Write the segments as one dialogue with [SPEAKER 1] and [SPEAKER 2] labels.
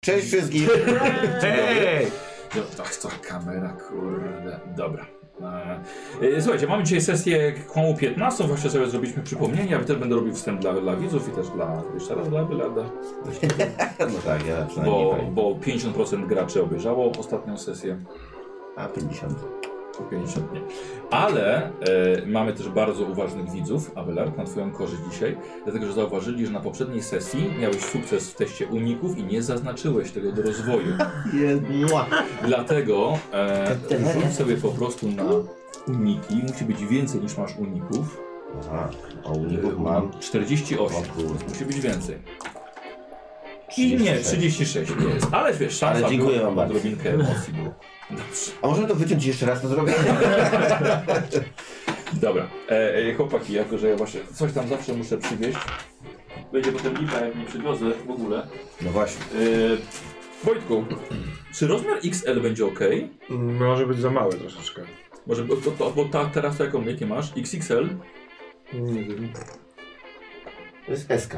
[SPEAKER 1] Cześć wszystkich.
[SPEAKER 2] Hej! No, tak, ta kamera, kurde. Dobra. E, Słuchajcie, mamy dzisiaj sesję koło 15, właśnie sobie zrobiliśmy przypomnienie, ja też będę robił wstęp dla, dla widzów i też dla, jeszcze raz dla Bylada,
[SPEAKER 1] No tak, ja przynajmniej
[SPEAKER 2] bo,
[SPEAKER 1] fajnie.
[SPEAKER 2] bo 50% graczy obejrzało ostatnią sesję,
[SPEAKER 1] A 50.
[SPEAKER 2] 50 nie. Ale e, mamy też bardzo uważnych widzów, Abelard, na twoją korzyść dzisiaj, dlatego że zauważyli, że na poprzedniej sesji miałeś sukces w teście uników i nie zaznaczyłeś tego do rozwoju.
[SPEAKER 1] Jest mła.
[SPEAKER 2] Dlatego e, rzuć sobie po prostu na uniki. Musi być więcej niż masz uników.
[SPEAKER 1] Aha, a uników mam.
[SPEAKER 2] 48.
[SPEAKER 1] O kurde.
[SPEAKER 2] Musi być więcej. I nie, 36 nie jest. Ale wiesz, szansa
[SPEAKER 1] Ale dziękuję
[SPEAKER 2] była,
[SPEAKER 1] wam bardzo.
[SPEAKER 2] Odrobinkę emocji było. Dobrze.
[SPEAKER 1] A możemy to wyciąć i jeszcze raz to zrobić?
[SPEAKER 2] Dobra. E, e, chłopaki, jako że ja właśnie coś tam zawsze muszę przywieźć. Będzie potem lipa, jak nie przywiozę w ogóle.
[SPEAKER 1] No właśnie.
[SPEAKER 2] E, Wojtku, czy rozmiar XL będzie ok?
[SPEAKER 3] Może być za małe troszeczkę.
[SPEAKER 2] Może, bo, bo, bo ta, teraz to jaką, jakie masz? XXL?
[SPEAKER 3] Nie wiem.
[SPEAKER 1] To jest SK.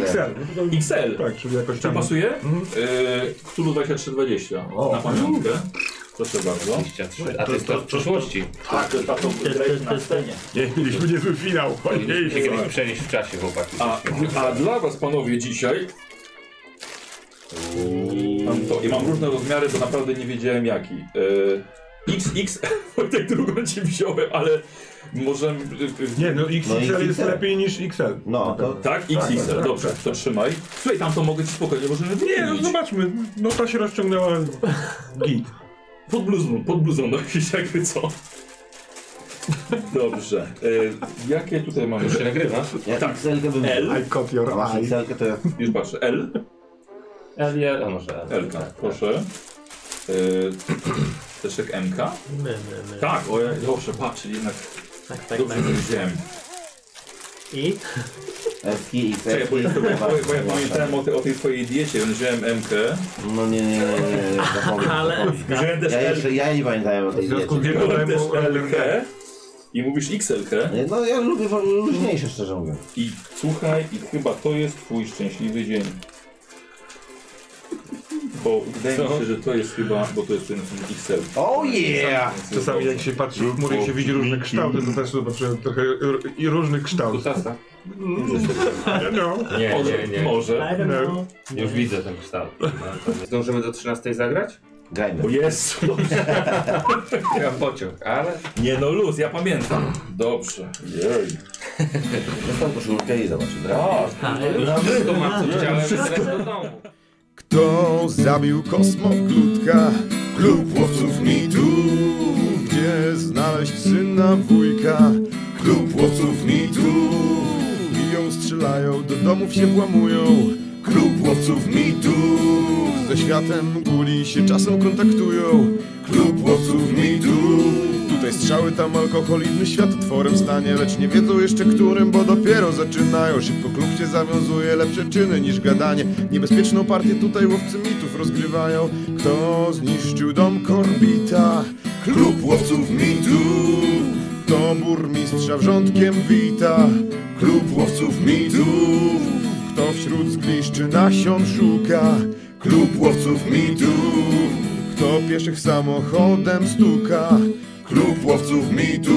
[SPEAKER 3] XL.
[SPEAKER 2] XL!
[SPEAKER 3] Tak, żeby jakoś
[SPEAKER 2] Czy
[SPEAKER 3] tam...
[SPEAKER 2] pasuje?
[SPEAKER 3] Mhm.
[SPEAKER 2] Yy, Cthulhu 2320
[SPEAKER 1] O.
[SPEAKER 2] na pamiątkę. Proszę bardzo.
[SPEAKER 4] 23, a to jest to w przeszłości.
[SPEAKER 2] Tak, to to grałeś na scenie.
[SPEAKER 3] Nie, mieliśmy niezły finał.
[SPEAKER 4] Mieliśmy kiedyś przenieść w czasie, chłopaki.
[SPEAKER 2] A, a dla was panowie dzisiaj mam to i mam różne rozmiary, bo naprawdę nie wiedziałem jaki. Yy, XX, Wojtek drugą tak ci wziąłem, ale y, może...
[SPEAKER 3] Nie, no XXL,
[SPEAKER 1] No, XXL.
[SPEAKER 3] jest lepiej niż XL.
[SPEAKER 1] No, to...
[SPEAKER 2] Tak, XXL,
[SPEAKER 3] tak,
[SPEAKER 2] dobrze,
[SPEAKER 3] tak.
[SPEAKER 2] to trzymaj. Słuchaj, tam to mogę ci spokojnie, możemy
[SPEAKER 3] Nie, no
[SPEAKER 2] wymienić.
[SPEAKER 3] zobaczmy. No ta się rozciągnęła git.
[SPEAKER 2] Pod bluzą, pod bluzą nosisz jakby co. Dobrze. Y, jakie tutaj mamy?
[SPEAKER 4] Już się nagrywa.
[SPEAKER 1] Ja
[SPEAKER 2] Tak.
[SPEAKER 1] XL bym...
[SPEAKER 2] L.
[SPEAKER 3] I caught your
[SPEAKER 1] A masz
[SPEAKER 3] eye.
[SPEAKER 1] XL to ja...
[SPEAKER 2] Już patrzę. L.
[SPEAKER 4] Elia, a może Elia.
[SPEAKER 1] Tak,
[SPEAKER 2] Elka, proszę. Yy, też jak MK?
[SPEAKER 5] My, my, my.
[SPEAKER 2] Tak, o ja dobrze, patrz, jednak
[SPEAKER 5] tak, tak.
[SPEAKER 2] dobrze
[SPEAKER 5] tak.
[SPEAKER 2] tak. wiedziałem.
[SPEAKER 5] I?
[SPEAKER 1] SK, XL...
[SPEAKER 2] Czekaj, bo, ja, bo, ja, bo, ja, bo
[SPEAKER 1] Tak.
[SPEAKER 2] ja pamiętałem o, tej- o tej twojej diecie, więc wziąłem MK.
[SPEAKER 1] No nie, nie, nie, nie, nie, zapomnij,
[SPEAKER 5] Ale-
[SPEAKER 1] zapomnij.
[SPEAKER 2] Wziąłem też
[SPEAKER 1] Ja
[SPEAKER 2] L,
[SPEAKER 1] jeszcze, ja nie pamiętałem o tej diecie.
[SPEAKER 2] wziąłem też
[SPEAKER 3] Temu
[SPEAKER 2] LK. I mówisz XLK.
[SPEAKER 1] Nie, No ja lubię wol- luźniejsze, szczerze mówiąc.
[SPEAKER 2] I słuchaj, i chyba to jest twój szczęśliwy dzień. Bo wydaje mi się, że to jest chyba, bo to jest ten XL.
[SPEAKER 1] Oh yeah!
[SPEAKER 3] Czasami jak się patrzy w chmury i się widzi różne kształty, to też zobaczyłem trochę r- i różnych kształtów.
[SPEAKER 2] Kutasa?
[SPEAKER 3] No.
[SPEAKER 4] Nie,
[SPEAKER 2] Może,
[SPEAKER 4] nie, nie.
[SPEAKER 2] może.
[SPEAKER 5] don't
[SPEAKER 3] No.
[SPEAKER 5] know.
[SPEAKER 4] Już widzę ten kształt. No, to nie. Zdążymy do 13 zagrać?
[SPEAKER 1] Grajmy.
[SPEAKER 2] O Jezu.
[SPEAKER 4] Ja pociąg, ale...
[SPEAKER 2] Nie no, luz, ja pamiętam. Dobrze. Jej.
[SPEAKER 1] Dostał koszulkę i zobaczymy. Brawo.
[SPEAKER 2] A,
[SPEAKER 4] Wszystko mam, co chciałem, wszystko do domu.
[SPEAKER 6] Kto zabił kosmoklutka? Klub łowców mitu. Gdzie znaleźć syna wujka? Klub łowców mitu. Biją, strzelają, do domów się włamują. Klub łowców mitu. Ze światem guli się czasem kontaktują. Klub łowców mitu. Tutaj strzały, tam alkohol, inny świat otworem stanie Lecz nie wiedzą jeszcze którym, bo dopiero zaczynają Szybko klub się zawiązuje, lepsze czyny niż gadanie Niebezpieczną partię tutaj łowcy mitów rozgrywają Kto zniszczył dom Korbita? Klub łowców mitów To burmistrza wrzątkiem wita Klub łowców mitów Kto wśród zgliszczy nasion szuka Klub łowców mitów Kto pieszych samochodem stuka Klub łowców mitu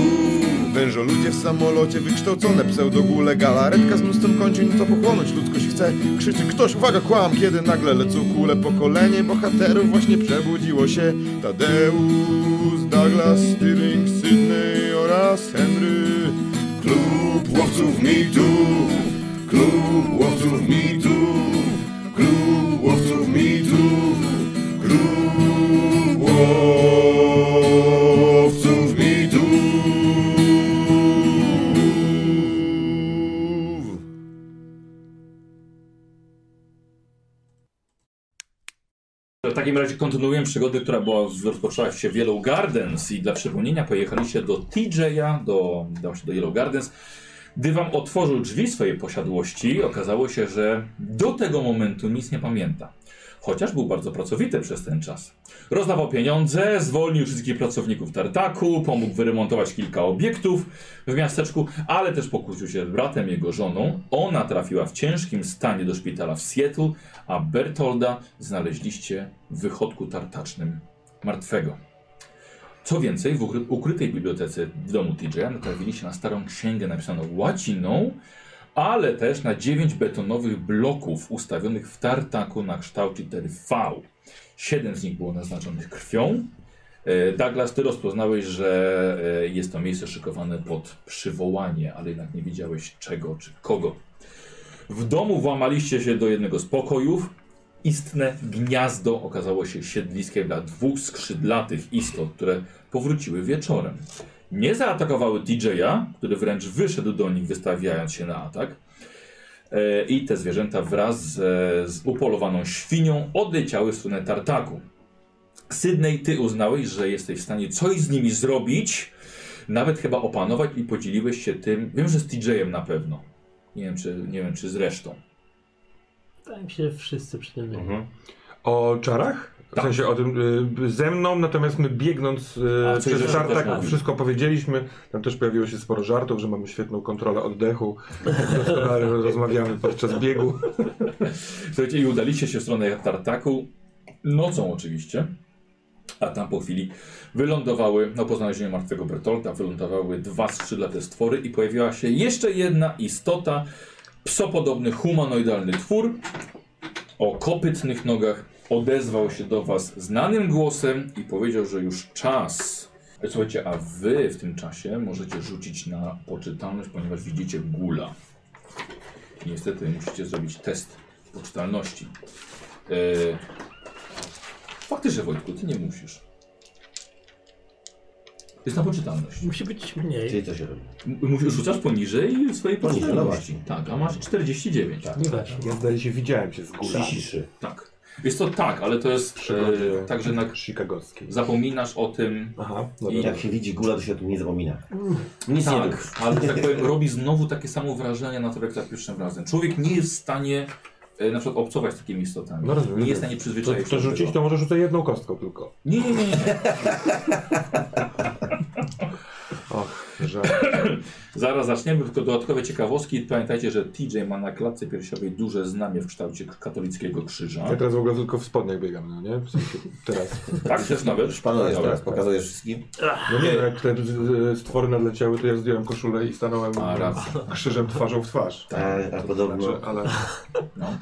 [SPEAKER 6] Wężo ludzie w samolocie, wykształcone pseudogule Galaretka z mnóstwem kończyn, co pochłonąć ludzkość chce Krzyczy ktoś, uwaga, kłam, kiedy nagle lecą kule Pokolenie bohaterów właśnie przebudziło się Tadeusz, Douglas, Stirling, Sydney oraz Henry Klub łowców mitu Klub łowców mitu Klub łowców mitu Klub łowców mitów.
[SPEAKER 2] W takim razie kontynuujemy przygodę, która była, rozpoczęła się w Yellow Gardens i dla przypomnienia pojechaliście do TJ'a, do, dał się do Yellow Gardens. Gdy wam otworzył drzwi swojej posiadłości, okazało się, że do tego momentu nic nie pamięta. chociaż był bardzo pracowity przez ten czas. Rozdawał pieniądze, zwolnił wszystkich pracowników tartaku, pomógł wyremontować kilka obiektów w miasteczku, ale też pokłócił się z bratem jego żoną. Ona trafiła w ciężkim stanie do szpitala w Seattle, a Bertolda znaleźliście w wychodku tartacznym martwego. Co więcej, w ukry- ukrytej bibliotece w domu TJ natrafiliście na starą księgę napisaną łaciną, ale też na dziewięć betonowych bloków ustawionych w tartaku na kształt litery V. Siedem z nich było naznaczonych krwią. E, Douglas, ty rozpoznałeś, że e, jest to miejsce szykowane pod przywołanie, ale jednak nie wiedziałeś czego czy kogo. W domu włamaliście się do jednego z pokojów. Istne gniazdo okazało się siedliskiem dla dwóch skrzydlatych istot, które powróciły wieczorem. Nie zaatakowały TJ'a, który wręcz wyszedł do nich, wystawiając się na atak. E, I te zwierzęta wraz z, z upolowaną świnią odleciały w stronę tartaku. Sydney, ty uznałeś, że jesteś w stanie coś z nimi zrobić, nawet chyba opanować i podzieliłeś się tym. Wiem, że z TJ'em na pewno. Nie wiem, czy, nie wiem, czy z resztą.
[SPEAKER 5] Wydaje mi Tak się, że wszyscy przy tym
[SPEAKER 2] Mhm.
[SPEAKER 5] byli.
[SPEAKER 3] O czarach? W
[SPEAKER 2] Tak.
[SPEAKER 3] sensie o tym y, ze mną, natomiast my biegnąc y,
[SPEAKER 2] A, coś
[SPEAKER 3] przez
[SPEAKER 2] żeśmy też
[SPEAKER 3] tartak
[SPEAKER 2] mówili.
[SPEAKER 3] wszystko powiedzieliśmy. Tam też pojawiło się sporo żartów, że mamy świetną kontrolę oddechu. Doskonale rozmawiamy podczas biegu.
[SPEAKER 2] Słuchajcie, i udaliście się w stronę tartaku. Nocą oczywiście. A tam po chwili wylądowały, no po znalezieniu martwego Bertolta, wylądowały dwa skrzydlate stwory i pojawiła się jeszcze jedna istota, psopodobny humanoidalny twór o kopytnych nogach. Odezwał się do was znanym głosem i powiedział, że już czas. Słuchajcie, a wy w tym czasie możecie rzucić na poczytalność, ponieważ widzicie gula. Niestety musicie zrobić test poczytalności. Yy... Faktycznie Wojtku, ty nie musisz. Jest na poczytalność.
[SPEAKER 5] Musi być mniej.
[SPEAKER 1] Czyli co się robi?
[SPEAKER 2] M- musisz- Rzucasz poniżej swojej
[SPEAKER 1] Poniżej, no
[SPEAKER 2] poczytalności.
[SPEAKER 1] właśnie.
[SPEAKER 2] Tak, a masz 49.
[SPEAKER 1] Tak.
[SPEAKER 5] Nie weszło.
[SPEAKER 3] Ja zdaje się widziałem się z góry.
[SPEAKER 1] 33.
[SPEAKER 2] Tak. Jest to tak, ale to jest
[SPEAKER 3] Przygody
[SPEAKER 2] e, tak, że na,
[SPEAKER 3] chicagowskiej.
[SPEAKER 2] zapominasz o tym.
[SPEAKER 3] Aha,
[SPEAKER 2] I-
[SPEAKER 3] dobra.
[SPEAKER 1] Jak tak się widzi gula, to się o tym nie zapomina. Nic nie rób.
[SPEAKER 2] Tak, ale że tak powiem, robi znowu takie samo wrażenie na tobie jak za pierwszym razem. Człowiek nie jest w stanie e, na przykład obcować z takimi istotami.
[SPEAKER 3] No rozumiem.
[SPEAKER 2] nie jest w stanie
[SPEAKER 3] To,
[SPEAKER 2] przyzwyczaić
[SPEAKER 3] to
[SPEAKER 2] do
[SPEAKER 3] rzucić,
[SPEAKER 2] tego.
[SPEAKER 3] to może rzucę jedną kostką tylko.
[SPEAKER 2] Nie, nie, nie. nie.
[SPEAKER 3] Och, że...
[SPEAKER 2] Zaraz zaczniemy, tylko dodatkowe ciekawostki. Pamiętajcie, że TJ ma na klatce piersiowej duże znamie w kształcie k- katolickiego krzyża.
[SPEAKER 3] Ja teraz w ogóle tylko w spodniach biegam, no nie? W sensie teraz.
[SPEAKER 2] Tak, też nawet.
[SPEAKER 1] Szpano jest
[SPEAKER 2] Dobra.
[SPEAKER 1] teraz, pokazujesz wszystkim.
[SPEAKER 3] No nie, jak te y, stwory nadleciały, to ja zdjąłem koszulę i stanąłem
[SPEAKER 2] A, racja.
[SPEAKER 3] krzyżem twarzą w twarz.
[SPEAKER 1] E, A, a podobno,
[SPEAKER 3] Znaczy, ale...
[SPEAKER 2] No.
[SPEAKER 1] podobno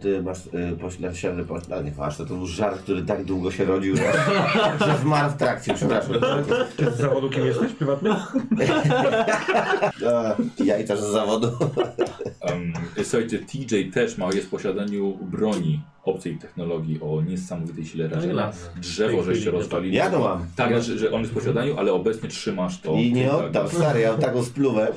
[SPEAKER 1] ty masz y, pośladniarze, pośladnie masz, to, to był żart, który tak długo się rodził, że, że zmarł w trakcie, przepraszam.
[SPEAKER 3] Ty z zawodu kim jesteś prywatnie?
[SPEAKER 1] A, jajcarz z zawodu.
[SPEAKER 2] Em, słuchajcie, TJ też ma, jest w posiadaniu broni obcej technologii o niesamowitej sile rażenia.
[SPEAKER 5] Douglas. No W
[SPEAKER 2] Drzewo,
[SPEAKER 5] tej
[SPEAKER 2] żeście
[SPEAKER 5] chwili
[SPEAKER 2] rozwalili.
[SPEAKER 1] Ja to mam.
[SPEAKER 2] Tak, że, że on jest w posiadaniu, ale obecnie trzymasz to.
[SPEAKER 1] I nie
[SPEAKER 2] tak.
[SPEAKER 1] oddam, stary, ja mam taką spluwę.
[SPEAKER 2] Em,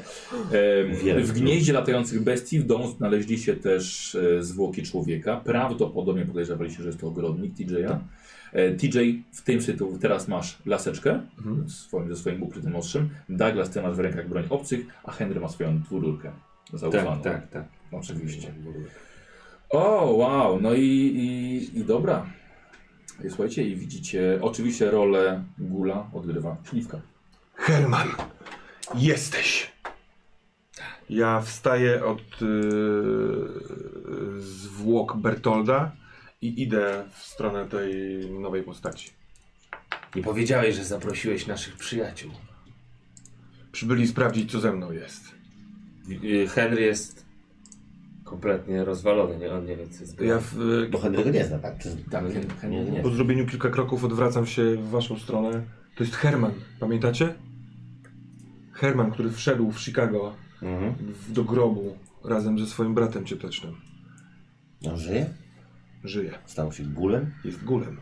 [SPEAKER 1] Wielki.
[SPEAKER 2] W gnieździe latających bestii w domu znaleźliście też e, zwłoki człowieka. Prawdopodobnie podejrzewaliście, że jest to ogrodnik
[SPEAKER 1] Tak.
[SPEAKER 2] TJ-a. E, TJ w tym sytuacji teraz masz laseczkę
[SPEAKER 1] Mhm.
[SPEAKER 2] swoim, ze swoim ukrytym ostrzem. Douglas, ty masz w rękach broń obcych, a Henry ma swoją dwururkę. Zaufaną.
[SPEAKER 4] Tak, tak, tak.
[SPEAKER 2] Oczywiście. O, wow, no i, i, i dobra. I słuchajcie, i widzicie, oczywiście rolę Gula odgrywa Śliwka.
[SPEAKER 3] Herman, jesteś! Ja wstaję od y, zwłok Bertolda i idę w stronę tej nowej postaci.
[SPEAKER 4] Nie powiedziałeś, że zaprosiłeś naszych przyjaciół.
[SPEAKER 3] Przybyli sprawdzić, co ze mną jest.
[SPEAKER 4] Y, Henry jest kompletnie rozwalony, nie? On nie wie, co jest
[SPEAKER 3] Ja w, y,
[SPEAKER 1] Bo Henry'ego nie zna, tak? Czy...
[SPEAKER 2] Tak, Hen- Henry nie.
[SPEAKER 3] po zrobieniu kilka kroków odwracam się w waszą stronę. To jest Herman, pamiętacie? Herman, który wszedł w Chicago
[SPEAKER 1] Mhm.
[SPEAKER 3] w, do grobu razem ze swoim bratem ciotecznym.
[SPEAKER 1] On no, żyje?
[SPEAKER 3] Żyje.
[SPEAKER 1] Stał się gulem?
[SPEAKER 3] Jest gulem.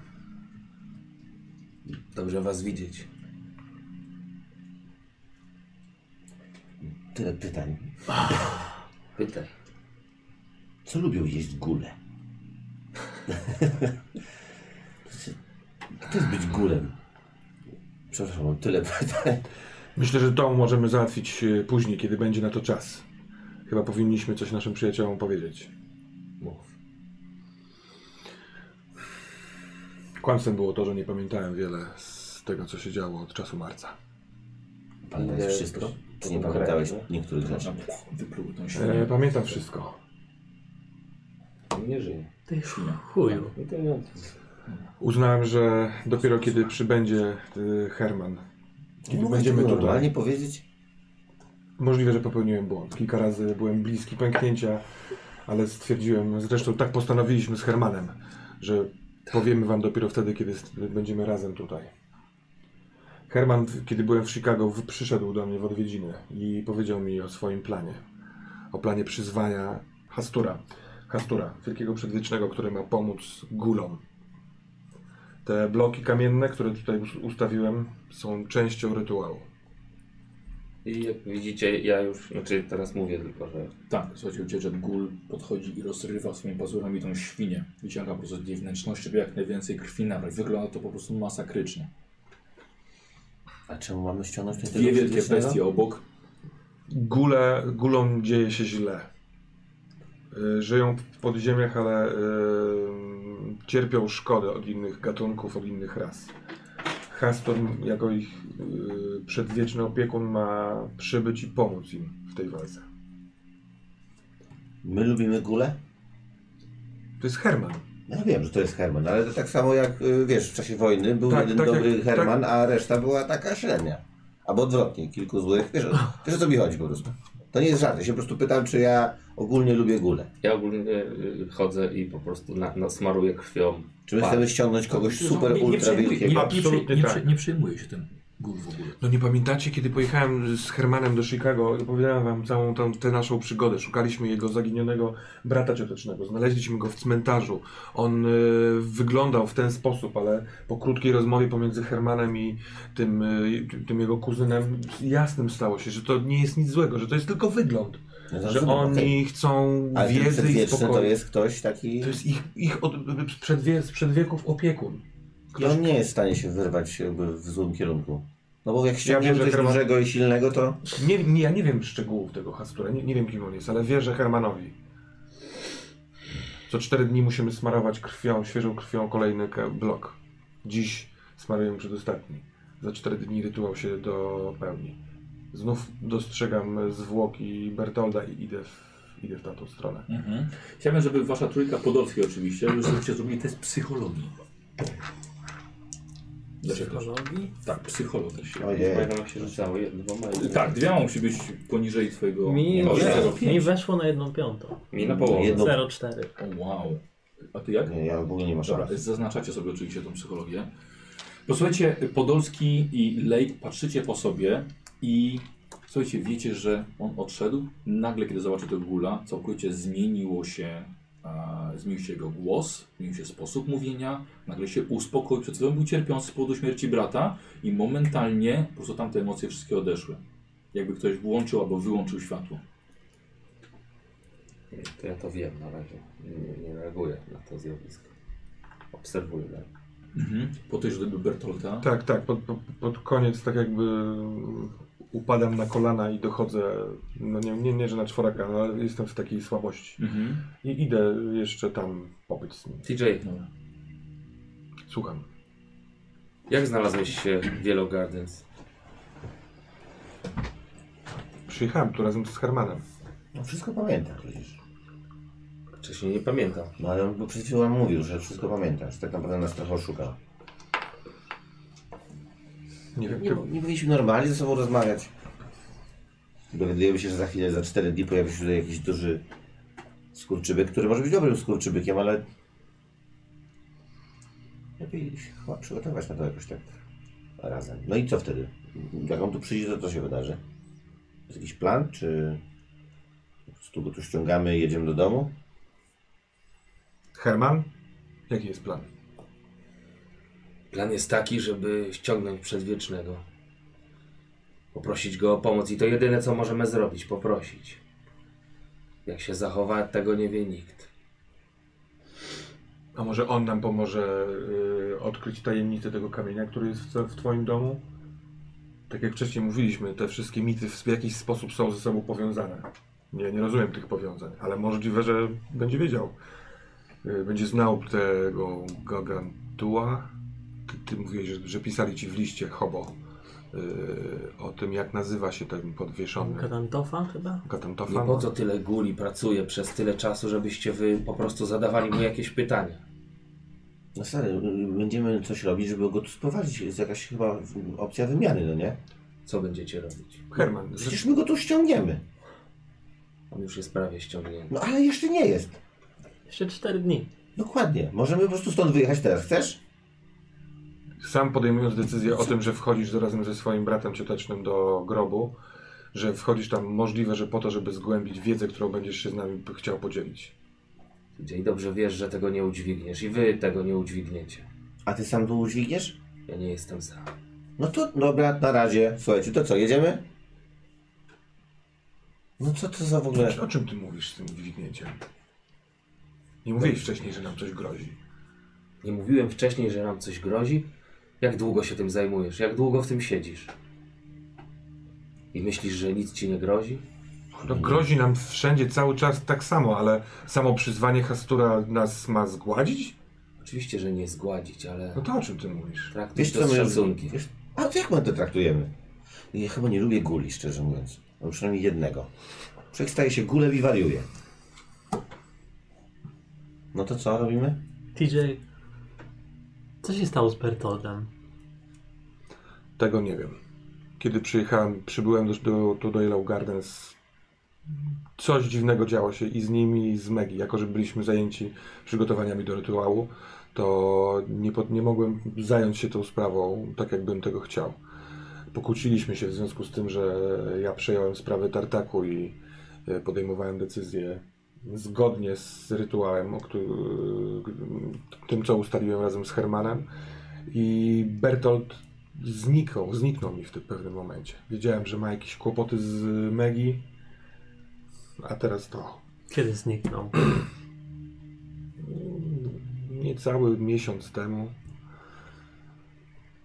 [SPEAKER 4] Dobrze was widzieć.
[SPEAKER 1] Tyle pytań.
[SPEAKER 4] Pytaj.
[SPEAKER 1] Co lubią jeść gule? Co to jest być gulem? Przepraszam, mam tyle pytań.
[SPEAKER 3] Myślę, że to możemy załatwić e, później, kiedy będzie na to czas. Chyba powinniśmy coś naszym przyjaciołom powiedzieć.
[SPEAKER 4] Mów.
[SPEAKER 3] Kłamstwem było to, że nie pamiętałem wiele z tego, co się działo od czasu marca.
[SPEAKER 1] Pamiętałeś wszystko? Czy nie pamiętałeś niektórych rzeczy?
[SPEAKER 2] Wypluł tą
[SPEAKER 3] E,
[SPEAKER 2] świnię.
[SPEAKER 3] pamiętam wszystko.
[SPEAKER 4] Nie żyje.
[SPEAKER 5] Ty chuju.
[SPEAKER 4] I to nie...
[SPEAKER 3] Uznałem, że dopiero kiedy przybędzie y, Herman, kiedy
[SPEAKER 1] Mogę
[SPEAKER 3] będziemy
[SPEAKER 1] tego
[SPEAKER 3] tutaj,
[SPEAKER 1] normalnie powiedzieć?
[SPEAKER 3] Możliwe, że popełniłem błąd. Kilka razy byłem bliski pęknięcia, ale stwierdziłem, zresztą tak postanowiliśmy z Hermanem, że powiemy wam dopiero wtedy, kiedy st- będziemy razem tutaj. Herman, w- kiedy byłem w Chicago, w- przyszedł do mnie w odwiedziny i powiedział mi o swoim planie. O planie przyzwania Hastura. Hastura, wielkiego przedwiecznego, który ma pomóc gulom. Te bloki kamienne, które tutaj us- ustawiłem, są częścią rytuału.
[SPEAKER 4] I jak widzicie, ja już, znaczy teraz mówię tylko, że
[SPEAKER 2] Tak, słuchajcie, ucieczek gul podchodzi i rozrywa swoimi pazurami tą świnię. Wyciąga po prostu z jej wnętrzności, żeby jak najwięcej krwi nabrać. Wygląda to po prostu masakrycznie.
[SPEAKER 1] A czemu mamy ściągnąć tego
[SPEAKER 2] Dwie wielkie
[SPEAKER 1] przedwiecznego?
[SPEAKER 2] bestie obok.
[SPEAKER 3] Gule, gulom dzieje się źle. Y, Żyją w podziemiach, ale y, cierpią szkodę od innych gatunków, od innych ras. Hastor, jako ich y, przedwieczny opiekun, ma przybyć i pomóc im w tej walce.
[SPEAKER 1] My lubimy gule? No
[SPEAKER 3] To jest Herman.
[SPEAKER 1] Ja wiem, że to jest Herman, ale to tak samo jak, y, wiesz, w czasie wojny był
[SPEAKER 3] Tak,
[SPEAKER 1] jeden
[SPEAKER 3] tak
[SPEAKER 1] dobry
[SPEAKER 3] jak-
[SPEAKER 1] Herman, a reszta była taka średnia. Albo odwrotnie, kilku złych. Wiesz, wiesz o co mi chodzi po prostu. To nie jest żart, ja się po prostu pytam, czy ja ogólnie lubię gule.
[SPEAKER 4] ja ogólnie y, chodzę i po prostu na, na smaruję krwią.
[SPEAKER 1] Czy my
[SPEAKER 4] Pa.
[SPEAKER 1] chcemy ściągnąć kogoś
[SPEAKER 3] No,
[SPEAKER 1] super,
[SPEAKER 2] No, nie, nie,
[SPEAKER 1] ultra
[SPEAKER 2] przejmuj- nie, nie,
[SPEAKER 1] wielkiego?
[SPEAKER 3] Absolutnie
[SPEAKER 2] nie, nie,
[SPEAKER 3] tak.
[SPEAKER 2] przy- nie przejmuje się ten gul w ogóle.
[SPEAKER 3] No nie pamiętacie, kiedy pojechałem z Hermanem do Chicago i opowiadałem wam całą tą, tę naszą przygodę. Szukaliśmy jego zaginionego brata ciotecznego. Znaleźliśmy go w cmentarzu. On y, wyglądał w ten sposób, ale po krótkiej rozmowie pomiędzy Hermanem i tym, y, tym jego kuzynem jasnym stało się, że to nie jest nic złego, że to jest tylko wygląd.
[SPEAKER 1] No to
[SPEAKER 3] że
[SPEAKER 1] rozumiem, okej.
[SPEAKER 3] oni chcą
[SPEAKER 1] Ale ten
[SPEAKER 3] wiedzy i
[SPEAKER 1] przedwieczny
[SPEAKER 3] spokoju.
[SPEAKER 1] to jest ktoś taki...
[SPEAKER 3] to jest ich, ich od, przedwie, sprzed wieków opiekun.
[SPEAKER 1] I on nie jest w stanie się wyrwać jakby w złym kierunku. No bo jak
[SPEAKER 3] wiem,
[SPEAKER 1] ściągniemy
[SPEAKER 3] że
[SPEAKER 1] coś
[SPEAKER 3] Herman-
[SPEAKER 1] dużego i silnego, to...
[SPEAKER 3] Nie, nie, ja nie wiem szczegółów tego Hastura, nie, nie wiem kim on jest, ale wierzę Hermanowi. Co cztery dni musimy smarować krwią, świeżą krwią kolejny ke- blok. Dziś smarujemy przedostatni. Za cztery dni rytuał się dopełni. Znów dostrzegam zwłoki Bertolda i idę w, idę w tamtą stronę.
[SPEAKER 2] Mhm. Chciałbym, żeby wasza trójka podolskiej oczywiście, żebyście zrobili test psychologii. Dlaczego?
[SPEAKER 5] Psychologii?
[SPEAKER 2] Tak, psychologii.
[SPEAKER 4] Nie
[SPEAKER 1] Ojej.
[SPEAKER 4] pamiętam jak się rzucało, jed- dwoma jedno.
[SPEAKER 2] Tak, dwiema musi być poniżej twojego...
[SPEAKER 5] Mi,
[SPEAKER 2] O,
[SPEAKER 5] weszło-
[SPEAKER 2] No, zero.
[SPEAKER 5] mi weszło na jedną piątą.
[SPEAKER 4] Mi na połowę.
[SPEAKER 1] Jedno- No.
[SPEAKER 5] 0,4.
[SPEAKER 2] O, Wow. A ty jak?
[SPEAKER 1] Nie, ja w ogóle nie masz
[SPEAKER 2] Dobra,
[SPEAKER 1] prawa.
[SPEAKER 2] zaznaczacie sobie oczywiście tą psychologię. Posłuchajcie, Podolski i Lake patrzycie po sobie i słuchajcie, wiecie, że on odszedł. Nagle, kiedy zobaczy tego gula, całkowicie zmieniło się, e, zmienił się jego głos, zmienił się sposób mówienia, nagle się uspokoił. Przed chwilą był cierpiący z powodu śmierci brata i momentalnie po prostu tamte emocje wszystkie odeszły. Jakby ktoś włączył albo wyłączył światło.
[SPEAKER 4] To ja to wiem na razie. Nie, nie reaguję na to zjawisko. Obserwuję dalej.
[SPEAKER 2] Mhm. Po tej żeby Bertolta.
[SPEAKER 3] Tak, tak, pod, pod, pod koniec tak jakby upadam na kolana i dochodzę, no nie, nie, nie że na czworaka, no, ale jestem w takiej słabości.
[SPEAKER 2] Mhm.
[SPEAKER 3] I idę jeszcze tam pobyć z nim.
[SPEAKER 4] TJ,
[SPEAKER 2] Dobra.
[SPEAKER 3] Słucham.
[SPEAKER 4] jak znalazłeś się w Yellow Gardens?
[SPEAKER 3] Przyjechałem tu razem z Hermanem.
[SPEAKER 1] No wszystko pamiętam przecież.
[SPEAKER 4] Wcześniej nie pamiętam.
[SPEAKER 1] No ale on przed chwilą mówił, że wszystko pamiętasz. Tak naprawdę nas trochę oszukał.
[SPEAKER 3] Nie wiem,
[SPEAKER 1] Nie,
[SPEAKER 3] ty...
[SPEAKER 1] nie powinniśmy normalnie ze sobą rozmawiać. Dowiadujemy się, że za chwilę, za 4 dni pojawi się tutaj jakiś duży skurczybyk, który może być dobrym skurczybykiem, ale... Lepiej się chyba przygotować na to jakoś tak razem. No i co wtedy? Jak on tu przyjdzie, to co się wydarzy? Jest jakiś plan, czy... Po prostu go tu ściągamy i jedziemy do domu?
[SPEAKER 3] Herman? Jaki jest plan?
[SPEAKER 4] Plan jest taki, żeby ściągnąć przedwiecznego. Poprosić go o pomoc i to jedyne co możemy zrobić, poprosić. Jak się zachowa, tego nie wie nikt.
[SPEAKER 3] A może on nam pomoże y, odkryć tajemnicę tego kamienia, który jest w, w twoim domu? Tak jak wcześniej mówiliśmy, te wszystkie mity w jakiś sposób są ze sobą powiązane. Nie, nie rozumiem tych powiązań, ale możliwe, że będzie wiedział. y, będzie znał tego Gagantua. Ty, ty mówiłeś, że, że pisali ci w liście hobo y, o tym, jak nazywa się ten podwieszony
[SPEAKER 5] Katantofa chyba?
[SPEAKER 4] Nie
[SPEAKER 3] Gatantofan.
[SPEAKER 4] po co tyle guli pracuje przez tyle czasu, żebyście wy po prostu zadawali mu jakieś pytania.
[SPEAKER 1] No stary, będziemy coś robić, żeby go tu sprowadzić. Jest jakaś chyba opcja wymiany, no nie?
[SPEAKER 4] Co będziecie robić?
[SPEAKER 3] Herman, z-
[SPEAKER 1] Przecież my go tu ściągniemy.
[SPEAKER 4] On już jest prawie ściągnięty.
[SPEAKER 1] No ale jeszcze nie jest.
[SPEAKER 5] Jeszcze 4 dni.
[SPEAKER 1] Dokładnie. Możemy po prostu stąd wyjechać teraz. Chcesz?
[SPEAKER 3] sam podejmując decyzję o tym, że wchodzisz do- razem ze swoim bratem ciotecznym do grobu, że wchodzisz tam możliwe, że po to, żeby zgłębić wiedzę, którą będziesz się z nami p- chciał podzielić.
[SPEAKER 4] Gdzie i dobrze wiesz, że tego nie udźwigniesz i wy tego nie udźwigniecie.
[SPEAKER 1] A ty sam tu udźwigniesz?
[SPEAKER 4] Ja nie jestem za.
[SPEAKER 1] No to dobra, na razie. Słuchajcie, to co, jedziemy? No co to za w ogóle...
[SPEAKER 3] O czym ty mówisz z tym dźwignięciem? Nie mówiłeś wcześniej, że nam coś grozi.
[SPEAKER 4] Nie mówiłem wcześniej, że nam coś grozi? Jak długo się tym zajmujesz? Jak długo w tym siedzisz? I myślisz, że nic ci nie grozi?
[SPEAKER 3] No, grozi nam wszędzie cały czas tak samo, ale samo przyzwanie Hastura nas ma zgładzić?
[SPEAKER 4] Oczywiście, że nie zgładzić, ale
[SPEAKER 3] No to o czym ty mówisz?
[SPEAKER 4] traktuj
[SPEAKER 1] Wiesz
[SPEAKER 4] to
[SPEAKER 1] co no, my...
[SPEAKER 4] z szacunkiem.
[SPEAKER 1] Wiesz, a to jak my to traktujemy? Ja chyba nie lubię guli, szczerze mówiąc. Mam przynajmniej jednego. Człowiek staje się gulem i wariuje. No to co robimy?
[SPEAKER 5] TJ, co się stało z Bertoldem?
[SPEAKER 3] Tego nie wiem. Kiedy przyjechałem, przybyłem do, do, tu do Yellow Gardens, coś dziwnego działo się i z nimi, i z Megi. Jako, że byliśmy zajęci przygotowaniami do rytuału, to nie, pod, nie mogłem zająć się tą sprawą tak, jakbym tego chciał. Pokłóciliśmy się w związku z tym, że ja przejąłem sprawę tartaku i e, podejmowałem decyzję zgodnie z rytuałem, o któ- tym, co ustaliłem razem z Hermanem. I Bertolt zniknął, zniknął mi w tym pewnym momencie. Wiedziałem, że ma jakieś kłopoty z Megi, a teraz to.
[SPEAKER 5] Kiedy zniknął?
[SPEAKER 3] Niecały miesiąc temu.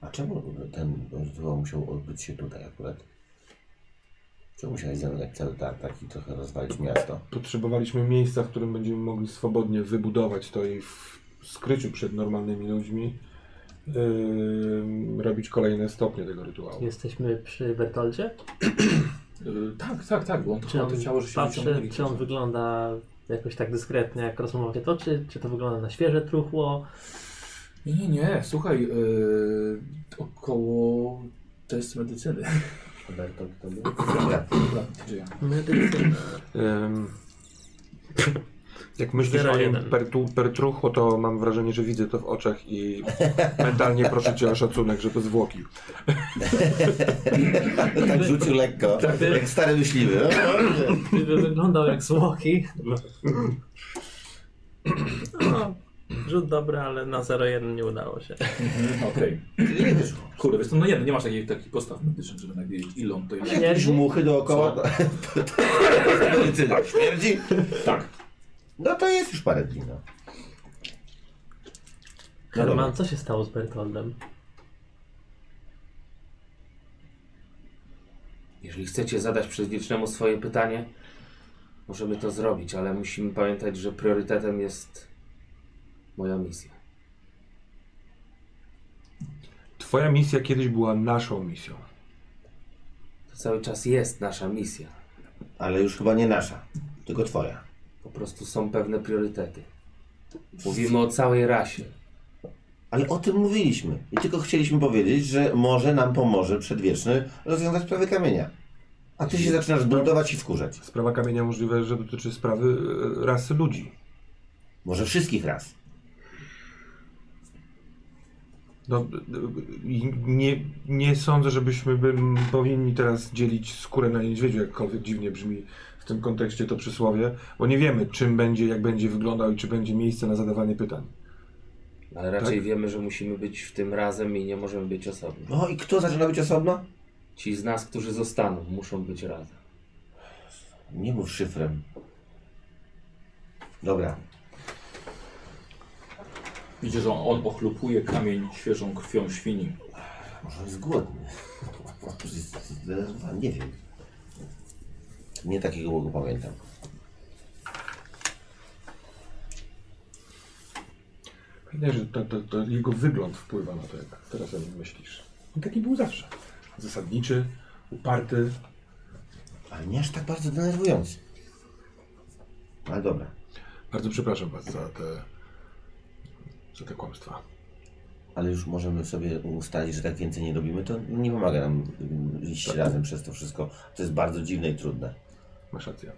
[SPEAKER 1] A czemu ten rytuał musiał odbyć się tutaj akurat? Czemu musiałeś zadać cały tartak i trochę rozwalić miasto?
[SPEAKER 3] Potrzebowaliśmy miejsca, w którym będziemy mogli swobodnie wybudować to i w skryciu przed normalnymi ludźmi yy, robić kolejne stopnie tego rytuału.
[SPEAKER 5] Jesteśmy przy Bertoldzie?
[SPEAKER 2] Y, tak, tak, tak, bo on to
[SPEAKER 5] Czy
[SPEAKER 2] chyba
[SPEAKER 5] on,
[SPEAKER 2] to ciało, że się
[SPEAKER 5] patrzy,
[SPEAKER 2] wyciągnęli.
[SPEAKER 5] czy on wygląda jakoś tak dyskretnie, jak rozmawiacie to, czy, czy to wygląda na świeże truchło?
[SPEAKER 2] Nie, nie, nie, słuchaj, y, około test medycyny.
[SPEAKER 4] Bertolt to był?
[SPEAKER 1] Dobra,
[SPEAKER 2] Dobra, gdzie ja?
[SPEAKER 5] Medycyna.
[SPEAKER 3] Ym, Jak myślisz
[SPEAKER 5] Zero
[SPEAKER 3] o nim
[SPEAKER 5] jeden.
[SPEAKER 3] per, tu- per truchło, to mam wrażenie, że widzę to w oczach i mentalnie proszę cię o szacunek, że to zwłoki.
[SPEAKER 1] tak rzucił lekko, jak stary myśliwy. No, dobrze.
[SPEAKER 5] Gdyby wyglądał jak zwłoki. No, rzut dobry, ale na 0-1 nie udało się.
[SPEAKER 2] Mhm, Okej.
[SPEAKER 1] Czyli nie wyszło.
[SPEAKER 2] Kurde, wiesz, co, no nie, nie masz takich, takich postaw medycznych, żeby nawiedzieć ile on to jest.
[SPEAKER 1] Jakieś muchy dookoła.
[SPEAKER 2] Co?
[SPEAKER 1] To- to- Medycyna śmierdzi.
[SPEAKER 2] Tak.
[SPEAKER 1] No to jest już parę dni, no.
[SPEAKER 5] Herman, co się stało z Bertoldem?
[SPEAKER 4] Jeżeli chcecie zadać przedwiecznemu swoje pytanie, możemy to zrobić, ale musimy pamiętać, że priorytetem jest moja misja.
[SPEAKER 3] Twoja misja kiedyś była naszą misją.
[SPEAKER 4] To cały czas jest nasza misja.
[SPEAKER 1] Ale już chyba nie nasza, tylko twoja.
[SPEAKER 4] Po prostu są pewne priorytety. Mówimy o całej rasie.
[SPEAKER 1] Ale o tym mówiliśmy. I tylko chcieliśmy powiedzieć, że może nam pomoże przedwieczny rozwiązać sprawę kamienia. A ty się zaczynasz buntować i wkurzać.
[SPEAKER 3] Sprawa kamienia możliwe, że dotyczy sprawy e, rasy ludzi.
[SPEAKER 1] Może wszystkich raz.
[SPEAKER 3] No, e, i nie, nie sądzę, żebyśmy bym, powinni teraz dzielić skórę na niedźwiedziu, jakkolwiek dziwnie brzmi w tym kontekście to przysłowie, bo nie wiemy, czym będzie, jak będzie wyglądał i czy będzie miejsce na zadawanie pytań.
[SPEAKER 4] Ale raczej
[SPEAKER 3] Tak?
[SPEAKER 4] wiemy, że musimy być w tym razem i nie możemy być osobno.
[SPEAKER 1] No i kto zaczyna być osobno?
[SPEAKER 4] Ci z nas, którzy zostaną, muszą być razem.
[SPEAKER 1] Nie mów szyfrem. Dobra.
[SPEAKER 2] Widzisz, że on, on ochlupuje kamień świeżą krwią świni.
[SPEAKER 1] Może on jest głodny. Może jest zdenerwowany, Nie wiem. Nie takiego go pamiętam.
[SPEAKER 3] Nie, że to, to, to jego wygląd wpływa na to, jak teraz o nim myślisz. On taki był zawsze. Zasadniczy, uparty.
[SPEAKER 1] Ale nie aż tak bardzo denerwujący. No Ale dobra.
[SPEAKER 3] Bardzo przepraszam was za te, za te kłamstwa.
[SPEAKER 1] Ale już możemy sobie ustalić, że tak więcej nie robimy, to nie pomaga nam mm, iść
[SPEAKER 3] Tak.
[SPEAKER 1] razem przez to wszystko. To jest bardzo dziwne i trudne.
[SPEAKER 3] Masz rację.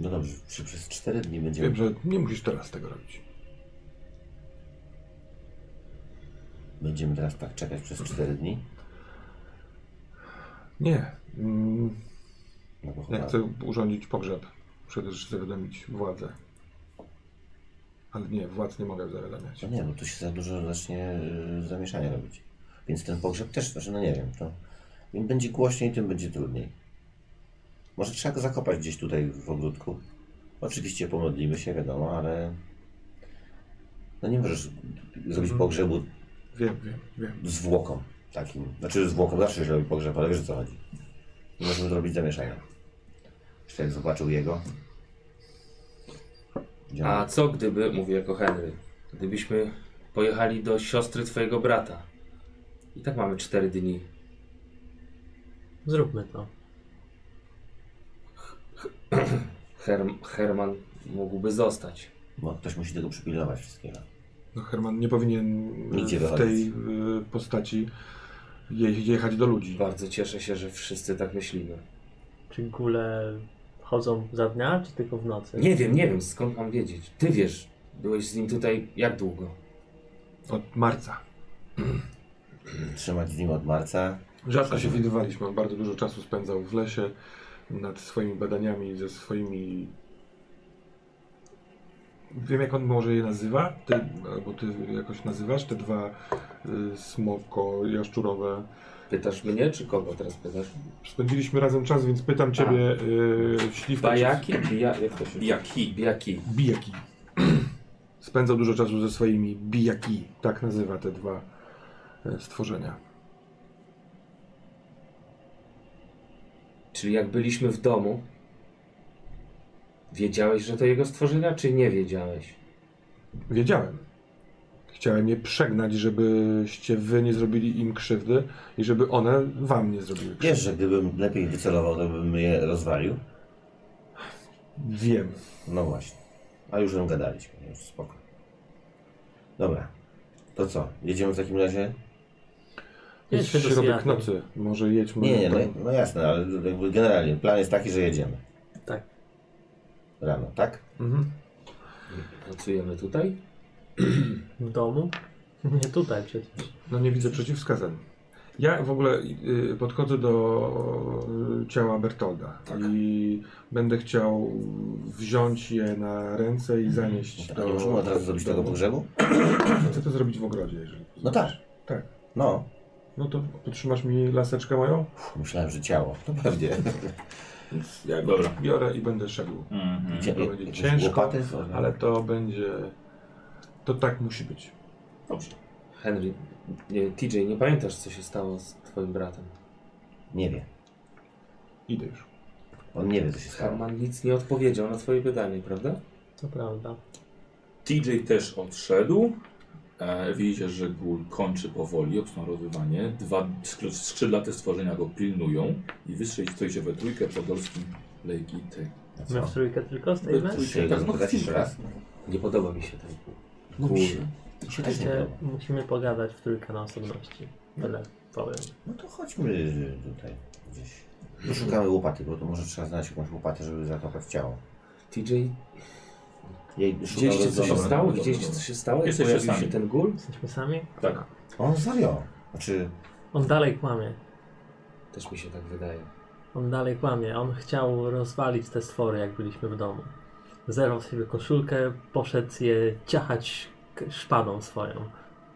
[SPEAKER 1] No dobrze, przy, przez 4 dni będziemy.
[SPEAKER 3] Wiem, że nie musisz teraz tego robić.
[SPEAKER 1] Będziemy teraz tak czekać przez 4 dni.
[SPEAKER 3] Nie. Mm,
[SPEAKER 1] No
[SPEAKER 3] tak.
[SPEAKER 1] bo
[SPEAKER 3] Ja
[SPEAKER 1] chyba
[SPEAKER 3] chcę urządzić pogrzeb. Muszę też zawiadomić władzę. Ale nie, władz nie mogę zawiadamiać.
[SPEAKER 1] No nie, bo tu się za dużo zacznie y, zamieszania robić. Więc ten pogrzeb też, znaczy, no nie wiem, to im będzie głośniej, tym będzie trudniej. Może trzeba go zakopać gdzieś tutaj w ogródku. Oczywiście pomodlimy się, wiadomo, ale no nie możesz zrobić pogrzebu
[SPEAKER 3] Wiem, wiem, wiem.
[SPEAKER 1] zwłoką takim. Znaczy zwłoką zawsze się robi pogrzeb, ale wiesz o co chodzi. Nie możemy zrobić zamieszania. Jeszcze jak zobaczył jego. Gdzie
[SPEAKER 4] A
[SPEAKER 1] on-
[SPEAKER 4] co gdyby, mówię jako Henry, gdybyśmy pojechali do siostry twojego brata? I tak mamy 4 dni.
[SPEAKER 5] Zróbmy to.
[SPEAKER 4] Herm, Herman mógłby zostać.
[SPEAKER 1] Bo ktoś musi tego przypilnować wszystkiego.
[SPEAKER 3] No Herman nie powinien
[SPEAKER 1] Nigdzie
[SPEAKER 3] w
[SPEAKER 1] wychodzić.
[SPEAKER 3] tej y, postaci je, jechać do ludzi.
[SPEAKER 4] Bardzo cieszę się, że wszyscy tak myślimy.
[SPEAKER 5] Czy gule chodzą za dnia, czy tylko w nocy?
[SPEAKER 4] Nie wiem, nie wiem, skąd mam wiedzieć. Ty wiesz, byłeś z nim tutaj jak długo?
[SPEAKER 3] Od marca.
[SPEAKER 1] Trzymać z nim od marca,
[SPEAKER 3] Rzadko się widywaliśmy. On bardzo dużo czasu spędzał w lesie nad swoimi badaniami, ze swoimi. Wiem, jak on może je nazywa, ty, albo ty jakoś nazywasz te dwa y, smoko jaszczurowe.
[SPEAKER 4] Pytasz mnie, czy kogo teraz pytasz?
[SPEAKER 3] Spędziliśmy razem czas, więc pytam ciebie, y, śliwka.
[SPEAKER 4] Bajaki? Bija, jak to się
[SPEAKER 2] Jaki?
[SPEAKER 4] Bijaki.
[SPEAKER 3] Bijaki. Spędzał dużo czasu ze swoimi bijaki. Tak nazywa te dwa e, stworzenia.
[SPEAKER 4] Czyli jak byliśmy w domu, wiedziałeś, że to jego stworzenia, czy nie wiedziałeś?
[SPEAKER 3] Wiedziałem. Chciałem je przegnać, żebyście wy nie zrobili im krzywdy i żeby one wam nie zrobiły krzywdy.
[SPEAKER 1] Wiesz, że gdybym lepiej wycelował, to bym je rozwalił?
[SPEAKER 3] Wiem.
[SPEAKER 1] No właśnie. A już ją gadaliśmy, już spoko. Dobra. To co? Jedziemy w takim razie?
[SPEAKER 3] Jest
[SPEAKER 5] Jedźmy do
[SPEAKER 3] środek
[SPEAKER 5] Seattle.
[SPEAKER 3] nocy. Może jedźmy.
[SPEAKER 1] Nie, nie,
[SPEAKER 3] do-
[SPEAKER 1] no, no jasne, ale jakby generalnie plan jest taki, że jedziemy.
[SPEAKER 5] Tak.
[SPEAKER 1] Rano, tak?
[SPEAKER 3] Mhm.
[SPEAKER 4] Pracujemy tutaj?
[SPEAKER 5] W domu? Nie tutaj przecież.
[SPEAKER 3] No nie widzę przeciwwskazań. Ja w ogóle y, podchodzę do y, ciała Bertolda
[SPEAKER 1] Tak.
[SPEAKER 3] i będę chciał wziąć je na ręce i zanieść
[SPEAKER 1] A
[SPEAKER 3] do...
[SPEAKER 1] Mhm. No tak, nie możemy od razu zrobić
[SPEAKER 3] do-
[SPEAKER 1] tego pogrzebu?
[SPEAKER 3] Chcę to zrobić w ogrodzie, jeżeli...
[SPEAKER 1] No tak.
[SPEAKER 3] Tak.
[SPEAKER 1] No.
[SPEAKER 3] No to potrzymasz mi laseczkę moją?
[SPEAKER 1] Pff, Myślałem, że ciało. No pewnie.
[SPEAKER 3] Ja go
[SPEAKER 2] Dobra.
[SPEAKER 3] biorę i będę szedł.
[SPEAKER 2] Mhm.
[SPEAKER 1] Cie-
[SPEAKER 3] To będzie
[SPEAKER 1] jakieś
[SPEAKER 3] ciężko,
[SPEAKER 1] łopaty?
[SPEAKER 3] Ale to będzie... To tak musi być.
[SPEAKER 2] Dobrze.
[SPEAKER 4] Henry, nie, TJ, nie pamiętasz, co się stało z twoim bratem?
[SPEAKER 1] Nie wie.
[SPEAKER 3] Idę już.
[SPEAKER 1] On nie wie, co się stało.
[SPEAKER 4] Herman nic nie odpowiedział na twoje pytanie, prawda?
[SPEAKER 5] To prawda.
[SPEAKER 2] TJ też odszedł. E, widzicie, że gul kończy powoli obsmarowywanie. Dwa skrzy- skrzydlate stworzenia go pilnują i wystrzelić stoicie we trójkę podorskim Legity.
[SPEAKER 1] A
[SPEAKER 5] My
[SPEAKER 1] co?
[SPEAKER 5] w trójkę tylko
[SPEAKER 2] We
[SPEAKER 5] stoimy?
[SPEAKER 1] Trójkę,
[SPEAKER 2] trójkę, tak, no
[SPEAKER 1] tylko taki
[SPEAKER 2] chwilkę.
[SPEAKER 1] raz?
[SPEAKER 4] Nie podoba mi się to.
[SPEAKER 1] No mi się, mi się też nie
[SPEAKER 5] Słuchajcie,
[SPEAKER 1] podoba.
[SPEAKER 5] musimy pogadać w trójkę na osobności. Tyle powiem.
[SPEAKER 1] No to chodźmy tutaj gdzieś. Szukamy łopaty, bo to może trzeba znaleźć jakąś łopatę, żeby zakopać ciało.
[SPEAKER 4] TJ,
[SPEAKER 1] Jej
[SPEAKER 4] widzieliście,
[SPEAKER 1] szukamy
[SPEAKER 4] co się
[SPEAKER 1] dobra,
[SPEAKER 4] stało?
[SPEAKER 1] dobra,
[SPEAKER 4] Widzieliście,
[SPEAKER 1] dobra.
[SPEAKER 4] co się stało? Jak
[SPEAKER 2] Jesteście
[SPEAKER 4] pojawił
[SPEAKER 2] sami.
[SPEAKER 4] się ten gól?
[SPEAKER 5] Jesteśmy sami?
[SPEAKER 2] Tak.
[SPEAKER 1] On zawiał. Znaczy,
[SPEAKER 5] On dalej kłamie.
[SPEAKER 4] Też mi się tak wydaje.
[SPEAKER 5] On dalej kłamie. On chciał rozwalić te stwory, jak byliśmy w domu. Zerwał sobie koszulkę, poszedł je ciachać k- szpadą swoją.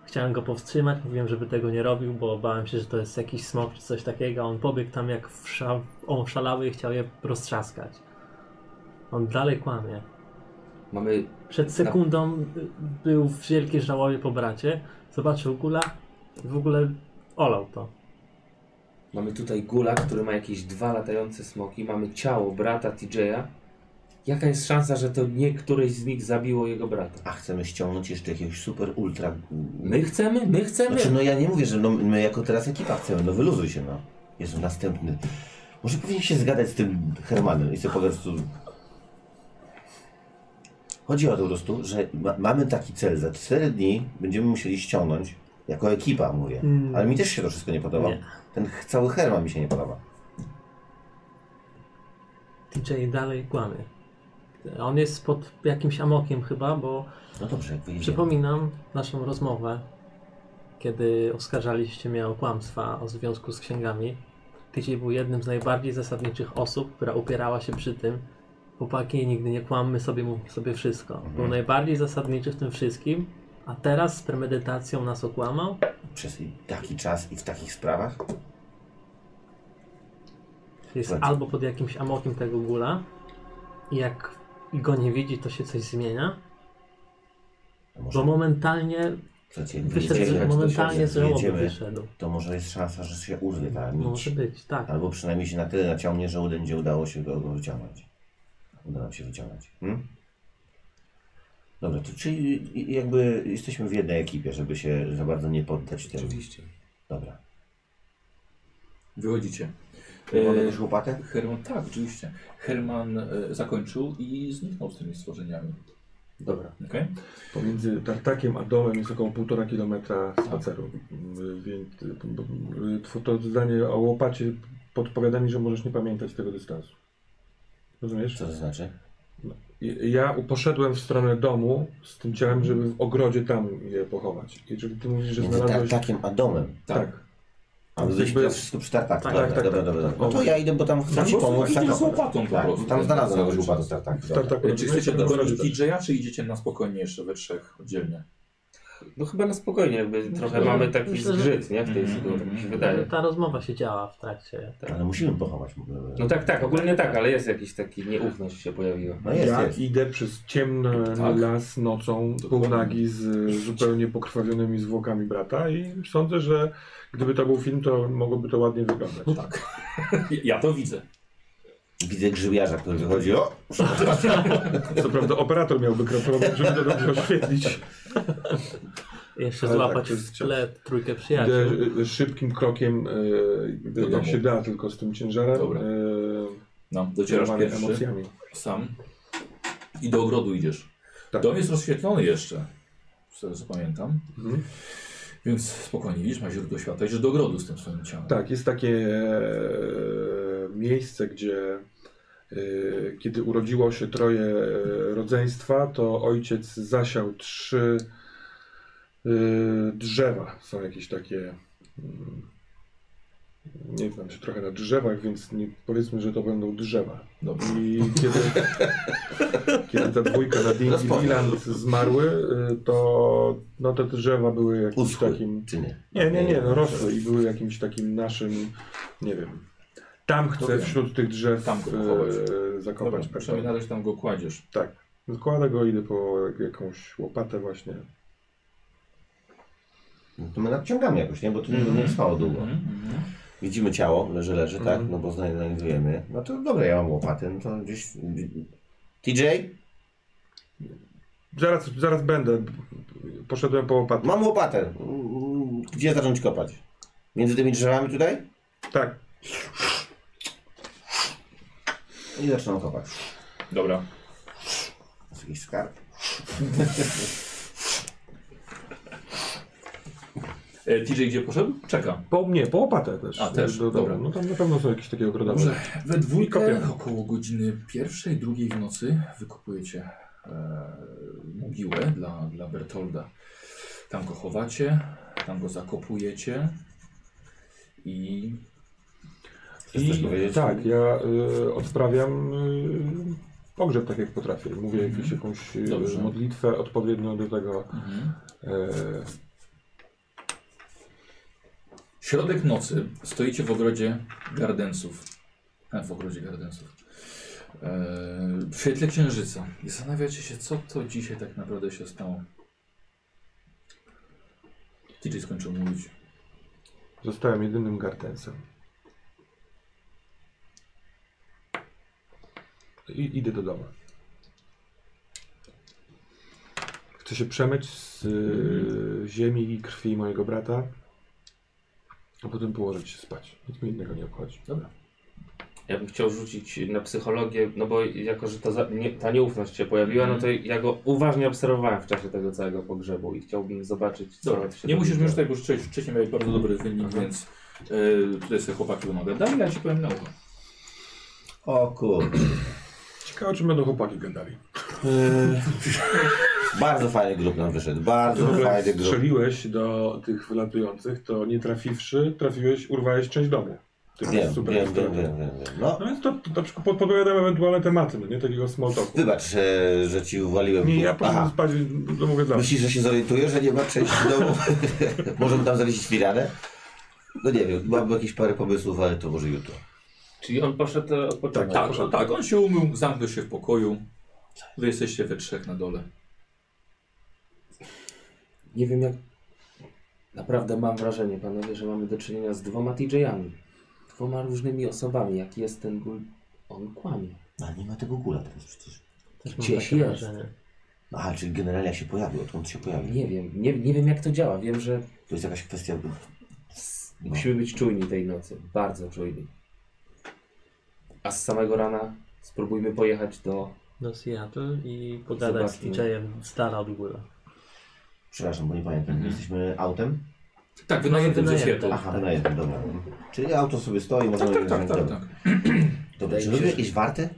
[SPEAKER 5] Chciałem go powstrzymać, mówiłem, żeby tego nie robił, bo bałem się, że to jest jakiś smok czy coś takiego. a On pobiegł tam jak wsza- on szalały i chciał je roztrzaskać. On dalej kłamie.
[SPEAKER 4] Mamy
[SPEAKER 5] Przed sekundą y, był w wielkiej żałobie po bracie, zobaczył gula i w ogóle olał to.
[SPEAKER 4] Mamy tutaj gula, który ma jakieś dwa latające smoki. Mamy ciało brata TJ'a. Jaka jest szansa, że to nie któreś z nich zabiło jego brata?
[SPEAKER 1] A chcemy ściągnąć jeszcze jakiegoś super ultra.
[SPEAKER 4] My chcemy? My chcemy?
[SPEAKER 1] Znaczy, no ja nie mówię, że no, my jako teraz ekipa chcemy, no wyluzuj się, no. Jezu, następny. Może powinien się zgadać z tym Hermanem i sobie po prostu... Chodzi o to po prostu, że ma, mamy taki cel. Za 4 dni będziemy musieli ściągnąć, jako ekipa mówię. Ale mi też się to wszystko nie podoba.
[SPEAKER 5] Mm. Nie.
[SPEAKER 1] Ten ch- cały Herman mi się nie podoba.
[SPEAKER 5] TJ dalej kłamie. On jest pod jakimś amokiem chyba, bo
[SPEAKER 1] No dobrze, jak wyjdziemy.
[SPEAKER 5] przypominam naszą rozmowę, kiedy oskarżaliście mnie o kłamstwa o związku z księgami. TJ był jednym z najbardziej zasadniczych osób, która upierała się przy tym. Chłopaki, nigdy nie kłammy sobie, mówmy sobie wszystko. Był najbardziej zasadniczy w tym wszystkim, a teraz z premedytacją nas okłamał.
[SPEAKER 1] Przez taki czas i w takich sprawach.
[SPEAKER 5] Jest
[SPEAKER 1] Będzie.
[SPEAKER 5] albo pod jakimś amokiem tego gula i jak go nie widzi, to się coś zmienia.
[SPEAKER 1] A Może,
[SPEAKER 5] Bo momentalnie
[SPEAKER 1] słuchajcie, jak
[SPEAKER 5] wyszedł,
[SPEAKER 1] wyjdziemy,
[SPEAKER 5] momentalnie
[SPEAKER 1] jak
[SPEAKER 5] z żałoby
[SPEAKER 1] wyjedziemy,
[SPEAKER 5] wyszedł.
[SPEAKER 1] to może jest szansa, że się urwie ta nić.
[SPEAKER 5] Może być, tak.
[SPEAKER 1] Albo przynajmniej się na tyle naciągnie, że uda będzie udało się go, go wyciągnąć. Uda nam się wyciągnąć. Hmm? Dobra, to czyli i- jakby jesteśmy w jednej ekipie, żeby się za bardzo nie poddać tym.
[SPEAKER 2] Oczywiście.
[SPEAKER 1] Dobra.
[SPEAKER 2] Wychodzicie.
[SPEAKER 1] Ja mam
[SPEAKER 2] E,
[SPEAKER 1] jakąś łopatę?
[SPEAKER 2] Herman, tak, oczywiście. Herman e, zakończył i zniknął z tymi stworzeniami.
[SPEAKER 4] Dobra.
[SPEAKER 2] Okej?
[SPEAKER 3] Pomiędzy tartakiem a domem jest około 1,5 kilometra spaceru. Y, Więc y, b- b- tw- to zdanie o łopacie podpowiada mi, że możesz nie pamiętać tego dystansu. Rozumiesz?
[SPEAKER 1] Co to znaczy?
[SPEAKER 3] I- Ja u- poszedłem w stronę domu z tym ciałem, żeby w ogrodzie tam je pochować. I czyli ty mówisz, że
[SPEAKER 1] Między
[SPEAKER 3] znalazłeś...
[SPEAKER 1] tartakiem a domem.
[SPEAKER 3] Tak.
[SPEAKER 1] A wy
[SPEAKER 3] Jakby-
[SPEAKER 1] byliście teraz wszystko przy tartaku.
[SPEAKER 5] Tak,
[SPEAKER 1] dobra,
[SPEAKER 3] tak, tak,
[SPEAKER 1] dobra,
[SPEAKER 3] tak, no,
[SPEAKER 1] dobra,
[SPEAKER 3] tak.
[SPEAKER 1] dobra. No to ja idę, bo tam chcę ci
[SPEAKER 2] prostu
[SPEAKER 1] pomóc.
[SPEAKER 2] idziesz
[SPEAKER 1] zakopać.
[SPEAKER 2] z łopatą po
[SPEAKER 1] tak,
[SPEAKER 2] prostu.
[SPEAKER 1] Tam znalazłem jakąś
[SPEAKER 2] Zaraz.
[SPEAKER 1] łopatę z tartaku.
[SPEAKER 3] W
[SPEAKER 1] dobra.
[SPEAKER 3] tartaku
[SPEAKER 2] E, Czy chcecie
[SPEAKER 3] robiłeś-
[SPEAKER 2] dogonić DJ-a, czy idziecie na spokojnie jeszcze we trzech oddzielnie?
[SPEAKER 4] No chyba na spokojnie, jakby trochę
[SPEAKER 5] że-
[SPEAKER 4] mamy taki
[SPEAKER 5] myślę, że-
[SPEAKER 4] zgrzyt, nie? W tej
[SPEAKER 2] Mhm.
[SPEAKER 4] sytuacji, tak mi się
[SPEAKER 5] Ale
[SPEAKER 4] wydaje.
[SPEAKER 5] Ta rozmowa się działa w trakcie.
[SPEAKER 3] tak.
[SPEAKER 1] Ale musimy pochować.
[SPEAKER 4] No tak, tak, ogólnie tak, ale jest jakiś taki nieufność się pojawiła.
[SPEAKER 1] No jest,
[SPEAKER 3] ja
[SPEAKER 1] jest.
[SPEAKER 3] idę przez ciemny
[SPEAKER 2] Tak.
[SPEAKER 3] las nocą, półnagi z zupełnie pokrwawionymi zwłokami brata i sądzę, że gdyby to był film, to mogłoby to ładnie wyglądać.
[SPEAKER 2] tak. ja to widzę.
[SPEAKER 1] Widzę grzybiarza, który wychodzi. O!
[SPEAKER 2] tak.
[SPEAKER 3] Co prawda operator miałby problem, żeby to dobrze oświetlić.
[SPEAKER 5] Jeszcze
[SPEAKER 3] Ale tak,
[SPEAKER 5] złapać
[SPEAKER 3] to jest
[SPEAKER 5] w tle trójkę
[SPEAKER 3] Idę
[SPEAKER 5] przyjaciół.
[SPEAKER 3] y, y, szybkim krokiem, y,
[SPEAKER 2] Do
[SPEAKER 3] jak
[SPEAKER 2] domu.
[SPEAKER 3] się da, tylko z tym ciężarem.
[SPEAKER 2] Dobra.
[SPEAKER 3] y,
[SPEAKER 2] No, docierasz
[SPEAKER 3] kierowany
[SPEAKER 2] pierwszy
[SPEAKER 3] emocjami.
[SPEAKER 2] sam i do ogrodu idziesz.
[SPEAKER 3] Tak.
[SPEAKER 2] Dom jest rozświetlony jeszcze, z tego co pamiętam.
[SPEAKER 3] Mhm.
[SPEAKER 2] Więc spokojnie widzisz, ma źródło światła. Idziesz do ogrodu z tym swoim ciałem.
[SPEAKER 3] Tak, jest takie e, miejsce, gdzie e, kiedy urodziło się troje e, rodzeństwa, to ojciec zasiał trzy e, drzewa. Są jakieś takie. mm, Nie znam się trochę na drzewach, więc nie, powiedzmy, że to będą drzewa. No
[SPEAKER 2] Dobrze.
[SPEAKER 3] I kiedy, kiedy ta dwójka na Dinty Leland zmarły, y, to no, te drzewa były jakimś
[SPEAKER 1] Uschły.
[SPEAKER 3] takim.
[SPEAKER 1] Czy nie?
[SPEAKER 3] Nie, nie, nie, no rosły i były jakimś takim naszym, nie wiem. Tam
[SPEAKER 2] To
[SPEAKER 3] chcę
[SPEAKER 2] wiem.
[SPEAKER 3] wśród tych drzew
[SPEAKER 2] Tam
[SPEAKER 3] tam
[SPEAKER 2] go chować.
[SPEAKER 3] e,
[SPEAKER 2] Dobra,
[SPEAKER 3] zakopać
[SPEAKER 2] przynajmniej na
[SPEAKER 3] pewnie.
[SPEAKER 2] razie tam go kładziesz.
[SPEAKER 3] Tak. Składę go, idę po jakąś łopatę właśnie.
[SPEAKER 1] No to my nadciągamy jakoś, nie? Bo to nie, nie trwało
[SPEAKER 3] Tak.
[SPEAKER 1] długo.
[SPEAKER 2] Mhm, mhm.
[SPEAKER 1] Widzimy ciało, leży, leży,
[SPEAKER 3] Mhm.
[SPEAKER 1] tak? No bo zna- znajdujemy. No to dobra, ja mam łopatę, no to gdzieś... TJ?
[SPEAKER 3] Zaraz, zaraz będę. Poszedłem po łopatę.
[SPEAKER 1] Mam łopatę. Mm, Gdzie zacząć kopać? Między tymi drzewami tutaj?
[SPEAKER 3] Tak.
[SPEAKER 1] I zaczynam kopać.
[SPEAKER 2] Dobra.
[SPEAKER 1] Jest jakiś skarb?
[SPEAKER 2] E, TJ gdzie poszedł? Czeka.
[SPEAKER 3] Po mnie, po łopatę też.
[SPEAKER 2] A, też,
[SPEAKER 3] Do,
[SPEAKER 2] dobra.
[SPEAKER 3] dobra. No tam na pewno są jakieś takie ogrodowe.
[SPEAKER 2] Dobrze. We dwójkę
[SPEAKER 3] Kopię.
[SPEAKER 2] około godziny pierwszej, drugiej w nocy wykopujecie e, mogiłę dla, dla Bertolda. Tam go chowacie, tam go zakopujecie i
[SPEAKER 1] Chcesz coś powiedzieć?
[SPEAKER 3] Tak, ja y, odprawiam y, pogrzeb tak jak potrafię. Mówię jakieś, jakąś y,
[SPEAKER 2] Dobrze.
[SPEAKER 3] modlitwę odpowiednią do tego. Y,
[SPEAKER 2] Środek nocy. Stoicie w ogrodzie Gardensów. E, w ogrodzie Gardensów. E, w świetle księżyca. I zastanawiacie się, co to dzisiaj tak naprawdę się stało. TJ skończył mówić.
[SPEAKER 3] zostałem jedynym gartensem. I, idę do domu. Chcę się przemyć z y, ziemi i krwi mojego brata, a potem położyć się spać. Nic mi innego nie obchodzi.
[SPEAKER 2] Dobra.
[SPEAKER 4] Ja bym chciał rzucić na psychologię, no bo jako, że ta, za, nie, ta nieufność się pojawiła, no to ja go uważnie obserwowałem w czasie tego całego pogrzebu i chciałbym zobaczyć, co
[SPEAKER 2] Dobra,
[SPEAKER 4] się
[SPEAKER 2] tak nie Mhm. musisz mi już
[SPEAKER 4] dowiedziało.
[SPEAKER 2] tego rzucić, wcześniej miałeś bardzo dobry wynik, więc e, tutaj sobie chłopaki będą gadali, ja ci powiem na ucho.
[SPEAKER 1] O kurde.
[SPEAKER 3] Ciekawe, czy będą chłopaki gadali.
[SPEAKER 1] Bardzo fajny grób nam wyszedł. Bardzo
[SPEAKER 3] w ogóle
[SPEAKER 1] fajny grób.
[SPEAKER 3] strzeliłeś do tych wylatujących, to nie trafiwszy, trafiłeś, urwałeś część domu. Tym
[SPEAKER 1] Wiem,
[SPEAKER 3] super
[SPEAKER 1] wiem, wiem,
[SPEAKER 3] ekspertem.
[SPEAKER 1] wiem, wiem, wiem. No,
[SPEAKER 3] No więc to, to na przykład podpowiadam ewentualne tematy, no nie takiego small talku.
[SPEAKER 1] wybacz, e, że ci uwaliłem.
[SPEAKER 3] Nie, ja poszedłem
[SPEAKER 1] Aha.
[SPEAKER 3] spać, to mówię dla
[SPEAKER 1] Myślisz, że się zorientuję, że nie ma części domu? Możemy tam zawiesić firanę? No nie wiem, mam jakieś parę pomysłów, ale to może jutro.
[SPEAKER 4] Czyli on poszedł e, odpoczywać.
[SPEAKER 2] Tak, tak, on się umył, zamknął się w pokoju. Wy jesteście we trzech na dole.
[SPEAKER 4] Nie wiem jak... Naprawdę mam wrażenie, panowie, że mamy do czynienia z dwoma TJ-ami. Dwoma różnymi osobami. Jaki jest ten ból? On kłamie.
[SPEAKER 1] A No, nie ma tego gula teraz przecież. No,
[SPEAKER 5] Też mam
[SPEAKER 4] Gdzieś
[SPEAKER 5] takie
[SPEAKER 4] jest.
[SPEAKER 5] wrażenie.
[SPEAKER 1] Aha, czyli generalia się pojawił, odkąd się pojawił.
[SPEAKER 4] Nie wiem, nie, nie wiem jak to działa. Wiem, że
[SPEAKER 1] To jest jakaś kwestia... No.
[SPEAKER 4] musimy być czujni tej nocy. Bardzo czujni. A z samego rana spróbujmy pojechać do...
[SPEAKER 5] Do Seattle i pogadać z
[SPEAKER 4] Zobaczmy.
[SPEAKER 5] DJ-em z dala od góry.
[SPEAKER 1] Przepraszam, bo nie pamiętam.
[SPEAKER 2] Mhm.
[SPEAKER 1] Jesteśmy autem?
[SPEAKER 2] Tak, wynajęty ze
[SPEAKER 5] Wynajęty.
[SPEAKER 2] świetla.
[SPEAKER 1] Aha, wynajęty, dobra. Czyli auto sobie stoi,
[SPEAKER 2] Tak,
[SPEAKER 1] możemy...
[SPEAKER 2] tak, tak, tak,
[SPEAKER 1] Dobra.
[SPEAKER 2] tak.
[SPEAKER 1] Dobra, czy
[SPEAKER 4] Wydaje mi się,
[SPEAKER 1] robię
[SPEAKER 4] że-
[SPEAKER 1] jakieś warty?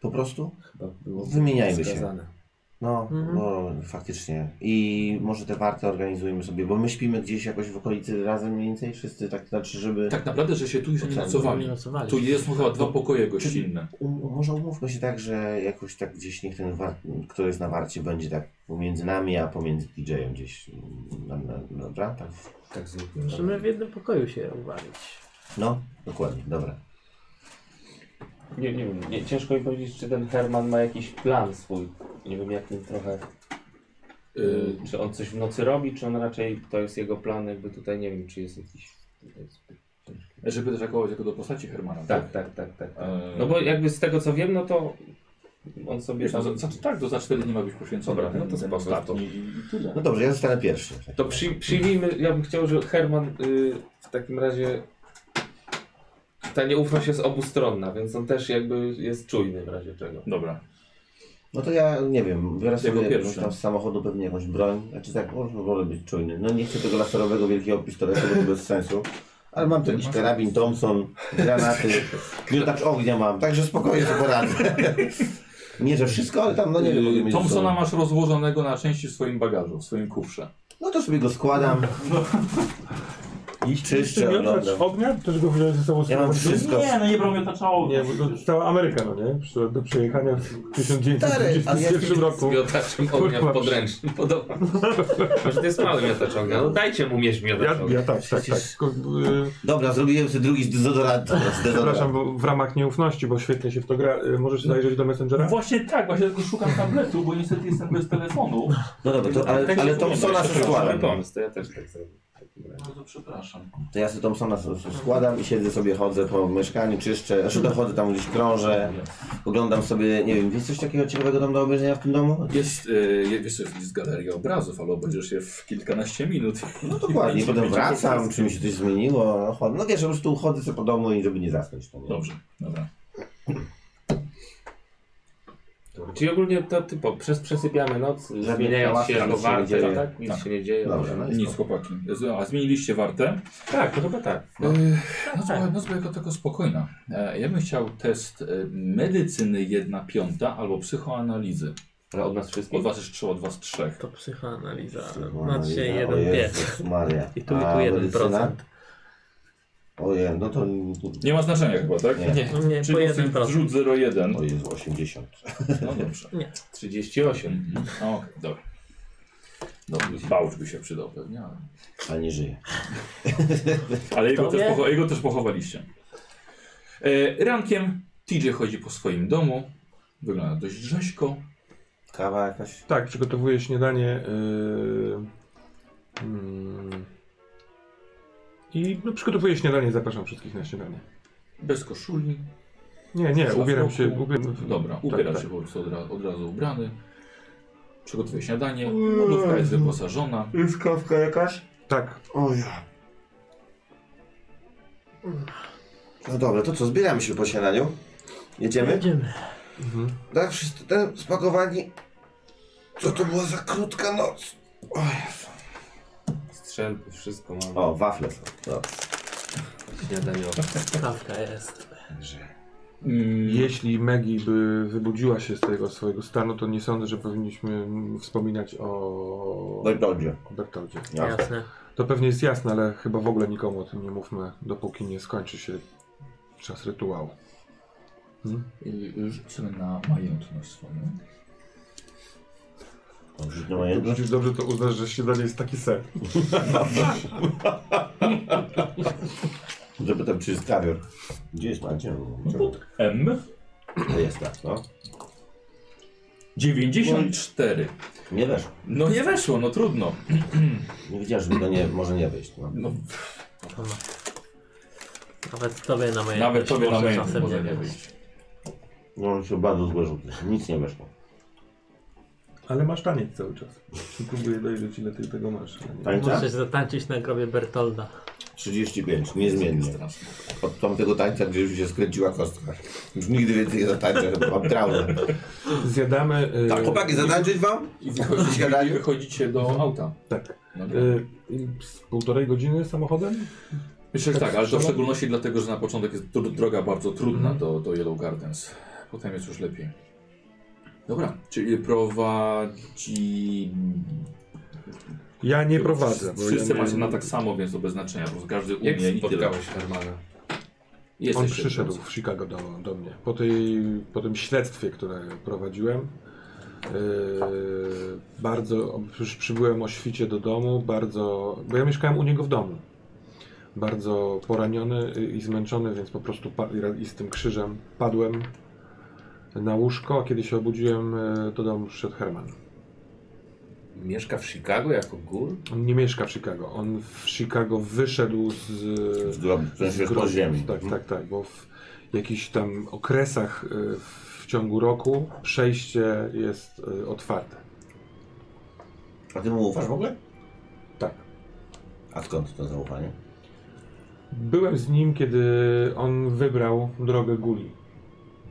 [SPEAKER 1] Po prostu?
[SPEAKER 4] Chyba Tak było
[SPEAKER 1] Wymieniajmy się.
[SPEAKER 4] wskazane.
[SPEAKER 1] No,
[SPEAKER 5] Mhm.
[SPEAKER 1] no, faktycznie. I może te warty organizujmy sobie, bo my śpimy gdzieś jakoś w okolicy razem mniej więcej, wszyscy tak, znaczy, żeby...
[SPEAKER 2] Tak naprawdę, że się tu już nie
[SPEAKER 1] Oceny.
[SPEAKER 2] nocowali.
[SPEAKER 5] Nie nocowali.
[SPEAKER 2] Tu jest chyba dwa pokoje gościnne.
[SPEAKER 1] Um, może umówmy się tak, że jakoś tak gdzieś niech ten, war, kto jest na warcie, będzie tak pomiędzy nami, a pomiędzy DJ-em gdzieś. mm, Na, na, dobra? Tak.
[SPEAKER 4] Tak zróbmy.
[SPEAKER 5] Możemy w jednym pokoju się uwalić.
[SPEAKER 1] No, dokładnie, dobra.
[SPEAKER 4] Nie, nie wiem, nie, ciężko mi powiedzieć, czy ten Herman ma jakiś plan swój. Nie wiem, jak nim trochę.
[SPEAKER 2] Y,
[SPEAKER 4] Czy on coś w nocy robi, czy on raczej to jest jego plan, jakby tutaj nie wiem, czy jest jakiś. tutaj zbyt ciężko.
[SPEAKER 2] Żeby też jako, jako do postaci Hermana.
[SPEAKER 4] Tak, tak, tak, tak. tak.
[SPEAKER 2] Eee.
[SPEAKER 4] No bo jakby z tego co wiem, no to on sobie
[SPEAKER 2] Wiesz, no,
[SPEAKER 4] tam.
[SPEAKER 2] za, za, tak, to za cztery dni ma być poświęcony.
[SPEAKER 4] Dobra, no to
[SPEAKER 2] Ten
[SPEAKER 4] spoko.
[SPEAKER 2] ostatni i, i tyle.
[SPEAKER 1] No dobrze, ja zostanę pierwszy.
[SPEAKER 4] To przy, przyjmijmy, ja bym chciał, że Herman y, w takim razie. Ta nieufność jest obustronna, więc on też jakby jest czujny w razie czego.
[SPEAKER 2] Dobra.
[SPEAKER 1] No to ja nie wiem, biorę
[SPEAKER 2] Jako
[SPEAKER 1] sobie jakąś
[SPEAKER 2] pierwszy.
[SPEAKER 1] tam z samochodu pewnie jakąś broń. Znaczy tak, może wolę być czujny. No nie chcę tego laserowego wielkiego pistoletu, bo to bez sensu. Ale mam tu jakiś karabin Thompson, granaty, miotacz ognia mam, także spokojnie sobie poradzę. Nie, że wszystko, ale tam no nie wiem. mogę mieć
[SPEAKER 2] Y,
[SPEAKER 1] ze sobą.
[SPEAKER 2] Thompsona masz rozłożonego na części w swoim bagażu, w swoim kufrze.
[SPEAKER 1] No to sobie go składam. I
[SPEAKER 3] Czy
[SPEAKER 1] czyszczę,
[SPEAKER 3] miotacz
[SPEAKER 1] oglądam.
[SPEAKER 3] ognia? Też go wziąłeś ze sobą z
[SPEAKER 1] Ja mam
[SPEAKER 3] powrotem?
[SPEAKER 1] wszystko.
[SPEAKER 7] Nie, no nie brał mnie taczało.
[SPEAKER 3] Nie, bo to cała Ameryka, no nie? Przyszła do przejechania w
[SPEAKER 1] a ja-
[SPEAKER 3] 1921
[SPEAKER 4] Z
[SPEAKER 3] roku.
[SPEAKER 4] miotaczem ognia w podręcznym. Podoba. Może to jest mały miotacz ognia. No dajcie mu mieć miotacz
[SPEAKER 3] Ja,
[SPEAKER 4] ognia.
[SPEAKER 3] ja tak, tak, tak. Tylko, y,
[SPEAKER 1] Dobra, zrobiłem sobie drugi z dezodorantem.
[SPEAKER 3] Przepraszam, bo w ramach nieufności, bo świetnie się w to gra. y, Możesz
[SPEAKER 1] No.
[SPEAKER 3] zajrzeć do Messengera?
[SPEAKER 2] Właśnie tak, właśnie tylko szukam tabletu, bo niestety jestem bez telefonu.
[SPEAKER 1] No dobra, to, ale, ale Thompsona sobie
[SPEAKER 4] Dobry
[SPEAKER 1] składam.
[SPEAKER 4] pomysł, to ja też tak zrobię. w takim razie.
[SPEAKER 2] Bardzo przepraszam.
[SPEAKER 1] To ja sobie Thompsona sobie składam i siedzę sobie, chodzę po mieszkaniu, czyszczę, znaczy dochodzę tam gdzieś, krążę, oglądam sobie, nie wiem, jest coś takiego ciekawego tam do obejrzenia w tym domu?
[SPEAKER 2] Jest, y, wiesz co, jest galeria obrazów, ale obejrzysz się w kilkanaście minut.
[SPEAKER 1] No dokładnie, potem wracam, czy mi się coś zmieniło, no, chodzę. no wiesz, po prostu chodzę sobie po domu i żeby nie zasnąć. To nie?
[SPEAKER 2] Dobrze, dobra.
[SPEAKER 4] Czyli ogólnie to typo, przez przesypiamy noc, zmieniając
[SPEAKER 1] hałasy,
[SPEAKER 4] się jako
[SPEAKER 1] nic się nie
[SPEAKER 4] warte,
[SPEAKER 1] dzieje.
[SPEAKER 4] tak? Nic
[SPEAKER 2] Tak.
[SPEAKER 4] się nie dzieje.
[SPEAKER 1] Dobrze, no i
[SPEAKER 2] Nic, chłopaki. A zmieniliście wartę?
[SPEAKER 4] Tak, to chyba tak.
[SPEAKER 2] No, no, no była jako tylko spokojna. E, ja bym chciał test e, medycyny jedna piąta albo psychoanalizy.
[SPEAKER 4] Ale od nas wszystkich.
[SPEAKER 2] Od was jest trzy, od was trzech.
[SPEAKER 5] To psychoanaliza.
[SPEAKER 1] Szczególna
[SPEAKER 5] Na dzisiaj
[SPEAKER 1] liga,
[SPEAKER 5] jeden
[SPEAKER 1] o
[SPEAKER 5] pies.
[SPEAKER 1] Jezus Maria.
[SPEAKER 5] I tu mi
[SPEAKER 1] A
[SPEAKER 5] tu jeden
[SPEAKER 1] medycyna?
[SPEAKER 5] procent.
[SPEAKER 1] Ojej, no to...
[SPEAKER 2] Nie ma znaczenia chyba, tak?
[SPEAKER 1] Nie.
[SPEAKER 5] No nie, po
[SPEAKER 2] Czyli
[SPEAKER 5] jeden procent.
[SPEAKER 2] rzut 01.
[SPEAKER 1] O Jezu, 80.
[SPEAKER 2] No dobrze.
[SPEAKER 4] 38.
[SPEAKER 2] Mhm. No, Okej, dobra. Dobry bałcz by się przydał pewnie, ale...
[SPEAKER 1] Ale nie żyje.
[SPEAKER 2] Ale jego
[SPEAKER 5] Kto
[SPEAKER 2] też,
[SPEAKER 5] wie?
[SPEAKER 2] pocho- jego też pochowaliście. E, rankiem TJ chodzi po swoim domu. Wygląda dość rzeźko.
[SPEAKER 1] Kawa jakaś?
[SPEAKER 3] Tak, przygotowuję śniadanie. y, mm, I no, przygotowuję śniadanie, zapraszam wszystkich na śniadanie.
[SPEAKER 2] Bez koszuli.
[SPEAKER 3] Nie, nie,
[SPEAKER 2] Szlafroku.
[SPEAKER 3] ubieram się. Ubieram,
[SPEAKER 2] Dobra,
[SPEAKER 3] tak,
[SPEAKER 2] ubiera
[SPEAKER 3] tak.
[SPEAKER 2] się po prostu od, ra- od razu ubrany. Przygotowuje śniadanie, lodówka jest wyposażona.
[SPEAKER 1] Już kawka jakaś?
[SPEAKER 3] Tak,
[SPEAKER 1] O ja. No dobra, to co, zbieramy się po śniadaniu? Jedziemy? No,
[SPEAKER 5] Jedziemy.
[SPEAKER 1] Tak, wszyscy te spakowani. Co to była za krótka noc? O Jezu.
[SPEAKER 4] Strzelby, wszystko mamy.
[SPEAKER 1] O, wafle są. no. Dobra.
[SPEAKER 4] Śniadaniowe.
[SPEAKER 5] Kawka jest.
[SPEAKER 1] Mhm.
[SPEAKER 2] Mm,
[SPEAKER 3] Jeśli Maggie by wybudziła się z tego swojego stanu, to nie sądzę, że powinniśmy wspominać o,
[SPEAKER 1] Bertoldzie.
[SPEAKER 3] o Bertoldzie.
[SPEAKER 1] No Jasne.
[SPEAKER 5] Jasne.
[SPEAKER 3] To pewnie jest jasne, ale chyba w ogóle nikomu o tym nie mówmy, dopóki nie skończy się czas rytuału.
[SPEAKER 2] y, Rzucę na majętność swoją.
[SPEAKER 1] Dobrze, nie ma jedno.
[SPEAKER 3] Przecież dobrze to uznasz, że śniadanie jest taki sen.
[SPEAKER 1] Zapytam, czy jest kawior. Gdzie jest pan? Gdzie on? Gdzie on?
[SPEAKER 2] M
[SPEAKER 1] To jest tak, no.
[SPEAKER 2] 94.
[SPEAKER 1] Nie weszło.
[SPEAKER 2] No nie weszło, no trudno.
[SPEAKER 1] Nie wiedziałem, że to nie, może nie wyjść. No.
[SPEAKER 2] No,
[SPEAKER 5] Nawet tobie na mojej
[SPEAKER 2] nawet tobie na majętność
[SPEAKER 5] czasem
[SPEAKER 2] może nie
[SPEAKER 5] wiem.
[SPEAKER 2] wyjść.
[SPEAKER 1] no on się bardzo złe rzuty. Nic nie weszło.
[SPEAKER 3] Ale masz taniec cały czas. Próbuję dojrzeć, ile ty tego masz.
[SPEAKER 1] Tańca?
[SPEAKER 5] Możesz zatańczyć na grobie Bertolda.
[SPEAKER 1] 35, niezmiennie.
[SPEAKER 2] Straszne.
[SPEAKER 1] Od tamtego tańca, gdzie już się skręciła kostka. Już nigdy więcej nie zatańczę, chyba mam traumę.
[SPEAKER 3] Zjadamy... y,
[SPEAKER 1] Tak, chłopaki, zatańczyć wam?
[SPEAKER 2] I
[SPEAKER 1] W
[SPEAKER 2] wychodzicie,
[SPEAKER 1] śniadaniu?
[SPEAKER 2] wychodzicie do auta.
[SPEAKER 3] tak.
[SPEAKER 2] No,
[SPEAKER 3] Y, i z półtorej godziny samochodem?
[SPEAKER 2] Myślę, że
[SPEAKER 3] tak
[SPEAKER 2] tak, ale to w
[SPEAKER 3] strzelam.
[SPEAKER 2] szczególności dlatego, że na początek jest dro- droga bardzo trudna do, do Yellow Gardens. Potem jest już lepiej. Dobra, czyli prowadzi...
[SPEAKER 3] Ja nie prowadzę. bo
[SPEAKER 2] Wszyscy
[SPEAKER 3] ja nie-
[SPEAKER 2] macie na tak samo, więc to bez znaczenia, bo każdy umie
[SPEAKER 4] Jak
[SPEAKER 2] i tyle.
[SPEAKER 4] spotkałeś Hermana?
[SPEAKER 2] Jesteś
[SPEAKER 3] On
[SPEAKER 2] szybko.
[SPEAKER 3] przyszedł w Chicago do, do mnie. Po, tej, po tym śledztwie, które prowadziłem, yy, bardzo już przybyłem o świcie do domu, bardzo. Bo ja mieszkałem u niego w domu. Bardzo poraniony i zmęczony, więc po prostu pa- i ra- i z tym krzyżem padłem na łóżko, a kiedy się obudziłem, yy, do domu przyszedł Herman.
[SPEAKER 4] Mieszka w Chicago jako gór?
[SPEAKER 3] On nie mieszka w Chicago. On w Chicago wyszedł z
[SPEAKER 1] Z grobu, w sensie
[SPEAKER 3] grobu.
[SPEAKER 1] z ziemi. Mhm.
[SPEAKER 3] Tak, tak, tak, bo w jakichś tam okresach y, w ciągu roku przejście jest y, otwarte.
[SPEAKER 1] A ty mu ufasz w ogóle?
[SPEAKER 3] Tak.
[SPEAKER 1] A skąd to zaufanie?
[SPEAKER 3] Byłem z nim, kiedy on wybrał drogę Guli.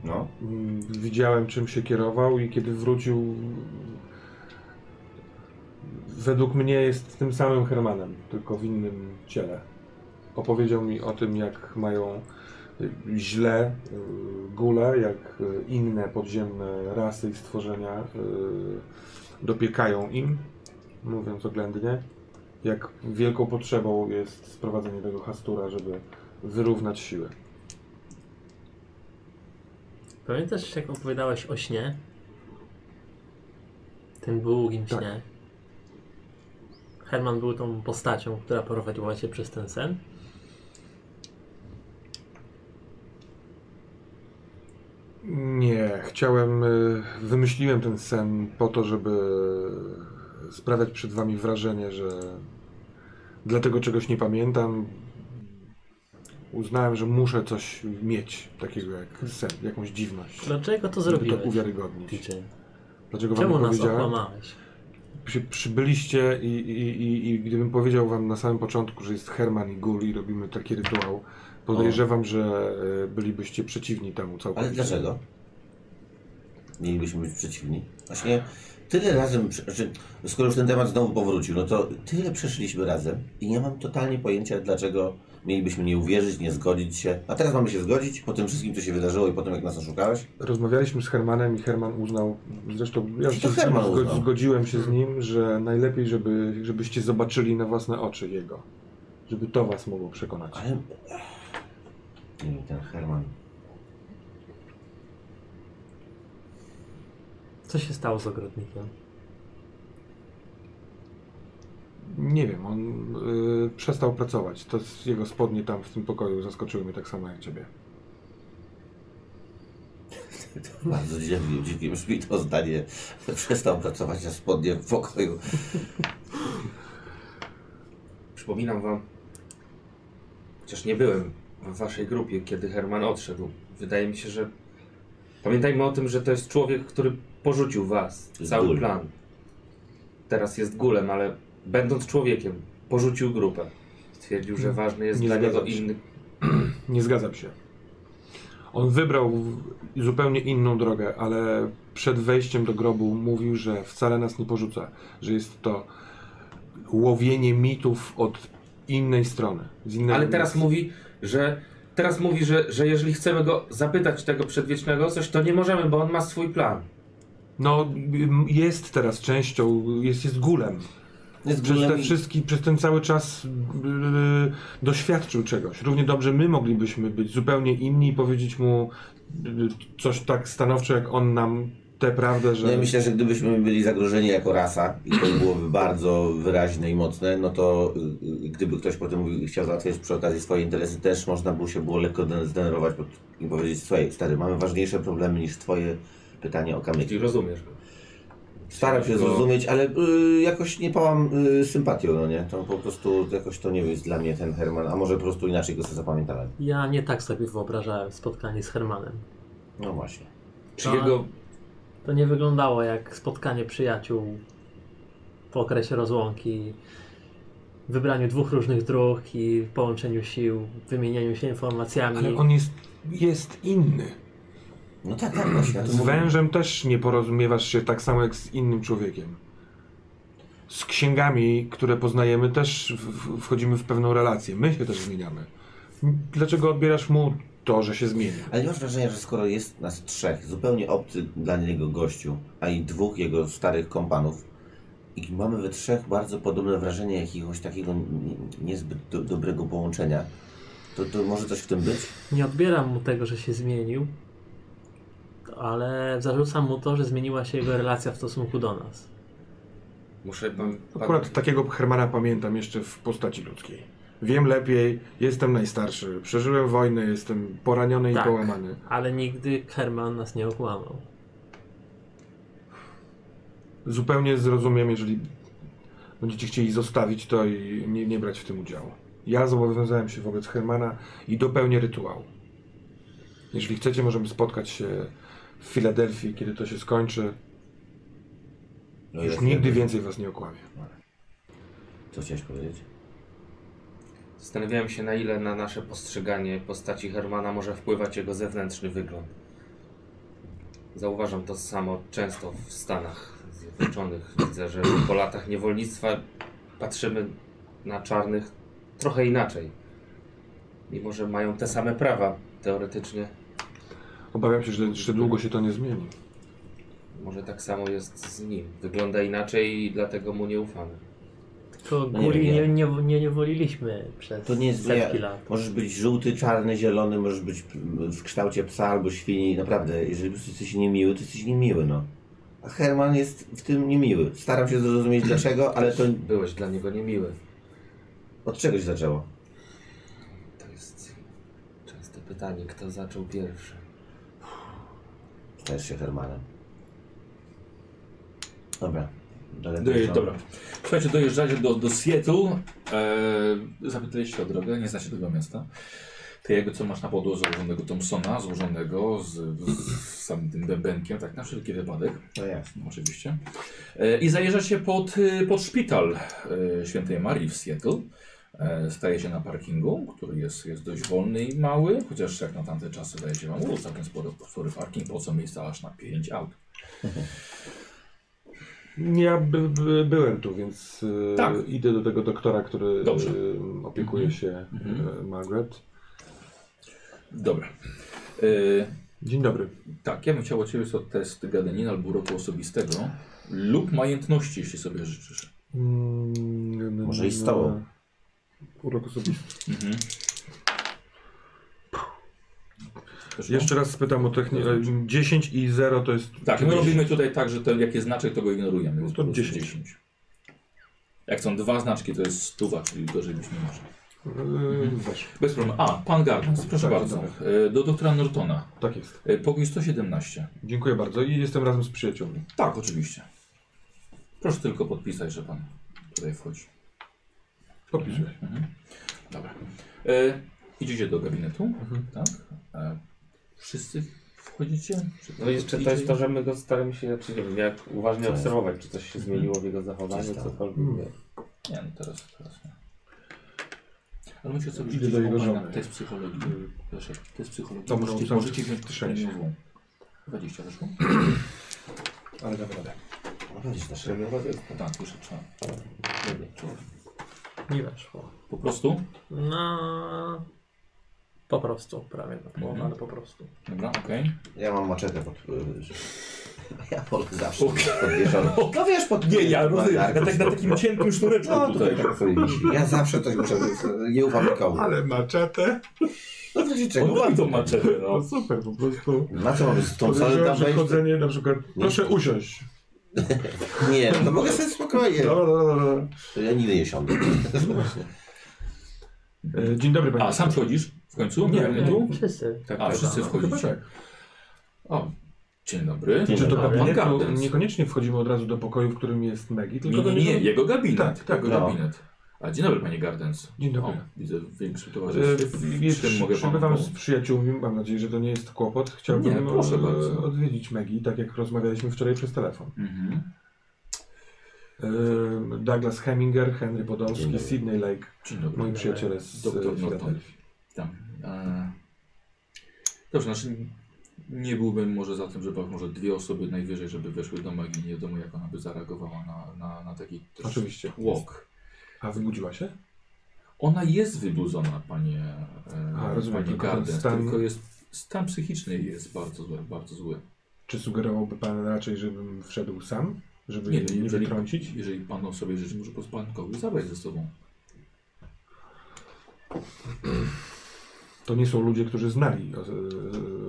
[SPEAKER 1] No.
[SPEAKER 3] Mm, Widziałem, czym się kierował i kiedy wrócił, mm, według mnie jest tym samym Hermanem, tylko w innym ciele. Opowiedział mi o tym, jak mają y, źle y, gule, jak y, inne podziemne rasy i stworzenia y, dopiekają im, mówiąc oględnie, jak wielką potrzebą jest sprowadzenie tego Hastura, żeby wyrównać siły.
[SPEAKER 5] Pamiętasz, jak opowiadałeś o śnie? Tym długim
[SPEAKER 3] Tak.
[SPEAKER 5] śnie. Herman był tą postacią, która prowadziła cię przez ten sen.
[SPEAKER 3] Nie, chciałem, y, wymyśliłem ten sen po to, żeby sprawiać przed wami wrażenie, że dlatego czegoś nie pamiętam. Uznałem, że muszę coś mieć takiego jak sen, jakąś dziwność.
[SPEAKER 5] Dlaczego to
[SPEAKER 3] żeby to
[SPEAKER 5] zrobiłeś?
[SPEAKER 3] uwiarygodnić.
[SPEAKER 5] Ticzy?
[SPEAKER 3] Dlaczego wam
[SPEAKER 5] Czemu
[SPEAKER 3] nie
[SPEAKER 5] nas
[SPEAKER 3] powiedziałem?
[SPEAKER 5] okłamałeś?
[SPEAKER 3] Się przybyliście i, i, i, i gdybym powiedział wam na samym początku, że jest Herman i Gul i robimy taki rytuał, podejrzewam, że y, bylibyście przeciwni temu całkowicie.
[SPEAKER 1] Ale dlaczego? Mielibyśmy być przeciwni. Właśnie tyle razem, prze- znaczy, skoro już ten temat znowu powrócił, no to tyle przeszliśmy razem i nie mam totalnie pojęcia, dlaczego mielibyśmy nie uwierzyć, nie zgodzić się. A teraz mamy się zgodzić po tym wszystkim, co się wydarzyło i po tym, jak nas oszukałeś.
[SPEAKER 3] Rozmawialiśmy z Hermanem i Herman uznał, zresztą ja
[SPEAKER 1] To
[SPEAKER 3] się z nim
[SPEAKER 1] Herman
[SPEAKER 3] zgo-
[SPEAKER 1] uznał.
[SPEAKER 3] zgodziłem się z nim, że najlepiej, żeby, żebyście zobaczyli na własne oczy jego. Żeby to was mogło przekonać.
[SPEAKER 1] Ale... Nie wiem, ten Herman.
[SPEAKER 5] Co się stało z ogrodnikiem?
[SPEAKER 3] Nie wiem, on y, przestał pracować. To z- jego spodnie tam w tym pokoju zaskoczyły mnie tak samo jak ciebie.
[SPEAKER 1] Bardzo dziwnie, dziwnie brzmi to zdanie. Przestał pracować na spodnie w pokoju.
[SPEAKER 4] Przypominam wam, chociaż nie byłem w waszej grupie, kiedy Herman odszedł. Wydaje mi się, że. Pamiętajmy o tym, że to jest człowiek, który porzucił was,
[SPEAKER 1] jest
[SPEAKER 4] cały
[SPEAKER 1] gul.
[SPEAKER 4] plan. Teraz jest gulem, ale będąc człowiekiem, porzucił grupę. Stwierdził, że ważny jest
[SPEAKER 3] Nie
[SPEAKER 4] dla niego
[SPEAKER 3] zgadzam się.
[SPEAKER 4] inny.
[SPEAKER 3] Nie zgadzam się. On wybrał w- zupełnie inną drogę, ale przed wejściem do grobu mówił, że wcale nas nie porzuca, że jest to łowienie mitów od innej strony. Z innej
[SPEAKER 4] Ale teraz
[SPEAKER 3] mówi.
[SPEAKER 4] mówi, że. Teraz mówi, że, że jeżeli chcemy go zapytać tego przedwiecznego o coś, to nie możemy, bo on ma swój plan.
[SPEAKER 3] No, m- jest teraz częścią, jest, jest gulem.
[SPEAKER 1] Jest
[SPEAKER 3] Przez, te
[SPEAKER 1] gulem i-
[SPEAKER 3] wszystki, przez ten cały czas yy, doświadczył czegoś. Równie dobrze my moglibyśmy być zupełnie inni i powiedzieć mu yy, coś tak stanowczo, jak on nam tę prawdę, że...
[SPEAKER 1] No ja myślę, że gdybyśmy byli zagrożeni jako rasa i to byłoby bardzo wyraźne i mocne, no to y, y, gdyby ktoś potem mówił, chciał załatwiać przy okazji swoje interesy, też można było się było lekko den- zdenerwować pod- i powiedzieć, słuchaj, stary, mamy ważniejsze problemy niż twoje pytanie o
[SPEAKER 4] Czyli
[SPEAKER 1] kamyki.
[SPEAKER 4] rozumiesz go.
[SPEAKER 1] Staram się
[SPEAKER 4] Tylko-
[SPEAKER 1] zrozumieć, ale y, jakoś nie pałam y, sympatią, no nie? To po prostu jakoś to nie jest dla mnie ten Herman, a może po prostu inaczej go sobie zapamiętałem.
[SPEAKER 5] Ja nie tak sobie wyobrażałem spotkanie z Hermanem.
[SPEAKER 1] No właśnie.
[SPEAKER 4] Czy
[SPEAKER 5] No,
[SPEAKER 4] jego
[SPEAKER 5] To nie wyglądało jak spotkanie przyjaciół po okresie rozłąki, wybraniu dwóch różnych dróg i połączeniu sił, wymienieniu się informacjami.
[SPEAKER 3] Ale on jest, jest inny.
[SPEAKER 1] No tak, tak, właśnie. ja to
[SPEAKER 3] Z
[SPEAKER 1] mówię.
[SPEAKER 3] wężem też nie porozumiewasz się tak samo jak z innym człowiekiem. Z księgami, które poznajemy, też w- w- wchodzimy w pewną relację. My się też zmieniamy. Dlaczego odbierasz mu to, że się zmienia?
[SPEAKER 1] Ale nie masz wrażenia, że skoro jest nas trzech, zupełnie obcy dla niego gościu, a i dwóch jego starych kompanów, i mamy we trzech bardzo podobne wrażenie jakiegoś takiego nie- niezbyt do, dobrego połączenia, to, to może coś w tym być?
[SPEAKER 5] Nie odbieram mu tego, że się zmienił, ale zarzucam mu to, że zmieniła się jego relacja w stosunku do nas.
[SPEAKER 4] Muszę pan.
[SPEAKER 3] Akurat takiego Hermana pamiętam jeszcze w postaci ludzkiej. Wiem lepiej, jestem najstarszy, przeżyłem wojnę, jestem poraniony
[SPEAKER 5] Tak.
[SPEAKER 3] i połamany.
[SPEAKER 5] Ale nigdy Herman nas nie okłamał.
[SPEAKER 3] Zupełnie zrozumiem, jeżeli będziecie chcieli zostawić to i nie, nie brać w tym udziału. Ja zobowiązałem się wobec Hermana i dopełnię rytuału. Jeżeli chcecie, możemy spotkać się w Filadelfii, kiedy to się skończy.
[SPEAKER 1] No
[SPEAKER 3] Już
[SPEAKER 1] jak
[SPEAKER 3] nigdy
[SPEAKER 1] nie-
[SPEAKER 3] więcej was nie okłamię.
[SPEAKER 1] Co chciałeś powiedzieć?
[SPEAKER 4] Zastanawiałem się, na ile na nasze postrzeganie postaci Hermana może wpływać jego zewnętrzny wygląd. Zauważam to samo często w Stanach Zjednoczonych. Widzę, że po latach niewolnictwa patrzymy na czarnych trochę inaczej. Mimo, że mają te same prawa teoretycznie,
[SPEAKER 3] Obawiam się, że, że długo się to nie zmieni.
[SPEAKER 4] może tak samo jest z nim. Wygląda inaczej i dlatego mu nie ufamy.
[SPEAKER 5] To
[SPEAKER 1] No nie
[SPEAKER 5] Guli nie,
[SPEAKER 1] wiem,
[SPEAKER 5] nie, nie niewoliliśmy przez
[SPEAKER 1] To nie jest
[SPEAKER 5] setki
[SPEAKER 1] ja-
[SPEAKER 5] lat.
[SPEAKER 1] Możesz być żółty, czarny, zielony, możesz być w kształcie psa albo świni. Naprawdę, jeżeli po prostu jesteś niemiły, to jesteś niemiły, no. A Herman jest w tym niemiły. Staram się zrozumieć dlaczego, ale to
[SPEAKER 4] Byłeś dla niego niemiły.
[SPEAKER 1] od czegoś zaczęło.
[SPEAKER 4] To jest częste pytanie, kto zaczął pierwszy.
[SPEAKER 1] Stajesz się Hermanem. Dobra.
[SPEAKER 3] No
[SPEAKER 1] Daleko
[SPEAKER 2] Doje,
[SPEAKER 1] idą.
[SPEAKER 2] dobra. Słuchajcie, dojeżdżacie do, do Seattle. E, zapytaliście o drogę, nie znacie tego miasta. Ty jego, co masz na podłodze złożonego Thompsona, złożonego z, z, z samym tym bębenkiem, tak na wszelki wypadek,
[SPEAKER 1] No jasne.
[SPEAKER 2] oczywiście. E, I zajeżdżacie pod, y, pod szpital e, Świętej Marii w Seattle. E, staje się na parkingu, który jest, jest dość wolny i mały, chociaż jak na tamte czasy daje się wam całkiem spory, spory parking, po co miejsca aż na 5 aut.
[SPEAKER 3] Ja by, by, byłem tu, więc e,
[SPEAKER 2] Tak.
[SPEAKER 3] idę do tego doktora, który
[SPEAKER 2] Dobrze.
[SPEAKER 3] e, opiekuje
[SPEAKER 1] Mhm.
[SPEAKER 3] się e, Margaret.
[SPEAKER 2] Dobra. E,
[SPEAKER 3] Dzień dobry.
[SPEAKER 2] Tak, ja bym chciał od Ciebie sobie test gadaniny albo uroku osobistego lub majętności, jeśli sobie życzysz.
[SPEAKER 3] Mm,
[SPEAKER 1] Może i z tobą.
[SPEAKER 3] Urok osobisty.
[SPEAKER 2] Mhm. Weszło?
[SPEAKER 3] Jeszcze raz spytam o technikę. 10 i 0 to jest.
[SPEAKER 2] Tak, my
[SPEAKER 3] 10.
[SPEAKER 2] robimy tutaj tak, że ten, jak jest znaczek, to go ignorujemy. Więc po
[SPEAKER 3] To
[SPEAKER 2] prostu
[SPEAKER 3] 10.
[SPEAKER 2] Jak są dwa znaczki, to jest stuwa, czyli gorzej być nie może.
[SPEAKER 3] Yy, Weszło.
[SPEAKER 2] Bez problemu. A, pan Gardens, proszę
[SPEAKER 3] Tak,
[SPEAKER 2] bardzo.
[SPEAKER 3] dobra.
[SPEAKER 2] E, Do doktora Nortona.
[SPEAKER 3] Tak jest.
[SPEAKER 2] E, Pokój 117.
[SPEAKER 3] Dziękuję bardzo i jestem razem z przyjaciółmi.
[SPEAKER 2] Tak, oczywiście. Proszę tylko podpisać, że pan tutaj wchodzi.
[SPEAKER 3] Podpisuję.
[SPEAKER 2] Dobra. E, Idziecie do gabinetu,
[SPEAKER 3] Mhm.
[SPEAKER 2] tak? E, wszyscy wchodzicie? Czy
[SPEAKER 4] No jeszcze to jest to, że my go staramy się, czy nie wiem, jak uważnie
[SPEAKER 1] Tak.
[SPEAKER 4] obserwować, czy coś się zmieniło w jego zachowaniu,
[SPEAKER 1] Coś tam.
[SPEAKER 4] cokolwiek. nie.
[SPEAKER 2] Nie, no teraz, teraz nie. Ale musicie sobie
[SPEAKER 3] Idę
[SPEAKER 2] wziąć
[SPEAKER 3] do jego
[SPEAKER 2] opania.
[SPEAKER 3] żony.
[SPEAKER 2] To jest psychologii. Proszę, to jest psychologii.
[SPEAKER 3] To może
[SPEAKER 2] możecie,
[SPEAKER 3] są
[SPEAKER 2] możecie wziąć
[SPEAKER 3] sześć.
[SPEAKER 2] premiową. 20 weszło?
[SPEAKER 3] Ale dam radę.
[SPEAKER 1] Weź na szereg.
[SPEAKER 2] Tak, już trzeba. Człowiek.
[SPEAKER 5] Nie weszło.
[SPEAKER 2] Po prostu?
[SPEAKER 5] No. Po prostu, prawie na połowę,
[SPEAKER 2] Mhm.
[SPEAKER 5] ale po prostu.
[SPEAKER 2] Dobra, okej.
[SPEAKER 1] Ja mam maczetę pod... y, Ja wolę zawsze
[SPEAKER 2] Okej.
[SPEAKER 1] podwieszoną. No wiesz, pod...
[SPEAKER 2] Nie, ja rozumiem.
[SPEAKER 1] Tak,
[SPEAKER 2] Ja tak na takim cienkim sznureczku
[SPEAKER 1] No
[SPEAKER 2] tutaj.
[SPEAKER 1] tutaj tak sobie wisi. Ja zawsze coś muszę... Nie ufam nikomu.
[SPEAKER 3] Ale maczetę?
[SPEAKER 1] No w razie czego?
[SPEAKER 2] Oddaj tą maczetę, no.
[SPEAKER 3] No super, po prostu.
[SPEAKER 1] Na co mamy z tą salę
[SPEAKER 3] Podejrzewam,
[SPEAKER 1] tam
[SPEAKER 3] że
[SPEAKER 1] wejść?
[SPEAKER 3] chodzenie na przykład... Proszę usiąść. no,
[SPEAKER 1] Nie, no mogę sobie spokojnie.
[SPEAKER 3] Dobra, dobra, dobra.
[SPEAKER 1] Ja nigdy nie siądę.
[SPEAKER 3] E, Dzień dobry,
[SPEAKER 1] No,
[SPEAKER 3] panie.
[SPEAKER 2] A, sam wchodzisz w końcu?
[SPEAKER 3] Nie,
[SPEAKER 2] Do gabinetu?
[SPEAKER 5] Wszyscy.
[SPEAKER 2] A, wszyscy
[SPEAKER 3] Chyba
[SPEAKER 2] wchodzicie.
[SPEAKER 3] tak.
[SPEAKER 2] no, O, dzień dobry.
[SPEAKER 1] Dzień
[SPEAKER 3] Czy do
[SPEAKER 1] dobry.
[SPEAKER 3] gabinetu
[SPEAKER 2] Pan
[SPEAKER 3] niekoniecznie wchodzimy od razu do pokoju, w którym jest Megi, tylko
[SPEAKER 2] Nie,
[SPEAKER 3] do
[SPEAKER 2] nie, nie,
[SPEAKER 3] niego...
[SPEAKER 2] jego gabinet.
[SPEAKER 3] Tak, tak,
[SPEAKER 2] jego
[SPEAKER 1] no.
[SPEAKER 2] gabinet. A dzień dobry, panie Gardens.
[SPEAKER 3] Dzień dobry.
[SPEAKER 2] O, widzę większy
[SPEAKER 3] E,
[SPEAKER 2] towarzystw.
[SPEAKER 3] wiesz,
[SPEAKER 2] Czym mogę panu
[SPEAKER 3] Przybywam
[SPEAKER 2] pomóc?
[SPEAKER 3] z przyjaciółmi, mam nadzieję, że to nie jest kłopot. Chciałbym
[SPEAKER 2] Nie, proszę
[SPEAKER 3] e,
[SPEAKER 2] bardzo.
[SPEAKER 3] odwiedzić Megi, tak jak rozmawialiśmy wczoraj przez telefon.
[SPEAKER 2] Mhm.
[SPEAKER 3] E, Douglas Heminger, Henry
[SPEAKER 1] Dzień
[SPEAKER 3] Podolski,
[SPEAKER 1] dobry.
[SPEAKER 3] Sydney Lake,
[SPEAKER 2] Dzień dobry.
[SPEAKER 3] moi przyjaciele z e,
[SPEAKER 2] Doktor Norton.
[SPEAKER 3] Filadelfii.
[SPEAKER 2] Tam. E... Dobrze, znaczy nie byłbym może za tym, żeby może dwie osoby najwyżej, żeby weszły do magii. Nie wiadomo, jak ona by zareagowała na, na, na taki też
[SPEAKER 3] Oczywiście.
[SPEAKER 2] tłok.
[SPEAKER 3] A wybudziła się?
[SPEAKER 2] Ona jest wybudzona, panie, e,
[SPEAKER 3] A, rozumiem,
[SPEAKER 2] pani
[SPEAKER 3] tylko ten
[SPEAKER 2] Gardens,
[SPEAKER 3] stan-
[SPEAKER 2] tylko jest stan psychiczny jest bardzo zły, bardzo zły.
[SPEAKER 3] Czy sugerowałby pan raczej, żebym wszedł sam? Żeby
[SPEAKER 2] Nie,
[SPEAKER 3] nie,
[SPEAKER 2] no,
[SPEAKER 3] nie,
[SPEAKER 2] jeżeli,
[SPEAKER 3] wytrącić?
[SPEAKER 2] jeżeli pan o sobie życzy, może po prostu pan kogoś zabrać ze sobą.
[SPEAKER 3] To nie są ludzie, którzy znali o, e,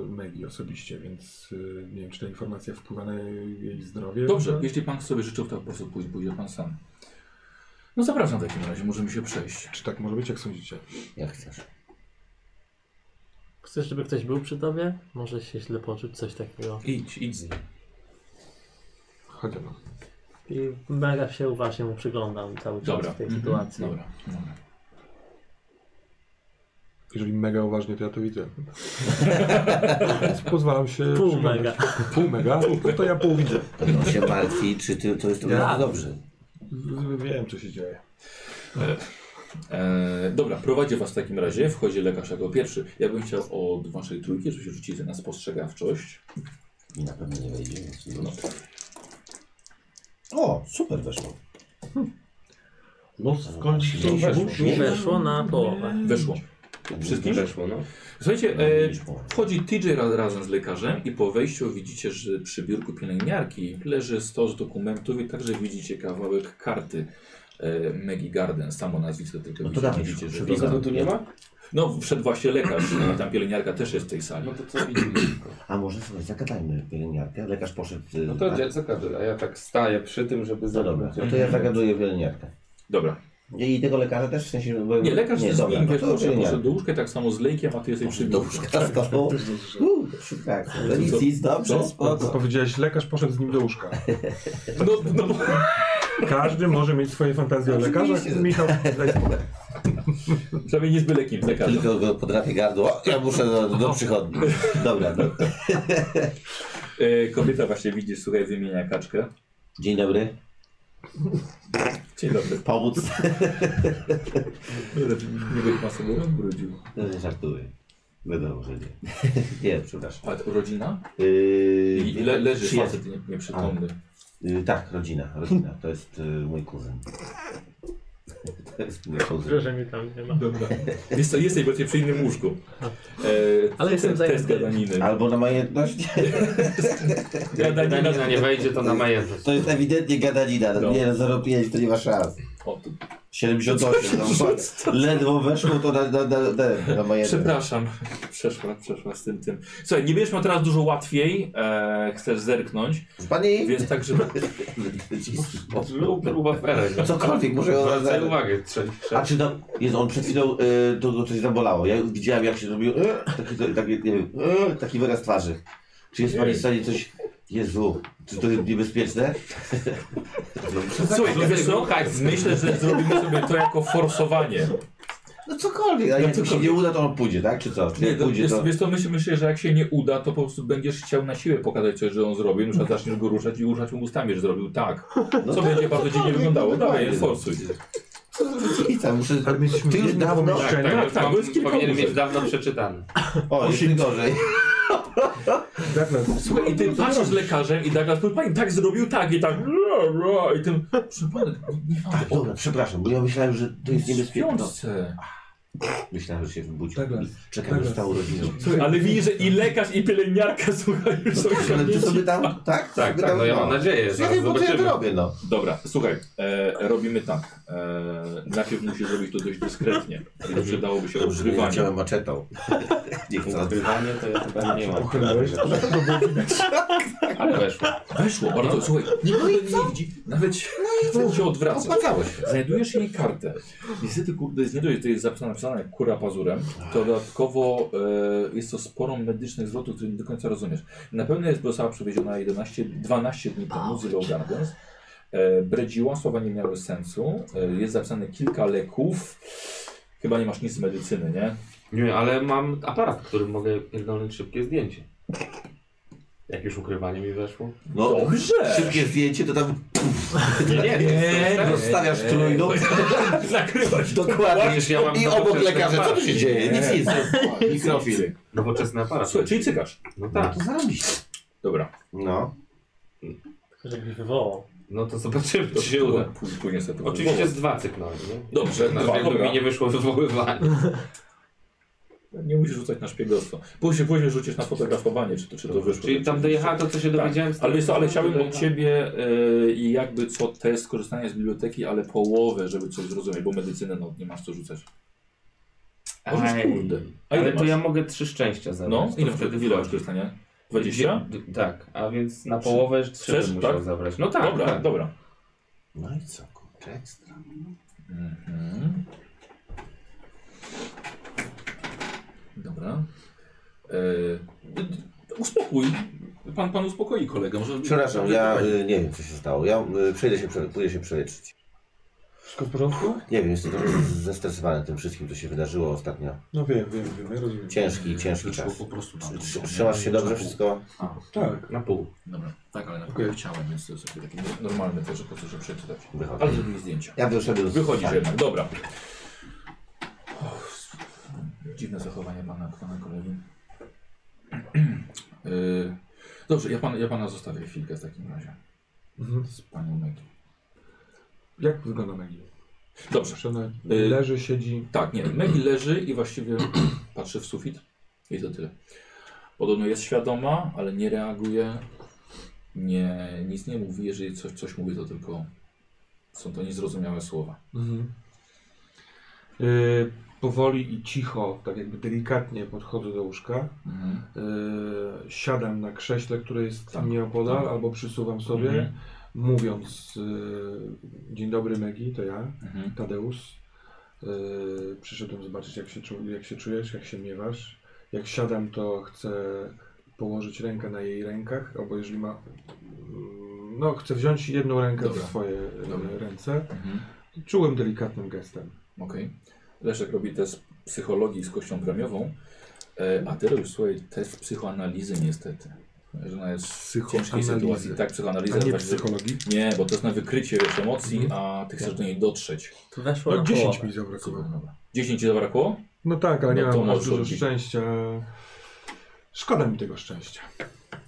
[SPEAKER 3] Megi osobiście, więc e, nie wiem, czy ta informacja wpływa na jej zdrowie.
[SPEAKER 2] Dobrze,
[SPEAKER 3] Może?
[SPEAKER 2] jeśli pan sobie życzył, to po prostu pójdzie, pójdzie pan sam. No zapraszam w takim razie, możemy się przejść.
[SPEAKER 3] Czy tak może być, jak sądzicie?
[SPEAKER 1] Jak chcesz.
[SPEAKER 5] Chcesz, żeby ktoś był przy tobie? Może się źle poczuć, coś takiego.
[SPEAKER 4] Idź, idź z nim.
[SPEAKER 3] Chodź no.
[SPEAKER 5] I mega się uważnie mu przyglądam cały czas
[SPEAKER 2] Dobra.
[SPEAKER 5] w tej
[SPEAKER 2] Mhm.
[SPEAKER 5] sytuacji.
[SPEAKER 2] Dobra, dobra.
[SPEAKER 3] Jeżeli mega uważnie, to ja to widzę. Więc Pozwalam się
[SPEAKER 5] Pół
[SPEAKER 3] przyglądać.
[SPEAKER 5] mega.
[SPEAKER 3] Pół mega? No to ja pół widzę.
[SPEAKER 1] To on się martwi, czy ty, to jest to
[SPEAKER 3] Ja.
[SPEAKER 1] bardzo dobrze.
[SPEAKER 3] Wiem, co się dzieje.
[SPEAKER 2] E, dobra, prowadzi was w takim razie, wchodzi lekarz jako pierwszy. Ja bym chciał od waszej trójki, żebyście rzucili na spostrzegawczość.
[SPEAKER 1] I na pewno nie wejdzie. Więc no. O, super weszło.
[SPEAKER 4] No skąd
[SPEAKER 1] się weszło?
[SPEAKER 5] Mi weszło na połowę.
[SPEAKER 2] Weszło. Wszystkim?
[SPEAKER 4] Weszło, no.
[SPEAKER 2] Słuchajcie, e,
[SPEAKER 1] E...
[SPEAKER 2] wchodzi TJ ra- razem z lekarzem i po wejściu widzicie, że przy biurku pielęgniarki leży stos dokumentów i także widzicie kawałek karty e, Maggie Garden. Samo nazwisko tylko
[SPEAKER 1] No to
[SPEAKER 2] widzicie,
[SPEAKER 1] dawaj,
[SPEAKER 2] widzicie, że
[SPEAKER 1] przepraszam.
[SPEAKER 4] Nikogo tu nie ma?
[SPEAKER 2] No, wszedł właśnie lekarz i tam pielęgniarka też jest w tej sali.
[SPEAKER 4] No to co widzimy?
[SPEAKER 1] A może sobie zagadajmy pielęgniarkę. Lekarz poszedł. y,
[SPEAKER 4] No
[SPEAKER 1] a-
[SPEAKER 4] to zagaduj, a ja tak staję przy tym, żeby
[SPEAKER 1] No dobra, no to ja zagaduję pielęgniarkę.
[SPEAKER 2] Dobra.
[SPEAKER 1] I tego lekarza też w sensie. Bo...
[SPEAKER 2] Nie, lekarz jest z
[SPEAKER 1] dobra,
[SPEAKER 2] nim,
[SPEAKER 1] no
[SPEAKER 2] wiesz,
[SPEAKER 1] to
[SPEAKER 2] poszedł poszedł
[SPEAKER 1] pielęgniarka.
[SPEAKER 2] do łóżka, tak samo z lejkiem, a ty jesteś przy
[SPEAKER 1] Do
[SPEAKER 2] biurku.
[SPEAKER 1] łóżka stanął. Uuu, Tak, to
[SPEAKER 2] No,
[SPEAKER 1] nic, nic, dobrze,
[SPEAKER 2] Co?
[SPEAKER 3] To
[SPEAKER 1] spoko.
[SPEAKER 3] powiedziałeś, lekarz poszedł z nim do łóżka.
[SPEAKER 2] No, no, bo-
[SPEAKER 3] Każdy może mieć swoje fantazje o lekarzach.
[SPEAKER 1] Oczywiście.
[SPEAKER 3] Michał,
[SPEAKER 2] tak.
[SPEAKER 3] daj spokój.
[SPEAKER 2] przynajmniej nie z byle kim, z lekarzem.
[SPEAKER 1] Tylko go podrapie gardło. O, ja muszę do,
[SPEAKER 2] No.
[SPEAKER 1] do przychodni. Dobra, no.
[SPEAKER 2] E, kobieta właśnie widzi, słuchaj, wymienia kaczkę.
[SPEAKER 1] Dzień dobry.
[SPEAKER 2] Dzień dobry.
[SPEAKER 1] Pomóc.
[SPEAKER 2] Nie wiem, ma sobie urodził.
[SPEAKER 1] No nie żartuję. Wiadomo, że nie. Nie, przepraszam.
[SPEAKER 2] A to rodzina?
[SPEAKER 1] Yy,
[SPEAKER 2] I le, leży
[SPEAKER 1] przyjaciel.
[SPEAKER 2] facet nie, nieprzytomny.
[SPEAKER 1] Yy, tak, rodzina, rodzina. To jest yy, mój kuzyn. To jest mój kuzyn.
[SPEAKER 5] Proszę mi tam nie ma.
[SPEAKER 2] Dobra. Jest, to- jesteś właśnie przy innym łóżku. E,
[SPEAKER 5] Ale jestem
[SPEAKER 2] te-
[SPEAKER 5] zajęty.
[SPEAKER 2] Test gadaniny.
[SPEAKER 1] Albo na majętność.
[SPEAKER 2] Gadanina.
[SPEAKER 4] Danina nie wejdzie, to na majętność.
[SPEAKER 1] To jest ewidentnie gadanina.
[SPEAKER 2] No.
[SPEAKER 1] Nie, no 05 to nie ma szans.
[SPEAKER 2] O, tu.
[SPEAKER 1] 78, no, patrz, ledwo weszło to na, na, na, na, na majętność.
[SPEAKER 2] Przepraszam. Przeszła, przeszła z tym, tym. Słuchaj, nie będziesz miał teraz dużo łatwiej. E, chcesz zerknąć,
[SPEAKER 1] Pani,
[SPEAKER 2] więc tak, żeby...
[SPEAKER 4] Lub próba ferek.
[SPEAKER 1] cokolwiek muszę ją
[SPEAKER 4] Zwracaj
[SPEAKER 1] zaraz-
[SPEAKER 4] uwagę, trzeba
[SPEAKER 1] A czy tam, jest on przed chwilą, y, to go coś zabolało. Ja widziałem jak się zrobił, y, taki, to- taki, nie wiem, y, taki wyraz twarzy. Czy jest pani w stanie coś, Jezu, czy to jest niebezpieczne? no
[SPEAKER 2] Słuchaj, wiesz co? Myślę, że zrobimy sobie to jako forsowanie.
[SPEAKER 1] No cokolwiek, a
[SPEAKER 2] No
[SPEAKER 1] jak się
[SPEAKER 2] cokolwiek.
[SPEAKER 1] nie uda, to on pójdzie, tak? Czy co? Czy
[SPEAKER 2] Nie,
[SPEAKER 1] jak
[SPEAKER 2] to,
[SPEAKER 1] pójdzie,
[SPEAKER 2] wiesz,
[SPEAKER 1] to...
[SPEAKER 2] wiesz, to myśl, myślę, że jak się nie uda, to po prostu będziesz chciał na siłę pokazać coś, że on zrobił. Na przykład zaczniesz go ruszać i ruszać mu ustami, że zrobił tak.
[SPEAKER 1] No
[SPEAKER 2] Co
[SPEAKER 1] tak,
[SPEAKER 2] będzie bardzo dziwnie
[SPEAKER 1] cokolwiek,
[SPEAKER 2] wyglądało.
[SPEAKER 1] no tak.
[SPEAKER 2] Dawaj,
[SPEAKER 1] dokładnie.
[SPEAKER 2] forsuj.
[SPEAKER 1] I co, muszę...
[SPEAKER 3] Ale mieliśmy
[SPEAKER 1] Ty już
[SPEAKER 3] jedno
[SPEAKER 1] dawno...
[SPEAKER 3] pomieszczenie.
[SPEAKER 2] Tak, tak, tak, bo jest kilka
[SPEAKER 4] powinien
[SPEAKER 2] łóżek.
[SPEAKER 4] mieć dawno przeczytany.
[SPEAKER 1] O, jeszcze gorzej.
[SPEAKER 3] Douglas,
[SPEAKER 2] Słuchaj, i ty patrzysz z lekarzem i Douglas mówi, pani tak zrobił tak i tak. ra, ra, I tym, proszę pana, nie
[SPEAKER 1] Tak,
[SPEAKER 2] ma
[SPEAKER 1] dobra, przepraszam, bo ja myślałem, że to jest niebezpieczne. No,
[SPEAKER 2] Świątce.
[SPEAKER 1] Myślałem, że się wybudził.
[SPEAKER 3] Douglas,
[SPEAKER 1] Czekam już
[SPEAKER 3] Douglas.
[SPEAKER 1] z całą rodziną.
[SPEAKER 3] słuchaj,
[SPEAKER 2] Ale widzisz, że i lekarz, i pielęgniarka, słuchaj, już są
[SPEAKER 1] Tak, ale ty
[SPEAKER 2] osiągnięci.
[SPEAKER 1] sobie tam... Tak?
[SPEAKER 2] Tak,
[SPEAKER 1] Sobie
[SPEAKER 2] tak,
[SPEAKER 1] tam-
[SPEAKER 4] No ja mam nadzieję, że
[SPEAKER 1] Ja
[SPEAKER 4] zaraz
[SPEAKER 1] wiem, bo co ja to
[SPEAKER 4] zobaczymy.
[SPEAKER 1] robię, no.
[SPEAKER 2] Dobra, słuchaj, e, robimy tak. E, najpierw musisz zrobić to dość dyskretnie, więc przydałoby się
[SPEAKER 1] Dobrze, że nie
[SPEAKER 2] odgrywanie.
[SPEAKER 1] chciałem maczetą. Nie chcę odgrywać.
[SPEAKER 4] Zdywanie to ja chyba nie mam.
[SPEAKER 3] pochylałeś?
[SPEAKER 4] Ale weszło.
[SPEAKER 2] Weszło bardzo, słuchaj, nikt no nie widzi, nawet się, nawet się odwraca.
[SPEAKER 1] Opłacało się.
[SPEAKER 2] Znajdujesz jej kartę. Niestety, kurde, znajdujesz, to jest zapisane, napisane jak kura pazurem. To dodatkowo e, jest to sporo medycznych zwrotów, które nie do końca rozumiesz. Na pewno jest została przewieziona 11, 12 dni temu z Willow Gardens. E, bredziła, słowa nie miały sensu. E, jest zapisane kilka leków. Chyba nie masz nic z medycyny, nie?
[SPEAKER 4] Nie, ale mam aparat, którym mogę pierdolnąć szybkie zdjęcie. Jak już ukrywanie mi weszło.
[SPEAKER 1] No,
[SPEAKER 2] Dobrze!
[SPEAKER 1] szybkie zdjęcie, to tam
[SPEAKER 4] Nie, nie, nie.
[SPEAKER 2] nie,
[SPEAKER 1] rozstawiasz trójną.
[SPEAKER 2] Zakrywać
[SPEAKER 1] Dokładnie.
[SPEAKER 4] Wiesz, ja mam
[SPEAKER 1] I obok
[SPEAKER 4] nowoczesny
[SPEAKER 1] lekarza, co tu się
[SPEAKER 4] aparat.
[SPEAKER 1] dzieje? Nic, nic.
[SPEAKER 2] Mikrofil.
[SPEAKER 4] Nowoczesny aparat.
[SPEAKER 2] Słuchaj, czyli cykasz.
[SPEAKER 4] No
[SPEAKER 1] No
[SPEAKER 4] tak.
[SPEAKER 1] to zarobisz.
[SPEAKER 2] Dobra.
[SPEAKER 1] No.
[SPEAKER 5] Żebyś wywołał.
[SPEAKER 4] No to zobaczymy, czy
[SPEAKER 2] To
[SPEAKER 4] się uda.
[SPEAKER 2] Później, później sobie to
[SPEAKER 4] Oczywiście z dwa cyknąłem, nie?
[SPEAKER 2] Dobrze,
[SPEAKER 4] Na
[SPEAKER 2] dwa,
[SPEAKER 4] dwa,
[SPEAKER 2] dobra.
[SPEAKER 4] mi nie wyszło wywoływanie.
[SPEAKER 2] Nie musisz rzucać na szpiegostwo. Później, później rzucisz na fotografowanie, czy to, czy to wyszło.
[SPEAKER 4] Czyli tam dojechałem to, co się dowiedziałem. z
[SPEAKER 2] Ale, wiesz co, ale
[SPEAKER 4] tego,
[SPEAKER 2] chciałbym od
[SPEAKER 4] dojechałem.
[SPEAKER 2] ciebie e, i jakby co test korzystania z biblioteki, ale połowę, żeby coś zrozumieć, bo medycynę no, nie masz co rzucać. Możesz,
[SPEAKER 4] Aj.
[SPEAKER 2] kurde. A ile
[SPEAKER 4] Ale to
[SPEAKER 2] masz?
[SPEAKER 4] ja mogę trzy szczęścia zabrać.
[SPEAKER 2] No,
[SPEAKER 4] to
[SPEAKER 2] ile wtedy ile masz
[SPEAKER 4] wchodzi.
[SPEAKER 2] korzystania? 20?
[SPEAKER 4] Dwie- d- Tak, a więc na połowę trzy
[SPEAKER 2] Chcesz?
[SPEAKER 4] bym musiał
[SPEAKER 2] Tak?
[SPEAKER 4] zabrać. No tak,
[SPEAKER 2] dobra,
[SPEAKER 4] tak.
[SPEAKER 2] dobra.
[SPEAKER 1] No i co, kurczę, ekstra.
[SPEAKER 2] Mhm. Dobra. E, d- d- uspokój. Pan, pan uspokoi kolegę. Może...
[SPEAKER 1] Przepraszam, ja y, nie wiem, co się stało. Ja y, przejdę się, prze- pójdę się przeleczyć.
[SPEAKER 3] Wszystko w porządku?
[SPEAKER 1] Nie wiem, jestem trochę zestresowany tym wszystkim, co się wydarzyło ostatnio.
[SPEAKER 3] No wiem, wiem, wiem, ja rozumiem.
[SPEAKER 1] Ciężki, ciężki
[SPEAKER 2] Wyszło
[SPEAKER 1] czas.
[SPEAKER 2] po prostu na
[SPEAKER 1] Trzy-
[SPEAKER 2] to.
[SPEAKER 1] trzy- Trzymasz się dobrze, wszystko?
[SPEAKER 3] Tak.
[SPEAKER 4] Na pół.
[SPEAKER 2] Dobra, tak, ale na
[SPEAKER 3] Okej.
[SPEAKER 2] okay. chciałem, więc to jest takie takie normalne też, że po co, że przeczytać.
[SPEAKER 1] Wychodzi.
[SPEAKER 2] Ale zrobili zdjęcia.
[SPEAKER 1] Ja wyszedłem z...
[SPEAKER 2] Wychodzisz
[SPEAKER 1] tak.
[SPEAKER 2] jednak, dobra. Dziwne zachowanie pana, pana kolegi. Yy, Dobrze, ja, pan, ja pana zostawię chwilkę w takim razie.
[SPEAKER 3] Mhm.
[SPEAKER 2] Z panią Metu.
[SPEAKER 3] Jak wygląda Maggie?
[SPEAKER 2] Dobrze.
[SPEAKER 3] Czy ona
[SPEAKER 2] Y-
[SPEAKER 3] leży, siedzi?
[SPEAKER 2] Tak, nie. Megi leży i właściwie patrzy w sufit. I to tyle. Podobno jest świadoma, ale nie reaguje. Nie, nic nie mówi. Jeżeli coś, coś mówi, to tylko są to niezrozumiałe słowa.
[SPEAKER 3] Mhm. Y, powoli i cicho, tak jakby delikatnie podchodzę do łóżka. Y, siadam na krześle, które jest
[SPEAKER 2] Mhm. Tak.
[SPEAKER 3] mnie opodal,
[SPEAKER 2] Tak.
[SPEAKER 3] albo przysuwam sobie,
[SPEAKER 2] Mhm.
[SPEAKER 3] mówiąc y, dzień dobry Megi, to ja,
[SPEAKER 2] Mhm.
[SPEAKER 3] Tadeusz. Y, przyszedłem zobaczyć jak się, czu, jak się czujesz, jak się miewasz. Jak siadam, to chcę położyć rękę na jej rękach, albo jeżeli ma... mm, No, chcę wziąć jedną rękę
[SPEAKER 2] Dobra.
[SPEAKER 3] w swoje y,
[SPEAKER 2] Dobra.
[SPEAKER 3] ręce.
[SPEAKER 2] Mhm.
[SPEAKER 3] Czułem delikatnym gestem.
[SPEAKER 2] Okej. Leszek robi test psychologii z kością premiową, e, a teraz już słuchaj, test psychoanalizy niestety. Żona jest w ciężkiej
[SPEAKER 3] Psychoanalizy.
[SPEAKER 2] sytuacji. Tak, psychoanaliza.
[SPEAKER 3] A nie Mhm.
[SPEAKER 2] właśnie-
[SPEAKER 3] psychologii?
[SPEAKER 2] nie, bo to jest na wykrycie wiesz, emocji, a ty chcesz do niej dotrzeć.
[SPEAKER 5] To weszło
[SPEAKER 3] No
[SPEAKER 5] na
[SPEAKER 3] 10
[SPEAKER 5] połowę.
[SPEAKER 3] mi zabrakło.
[SPEAKER 2] Dobra. 10 ci zabrakło?
[SPEAKER 3] No tak, ale
[SPEAKER 2] No
[SPEAKER 3] nie
[SPEAKER 2] to
[SPEAKER 3] mam aż
[SPEAKER 2] możesz
[SPEAKER 3] dużo
[SPEAKER 2] odbić.
[SPEAKER 3] szczęścia. Szkoda mi tego szczęścia. A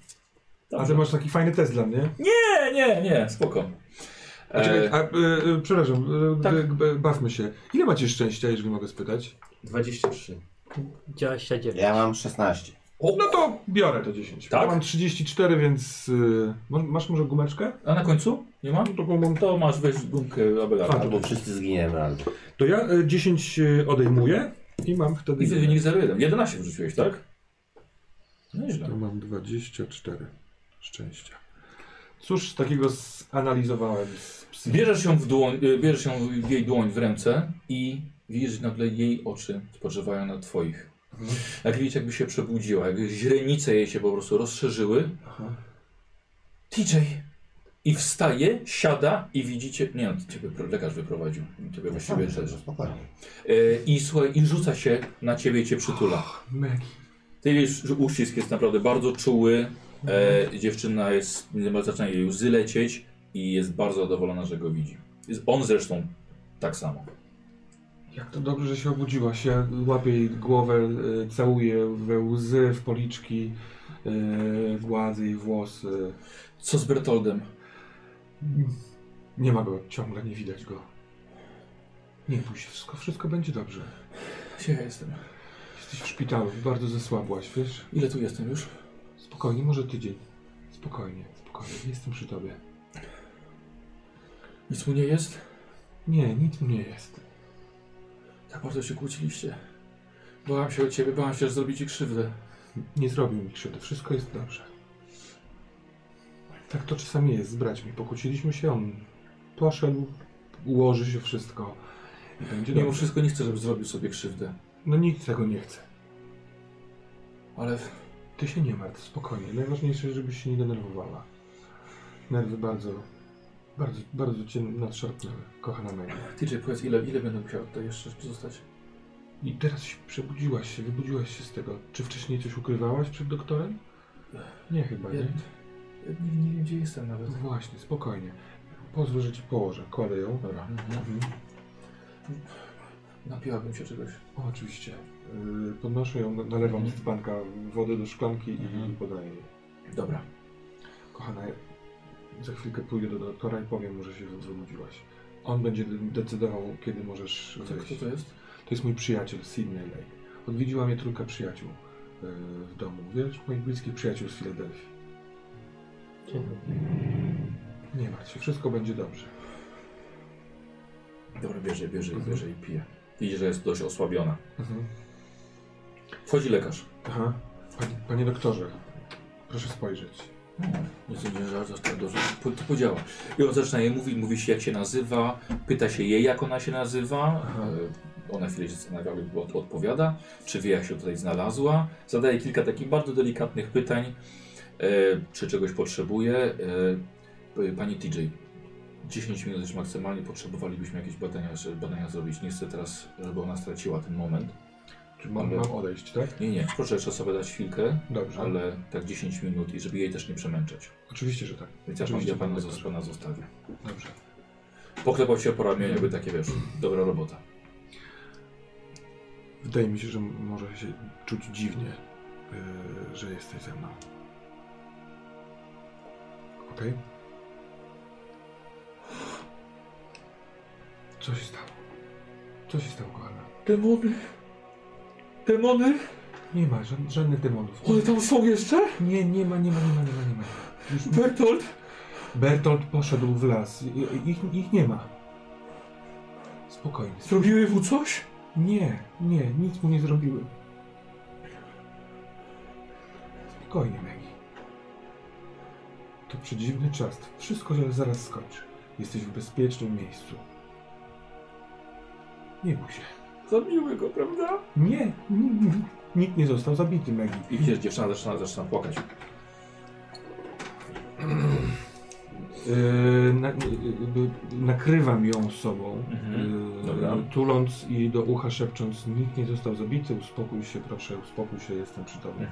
[SPEAKER 2] Dobrze.
[SPEAKER 3] ty masz taki fajny test dla mnie.
[SPEAKER 2] Nie, nie, nie, spoko.
[SPEAKER 3] A, czekaj,
[SPEAKER 2] E,
[SPEAKER 3] a, y, y, przepraszam, y,
[SPEAKER 2] tak.
[SPEAKER 3] y, y, bawmy się. Ile macie szczęścia, jeżeli mogę spytać?
[SPEAKER 4] 23.
[SPEAKER 5] 29.
[SPEAKER 1] Ja mam 16.
[SPEAKER 2] o,
[SPEAKER 3] No to biorę to 10.
[SPEAKER 2] Tak?
[SPEAKER 3] Ja mam 34, więc... Y, mo- masz może gumeczkę?
[SPEAKER 2] a na końcu? Nie ma?
[SPEAKER 3] No to, bo mam...
[SPEAKER 2] To masz weź gumkę
[SPEAKER 3] A,
[SPEAKER 2] Abelarda.
[SPEAKER 1] Albo wszyscy zginiemy, albo...
[SPEAKER 3] to ja y, 10 y, odejmuję i mam wtedy...
[SPEAKER 2] I wynik 0,1. 11 wrzuciłeś, tak? No Nieźle.
[SPEAKER 3] To mam 24 szczęścia. Cóż takiego zanalizowałem z psy.
[SPEAKER 2] Bierzesz ją w dłoń, y, bierzesz ją w jej dłoń w ręce i widzisz że nagle jej oczy spoczywają na twoich.
[SPEAKER 3] Mhm.
[SPEAKER 2] Jak widzisz, jakby się przebudziła, jakby źrenice jej się po prostu rozszerzyły.
[SPEAKER 3] Aha.
[SPEAKER 2] TJ, I wstaje, siada i widzicie. Nie, on ciebie pro- lekarz wyprowadził. Ciebie właściwie też.
[SPEAKER 1] Dobrze, spokojnie.
[SPEAKER 2] Y, I słuchaj, i rzuca się na ciebie i cię przytula.
[SPEAKER 3] Megi.
[SPEAKER 2] Ty wiesz, że uścisk jest naprawdę bardzo czuły. E, dziewczyna jest, nie ma zaczyna jej łzy lecieć i jest bardzo zadowolona, że go widzi. Jest- On zresztą tak samo.
[SPEAKER 3] Jak to dobrze, że się obudziłaś. Ja łapię jej głowę, y, całuję we łzy, w policzki, y, gładzę jej włosy.
[SPEAKER 2] Co z Bertoldem?
[SPEAKER 3] Nie ma go ciągle, nie widać go. Nie bój się, wszystko, wszystko będzie dobrze.
[SPEAKER 2] Gdzie ja jestem?
[SPEAKER 3] Jesteś w szpitalu i bardzo zesłabłaś, wiesz?
[SPEAKER 2] Ile tu jestem już?
[SPEAKER 3] Spokojnie, może tydzień. Spokojnie, spokojnie, jestem przy tobie.
[SPEAKER 2] Nic mu nie jest?
[SPEAKER 3] Nie, nic mu nie jest.
[SPEAKER 2] Tak bardzo się kłóciliście. Bałam się o ciebie, bałam się, że zrobi ci krzywdę.
[SPEAKER 3] Nie zrobił mi krzywdy, wszystko jest dobrze. Tak to czasami jest z braćmi. Pokłóciliśmy się, on poszedł, ułoży się wszystko i będzie
[SPEAKER 2] Mimo
[SPEAKER 3] dobrze.
[SPEAKER 2] wszystko nie chcę, żeby zrobił sobie krzywdę.
[SPEAKER 3] No nikt tego nie chce.
[SPEAKER 2] Ale
[SPEAKER 3] Ty się nie martw, spokojnie. Najważniejsze, żebyś się nie denerwowała. Nerwy bardzo, bardzo, bardzo cię nadszarpnęły, kochana Mary.
[SPEAKER 2] TJ, powiedz, ile, ile będę musiał tutaj jeszcze zostać?
[SPEAKER 3] I teraz się przebudziłaś się, wybudziłaś się z tego. Czy wcześniej coś ukrywałaś przed doktorem? Nie chyba,
[SPEAKER 2] Ja,
[SPEAKER 3] nie?
[SPEAKER 2] nie, nie wiem, gdzie jestem nawet.
[SPEAKER 3] No właśnie, spokojnie. Pozwól, że ci położę. Kładę ją. Dobra. Mhm.
[SPEAKER 2] Napiłabym się czegoś.
[SPEAKER 3] O, oczywiście. Yy, podnoszę ją, nalewam
[SPEAKER 2] Mhm.
[SPEAKER 3] z dzbanka wodę do szklanki i
[SPEAKER 2] Mhm.
[SPEAKER 3] podaję jej.
[SPEAKER 2] Dobra.
[SPEAKER 3] Kochana, ja za chwilkę pójdę do doktora i powiem mu, że się wybudziłaś. On będzie de- decydował, kiedy możesz
[SPEAKER 2] Kto,
[SPEAKER 3] wyjść.
[SPEAKER 2] kto to jest?
[SPEAKER 3] To jest mój przyjaciel, Sydney Lake. Odwiedziła mnie trójka przyjaciół yy, w domu, wiesz? Moich bliskich przyjaciół z Filadelfii.
[SPEAKER 5] Dzień dobry.
[SPEAKER 3] Nie martw się, wszystko będzie dobrze.
[SPEAKER 2] Dobra, bierze, bierze, i bierze i pije. Widzi, że jest dość osłabiona.
[SPEAKER 3] Mhm.
[SPEAKER 2] Wchodzi lekarz.
[SPEAKER 3] Aha. Panie, panie doktorze, proszę spojrzeć.
[SPEAKER 2] Nie sądzę, że aż tak dobrze po- to podziała. I on zaczyna jej mówić, mówi się jak się nazywa, pyta się jej jak ona się nazywa.
[SPEAKER 3] Aha.
[SPEAKER 2] E, Ona chwilę się zastanawia, jakby od, odpowiada, czy wie jak się tutaj znalazła. Zadaje kilka takich bardzo delikatnych pytań, e, czy czegoś potrzebuje. E, p- pani TJ, 10 minut już maksymalnie potrzebowalibyśmy jakieś badania, żeby badania zrobić. Nie chcę teraz, żeby ona straciła ten moment.
[SPEAKER 3] Czy mam,
[SPEAKER 2] Ale-
[SPEAKER 3] mam odejść, tak?
[SPEAKER 2] Nie, nie, proszę jeszcze sobie dać chwilkę,
[SPEAKER 3] Dobrze.
[SPEAKER 2] ale tak 10 minut i żeby jej też nie przemęczać.
[SPEAKER 3] Oczywiście, że tak.
[SPEAKER 2] Więc ja, pan,
[SPEAKER 3] Oczywiście,
[SPEAKER 2] ja pana,
[SPEAKER 3] panie
[SPEAKER 2] zos- pana zostawię.
[SPEAKER 3] Dobrze.
[SPEAKER 2] Poklepał się po ramieniu, jakby takie wiesz, dobra robota.
[SPEAKER 3] Wydaje mi się, że m- może się czuć dziwnie, yy, że jesteś ze mną. Okej? Co się stało? Co się stało, kochana?
[SPEAKER 2] Demony! Demony!
[SPEAKER 3] Nie ma ża- żadnych demonów.
[SPEAKER 2] One tam są jeszcze?
[SPEAKER 3] Nie, nie ma, nie ma, nie ma, nie ma, nie ma. Już
[SPEAKER 2] Bertolt!
[SPEAKER 3] Bertolt poszedł w las. I- i- Ich, ich nie ma. Spokojnie. spokojnie.
[SPEAKER 2] Zrobiły mu coś?
[SPEAKER 3] Nie, nie, nic mu nie zrobiłem. Spokojnie, Maggie. To przedziwny czas. Wszystko się zaraz skończy. Jesteś w bezpiecznym miejscu. Nie bój się.
[SPEAKER 2] Zabiły go, prawda?
[SPEAKER 3] Nie, nikt, nikt nie został zabity, Maggie.
[SPEAKER 2] I widzisz, dziewczyna zaczyna, zaczyna płakać.
[SPEAKER 3] Yy, na, yy, yy, nakrywam ją sobą,
[SPEAKER 2] Mhm.
[SPEAKER 3] yy,
[SPEAKER 2] Dobra.
[SPEAKER 3] tuląc i do ucha szepcząc, nikt nie został zabity, uspokój się proszę, uspokój się, jestem przy tobie.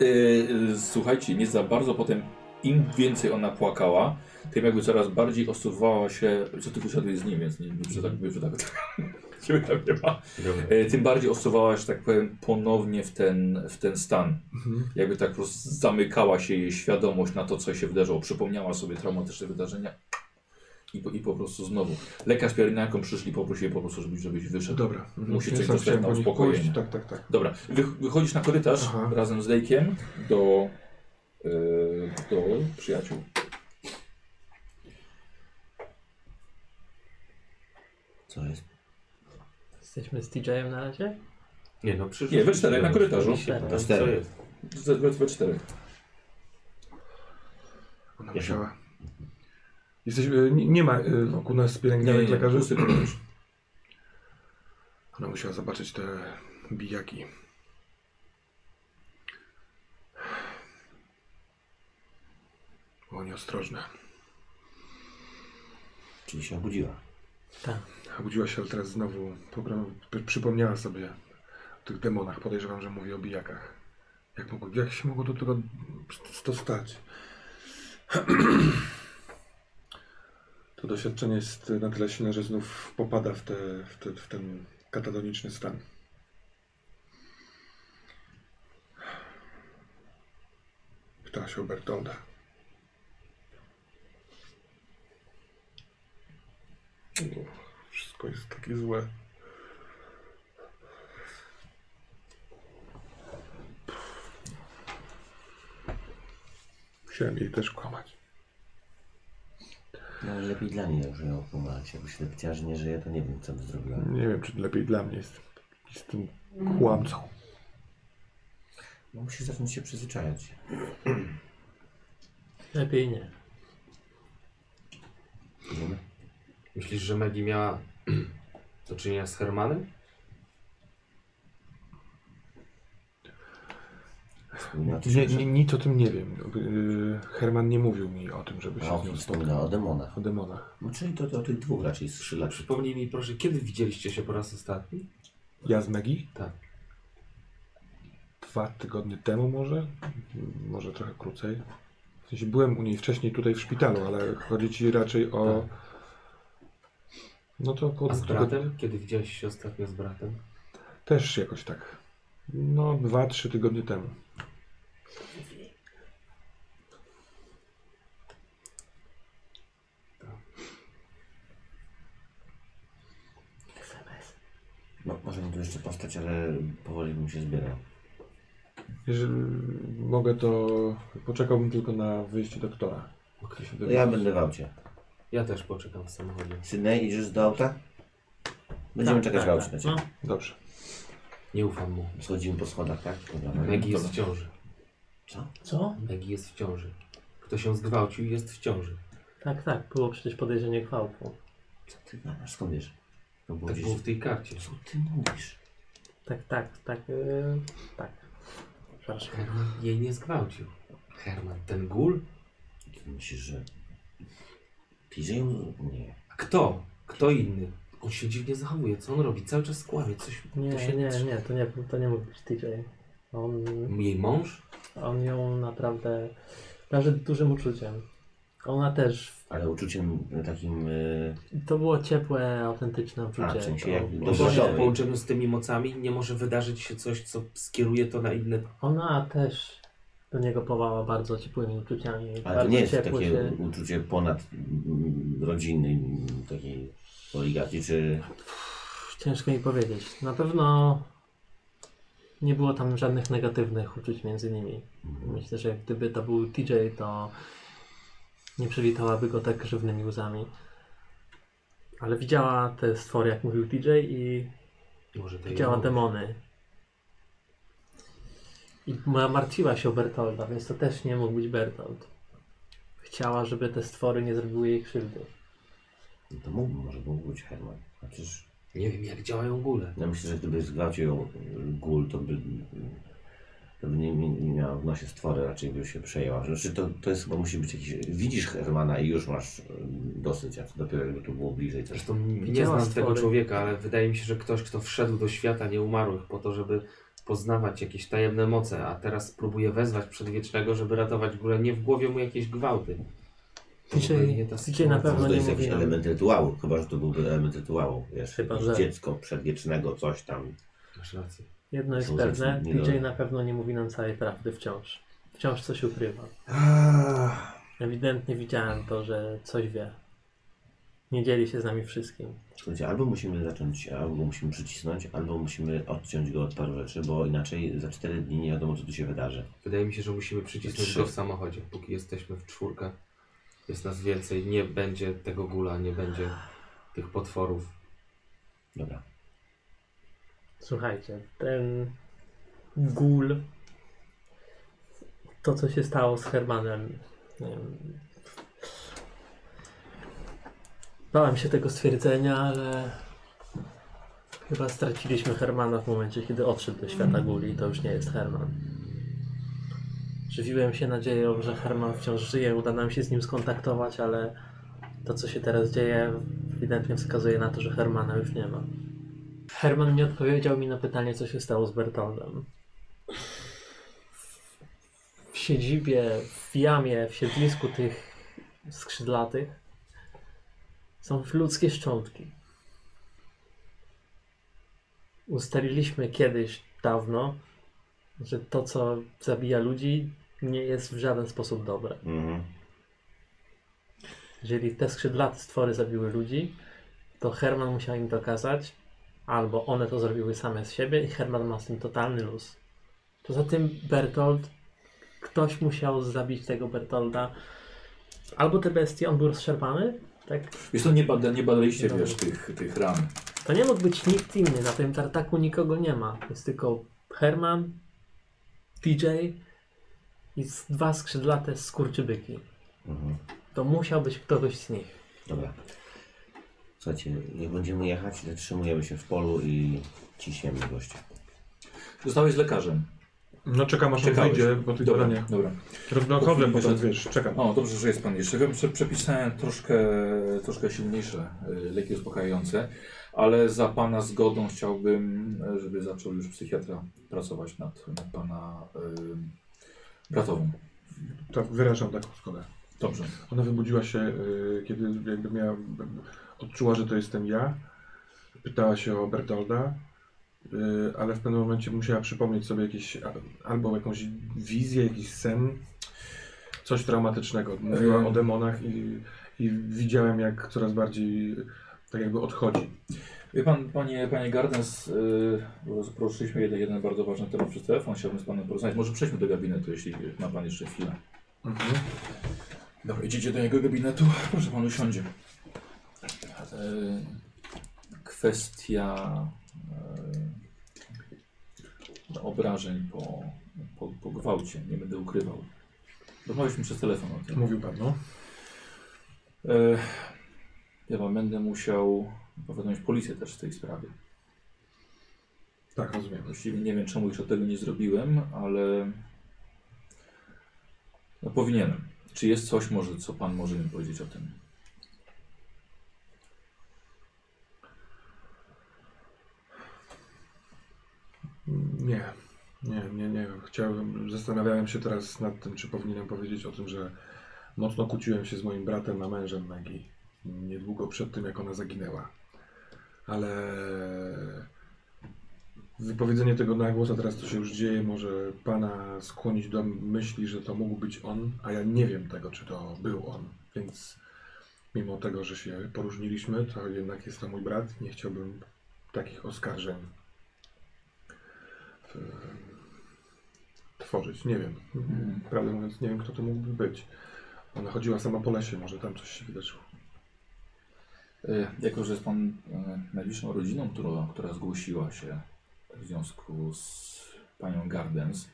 [SPEAKER 2] Yy, yy, słuchajcie, nie za bardzo potem, im więcej ona płakała, tym jakby coraz bardziej osuwała się, co ty wyszedłeś z nim, więc nie, nie, że tak, że tak, ciebie tam nie ma. E, tym bardziej osuwała, że tak powiem, ponownie w ten, w ten stan.
[SPEAKER 3] Mhm.
[SPEAKER 2] Jakby tak po prostu zamykała się jej świadomość na to, co się wydarzyło. Przypomniała sobie traumatyczne wydarzenia i po, i po prostu znowu. Lekarz pielęgniarką przyszli, poprosili po prostu, żebyś, żebyś wyszedł.
[SPEAKER 3] Dobra, no
[SPEAKER 2] Musi
[SPEAKER 3] Ja
[SPEAKER 2] coś
[SPEAKER 3] sam
[SPEAKER 2] dostać
[SPEAKER 3] chciałem
[SPEAKER 2] na
[SPEAKER 3] po nich
[SPEAKER 2] uspokojenie.
[SPEAKER 3] pójść, Tak, tak, tak.
[SPEAKER 2] Dobra, Wy, wychodzisz na korytarz
[SPEAKER 3] Aha.
[SPEAKER 2] razem z Lejkiem do, e, do przyjaciół.
[SPEAKER 1] Co jest?
[SPEAKER 5] Jesteśmy z TJ-em na razie?
[SPEAKER 4] Nie no, przyszło.
[SPEAKER 2] Nie, we czterech na korytarzu.
[SPEAKER 1] Na cztery.
[SPEAKER 2] We, we, we czterech.
[SPEAKER 3] Ona musiała. Jesteś, yy, nie, nie ma yy, wokół nas pielęgniarek lekarzy?
[SPEAKER 2] pusty korytarz.
[SPEAKER 3] Ona musiała zobaczyć te bijaki. Było nieostrożne.
[SPEAKER 1] Czyli się obudziła.
[SPEAKER 5] Tak.
[SPEAKER 3] Obudziła się ale teraz znowu, pobra- p- przypomniała sobie o tych demonach, podejrzewam, że mówi o bijakach. Jak, mogło, jak się mogło do tego s- to stać? To doświadczenie jest na tyle silne, że znów popada w, te, w, te, w ten katatoniczny stan. Pytała się o Bertolda. Wszystko jest takie złe. Musiałem jej też kłamać.
[SPEAKER 1] No ale lepiej dla niej, że ją pomagać. Jakby ślepciarz nie żyje, to nie wiem, co by zrobiła.
[SPEAKER 3] Nie wiem, czy lepiej dla mnie jest z tym kłamcą.
[SPEAKER 1] No, musi zacząć się przyzwyczajać.
[SPEAKER 5] Lepiej nie.
[SPEAKER 1] Wiemy?
[SPEAKER 4] Myślisz, że Megi miała do czynienia z Hermanem?
[SPEAKER 1] Wspomina o tym,
[SPEAKER 3] Nie,
[SPEAKER 1] że-
[SPEAKER 3] nie, nic o tym nie wiem. Yy, Herman nie mówił mi o tym, żeby się
[SPEAKER 1] A
[SPEAKER 3] z
[SPEAKER 1] on
[SPEAKER 3] nim
[SPEAKER 1] wspomina
[SPEAKER 3] spotkał.
[SPEAKER 1] o demonach.
[SPEAKER 3] O demonach.
[SPEAKER 1] No, czyli to, to o tych dwóch raczej strzelać.
[SPEAKER 4] Przypomnij mi proszę, kiedy widzieliście się po raz ostatni?
[SPEAKER 3] Ja z Megi?
[SPEAKER 4] Tak.
[SPEAKER 3] Dwa tygodnie temu może? M- Może trochę krócej. W sensie byłem u niej wcześniej tutaj w szpitalu, ale chodzi ci raczej o... No to około
[SPEAKER 4] A z
[SPEAKER 3] dwóch tygodni-
[SPEAKER 4] bratem? Kiedy widziałeś się ostatnio z bratem?
[SPEAKER 3] Też jakoś tak. No, dwa, trzy tygodnie temu.
[SPEAKER 1] No, może mi tu jeszcze postać, ale powoli bym się zbierał.
[SPEAKER 3] Jeżeli mogę, to poczekałbym tylko na wyjście doktora.
[SPEAKER 4] Okej.
[SPEAKER 1] No, ja będę w aucie.
[SPEAKER 4] Ja też poczekam w samochodzie.
[SPEAKER 1] Sydney, idziesz do auta? Będziemy
[SPEAKER 5] Tak,
[SPEAKER 1] czekać
[SPEAKER 5] tak,
[SPEAKER 1] w aucie
[SPEAKER 5] tak.
[SPEAKER 1] na ciebie.
[SPEAKER 5] No.
[SPEAKER 3] Dobrze.
[SPEAKER 4] Nie ufam mu.
[SPEAKER 1] Schodzimy po schodach, tak? Dobra, no.
[SPEAKER 4] Megi jest w ciąży.
[SPEAKER 1] Co?
[SPEAKER 5] Co?
[SPEAKER 4] Megi jest w ciąży. Kto się zgwałcił jest w ciąży.
[SPEAKER 5] Tak, tak, było przecież podejrzenie gwałtu.
[SPEAKER 1] Co ty gadasz? Skąd wiesz? To było
[SPEAKER 4] Tak
[SPEAKER 1] gdzieś...
[SPEAKER 4] było w tej karcie.
[SPEAKER 1] Co ty mówisz?
[SPEAKER 5] Tak, tak, tak, yy, tak. Przepraszam.
[SPEAKER 4] Herman jej nie zgwałcił. Herman, ten gul?
[SPEAKER 1] Ty myślisz, że... PJ? Nie.
[SPEAKER 4] A kto? Kto inny? On się dziwnie zachowuje. Co on robi? Cały czas kłamie. Coś to
[SPEAKER 5] Nie,
[SPEAKER 4] się...
[SPEAKER 5] nie, nie, to nie, to nie mógł być TJ. On,
[SPEAKER 4] Jej mąż?
[SPEAKER 5] on ją naprawdę darzy dużym uczuciem. Ona też.
[SPEAKER 1] Ale uczuciem takim... y,
[SPEAKER 5] To było ciepłe, autentyczne uczucie.
[SPEAKER 1] A, w sensie
[SPEAKER 5] To-
[SPEAKER 1] jakby
[SPEAKER 5] to-
[SPEAKER 4] Bo
[SPEAKER 1] Dobrze,
[SPEAKER 4] się
[SPEAKER 1] żałuję.
[SPEAKER 4] w połączeniu z tymi mocami nie może wydarzyć się coś, co skieruje to na inne...
[SPEAKER 5] Ona też do niego powała bardzo ciepłymi uczuciami.
[SPEAKER 1] Ale to
[SPEAKER 5] bardzo
[SPEAKER 1] nie jest
[SPEAKER 5] ciepło
[SPEAKER 1] takie
[SPEAKER 5] się-
[SPEAKER 1] uczucie ponad mm, rodziny, mm, takiej oligarchii, czy...
[SPEAKER 5] Ciężko mi powiedzieć. Na pewno nie było tam żadnych negatywnych uczuć między nimi. Myślę, że gdyby to był TJ, to nie przywitałaby go tak żywnymi łzami. Ale widziała te stwory, jak mówił TJ, i
[SPEAKER 4] Może to jej
[SPEAKER 5] widziała
[SPEAKER 4] mąż.
[SPEAKER 5] demony. I ma- martwiła się o Bertolda, więc to też nie mógł być Bertold. Chciała, żeby te stwory nie zrobiły jej krzywdy.
[SPEAKER 1] No to mógłby, może mógł być Herman. Chociaż
[SPEAKER 4] Nie wiem, jak działają góle.
[SPEAKER 1] ja myślę, że gdyby zgwałcił ją y, Gul, to by, y, to by nie, nie nie miała w nosie stwory, raczej by się przejęła. Znaczy to, to jest chyba musi być jakiś... Widzisz Hermana i już masz y, dosyć, a to dopiero jakby to było bliżej coś.
[SPEAKER 4] Zresztą nie
[SPEAKER 5] Widziała
[SPEAKER 4] znam tego
[SPEAKER 5] stwory.
[SPEAKER 4] człowieka, ale wydaje mi się, że ktoś, kto wszedł do świata nieumarłych po to, żeby poznawać jakieś tajemne moce, a teraz próbuje wezwać przedwiecznego, żeby ratować górę. Nie w głowie mu jakieś gwałty. To
[SPEAKER 5] TJ
[SPEAKER 4] zupełnie nie ta
[SPEAKER 5] TJ na
[SPEAKER 4] sytuacja.
[SPEAKER 5] pewno
[SPEAKER 1] Może to
[SPEAKER 5] nie
[SPEAKER 1] jest jakiś
[SPEAKER 5] mówi nam.
[SPEAKER 1] element rytuału, chyba że to byłby element rytuału, wiesz,
[SPEAKER 5] Chyba,
[SPEAKER 1] jakieś
[SPEAKER 5] że-
[SPEAKER 1] dziecko przedwiecznego, coś tam.
[SPEAKER 4] Masz rację.
[SPEAKER 5] Jedno jest
[SPEAKER 1] Są
[SPEAKER 5] pewne,
[SPEAKER 1] rzeczy nie
[SPEAKER 5] DJ
[SPEAKER 1] do-
[SPEAKER 5] na pewno nie mówi nam całej prawdy wciąż. Wciąż coś ukrywa. Ewidentnie widziałem to, że coś wie. Nie dzieli się z nami wszystkim.
[SPEAKER 1] Słuchajcie, albo musimy zacząć, albo musimy przycisnąć, albo musimy odciąć go od paru rzeczy, bo inaczej za 4 dni nie wiadomo, co tu się wydarzy.
[SPEAKER 4] Wydaje mi się, że musimy przycisnąć
[SPEAKER 1] Trzy.
[SPEAKER 4] go w samochodzie. Póki jesteśmy w czwórkę, jest nas więcej, nie będzie tego gula, nie będzie tych potworów.
[SPEAKER 1] Dobra.
[SPEAKER 5] Słuchajcie, ten gul, to co się stało z Hermanem, nie wiem. Bałem się tego stwierdzenia, ale chyba straciliśmy Hermana w momencie, kiedy odszedł do świata guli i to już nie jest Herman. Żywiłem się nadzieją, że Herman wciąż żyje, uda nam się z nim skontaktować, ale To, co się teraz dzieje, ewidentnie wskazuje na to, że Hermana już nie ma. Herman nie odpowiedział mi na pytanie, co się stało z Bertoldem. W siedzibie, w jamie, w siedlisku tych skrzydlatych są ludzkie szczątki. Ustaliliśmy kiedyś dawno, że to, co zabija ludzi, nie jest w żaden sposób dobre.
[SPEAKER 1] Mhm.
[SPEAKER 5] Jeżeli te skrzydlate stwory zabiły ludzi, to Herman musiał im dokazać, albo one to zrobiły same z siebie i Herman ma z tym totalny luz. Poza tym Bertold, ktoś musiał zabić tego Bertolda. Albo te bestie, on był rozszarpany, tak?
[SPEAKER 2] Wiesz, to nie, bada, nie badaliście,
[SPEAKER 5] Dobra.
[SPEAKER 2] wiesz, tych, tych ran.
[SPEAKER 5] To nie mógł być nikt inny, na tym tartaku nikogo nie ma. Jest tylko Herman, TJ i z- dwa skrzydlate skurczybyki.
[SPEAKER 1] Mhm.
[SPEAKER 5] To musiał być ktoś z nich.
[SPEAKER 1] Dobra. Słuchajcie, jak będziemy jechać, zatrzymujemy się w polu i ciśniemy gościa.
[SPEAKER 2] Zostałeś lekarzem.
[SPEAKER 3] No czekam aż on
[SPEAKER 2] Czekałeś.
[SPEAKER 3] wyjdzie po tych
[SPEAKER 2] Dobra,
[SPEAKER 3] badaniach.
[SPEAKER 2] dobra.
[SPEAKER 3] Równo
[SPEAKER 2] Po
[SPEAKER 3] chodzę
[SPEAKER 2] chwili
[SPEAKER 3] potem,
[SPEAKER 2] wyszedł.
[SPEAKER 3] wiesz, czekam.
[SPEAKER 2] O, dobrze, że jest pan jeszcze. Wiem, że przepisałem troszkę, troszkę silniejsze y, leki uspokajające, ale za pana zgodą chciałbym, y, żeby zaczął już psychiatra pracować nad, nad pana y, bratową.
[SPEAKER 3] Tak, wyrażam taką zgodę.
[SPEAKER 2] Dobrze.
[SPEAKER 3] Ona wybudziła się, y, kiedy jakby miała, odczuła, że to jestem ja. Pytała się o Bertolda, y, ale w pewnym momencie musiała przypomnieć sobie jakieś, a- albo jakąś wizję, jakiś sen, coś traumatycznego. Mówiła
[SPEAKER 2] Ym.
[SPEAKER 3] o demonach i, i widziałem, jak coraz bardziej tak jakby odchodzi.
[SPEAKER 2] Wie pan, panie, panie Gardens, yy, rozproszyliśmy jeden, jeden bardzo ważny temat przez telefon. Chciałbym z panem porozmawiać. Może przejdźmy do gabinetu, jeśli ma pan jeszcze chwilę.
[SPEAKER 3] Mhm.
[SPEAKER 2] Dobra, idziecie do jego gabinetu. Proszę pan usiądzie. E, Kwestia e, obrażeń po, po, po gwałcie. Nie będę ukrywał. Rozmawialiśmy przez telefon o tym.
[SPEAKER 3] Mówił pan, no.
[SPEAKER 2] E, Ja wam będę musiał powiadomić policję też w tej sprawie.
[SPEAKER 3] Tak, rozumiem.
[SPEAKER 2] Właściwie nie wiem, czemu jeszcze tego nie zrobiłem, ale no, powinienem. Czy jest coś może, co pan może mi powiedzieć o tym?
[SPEAKER 3] Nie, nie, nie, nie. Chciałbym, zastanawiałem się teraz nad tym, czy powinienem powiedzieć o tym, że mocno kłóciłem się z moim bratem, a mężem Megi niedługo przed tym, jak ona zaginęła. Ale wypowiedzenie tego na głos, a teraz to się już dzieje, może pana skłonić do myśli, że to mógł być on, a ja nie wiem tego, czy to był on, więc mimo tego, że się poróżniliśmy, to jednak jest to mój brat. Nie chciałbym takich oskarżeń e, tworzyć. Nie wiem. Prawdę mówiąc, nie wiem, kto to mógłby być. Ona chodziła sama po lesie, może tam coś się wydarzyło.
[SPEAKER 2] E, Jako, że jest Pan e, najbliższą rodziną, która, która zgłosiła się w związku z Panią Gardens,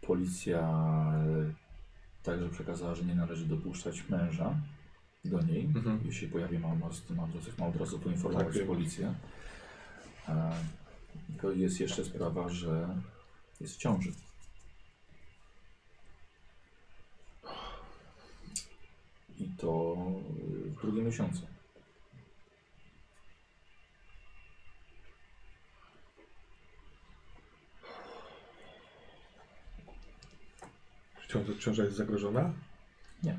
[SPEAKER 2] policja e, także przekazała, że nie należy dopuszczać męża do niej.
[SPEAKER 3] Mhm.
[SPEAKER 2] Jeśli się pojawi, mam, mam, mam, ma od razu
[SPEAKER 3] Tak,
[SPEAKER 2] poinformować
[SPEAKER 3] wiem.
[SPEAKER 2] policję. E, Tylko jest jeszcze sprawa, że jest w ciąży. I to e, w drugim miesiącu.
[SPEAKER 3] Czy ciąża- ciąża jest zagrożona?
[SPEAKER 2] Nie.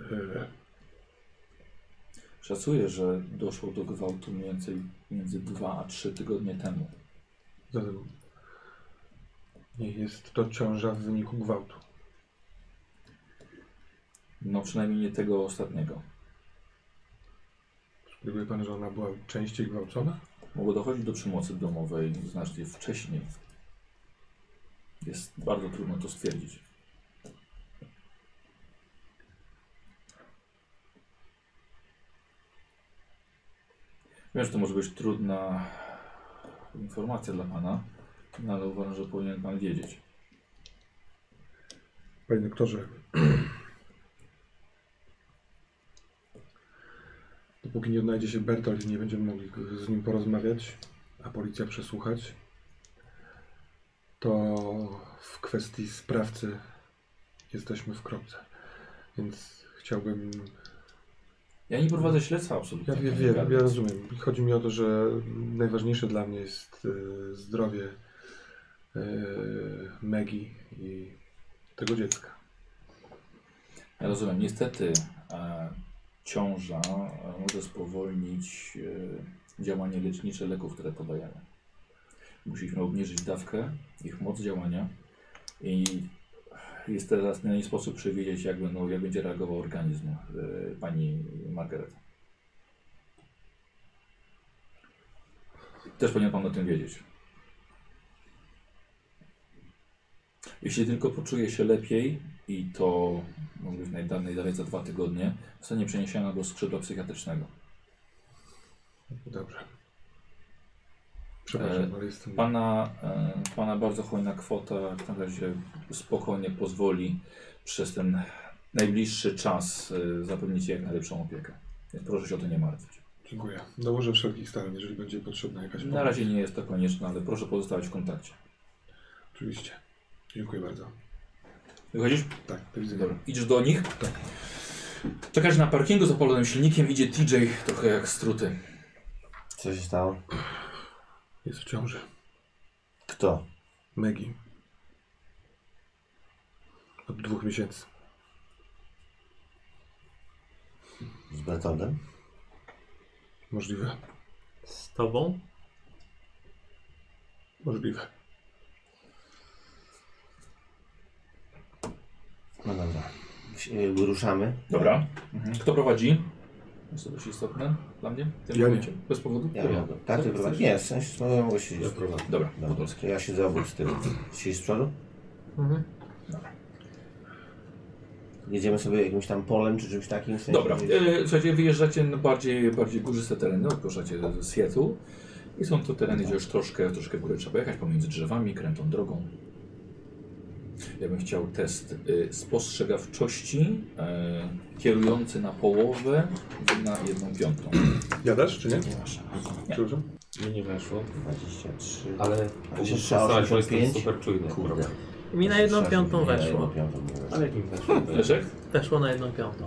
[SPEAKER 3] E,
[SPEAKER 2] Szacuję, że doszło do gwałtu mniej więcej między 2 a 3 tygodnie temu.
[SPEAKER 3] Zatem nie jest to ciąża w wyniku gwałtu.
[SPEAKER 2] No przynajmniej nie tego ostatniego.
[SPEAKER 3] Gdyby pan, że ona była częściej gwałcona?
[SPEAKER 2] Mogło dochodzić do przemocy domowej znacznie wcześniej. Jest bardzo trudno to stwierdzić. Wiem, że to może być trudna informacja dla Pana, no ale uważam, że powinien Pan wiedzieć.
[SPEAKER 3] Panie doktorze, Póki nie odnajdzie się Bertolt i nie będziemy mogli go- z nim porozmawiać, a policja przesłuchać, to w kwestii sprawcy jesteśmy w kropce. Więc chciałbym...
[SPEAKER 2] Ja nie prowadzę śledztwa absolutnie.
[SPEAKER 3] Ja, ja,
[SPEAKER 2] panie
[SPEAKER 3] wiem, ja
[SPEAKER 2] Gardic.
[SPEAKER 3] rozumiem. Chodzi mi o to, że najważniejsze dla mnie jest e, zdrowie e, Megi i tego dziecka.
[SPEAKER 2] Ja rozumiem. Niestety e, ciąża e, może spowolnić e, działanie lecznicze leków, które podajemy. Musieliśmy obniżyć dawkę, ich moc działania i jest teraz na nie sposób przewidzieć, jak, będą, jak będzie reagował organizm e, pani Margaret. Też powinien pan o tym wiedzieć. Jeśli tylko poczuje się lepiej i to może być najdalej dalej za dwa tygodnie, zostanie przeniesiona do skrzydła psychiatrycznego.
[SPEAKER 3] Dobrze. Przepraszam,
[SPEAKER 2] E,
[SPEAKER 3] ale jestem.
[SPEAKER 2] Pana, e, pana bardzo hojna kwota w tym razie spokojnie pozwoli przez ten najbliższy czas e, zapewnić jej jak najlepszą opiekę. Więc proszę się o to nie martwić.
[SPEAKER 3] Dziękuję. Dołożę wszelkich starań, jeżeli będzie potrzebna jakaś pomoc.
[SPEAKER 2] Na razie nie jest to konieczne, ale proszę pozostawać w kontakcie.
[SPEAKER 3] Oczywiście. Dziękuję bardzo.
[SPEAKER 2] Wychodzisz?
[SPEAKER 3] Tak, do widzenia.
[SPEAKER 2] Dobra. Idziesz do nich. Czekasz na parkingu z opalonym silnikiem, idzie TJ trochę jak struty.
[SPEAKER 1] Co się stało?
[SPEAKER 3] Jest w ciąży.
[SPEAKER 1] Kto?
[SPEAKER 3] Megi. Od dwóch miesięcy.
[SPEAKER 1] Z Bertoldem?
[SPEAKER 3] Możliwe.
[SPEAKER 5] Z tobą?
[SPEAKER 3] Możliwe.
[SPEAKER 1] No dobra. Wsi- y, Ruszamy.
[SPEAKER 2] Dobra. Kto prowadzi? Mhm. Jest to dość istotne dla mnie? w tym
[SPEAKER 3] Ja nie.
[SPEAKER 2] momencie. Bez powodu?
[SPEAKER 1] Ja
[SPEAKER 2] Dobra.
[SPEAKER 1] mogę. Tak, ty prowadzisz? Nie, w sensie no, mogę siedzieć.
[SPEAKER 2] Dobra,
[SPEAKER 1] Dobra,
[SPEAKER 2] Podolski.
[SPEAKER 1] to ja siedzę obok z tyłu. Siedzisz z przodu?
[SPEAKER 5] Mhm.
[SPEAKER 1] Jedziemy sobie jakimś tam polem czy czymś takim? W sensie,
[SPEAKER 2] Dobra, e, słuchajcie, wyjeżdżacie na bardziej, bardziej górzyste tereny, odkroczacie z Seattle i są to tereny, gdzie już troszkę, troszkę w górę trzeba jechać pomiędzy drzewami, krętą drogą. Ja bym chciał test e, spostrzegawczości e, kierujący na połowę na jedną piątą.
[SPEAKER 3] Jadasz, czy nie?
[SPEAKER 2] Nie.
[SPEAKER 3] Przepraszam.
[SPEAKER 7] Mi No nie weszło,
[SPEAKER 1] 23.
[SPEAKER 7] ale
[SPEAKER 1] się
[SPEAKER 7] mógłbym przestać, bo jestem
[SPEAKER 1] 85?
[SPEAKER 7] super czujny.
[SPEAKER 1] Kurde.
[SPEAKER 5] Mi na jedną
[SPEAKER 1] 23,
[SPEAKER 5] piątą
[SPEAKER 1] nie, na
[SPEAKER 5] weszło.
[SPEAKER 1] jedną piątą nie weszło.
[SPEAKER 7] Ale jak mi weszło?
[SPEAKER 2] Leszek?
[SPEAKER 5] Weszło na jedną piątą.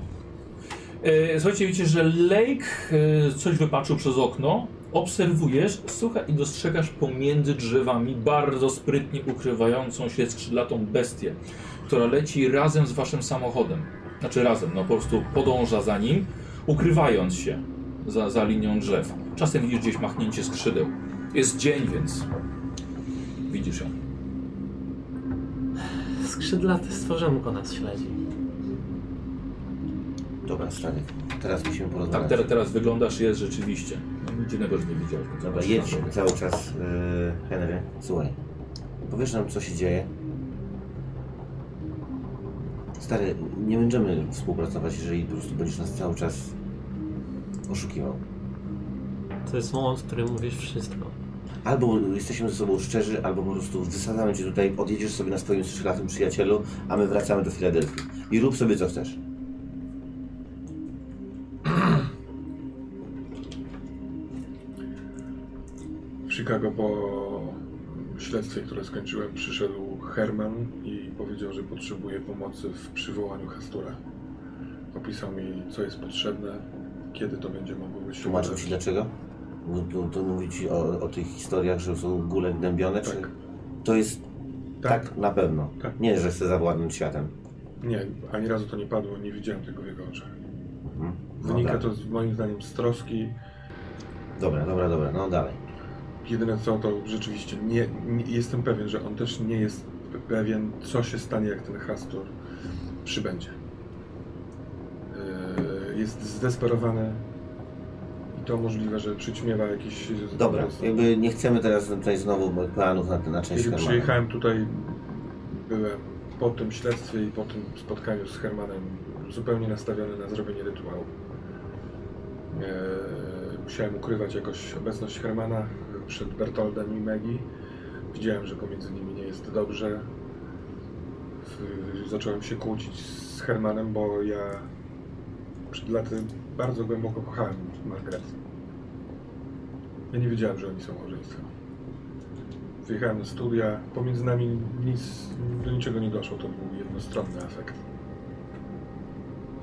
[SPEAKER 2] E, Słuchajcie, widzicie, że Lake e, coś wypatrzył przez okno, obserwujesz, słuchaj i dostrzegasz pomiędzy drzewami bardzo sprytnie ukrywającą się skrzydlatą bestię, która leci razem z waszym samochodem. Znaczy razem, no po prostu podąża za nim, ukrywając się za, za linią drzew. Czasem widzisz gdzieś machnięcie skrzydeł. Jest dzień, więc widzisz ją.
[SPEAKER 5] Skrzydlaty stworzonko nas śledzi.
[SPEAKER 1] Dobra, Stanek. Teraz musimy porozmawiać.
[SPEAKER 2] Tak teraz, teraz wyglądasz, jest rzeczywiście. No, nic Dziwnego, że nie widziałeś. bo
[SPEAKER 1] Dobra,
[SPEAKER 2] zobaczysz
[SPEAKER 1] jedź
[SPEAKER 2] na drogę.
[SPEAKER 1] cały czas, yy, Henry. Słuchaj, powiesz nam, co się dzieje? Stary, nie będziemy współpracować, jeżeli po prostu będziesz nas cały czas oszukiwał.
[SPEAKER 5] To jest moment, w którym mówisz wszystko.
[SPEAKER 1] Albo jesteśmy ze sobą szczerzy, albo po prostu wysadzamy cię tutaj, odjedziesz sobie na swoim strzelatym przyjacielu, a my wracamy do Filadelfii. I rób sobie, co chcesz.
[SPEAKER 3] W Chicago po śledztwie, które skończyłem, przyszedł Herman i powiedział, że potrzebuje pomocy w przywołaniu Hastura. Opisał mi, co jest potrzebne, kiedy to będzie mogło być.
[SPEAKER 1] Tłumaczę ci dlaczego. Bo To, to mówi ci o, o tych historiach, że są góle gnębione, czy...
[SPEAKER 3] Tak.
[SPEAKER 1] To jest tak,
[SPEAKER 3] Tak.
[SPEAKER 1] na pewno.
[SPEAKER 3] Tak.
[SPEAKER 1] Nie, że chce zawładnąć światem.
[SPEAKER 3] Nie, ani razu to nie padło, nie widziałem tego w jego oczach.
[SPEAKER 1] Mhm. No
[SPEAKER 3] Wynika
[SPEAKER 1] tak.
[SPEAKER 3] to z, moim zdaniem z troski.
[SPEAKER 1] Dobra, dobra, dobra, no dalej.
[SPEAKER 3] Jedyne co to rzeczywiście nie, nie jestem pewien, że on też nie jest pe- pewien, co się stanie, jak ten Hastur przybędzie. Yy, Jest zdesperowany i to możliwe, że przyćmiewa jakiś.
[SPEAKER 1] Dobra, jakby nie chcemy teraz tutaj znowu planów na, na część
[SPEAKER 3] Kiedy
[SPEAKER 1] Hermana.
[SPEAKER 3] przyjechałem tutaj, byłem po tym śledztwie i po tym spotkaniu z Hermanem zupełnie nastawiony na zrobienie rytuału. Eee, musiałem ukrywać jakoś obecność Hermana przed Bertoldem i Megi. Widziałem, że pomiędzy nimi nie jest dobrze. W- Zacząłem się kłócić z Hermanem, bo ja przed laty bardzo głęboko kochałem Margaret. Ja nie wiedziałem, że oni są małżeństwem. Wyjechałem na studia, pomiędzy nami nic, do niczego nie doszło, to był jednostronny afekt.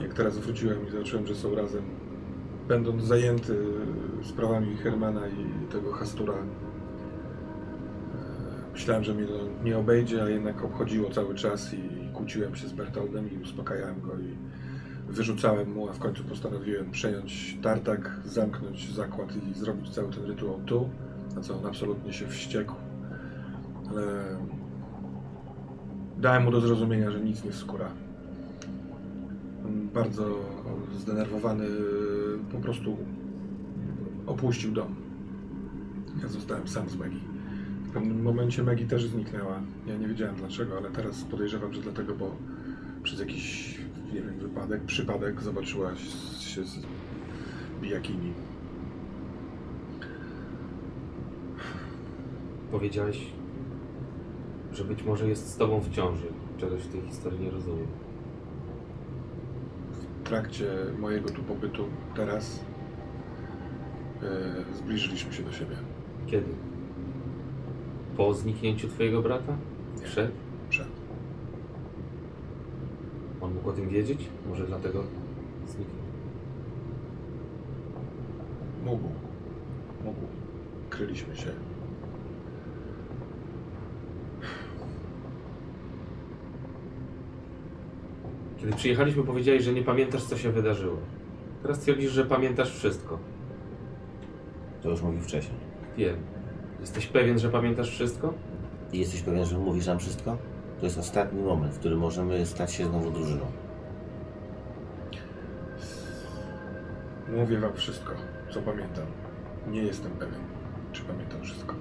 [SPEAKER 3] Jak teraz wróciłem i zobaczyłem, że są razem, będąc zajęty sprawami Hermana i tego Hastura, e, myślałem, że mnie to nie obejdzie, a jednak obchodziło cały czas i kłóciłem się z Bertoldem i uspokajałem go i wyrzucałem mu, a w końcu postanowiłem przejąć tartak, zamknąć zakład i zrobić cały ten rytuał tu, na co on absolutnie się wściekł. Ale dałem mu do zrozumienia, że nic nie skóra. On Bardzo zdenerwowany y, po prostu opuścił dom. Ja zostałem sam z Maggie. W pewnym momencie Maggie też zniknęła. Ja nie wiedziałem dlaczego, ale teraz podejrzewam, że dlatego, bo przez jakiś, nie wiem, wypadek, przypadek zobaczyła się z bijakini.
[SPEAKER 7] Powiedziałeś, że być może jest z tobą w ciąży. Czegoś w tej historii nie rozumiem.
[SPEAKER 3] W trakcie mojego tu pobytu teraz e, zbliżyliśmy się do siebie
[SPEAKER 7] Kiedy? Po zniknięciu twojego brata? Przed?
[SPEAKER 3] przed.
[SPEAKER 7] On mógł o tym wiedzieć? Może dlatego zniknął.
[SPEAKER 3] Mógł. Mógł. Kryliśmy się.
[SPEAKER 7] Kiedy przyjechaliśmy, powiedziałeś, że nie pamiętasz, co się wydarzyło. Teraz twierdzisz, że pamiętasz wszystko.
[SPEAKER 1] To już mówił wcześniej.
[SPEAKER 7] Wiem. Jesteś pewien, że pamiętasz wszystko?
[SPEAKER 1] I jesteś pewien, że mówisz nam wszystko? To jest ostatni moment, w którym możemy stać się znowu drużyną.
[SPEAKER 3] Mówię wam wszystko, co pamiętam. Nie jestem pewien, czy pamiętam wszystko.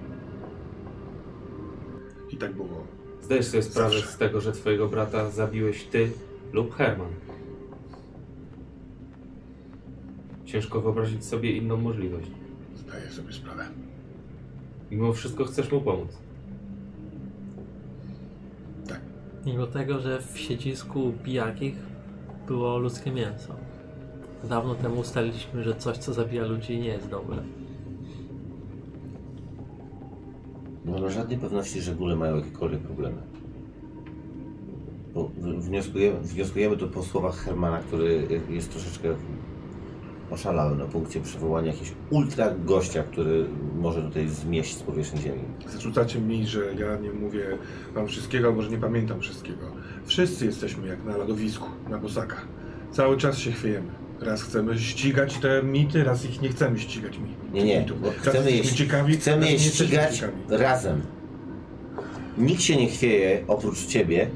[SPEAKER 3] I tak było.
[SPEAKER 7] Zdajesz sobie sprawę
[SPEAKER 3] Zawsze.
[SPEAKER 7] z tego, że twojego brata zabiłeś ty lub Herman. Ciężko wyobrazić sobie inną możliwość.
[SPEAKER 3] Zdaję sobie sprawę.
[SPEAKER 7] Mimo wszystko chcesz mu pomóc.
[SPEAKER 5] Mimo tego, że w siedzisku pijakich było ludzkie mięso. Dawno temu ustaliliśmy, że coś, co zabija ludzi, nie jest dobre.
[SPEAKER 1] Nie mam żadnej pewności, że góle mają jakiekolwiek problemy. Bo w- wnioskujemy, wnioskujemy to po słowach Hermana, który jest troszeczkę oszalały na punkcie przywołania jakiegoś ultra gościa, który może tutaj zmieść z powierzchni ziemi.
[SPEAKER 3] Zarzucacie mi, że ja nie mówię wam wszystkiego, albo że nie pamiętam wszystkiego. Wszyscy jesteśmy jak na lodowisku, na bosaka. Cały czas się chwiejemy. Raz chcemy ścigać te mity, raz ich nie chcemy ścigać mi.
[SPEAKER 1] Nie, nie.
[SPEAKER 3] mitów.
[SPEAKER 1] bo
[SPEAKER 3] Raz
[SPEAKER 1] Chcemy je,
[SPEAKER 3] jesteśmy ciekawi,
[SPEAKER 1] chcemy
[SPEAKER 3] raz
[SPEAKER 1] je
[SPEAKER 3] nie jesteśmy
[SPEAKER 1] ścigać
[SPEAKER 3] ciekawi.
[SPEAKER 1] razem. Nikt się nie chwieje oprócz ciebie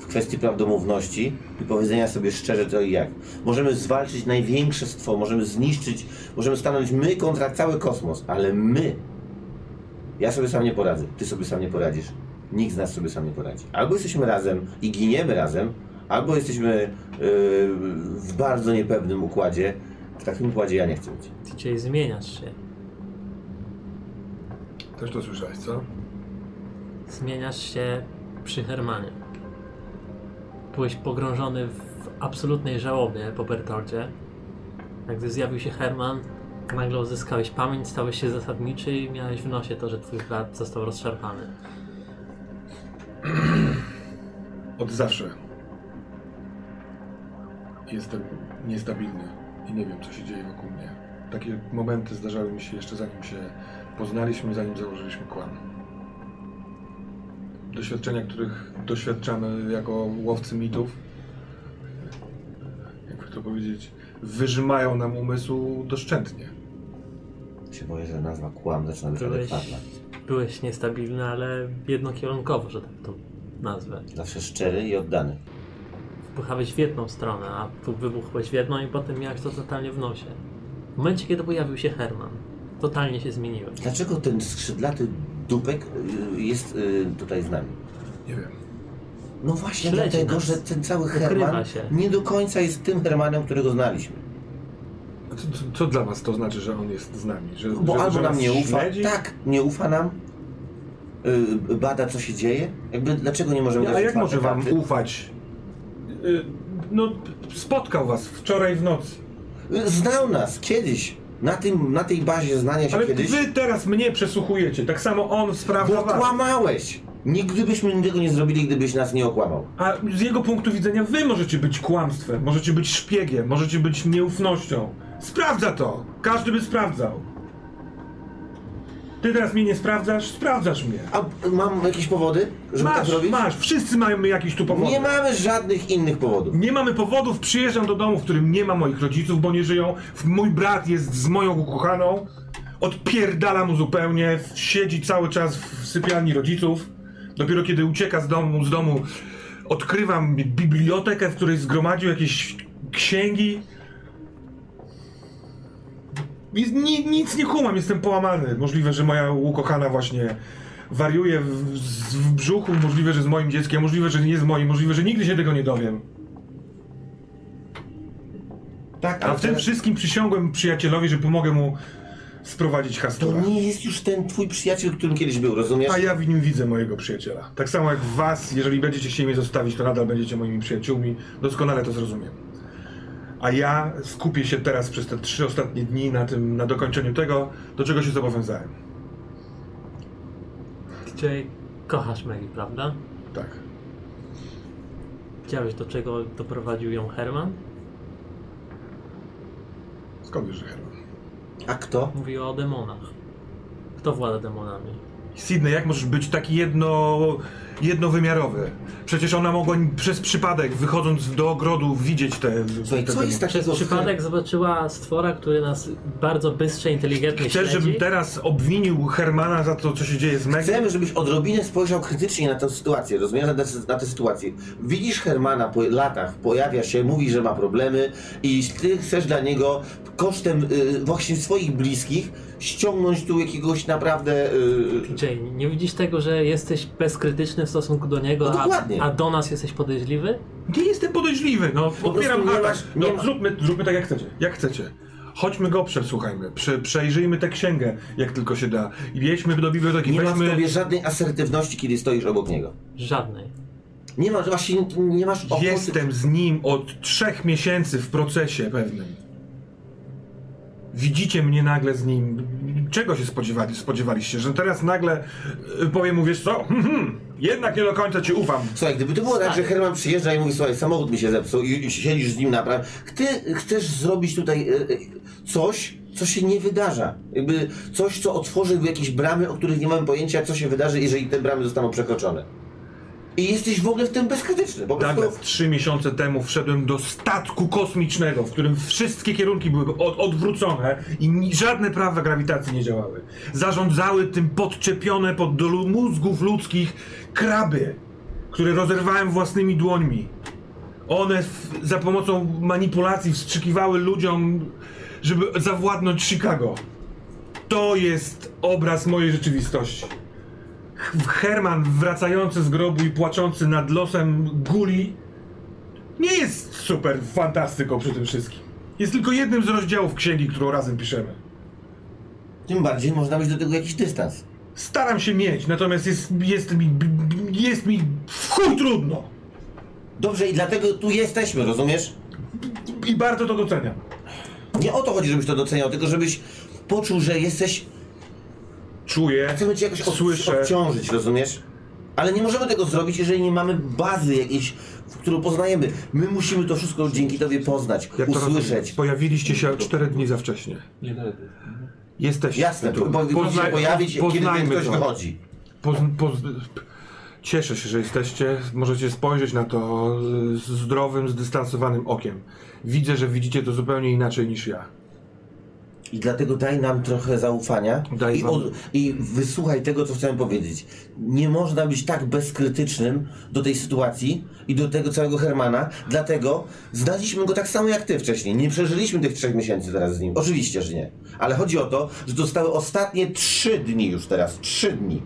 [SPEAKER 1] w kwestii prawdomówności i powiedzenia sobie szczerze to i jak. Możemy zwalczyć największe stwo, możemy zniszczyć, możemy stanąć my kontra cały kosmos, ale my. Ja sobie sam nie poradzę, ty sobie sam nie poradzisz. Nikt z nas sobie sam nie poradzi. Albo jesteśmy razem i giniemy razem, albo jesteśmy yy, w bardzo niepewnym układzie. W takim układzie ja nie chcę być.
[SPEAKER 5] DJ, zmieniasz się.
[SPEAKER 3] Też to słyszałeś, co?
[SPEAKER 5] Zmieniasz się przy Hermanie. Byłeś pogrążony w absolutnej żałobie po Bertoldzie. Jak gdy zjawił się Herman, nagle uzyskałeś pamięć, stałeś się zasadniczy i miałeś w nosie to, że twój brat został rozszarpany.
[SPEAKER 3] Od zawsze jestem niestabilny i nie wiem, co się dzieje wokół mnie. Takie momenty zdarzały mi się jeszcze zanim się poznaliśmy, zanim założyliśmy kłan. Doświadczenia, których doświadczamy jako łowcy mitów, jakby to powiedzieć, wyżymają nam umysł doszczętnie.
[SPEAKER 1] się boję, że nazwa kłam zaczyna być
[SPEAKER 5] Byłeś,
[SPEAKER 1] adekwatna.
[SPEAKER 5] byłeś niestabilny, ale jednokierunkowo, że tak to nazwę.
[SPEAKER 1] Zawsze szczery i oddany.
[SPEAKER 5] Wpychałeś w jedną stronę, a tu wybuchłeś w jedną i potem miałeś to totalnie w nosie. W momencie, kiedy pojawił się Herman, totalnie się zmieniłeś.
[SPEAKER 1] Dlaczego ten skrzydlaty dupek y, jest y, tutaj z nami?
[SPEAKER 3] Nie wiem.
[SPEAKER 1] No właśnie
[SPEAKER 5] Śledzi
[SPEAKER 1] dlatego,
[SPEAKER 5] nas.
[SPEAKER 1] że ten cały
[SPEAKER 5] Ukrywa
[SPEAKER 1] Herman
[SPEAKER 5] się.
[SPEAKER 1] nie do końca jest tym Hermanem, którego znaliśmy.
[SPEAKER 3] A Co, co, co dla was to znaczy, że on jest z nami? Że,
[SPEAKER 1] Bo
[SPEAKER 3] że,
[SPEAKER 1] albo
[SPEAKER 3] że
[SPEAKER 1] nam
[SPEAKER 3] nas
[SPEAKER 1] nie ufa,
[SPEAKER 3] śledzi?
[SPEAKER 1] tak, nie ufa nam, y, bada co się dzieje. Jakby dlaczego nie możemy
[SPEAKER 3] A
[SPEAKER 1] grać w
[SPEAKER 3] jak może
[SPEAKER 1] otwarte
[SPEAKER 3] wam
[SPEAKER 1] karty?
[SPEAKER 3] ufać? Y, No, spotkał was wczoraj w nocy.
[SPEAKER 1] Znał nas kiedyś. Na, tym, na tej bazie znania się
[SPEAKER 3] Ale
[SPEAKER 1] kiedyś.
[SPEAKER 3] wy teraz mnie przesłuchujecie, tak samo on
[SPEAKER 1] Bo
[SPEAKER 3] sprawdza was.
[SPEAKER 1] kłamałeś! Nigdy byśmy tego nie zrobili, gdybyś nas nie okłamał.
[SPEAKER 3] A z jego punktu widzenia wy możecie być kłamstwem, możecie być szpiegiem, możecie być nieufnością. Sprawdza to! Każdy by sprawdzał. Ty teraz mnie nie sprawdzasz? Sprawdzasz mnie.
[SPEAKER 1] A mam jakieś powody, żeby tak
[SPEAKER 3] Masz,
[SPEAKER 1] robić?
[SPEAKER 3] masz, wszyscy mają jakiś tu powód.
[SPEAKER 1] Nie mamy żadnych innych powodów.
[SPEAKER 3] Nie mamy powodów, przyjeżdżam do domu, w którym nie ma moich rodziców, bo nie żyją. W- Mój brat jest z moją ukochaną. Odpierdala mu zupełnie, siedzi cały czas w sypialni rodziców. Dopiero kiedy ucieka z domu, z domu odkrywam bibliotekę, w której zgromadził jakieś księgi. Nic, ni- nic nie kumam, jestem połamany. Możliwe, że moja ukochana właśnie wariuje w, z- w brzuchu, możliwe, że z moim dzieckiem, możliwe, że nie z moim, możliwe, że nigdy się tego nie dowiem.
[SPEAKER 1] Tak,
[SPEAKER 3] A
[SPEAKER 1] ale
[SPEAKER 3] w tym
[SPEAKER 1] teraz-
[SPEAKER 3] wszystkim przysiągłem przyjacielowi, że pomogę mu sprowadzić
[SPEAKER 1] To
[SPEAKER 3] Hastura.
[SPEAKER 1] nie jest już ten twój przyjaciel, którym kiedyś był, rozumiesz?
[SPEAKER 3] A ja w nim widzę mojego przyjaciela. Tak samo jak w was, jeżeli będziecie chcieli mnie zostawić, to nadal będziecie moimi przyjaciółmi. Doskonale to zrozumiem. A ja skupię się teraz przez te trzy ostatnie dni na tym, na dokończeniu tego, do czego się zobowiązałem.
[SPEAKER 5] DJ, kochasz Mary, prawda?
[SPEAKER 3] Tak.
[SPEAKER 5] Widziałeś, do czego doprowadził ją Herman?
[SPEAKER 3] Skąd wiesz, że Herman?
[SPEAKER 1] A kto?
[SPEAKER 5] Mówiła o demonach. Kto włada demonami?
[SPEAKER 3] Sydney, jak możesz być taki jedno, jednowymiarowy? Przecież ona mogła przez przypadek, wychodząc do ogrodu, widzieć te...
[SPEAKER 1] Słuchaj, tak
[SPEAKER 3] te
[SPEAKER 1] co jest
[SPEAKER 5] Przez
[SPEAKER 1] takiego... w-
[SPEAKER 5] przypadek zobaczyła stwora, który nas bardzo bystrze, inteligentnie
[SPEAKER 3] Chcesz,
[SPEAKER 5] śledzi.
[SPEAKER 3] żebym teraz obwinił Hermana za to, co się dzieje z Meg?
[SPEAKER 1] Chcemy, żebyś odrobinę spojrzał krytycznie na tę sytuację, rozumiesz, na, te- na tę sytuację. Widzisz Hermana po latach, pojawia się, mówi, że ma problemy i ty chcesz dla niego kosztem y, właśnie swoich bliskich ściągnąć tu jakiegoś naprawdę... Y,
[SPEAKER 5] DJ, nie widzisz tego, że jesteś bezkrytyczny w stosunku do niego,
[SPEAKER 1] No dokładnie.
[SPEAKER 5] a, a do nas jesteś podejrzliwy?
[SPEAKER 3] Nie jestem podejrzliwy, no odbieram
[SPEAKER 1] prostu nie
[SPEAKER 3] atak.
[SPEAKER 1] masz-
[SPEAKER 3] No,
[SPEAKER 1] nie ma-
[SPEAKER 3] zróbmy, zróbmy tak jak chcecie, jak chcecie. Chodźmy go przesłuchajmy, prze, przejrzyjmy tę księgę, jak tylko się da. I Jedźmy do biblioteki,
[SPEAKER 1] nie ma w
[SPEAKER 3] weźmy...
[SPEAKER 1] tobie żadnej asertywności, kiedy stoisz obok niego.
[SPEAKER 5] Żadnej.
[SPEAKER 1] Nie masz, właśnie nie masz ochoty...
[SPEAKER 3] Jestem z nim od trzech miesięcy w procesie pewnym. Widzicie mnie nagle z nim. Czego się spodziewali, spodziewaliście? Że teraz nagle y, powiem mu, wiesz co, hmm. jednak nie do końca ci ufam.
[SPEAKER 1] Słuchaj, gdyby to było tak, że Herman przyjeżdża i mówi, słuchaj, samochód mi się zepsuł i, i siedzisz z nim naprawdę. Ty chcesz zrobić tutaj e, e, coś, co się nie wydarza. Jakby coś, co otworzy jakieś bramy, o których nie mamy pojęcia, co się wydarzy, jeżeli te bramy zostaną przekroczone. I jesteś w ogóle w tym bezkrytyczny. Po prostu
[SPEAKER 3] Douglas, trzy miesiące temu wszedłem do statku kosmicznego, w którym wszystkie kierunki były od, odwrócone i ni, żadne prawa grawitacji nie działały. Zarządzały tym podczepione pod do lu- mózgów ludzkich kraby, które rozerwałem własnymi dłońmi. One w, za pomocą manipulacji wstrzykiwały ludziom, żeby zawładnąć Chicago. To jest obraz mojej rzeczywistości. Herman wracający z grobu i płaczący nad losem Guli nie jest super fantastyką przy tym wszystkim. Jest tylko jednym z rozdziałów księgi, którą razem piszemy.
[SPEAKER 1] tym bardziej można mieć do tego jakiś dystans.
[SPEAKER 3] Staram się mieć, natomiast jest, jest mi, jest mi w chuj trudno.
[SPEAKER 1] Dobrze, i dlatego tu jesteśmy, rozumiesz?
[SPEAKER 3] I bardzo to doceniam.
[SPEAKER 1] Nie o to chodzi, żebyś to doceniał, tylko żebyś poczuł, że jesteś
[SPEAKER 3] Czuję,
[SPEAKER 1] Chcemy cię jakoś od,
[SPEAKER 3] słyszę,
[SPEAKER 1] obciążyć, rozumiesz? Ale nie możemy tego zrobić, jeżeli nie mamy bazy jakiejś, w którą poznajemy. My musimy to wszystko dzięki tobie poznać,
[SPEAKER 3] jak to rozumiem.
[SPEAKER 1] usłyszeć.
[SPEAKER 3] Pojawiliście się cztery dni za wcześnie.
[SPEAKER 2] Nie,
[SPEAKER 3] Jesteście
[SPEAKER 1] Jasne,
[SPEAKER 3] tu.
[SPEAKER 1] bo bo musi się
[SPEAKER 3] Poznaj-
[SPEAKER 1] pojawić, kiedy ten
[SPEAKER 3] poznajmy
[SPEAKER 1] ktoś
[SPEAKER 3] to.
[SPEAKER 1] wychodzi.
[SPEAKER 3] Pozn- poz- Cieszę się, że jesteście. Możecie spojrzeć na to z z zdrowym, zdystansowanym okiem. Widzę, że widzicie to zupełnie inaczej niż ja.
[SPEAKER 1] I dlatego daj nam trochę zaufania
[SPEAKER 3] Daj
[SPEAKER 1] i,
[SPEAKER 3] wam-
[SPEAKER 1] I wysłuchaj tego, co chciałem powiedzieć. Nie można być tak bezkrytycznym do tej sytuacji i do tego całego Hermana, dlatego znaliśmy go tak samo jak ty wcześniej. Nie przeżyliśmy tych trzech miesięcy teraz z nim. Oczywiście, że nie. Ale chodzi o to, że dostały ostatnie trzy dni już teraz. Trzy dni.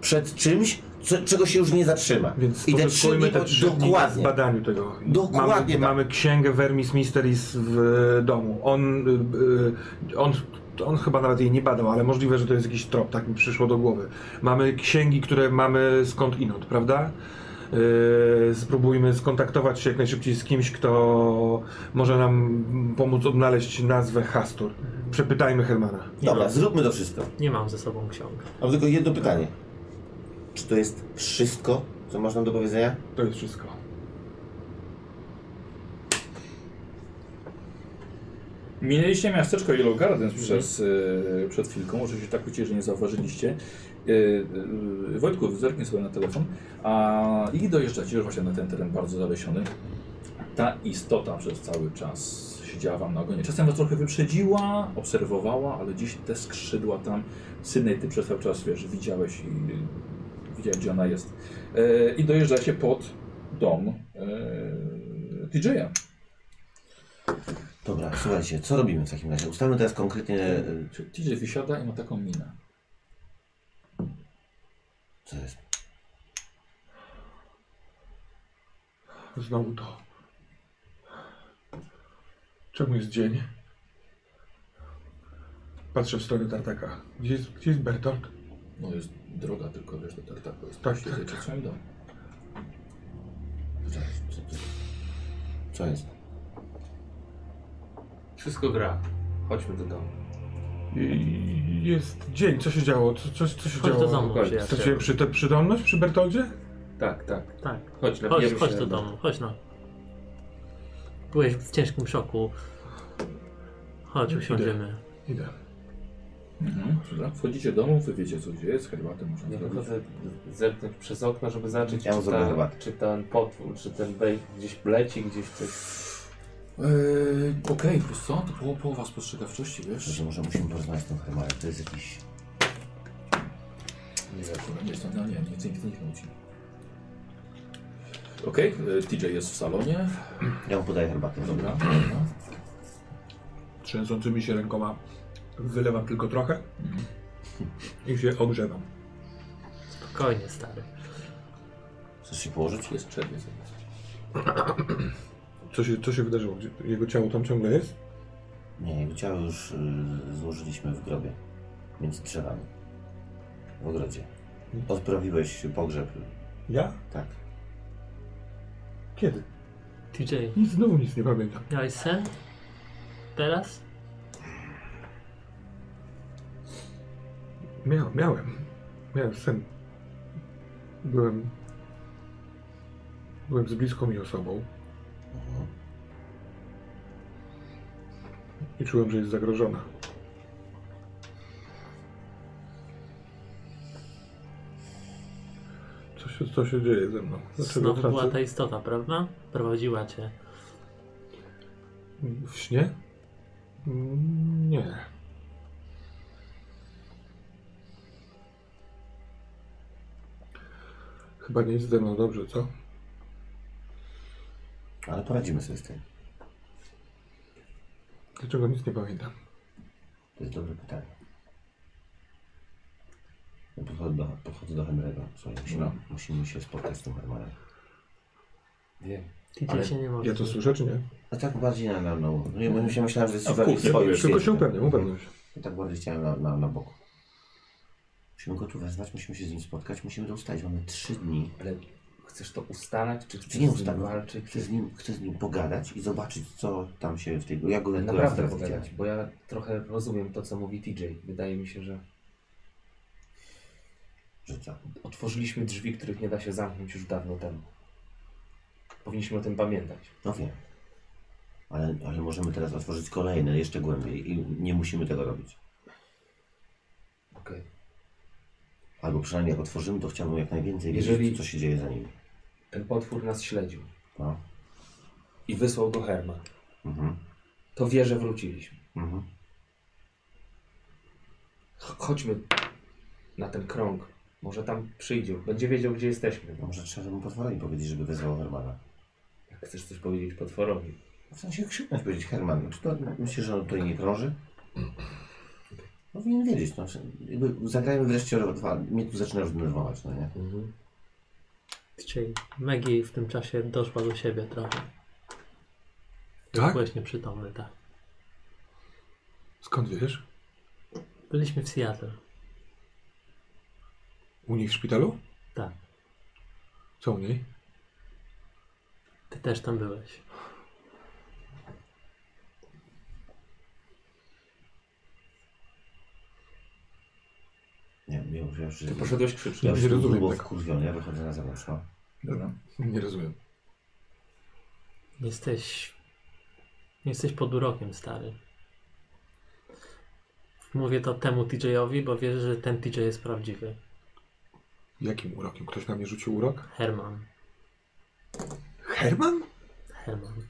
[SPEAKER 1] Przed czymś, co, czego się już nie zatrzyma.
[SPEAKER 3] Więc
[SPEAKER 1] I te trzy
[SPEAKER 3] pozyskujmy
[SPEAKER 1] dni,
[SPEAKER 3] te trzy dni w
[SPEAKER 1] dokładnie.
[SPEAKER 3] badaniu tego.
[SPEAKER 1] Dokładnie
[SPEAKER 3] Mamy,
[SPEAKER 1] tak.
[SPEAKER 3] mamy księgę Vermis Mysteries w e, domu. On, y, y, on, on chyba nawet jej nie badał, ale możliwe, że to jest jakiś trop, tak mi przyszło do głowy. Mamy księgi, które mamy skąd inąd, prawda? Yy, spróbujmy skontaktować się jak najszybciej z kimś, kto może nam pomóc odnaleźć nazwę Hastur. Przepytajmy Hermana.
[SPEAKER 5] Nie
[SPEAKER 1] Dobra,
[SPEAKER 5] mam.
[SPEAKER 1] zróbmy to wszystko.
[SPEAKER 5] Nie mam ze sobą ksiąg.
[SPEAKER 1] Mam tylko jedno pytanie. Czy to jest wszystko, co masz nam do powiedzenia?
[SPEAKER 3] To jest wszystko.
[SPEAKER 2] Minęliście miasteczko Yellow Gardens przez, e, przed chwilką, oczywiście tak ucie, że nie zauważyliście. E, e, Wojtku, zerknij sobie na telefon. A, I dojeżdżacie już właśnie na ten teren bardzo zalesiony. Ta istota przez cały czas siedziała wam na ogonie. Czasem was trochę wyprzedziła, obserwowała, ale dziś te skrzydła tam, Sydney, ty przez cały czas wiesz, widziałeś i e, widziałeś, gdzie ona jest. E, I dojeżdżacie pod dom e, TJ'a.
[SPEAKER 1] Dobra, słuchajcie, co robimy w takim razie? Ustalmy teraz konkretnie, y,
[SPEAKER 2] TJ wysiada i ma taką minę.
[SPEAKER 1] co jest.
[SPEAKER 3] Znowu to. Czemu jest dzień? Patrzę w stronę tartaka. Gdzie jest, gdzie jest Bertolt?
[SPEAKER 2] No jest droga tylko, wiesz, do Tartaku. Jest
[SPEAKER 3] Tak,
[SPEAKER 2] tak,
[SPEAKER 3] tak.
[SPEAKER 2] tak. przed swoim domem.
[SPEAKER 1] Co, co, co, co jest?
[SPEAKER 7] Wszystko gra. Chodźmy do domu.
[SPEAKER 3] I- Jest dzień. Co się działo? Co, co, co się
[SPEAKER 5] Chodź
[SPEAKER 3] działo?
[SPEAKER 5] do domu,
[SPEAKER 7] dokładnie.
[SPEAKER 3] Straciłem
[SPEAKER 5] przyjacielu.
[SPEAKER 3] przy, te, przydomność przy Bertoldzie?
[SPEAKER 7] Tak, tak.
[SPEAKER 5] Tak.
[SPEAKER 7] Chodź,
[SPEAKER 5] Chodź,
[SPEAKER 7] napijemy
[SPEAKER 5] chodź
[SPEAKER 7] się.
[SPEAKER 5] do domu, chodź no. Byłeś w ciężkim szoku. Chodź, usiądziemy.
[SPEAKER 3] No, Idę.
[SPEAKER 2] Mhm. Dobra. Wchodzicie do domu, wy wiecie co gdzie jest, herbatę można
[SPEAKER 7] Ja
[SPEAKER 2] zrobić.
[SPEAKER 7] wychodzę zerknąć przez okno, żeby zobaczyć,
[SPEAKER 1] Ja mam
[SPEAKER 7] czy,
[SPEAKER 1] zrobione
[SPEAKER 7] ta,
[SPEAKER 1] herbatę.
[SPEAKER 7] czy ten potwór, czy ten bejk gdzieś leci, gdzieś coś.
[SPEAKER 2] Eee, Okej, wiesz co, to poło- połowa spostrzegawczości, wiesz?
[SPEAKER 1] Że może musimy porozmawiać z tym Hermanem. To jest jakiś...
[SPEAKER 2] Nie wiem, akurat nie jest, no nie, nie chcę nikt nie nudzi. Okej, e, TJ jest w salonie.
[SPEAKER 1] Ja mu podaję herbatę.
[SPEAKER 2] Dobra, dobra.
[SPEAKER 3] Trzęsącymi się rękoma wylewam tylko trochę i się ogrzewam.
[SPEAKER 5] Spokojnie, stary.
[SPEAKER 1] Chcesz się położyć?
[SPEAKER 2] Jest czerwiec.
[SPEAKER 3] Co się, co się wydarzyło? Gdzie- Jego ciało tam ciągle jest?
[SPEAKER 1] Nie, jego ciało już y, złożyliśmy w grobie. Między drzewami. W ogrodzie. Odprawiłeś pogrzeb.
[SPEAKER 3] Ja?
[SPEAKER 1] Tak.
[SPEAKER 3] Kiedy?
[SPEAKER 5] TJ,
[SPEAKER 3] Nic, znowu nic nie pamiętam.
[SPEAKER 5] miałeś sen? Teraz?
[SPEAKER 3] Miał, miałem. Miałem sen. Byłem. Byłem z bliską mi osobą. I czułem, że jest zagrożona. Co się, co się dzieje ze mną? Dlaczego
[SPEAKER 5] Znowu była ta
[SPEAKER 3] tracę?
[SPEAKER 5] istota, prawda? Prowadziła cię.
[SPEAKER 3] W śnie? Mm, Nie. Chyba nie jest ze mną dobrze, co?
[SPEAKER 1] Ale poradzimy sobie z tym.
[SPEAKER 3] Dlaczego nic nie pamiętam?
[SPEAKER 1] To jest dobre pytanie. Ja podchodzę do, podchodzę do Henry'ego. Słuchaj, musimy,
[SPEAKER 2] No.
[SPEAKER 1] musimy się spotkać z tym Hermanem.
[SPEAKER 7] Wiem.
[SPEAKER 5] TJ
[SPEAKER 1] Ale
[SPEAKER 5] się nie może.
[SPEAKER 3] Ja to słyszę, czy nie?
[SPEAKER 1] A tak bardziej na, na, na no, ja bym się myślałem, że jest
[SPEAKER 2] A w
[SPEAKER 1] w
[SPEAKER 2] kółko,
[SPEAKER 1] swoim
[SPEAKER 2] wiesz,
[SPEAKER 3] Tylko się
[SPEAKER 1] świecie.
[SPEAKER 3] upewniam, upewniam się.
[SPEAKER 1] Ja tak bardziej chciałem na, na, na boku. Musimy go tu wezwać, musimy się z nim spotkać, musimy to ustalić. Mamy trzy dni.
[SPEAKER 7] Ale chcesz to ustalać, czy chcesz
[SPEAKER 1] Czy nie
[SPEAKER 7] z nim
[SPEAKER 1] ustalić?
[SPEAKER 7] walczyć?
[SPEAKER 1] Chcę z, nim, chcę z nim pogadać i zobaczyć, co tam się w tej... Ja go
[SPEAKER 7] Ale
[SPEAKER 1] go
[SPEAKER 7] naprawdę
[SPEAKER 1] raz
[SPEAKER 7] pogadać,
[SPEAKER 1] widziałem.
[SPEAKER 7] bo ja trochę rozumiem to, co mówi TJ. Wydaje mi się, że
[SPEAKER 1] Że co?
[SPEAKER 7] otworzyliśmy drzwi, których nie da się zamknąć już dawno temu. Powinniśmy o tym pamiętać.
[SPEAKER 1] No wiem. Ale, ale możemy teraz otworzyć kolejne, jeszcze głębiej i nie musimy tego robić.
[SPEAKER 7] Okej.
[SPEAKER 1] Albo przynajmniej jak otworzymy, to chciałbym jak najwięcej wiedzieć,
[SPEAKER 7] Jeżeli-
[SPEAKER 1] co się dzieje za nimi.
[SPEAKER 7] Ten potwór nas śledził
[SPEAKER 1] No.
[SPEAKER 7] i wysłał do Herma.
[SPEAKER 1] Mhm.
[SPEAKER 7] To wie, że wróciliśmy.
[SPEAKER 1] Mhm.
[SPEAKER 7] Ch- chodźmy na ten krąg. Może tam przyjdzie. Będzie wiedział, gdzie jesteśmy.
[SPEAKER 1] No może trzeba mu potworowi powiedzieć, żeby wezwał Hermana.
[SPEAKER 7] Jak chcesz coś powiedzieć potworowi.
[SPEAKER 1] W sensie krzyknąć, powiedzieć Herman, czy to myślisz, że on tutaj nie krąży? Powinien wiedzieć, no, czy- jakby zagrajmy wreszcie rok dwa. Mnie tu zaczyna już denerwować, no nie?
[SPEAKER 5] TJ, Maggie w tym czasie doszła do siebie trochę.
[SPEAKER 3] Tak?
[SPEAKER 5] Byłeś nieprzytomny, tak.
[SPEAKER 3] Skąd wiesz?
[SPEAKER 5] Byliśmy w Seattle.
[SPEAKER 3] U niej w szpitalu?
[SPEAKER 5] Tak.
[SPEAKER 3] Co u niej?
[SPEAKER 5] Ty też tam byłeś.
[SPEAKER 1] Nie, nie, już ja już...
[SPEAKER 7] Ty poszedłeś krzycznie.
[SPEAKER 1] Ja już
[SPEAKER 3] Nie rozumiem
[SPEAKER 1] rozumiem.
[SPEAKER 5] tak.
[SPEAKER 3] tego.
[SPEAKER 1] Ja wychodzę na zewnątrz. No.
[SPEAKER 2] Dobra.
[SPEAKER 3] Nie rozumiem.
[SPEAKER 5] Jesteś. Jesteś pod urokiem, stary. Mówię to temu TJ-owi, bo wiesz, że ten TJ jest prawdziwy.
[SPEAKER 3] Jakim urokiem? Ktoś na mnie rzucił urok?
[SPEAKER 5] Herman.
[SPEAKER 3] Herman?
[SPEAKER 5] Herman.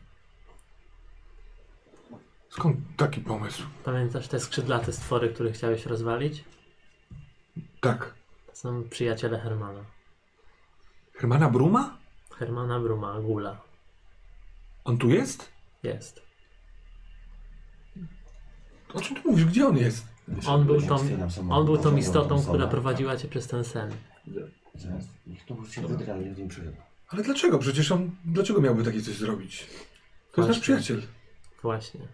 [SPEAKER 3] Skąd taki pomysł?
[SPEAKER 5] Pamiętasz te skrzydlate stwory, które chciałeś rozwalić?
[SPEAKER 3] Tak.
[SPEAKER 5] To są przyjaciele Hermana.
[SPEAKER 3] Hermana Bruma?
[SPEAKER 5] Hermana Bruma, Gula.
[SPEAKER 3] On tu jest?
[SPEAKER 5] Jest.
[SPEAKER 3] O czym ty mówisz? Gdzie on jest?
[SPEAKER 5] On był
[SPEAKER 1] Ja
[SPEAKER 5] tą,
[SPEAKER 1] otwieram samochód,
[SPEAKER 5] on był tą
[SPEAKER 1] otwieram
[SPEAKER 5] istotą,
[SPEAKER 1] samochód.
[SPEAKER 5] która prowadziła cię przez ten sen.
[SPEAKER 1] Zaraz, Niech to się wygra, nie wiem czy
[SPEAKER 3] Ale dlaczego? Przecież on... Dlaczego miałby takie coś zrobić? To jest
[SPEAKER 5] Właśnie.
[SPEAKER 3] nasz przyjaciel.
[SPEAKER 5] Właśnie.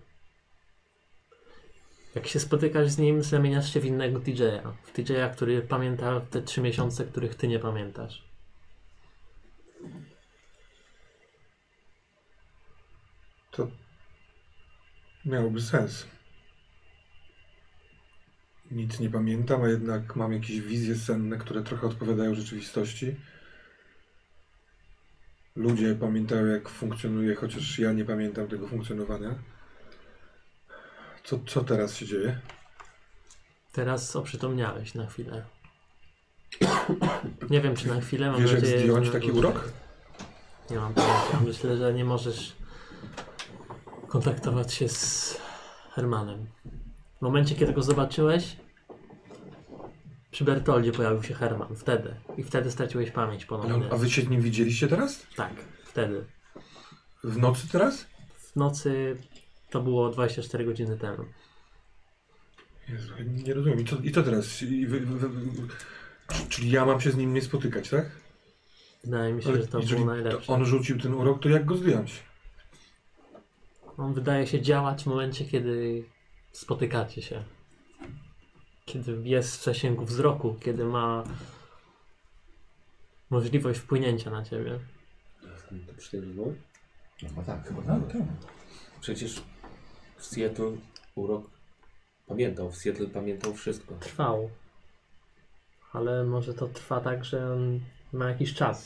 [SPEAKER 5] Jak się spotykasz z nim, zamieniasz się w innego DJ-a. W DJ-a, który pamięta te trzy miesiące, których ty nie pamiętasz.
[SPEAKER 3] To... Miałoby sens. Nic nie pamiętam, a jednak mam jakieś wizje senne, które trochę odpowiadają rzeczywistości. Ludzie pamiętają, jak funkcjonuje, chociaż ja nie pamiętam tego funkcjonowania. Co, co teraz się dzieje?
[SPEAKER 5] Teraz oprzytomniałeś na chwilę. Nie wiem, czy na chwilę, mam
[SPEAKER 3] Wiesz, jak
[SPEAKER 5] nadzieję, że
[SPEAKER 3] zdjąć
[SPEAKER 5] na
[SPEAKER 3] taki
[SPEAKER 5] dłużej.
[SPEAKER 3] urok?
[SPEAKER 5] Nie mam pojęcia. Myślę, że nie możesz kontaktować się z Hermanem. W momencie, kiedy go zobaczyłeś, przy Bertoldzie pojawił się Herman. Wtedy. I wtedy straciłeś pamięć
[SPEAKER 3] Ale
[SPEAKER 5] ponownie.
[SPEAKER 3] on, a wy się nim widzieliście teraz?
[SPEAKER 5] Tak, wtedy.
[SPEAKER 3] W nocy teraz?
[SPEAKER 5] W nocy to było 24 godziny temu.
[SPEAKER 3] Jezu, ja nie rozumiem. I co, i co teraz? I wy, wy, wy, czy- czyli ja mam się z nim nie spotykać, tak?
[SPEAKER 5] Wydaje mi się,
[SPEAKER 3] Ale
[SPEAKER 5] że to
[SPEAKER 3] jeżeli
[SPEAKER 5] było najlepsze.
[SPEAKER 3] on rzucił ten urok, to jak go zdjąć?
[SPEAKER 5] On wydaje się działać w momencie, kiedy spotykacie się. Kiedy jest w zasięgu wzroku, kiedy ma możliwość wpłynięcia na ciebie.
[SPEAKER 4] To przy tym rozmowie?
[SPEAKER 1] No chyba tak, chyba
[SPEAKER 2] No,
[SPEAKER 1] tak.
[SPEAKER 2] tak.
[SPEAKER 4] Przecież w Seattle urok pamiętał, w Seattle pamiętał wszystko.
[SPEAKER 5] Trwał. Ale może to trwa tak, że on ma jakiś czas.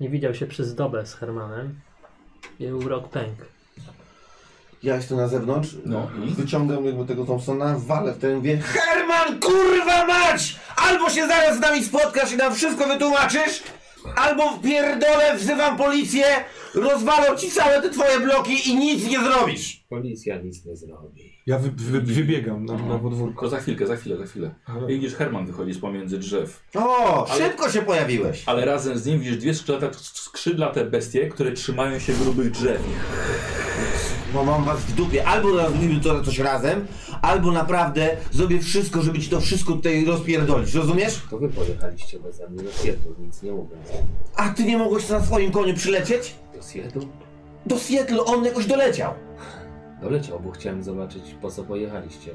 [SPEAKER 5] Nie widział się przez dobę z Hermanem. I urok pękł.
[SPEAKER 1] Ja jestem na zewnątrz,
[SPEAKER 2] No i?
[SPEAKER 1] wyciągam jakby tego Thompsona, walę w ten wie.
[SPEAKER 8] Herman, kurwa mać! Albo się zaraz z nami spotkasz i nam wszystko wytłumaczysz, albo w pierdolę wzywam policję, rozwalą ci całe te twoje bloki i nic nie zrobisz.
[SPEAKER 4] Policja nic nie zrobi.
[SPEAKER 3] Ja wy, wy, wybiegam na,
[SPEAKER 5] No.
[SPEAKER 3] na podwórko.
[SPEAKER 2] Tylko za chwilkę, za chwilę, za chwilę. I widzisz, Herman wychodzi z pomiędzy drzew.
[SPEAKER 1] O, szybko się pojawiłeś.
[SPEAKER 2] Ale razem z nim widzisz dwie skrzydlate, skrzydlate bestie, które trzymają się grubych drzew.
[SPEAKER 1] Bo mam was w dupie. Albo zrobimy to coś razem, albo naprawdę zrobię wszystko, żeby ci to wszystko tutaj rozpierdolić, rozumiesz?
[SPEAKER 4] To wy pojechaliście bez mnie do Seattle, nic nie mówiąc.
[SPEAKER 1] A ty nie mogłeś na swoim koniu przylecieć?
[SPEAKER 4] Do Seattle?
[SPEAKER 1] Do Seattle on jakoś doleciał.
[SPEAKER 4] Doleciał, bo chciałem zobaczyć po co pojechaliście.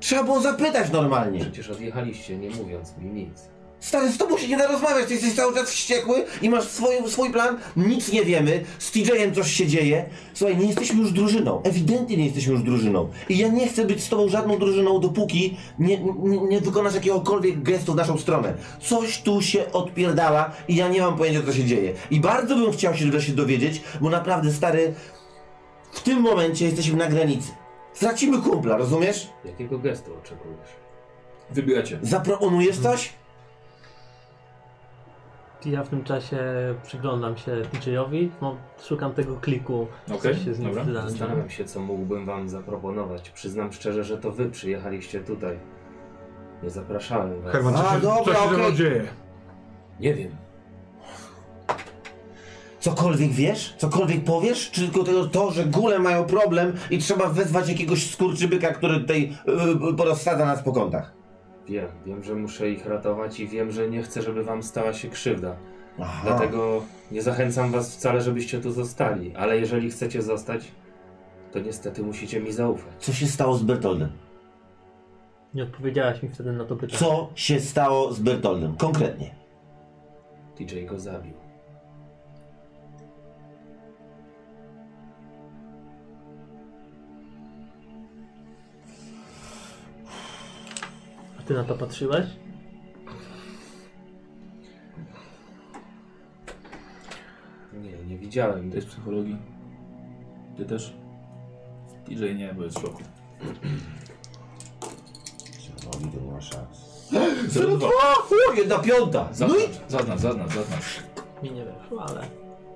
[SPEAKER 1] Trzeba było zapytać normalnie.
[SPEAKER 4] Przecież odjechaliście, nie mówiąc mi nic.
[SPEAKER 1] Stary, z tobą się nie da rozmawiać, ty jesteś cały czas wściekły i masz swój, swój plan, nic nie wiemy, z TJ-em coś się dzieje. Słuchaj, nie jesteśmy już drużyną, ewidentnie nie jesteśmy już drużyną. I ja nie chcę być z tobą żadną drużyną, dopóki nie, nie, nie wykonasz jakiegokolwiek gestu w naszą stronę. Coś tu się odpierdala i ja nie mam pojęcia, co się dzieje. I bardzo bym chciał się wreszcie dowiedzieć, bo naprawdę, stary, w tym momencie jesteśmy na granicy. Stracimy kumpla, rozumiesz?
[SPEAKER 4] Jakiego gestu oczekujesz?
[SPEAKER 2] Wybieracie.
[SPEAKER 1] Zaproponujesz coś?
[SPEAKER 5] Ja w tym czasie przyglądam się DJ-owi, no, szukam tego kliku,
[SPEAKER 2] Okej,
[SPEAKER 5] coś się z nim
[SPEAKER 2] dobra.
[SPEAKER 5] wydarzy.
[SPEAKER 4] Zastanawiam się, co mógłbym wam zaproponować. Przyznam szczerze, że to wy przyjechaliście tutaj. Nie zapraszałem was.
[SPEAKER 3] Herman, co
[SPEAKER 1] A,
[SPEAKER 3] się,
[SPEAKER 1] dobra,
[SPEAKER 3] co się ze mną
[SPEAKER 1] okej.
[SPEAKER 3] dzieje?
[SPEAKER 4] Nie wiem.
[SPEAKER 1] Cokolwiek wiesz? Cokolwiek powiesz? Czy tylko to, to że góle mają problem i trzeba wezwać jakiegoś skurczybyka, który tutaj yy, porozsadza nas po kątach?
[SPEAKER 4] Wiem, wiem, że muszę ich ratować i wiem, że nie chcę, żeby wam stała się krzywda.
[SPEAKER 1] Aha.
[SPEAKER 4] Dlatego nie zachęcam was wcale, żebyście tu zostali. Ale jeżeli chcecie zostać, to niestety musicie mi zaufać.
[SPEAKER 1] Co się stało z Bertoldem?
[SPEAKER 5] Nie odpowiedziałaś mi wtedy na to pytanie.
[SPEAKER 1] Co się stało z Bertoldem? Konkretnie.
[SPEAKER 4] TJ go zabił.
[SPEAKER 5] Ty na to patrzyłeś?
[SPEAKER 4] Nie, nie widziałem.
[SPEAKER 2] To jest psychologii. Ty też? DJ nie, bo jest w szoku.
[SPEAKER 1] Robi to No, nie ma szans.
[SPEAKER 2] Zero dwa.
[SPEAKER 8] O, jedna piąta! No i
[SPEAKER 2] Zaznacz, zaznacz, zaznacz, zaznacz.
[SPEAKER 5] Mi nie wyszło, ale...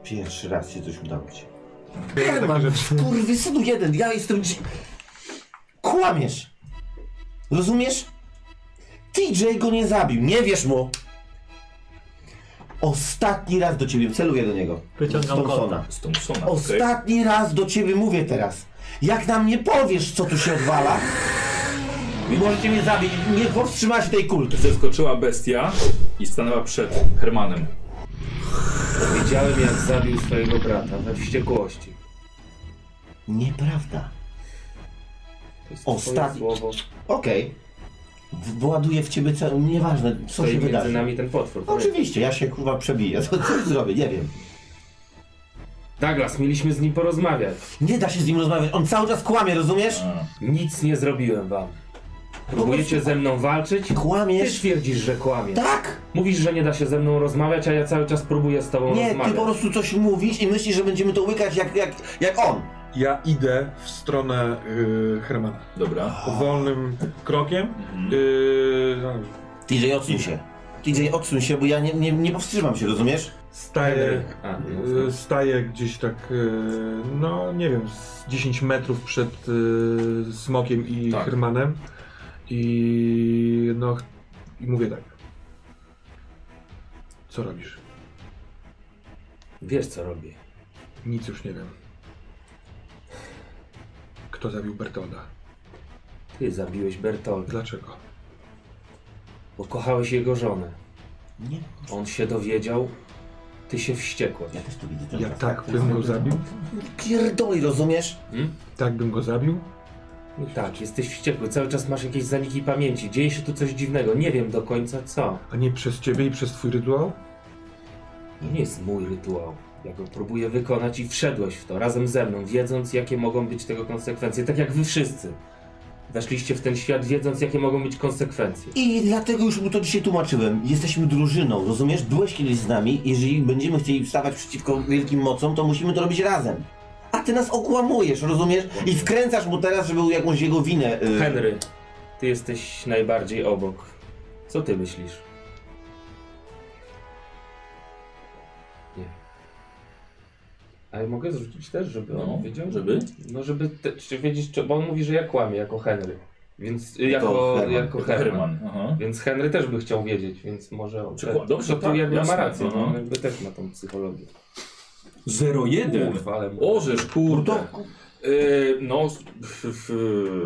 [SPEAKER 1] Pierwszy raz się coś udało ci.
[SPEAKER 8] kurwy, synu jeden, ja jestem... dzi- Kłamiesz! Rozumiesz? TJ go nie zabił, nie wierz mu! Ostatni raz do ciebie, celuję do niego.
[SPEAKER 5] Wyciągam
[SPEAKER 8] Z Thompsona.
[SPEAKER 2] Z Thompsona, okej.
[SPEAKER 8] Ostatni raz do ciebie mówię teraz. Jak nam nie powiesz, co tu się odwala, możecie mnie zabić. Nie powstrzymać tej kulki.
[SPEAKER 2] Zeskoczyła bestia i stanęła przed Hermanem.
[SPEAKER 4] Widziałem jak zabił swojego brata we wściekłości.
[SPEAKER 8] Nieprawda.
[SPEAKER 4] To jest
[SPEAKER 8] Ostatni-
[SPEAKER 4] twoje słowo.
[SPEAKER 8] Okej. W- Właduję w ciebie całą... Nieważne, co
[SPEAKER 4] Stoi
[SPEAKER 8] się
[SPEAKER 4] między
[SPEAKER 8] wydarzy.
[SPEAKER 4] nami ten potwór.
[SPEAKER 8] No Oczywiście, ja się kurwa przebiję. Co, co zrobię? Nie wiem.
[SPEAKER 4] Douglas, mieliśmy z nim porozmawiać.
[SPEAKER 8] Nie da się z nim rozmawiać. On cały czas kłamie, rozumiesz?
[SPEAKER 4] Nic nie zrobiłem wam. Próbujecie ze mną walczyć? Ty
[SPEAKER 8] Kłamiesz.
[SPEAKER 4] twierdzisz, że kłamie.
[SPEAKER 8] Tak?
[SPEAKER 4] Mówisz, że nie da się ze mną rozmawiać, a ja cały czas próbuję z tobą
[SPEAKER 8] Nie, ty
[SPEAKER 4] rozmawiać.
[SPEAKER 8] po prostu coś mówisz i myślisz, że będziemy to łykać jak, jak, jak on.
[SPEAKER 3] Ja idę w stronę y, Hermana.
[SPEAKER 2] Dobra.
[SPEAKER 3] Powolnym krokiem.
[SPEAKER 2] Mhm.
[SPEAKER 3] Y,
[SPEAKER 8] TJ, odsuń się. TJ, odsuń się, bo ja nie, nie, nie powstrzymam się, rozumiesz?
[SPEAKER 3] staję,
[SPEAKER 4] A,
[SPEAKER 3] y,
[SPEAKER 4] no,
[SPEAKER 3] staję gdzieś tak, y, no nie wiem, z 10 metrów przed y, Smokiem i
[SPEAKER 2] Tak.
[SPEAKER 3] Hermanem. I no, ch- i mówię tak. Co robisz?
[SPEAKER 4] wiesz co robię.
[SPEAKER 3] Nic już nie wiem. Kto zabił Bertolda?
[SPEAKER 4] Ty zabiłeś Bertolda,
[SPEAKER 3] Dlaczego?
[SPEAKER 4] bo kochałeś jego żonę.
[SPEAKER 8] Nie.
[SPEAKER 4] On się dowiedział, ty się wściekłeś.
[SPEAKER 8] Ja też to widzę.
[SPEAKER 3] Ja tak bym go zabił?
[SPEAKER 8] Pierdoli, rozumiesz?
[SPEAKER 3] Tak bym go zabił?
[SPEAKER 4] No tak, jesteś wściekły, cały czas masz jakieś zaniki pamięci, dzieje się tu coś dziwnego, nie wiem do końca co.
[SPEAKER 3] A nie przez ciebie i przez twój rytuał?
[SPEAKER 4] To nie jest mój rytuał. Ja go próbuję wykonać i wszedłeś w to razem ze mną, wiedząc jakie mogą być tego konsekwencje, tak jak wy wszyscy. Weszliście w ten świat wiedząc jakie mogą być konsekwencje.
[SPEAKER 8] I dlatego już mu to dzisiaj tłumaczyłem. Jesteśmy drużyną, rozumiesz? Byłeś kiedyś z nami. Jeżeli będziemy chcieli wstawać przeciwko wielkim mocom, to musimy to robić razem. A ty nas okłamujesz, rozumiesz? I wkręcasz mu teraz, żeby jakąś jego winę. y,
[SPEAKER 4] Henry, ty jesteś najbardziej obok. Co ty myślisz? Nie. Ale mogę zrzucić też, żeby
[SPEAKER 2] No,
[SPEAKER 4] on wiedział?
[SPEAKER 2] żeby?
[SPEAKER 4] No, żeby te, czy wiedzieć, czy, bo on mówi, że ja kłamię jako Henry. Więc y,
[SPEAKER 8] Jako
[SPEAKER 4] jako,
[SPEAKER 8] Herman.
[SPEAKER 4] jako Herman.
[SPEAKER 2] Herman. Aha.
[SPEAKER 4] Więc Henry też by chciał wiedzieć, więc może on.
[SPEAKER 2] Czy kła- dobrze,
[SPEAKER 4] to
[SPEAKER 2] tak,
[SPEAKER 4] tu jakby
[SPEAKER 2] jasne,
[SPEAKER 4] ma rację,
[SPEAKER 2] no.
[SPEAKER 4] no. on jakby też ma tą psychologię.
[SPEAKER 2] 01.
[SPEAKER 4] Kurwa, ale mu-
[SPEAKER 2] Orzesz, kurde. Yy, no, f, f,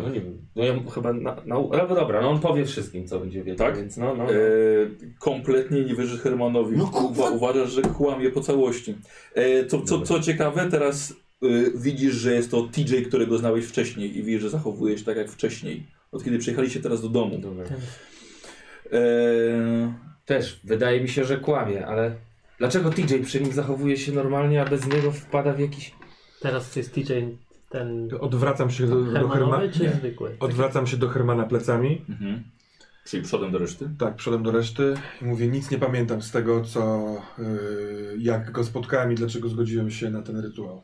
[SPEAKER 4] No nie wiem. No ja mu chyba. Na, na, ale dobra, no on powie wszystkim, co będzie wiedział.
[SPEAKER 2] Tak?
[SPEAKER 4] Więc no, no.
[SPEAKER 2] yy, kompletnie nie wierzysz Hermanowi.
[SPEAKER 8] No, kurwa.
[SPEAKER 2] Uwa- Uważasz, że kłamie po całości. Yy, co, co, co ciekawe, teraz yy, widzisz, że jest to TJ, którego znałeś wcześniej i widzisz, że zachowuje się tak jak wcześniej. Od kiedy przyjechaliście teraz do domu.
[SPEAKER 4] Dobra.
[SPEAKER 2] Yy,
[SPEAKER 4] Też wydaje mi się, że kłamie, ale dlaczego TJ przy nim zachowuje się normalnie, a bez niego wpada w jakiś.
[SPEAKER 5] Teraz jest TJ ten
[SPEAKER 3] Odwracam się do, do Hermana.
[SPEAKER 5] hermanowy czy
[SPEAKER 2] Nie.
[SPEAKER 5] zwykły?
[SPEAKER 3] Odwracam się do Hermana plecami.
[SPEAKER 2] mhm. Czyli przodem do reszty.
[SPEAKER 3] Tak, przodem do reszty. i Mówię, nic nie pamiętam z tego, co, y, jak go spotkałem i dlaczego zgodziłem się na ten rytuał.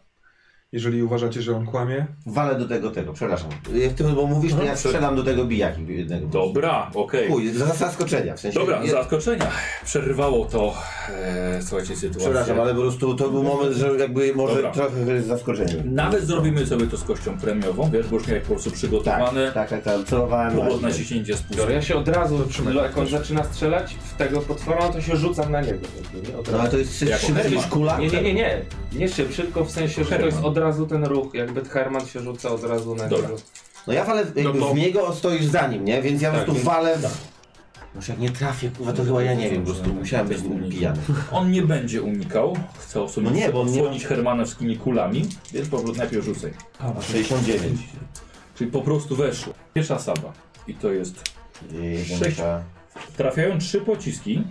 [SPEAKER 3] Jeżeli uważacie, że on kłamie,
[SPEAKER 1] Walę do tego tego, przepraszam. Jak ty bo mówisz, to ja strzelam do tego bijaki jednego.
[SPEAKER 2] Dobra, okej.
[SPEAKER 1] Chuj, za zaskoczenia. W sensie,
[SPEAKER 2] Dobra,
[SPEAKER 1] nie-
[SPEAKER 2] zaskoczenia. Przerwało to, e, słuchajcie, sytuację.
[SPEAKER 1] Przepraszam, ale po prostu to był moment, że jakby może
[SPEAKER 2] Dobra.
[SPEAKER 1] trochę zaskoczenie.
[SPEAKER 2] Nawet zrobimy sobie to z kością premiową, wiesz, bo już miałeś po prostu
[SPEAKER 1] Tak,
[SPEAKER 2] przygotowane.
[SPEAKER 1] tak, tak, tak, celowałem.
[SPEAKER 2] Powód na
[SPEAKER 1] właśnie.
[SPEAKER 2] ciśnięcie z
[SPEAKER 4] Dobra, ja się od razu,
[SPEAKER 3] trzymaj.
[SPEAKER 4] jak on zaczyna strzelać w tego potwora, to się rzucam na niego. jakby, nie? Od
[SPEAKER 1] No ale
[SPEAKER 4] razu.
[SPEAKER 1] to jest
[SPEAKER 2] Jak
[SPEAKER 1] szybszy
[SPEAKER 2] Herman.
[SPEAKER 1] niż kula?
[SPEAKER 4] Nie, nie, nie, nie. Nie szybszy, tylko w sensie, że to
[SPEAKER 2] Herman.
[SPEAKER 4] jest od razu ten ruch. Jakby Herman się rzuca od razu na
[SPEAKER 2] Dobra.
[SPEAKER 4] niego.
[SPEAKER 1] No ja walę jakby
[SPEAKER 2] No bo-
[SPEAKER 1] w niego, a stoisz za nim, nie? Więc ja po
[SPEAKER 4] Tak,
[SPEAKER 1] prostu
[SPEAKER 4] więc-
[SPEAKER 1] walę w... Może jak nie trafię, kurwa, to chyba ja nie wiem, po prostu musiałem być pijany.
[SPEAKER 2] On nie będzie unikał, chce
[SPEAKER 1] No
[SPEAKER 2] osłonić,
[SPEAKER 1] nie, bo on nie
[SPEAKER 2] osłonić Hermana wszystkimi kulami, więc po prostu najpierw rzucaj.
[SPEAKER 1] 69.
[SPEAKER 2] Czyli po prostu weszło. Pierwsza saba. I to jest
[SPEAKER 1] Jedynka.
[SPEAKER 2] Trafiają trzy pociski.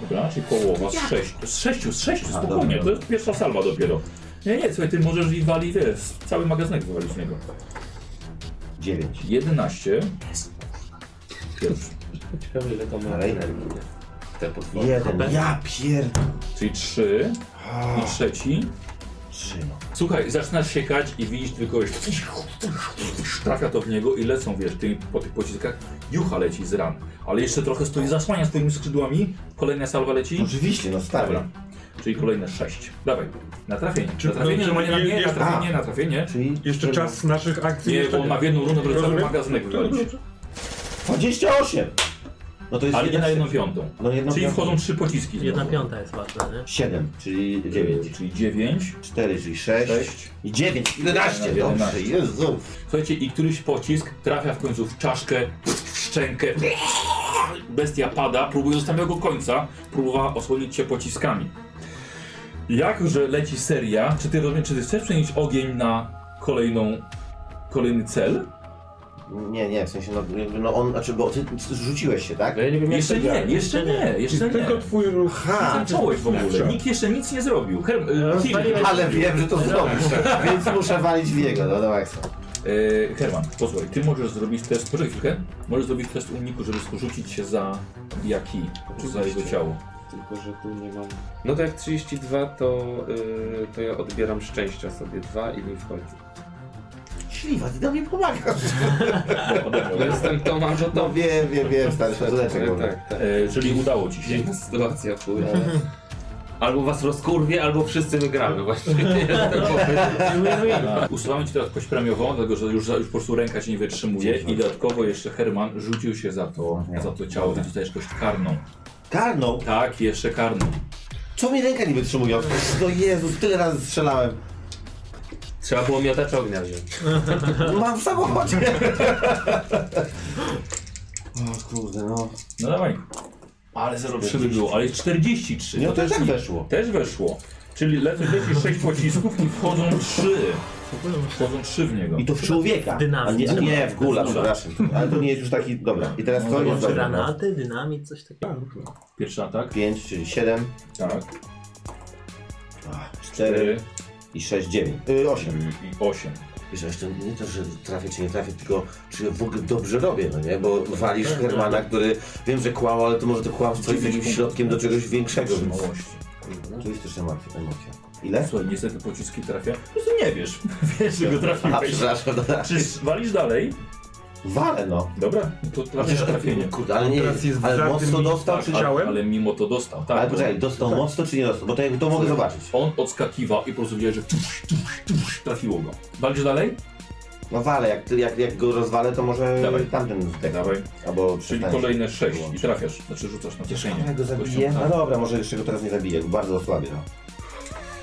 [SPEAKER 2] Dobra, czyli połowa z sześciu. Z sześciu, z sześciu, spokojnie.
[SPEAKER 1] dobra.
[SPEAKER 2] To jest pierwsza salwa dopiero. Nie, nie, słuchaj, ty możesz i wali, wiesz, cały magazynek wywalić z niego.
[SPEAKER 1] 9.
[SPEAKER 2] 11. Pierwszy.
[SPEAKER 4] Ciekawe ile to ma.
[SPEAKER 1] Ale ile?
[SPEAKER 4] Te potwory.
[SPEAKER 1] Jeden. Ja pierd...
[SPEAKER 2] Czyli trzy i trzeci.
[SPEAKER 1] Trzy, no.
[SPEAKER 2] Słuchaj, zaczynasz siekać i widzisz tylko kogoś. Trafia to w niego i lecą, wiesz, tymi, po tych pociskach. Jucha leci z ran. Ale jeszcze trochę stoi, zasłania swoimi skrzydłami. Kolejna salwa leci.
[SPEAKER 1] Oczywiście, no stary.
[SPEAKER 2] Dobra. Czyli kolejne sześć. Dawaj, na trafienie. Na trafienie,
[SPEAKER 3] no,
[SPEAKER 2] nie, na, nie, na
[SPEAKER 3] jest-
[SPEAKER 2] trafienie, na trafienie.
[SPEAKER 1] Czyli...
[SPEAKER 3] Jeszcze czas naszych akcji.
[SPEAKER 2] Nie,
[SPEAKER 3] jeszcze
[SPEAKER 2] bo on ma w jedną rundę, żeby cały
[SPEAKER 3] Rozumiem.
[SPEAKER 2] magazynek wywalić.
[SPEAKER 1] 28! No to jest...
[SPEAKER 2] Ale nie na
[SPEAKER 1] jeden-
[SPEAKER 2] jedną piątą.
[SPEAKER 1] No jedną
[SPEAKER 2] Czyli
[SPEAKER 1] piątą.
[SPEAKER 2] wchodzą trzy pociski.
[SPEAKER 5] Jedna piąta jest ważna, nie?
[SPEAKER 1] 7, czyli 9.
[SPEAKER 2] Czyli dziewięć.
[SPEAKER 1] 4, czyli 6.
[SPEAKER 2] Sześć.
[SPEAKER 1] I 9, 11. Dobrze,
[SPEAKER 2] 11.
[SPEAKER 1] Jezu.
[SPEAKER 2] Słuchajcie, i któryś pocisk trafia w końcu w czaszkę, w szczękę. Bestia pada, próbuje do samego końca, próbowała osłonić się pociskami. Jak, że leci seria, czy ty rozumiesz, czy ty chcesz przenieść ogień na kolejną, kolejny cel?
[SPEAKER 1] Nie, nie, w sensie, no, jakby, no on, znaczy, bo ty rzuciłeś się, tak?
[SPEAKER 4] No ja nie wiem, jak
[SPEAKER 2] Jeszcze
[SPEAKER 4] to
[SPEAKER 2] nie,
[SPEAKER 4] działa.
[SPEAKER 2] jeszcze nie, jeszcze nie.
[SPEAKER 3] Tylko twój ruch.
[SPEAKER 1] Ha!
[SPEAKER 2] Zacząłeś w ogóle, nikt jeszcze nic nie zrobił. Herm, e, Filip,
[SPEAKER 1] Ale wiem, że to zrobisz, tak. więc muszę walić w jego, no dawaj co.
[SPEAKER 2] e, Herman, posłuchaj, ty możesz zrobić test, poczekaj chwilkę, możesz zrobić test uniku, żeby rzucić się za jaki, za jego
[SPEAKER 7] Oczywiście.
[SPEAKER 2] ciało.
[SPEAKER 7] Tylko, że tu nie mam... No to jak 32, to, yy, to ja odbieram szczęścia sobie dwa i mi wchodzi.
[SPEAKER 1] Śliwa, ty do mnie pomagasz.
[SPEAKER 2] Odebrał.
[SPEAKER 7] Jestem Tomasz
[SPEAKER 1] No
[SPEAKER 7] Otowi.
[SPEAKER 1] wiem, wiem, wiem, stary, szacuneczek
[SPEAKER 7] Tak,
[SPEAKER 1] mówię.
[SPEAKER 7] tak, tak.
[SPEAKER 2] E, czyli udało ci się.
[SPEAKER 7] Dziwna sytuacja pływa. Albo was rozkurwie, albo wszyscy wygramy właśnie. Jestem po-
[SPEAKER 2] Usuwamy ci teraz kość premiową, dlatego że już, za- już po prostu ręka cię nie wytrzymuje i dodatkowo jeszcze Herman rzucił się za to,
[SPEAKER 1] Nie.
[SPEAKER 2] za to ciało, więc dostajesz kość karną.
[SPEAKER 1] Karną?
[SPEAKER 2] Tak, jeszcze karną.
[SPEAKER 1] Co mi ręka nie wytrzymuje? No Jezus, tyle razy strzelałem.
[SPEAKER 4] Trzeba było miotacz ognia wziąć.
[SPEAKER 1] Mam w samochodzie. O kurde, no.
[SPEAKER 2] No dawaj. Ale 0,3 by było, ale 43.
[SPEAKER 1] No to
[SPEAKER 2] też
[SPEAKER 1] tak
[SPEAKER 2] nie-
[SPEAKER 1] weszło.
[SPEAKER 2] Też weszło. Czyli lecą leci 6 pocisków i wchodzą 3. Wchodzą 3 w niego.
[SPEAKER 1] I to w człowieka.
[SPEAKER 5] Dynamit.
[SPEAKER 1] A nie, nie, w gula, przepraszam. Ale to nie jest już taki, dobra. I teraz to jest
[SPEAKER 5] Czy
[SPEAKER 1] dobra. No.
[SPEAKER 5] granaty, dynamit, coś
[SPEAKER 3] Tak,
[SPEAKER 5] takiego.
[SPEAKER 2] Pierwszy atak.
[SPEAKER 1] 5, czyli 7,
[SPEAKER 2] Tak.
[SPEAKER 1] 4 i 6, 9. Y, 8.
[SPEAKER 2] I 8.
[SPEAKER 1] Wiesz, jeszcze nie to, że trafię czy nie trafię, tylko czy ja w ogóle dobrze robię, no nie? Bo walisz
[SPEAKER 2] Tak,
[SPEAKER 1] Hermana, który wiem, że kłał, ale to może to kłamstwo jest jakimś środkiem do czegoś większego. więc-
[SPEAKER 2] Małości.
[SPEAKER 1] Tu jest też emocja. emocja. Ile?
[SPEAKER 2] Słuchaj, niestety pociski trafia. Po prostu nie wiesz. Wiesz, że go
[SPEAKER 1] A,
[SPEAKER 2] trafiłeś.
[SPEAKER 1] przepraszam, dobra.
[SPEAKER 2] Czy walisz dalej?
[SPEAKER 1] Walę, no.
[SPEAKER 2] Dobra, to trafiasz trafienie.
[SPEAKER 1] Kurde, ale nie,
[SPEAKER 3] Teraz jest
[SPEAKER 1] ale
[SPEAKER 3] za
[SPEAKER 1] mocno
[SPEAKER 3] tym-
[SPEAKER 1] dostał,
[SPEAKER 3] tak,
[SPEAKER 1] czy...
[SPEAKER 3] tak.
[SPEAKER 1] Ale,
[SPEAKER 3] Ciałem?
[SPEAKER 2] Ale mimo to dostał, tak.
[SPEAKER 1] ale
[SPEAKER 2] bo
[SPEAKER 1] poczekaj, dostał mocno, czy nie dostał? Bo to, to mogę zobaczyć.
[SPEAKER 2] On odskakiwał i po prostu widziałeś, że tuś, tuś, tuś, trafiło go. Walczysz dalej?
[SPEAKER 1] No walę, jak, jak, jak go rozwalę, to może
[SPEAKER 2] Dawaj.
[SPEAKER 1] tamten zdech.
[SPEAKER 2] Dawaj.
[SPEAKER 1] Albo
[SPEAKER 2] Czyli
[SPEAKER 1] przestanie się
[SPEAKER 2] kolejne 6 i
[SPEAKER 1] wyłączyć.
[SPEAKER 2] trafiasz, znaczy rzucasz na kieszenie.
[SPEAKER 1] Ja go zabiję?
[SPEAKER 2] Kością,
[SPEAKER 1] No
[SPEAKER 2] tak.
[SPEAKER 1] dobra, może jeszcze go teraz nie zabiję, go bardzo osłabię.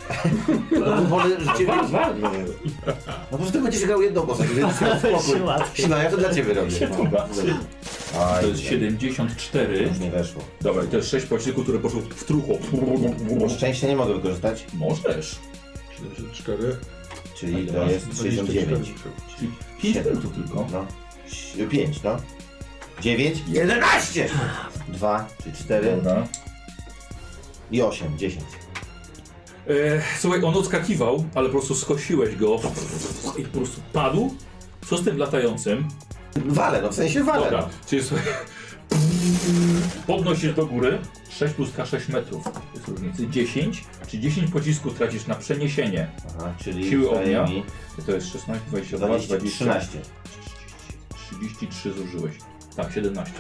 [SPEAKER 1] No. No bo wolę, że ciebie rozwalę. No po prostu będziesz grał jedną postać, więc miał spokój.
[SPEAKER 5] Łatwiej.
[SPEAKER 1] No ja to dla ciebie robię. No. Aj,
[SPEAKER 2] To jest
[SPEAKER 1] nie.
[SPEAKER 2] 74.
[SPEAKER 1] Już nie weszło.
[SPEAKER 2] Dobra, i to jest 6 pocisków, które poszło w trucho.
[SPEAKER 1] Bo szczęścia nie mogę wykorzystać,
[SPEAKER 2] Możesz.
[SPEAKER 3] 74.
[SPEAKER 1] czyli to jest 69.
[SPEAKER 2] 5 punktów tylko.
[SPEAKER 1] No. 5, no. 9. 11! 2, czy 4
[SPEAKER 2] Dobra.
[SPEAKER 1] i 8, 10.
[SPEAKER 2] E, słuchaj, on odskakiwał, ale po prostu skosiłeś go i po prostu padł. Co z tym latającym?
[SPEAKER 1] Wale, no w sensie wale.
[SPEAKER 2] Dobra, czyli słuchaj, podnosisz do góry 6 plus K 6 metrów. To jest różnicy 10, czy 10 pocisków tracisz na przeniesienie.
[SPEAKER 1] Aha, czyli
[SPEAKER 2] Siły
[SPEAKER 1] daje
[SPEAKER 2] ognia.
[SPEAKER 1] mi
[SPEAKER 2] To jest 16, 22,
[SPEAKER 1] 20,
[SPEAKER 2] 20,
[SPEAKER 1] 13.
[SPEAKER 2] 33 zużyłeś. Tak, 17.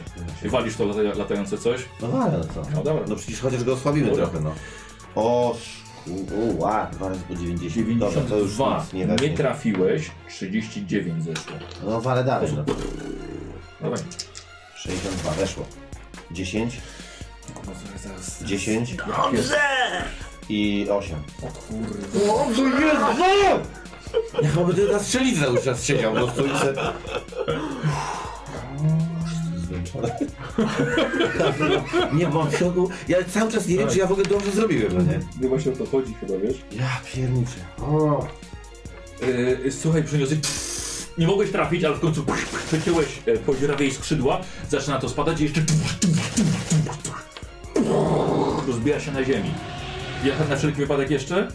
[SPEAKER 2] I walisz to lata, latające coś?
[SPEAKER 1] No wale, no co?
[SPEAKER 2] No dobra.
[SPEAKER 1] No przecież chociaż go osłabimy
[SPEAKER 2] Dobra.
[SPEAKER 1] trochę, no. O, sz- ła, 2 razy po 90. Dobra, to już
[SPEAKER 2] 92.
[SPEAKER 1] nic nie
[SPEAKER 2] Nie,
[SPEAKER 1] weźmie.
[SPEAKER 2] trafiłeś, 39 zeszło.
[SPEAKER 1] No wale dalej, no.
[SPEAKER 2] Dawaj.
[SPEAKER 1] 62, weszło. 10
[SPEAKER 2] No, zaraz, zaraz.
[SPEAKER 1] 10.
[SPEAKER 2] Dobrze!
[SPEAKER 1] i 8.
[SPEAKER 2] O kurde.
[SPEAKER 1] Jak mamy tyle na strzelić cały czas siedział, no to już... Zmęczony. Tak, no. nie mam siodłu. Ja cały czas nie wiem, czy ja w ogóle dobrze zrobiłem, no nie?
[SPEAKER 2] Nie właśnie o to chodzi chyba, wiesz?
[SPEAKER 1] Ja pierniczę. O.
[SPEAKER 2] Yy, słuchaj, przyniosę... pff, Nie mogłeś trafić, ale w końcu pff, pff, przeciąłeś e, podziurawie jej skrzydła, zaczyna to spadać i jeszcze... pff, pff, pff, pff, pff, pff, Rozbija się na ziemi. Jechać na wszelki wypadek jeszcze?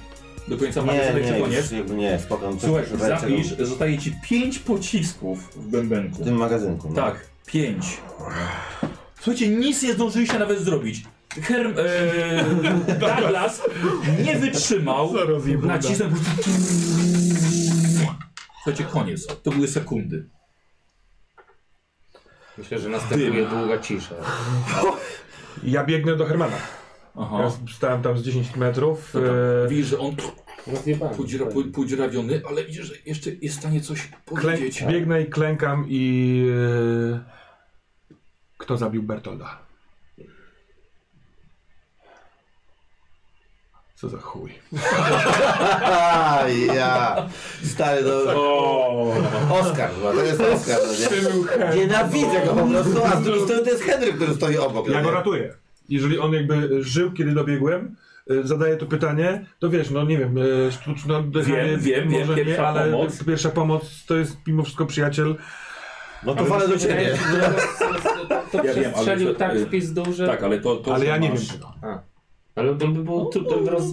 [SPEAKER 2] Do końca
[SPEAKER 1] Nie,
[SPEAKER 2] magazynek czy
[SPEAKER 1] nie,
[SPEAKER 2] koniec?
[SPEAKER 1] już, jakby nie, no spokojnie.
[SPEAKER 2] Słuchaj,
[SPEAKER 1] Coś ręce
[SPEAKER 2] zapisz,
[SPEAKER 1] robię.
[SPEAKER 2] zostaje ci 5 pocisków w bębenku.
[SPEAKER 3] Tak,
[SPEAKER 1] W tym magazynku. No.
[SPEAKER 2] Tak, 5. Słuchajcie, nic nie zdążyliście nawet zrobić. Herm... E, Douglas nie wytrzymał. Nacisnął po prostu... Słuchajcie, koniec. To były sekundy.
[SPEAKER 4] Myślę, że następuje długa cisza.
[SPEAKER 3] Ja biegnę do Hermana.
[SPEAKER 2] Aha.
[SPEAKER 3] Ja stałem tam z 10 metrów.
[SPEAKER 2] To tam
[SPEAKER 3] e,
[SPEAKER 2] Widzisz, że on
[SPEAKER 4] Rozjebany.
[SPEAKER 2] podziura, po- podziurawiony, ale widzisz, że jeszcze jest w stanie coś
[SPEAKER 3] klę-
[SPEAKER 2] powiedzieć.
[SPEAKER 3] biegnę i klękam i... e, Kto zabił Bertolda? Co za chuj.
[SPEAKER 1] A ja. Stary, no.
[SPEAKER 2] O,
[SPEAKER 1] Oskar, chyba, to jest Oskar. No, nie? Nienawidzę go po prostu, a z drugiej strony to jest Henryk, który stoi obok. no
[SPEAKER 3] Ja go
[SPEAKER 1] nie?
[SPEAKER 3] ratuję. Jeżeli on jakby żył, kiedy dobiegłem, y, zadaję to pytanie, to wiesz, no nie wiem, y, sztuczne oddychanie,
[SPEAKER 2] Wiem, wiem, wiem,
[SPEAKER 3] może
[SPEAKER 2] pierwsza
[SPEAKER 3] nie, ale
[SPEAKER 2] pomoc.
[SPEAKER 3] pierwsza pomoc to jest mimo wszystko przyjaciel.
[SPEAKER 1] No to walę do ciebie.
[SPEAKER 4] To
[SPEAKER 2] Ja wiem, ale
[SPEAKER 4] przestrzelił
[SPEAKER 2] że-
[SPEAKER 4] tak w pizdu, że...
[SPEAKER 2] tak, ale to, to
[SPEAKER 3] Ale
[SPEAKER 2] że
[SPEAKER 3] ja nie
[SPEAKER 2] masz-
[SPEAKER 3] wiem tego.
[SPEAKER 4] Ale to by było tu, to roz...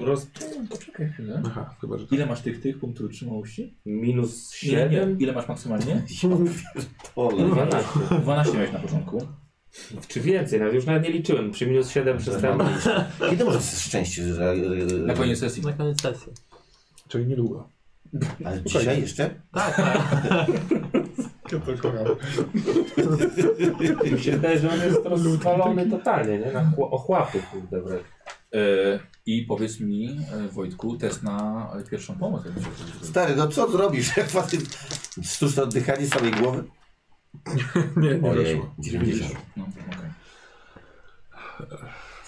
[SPEAKER 4] roz...
[SPEAKER 2] Poczekaj chwilę.
[SPEAKER 3] Aha, chyba, że tak.
[SPEAKER 2] Ile masz tych, tych punktów wytrzymałości?
[SPEAKER 4] Minus
[SPEAKER 2] Nie, nie.
[SPEAKER 4] 7?
[SPEAKER 2] Ile masz maksymalnie?
[SPEAKER 1] Ole.
[SPEAKER 4] 12.
[SPEAKER 2] 12 miałeś na początku.
[SPEAKER 4] Czy więcej, nawet już nawet nie liczyłem. Przy minus 7 przestałem liczyć.
[SPEAKER 1] Kiedy może szczęście? że-
[SPEAKER 2] Na koniec sesji.
[SPEAKER 5] Na koniec sesji.
[SPEAKER 3] Czyli niedługo.
[SPEAKER 1] Ale dzisiaj jeszcze?
[SPEAKER 4] Mi się wydaje, że on jest rozwalony totalnie, nie? Na chło- ochłapy, kurde, wręcz.
[SPEAKER 2] E, I powiedz mi, e, Wojtku, test na e, pierwszą pomoc. jak będziesz robił.
[SPEAKER 1] Stary, no co zrobisz? Jak facet sztuczne oddychanie z samej głowy?
[SPEAKER 3] Nie, nie
[SPEAKER 1] Ojej,
[SPEAKER 3] weszło.
[SPEAKER 1] 90.
[SPEAKER 2] No, okej.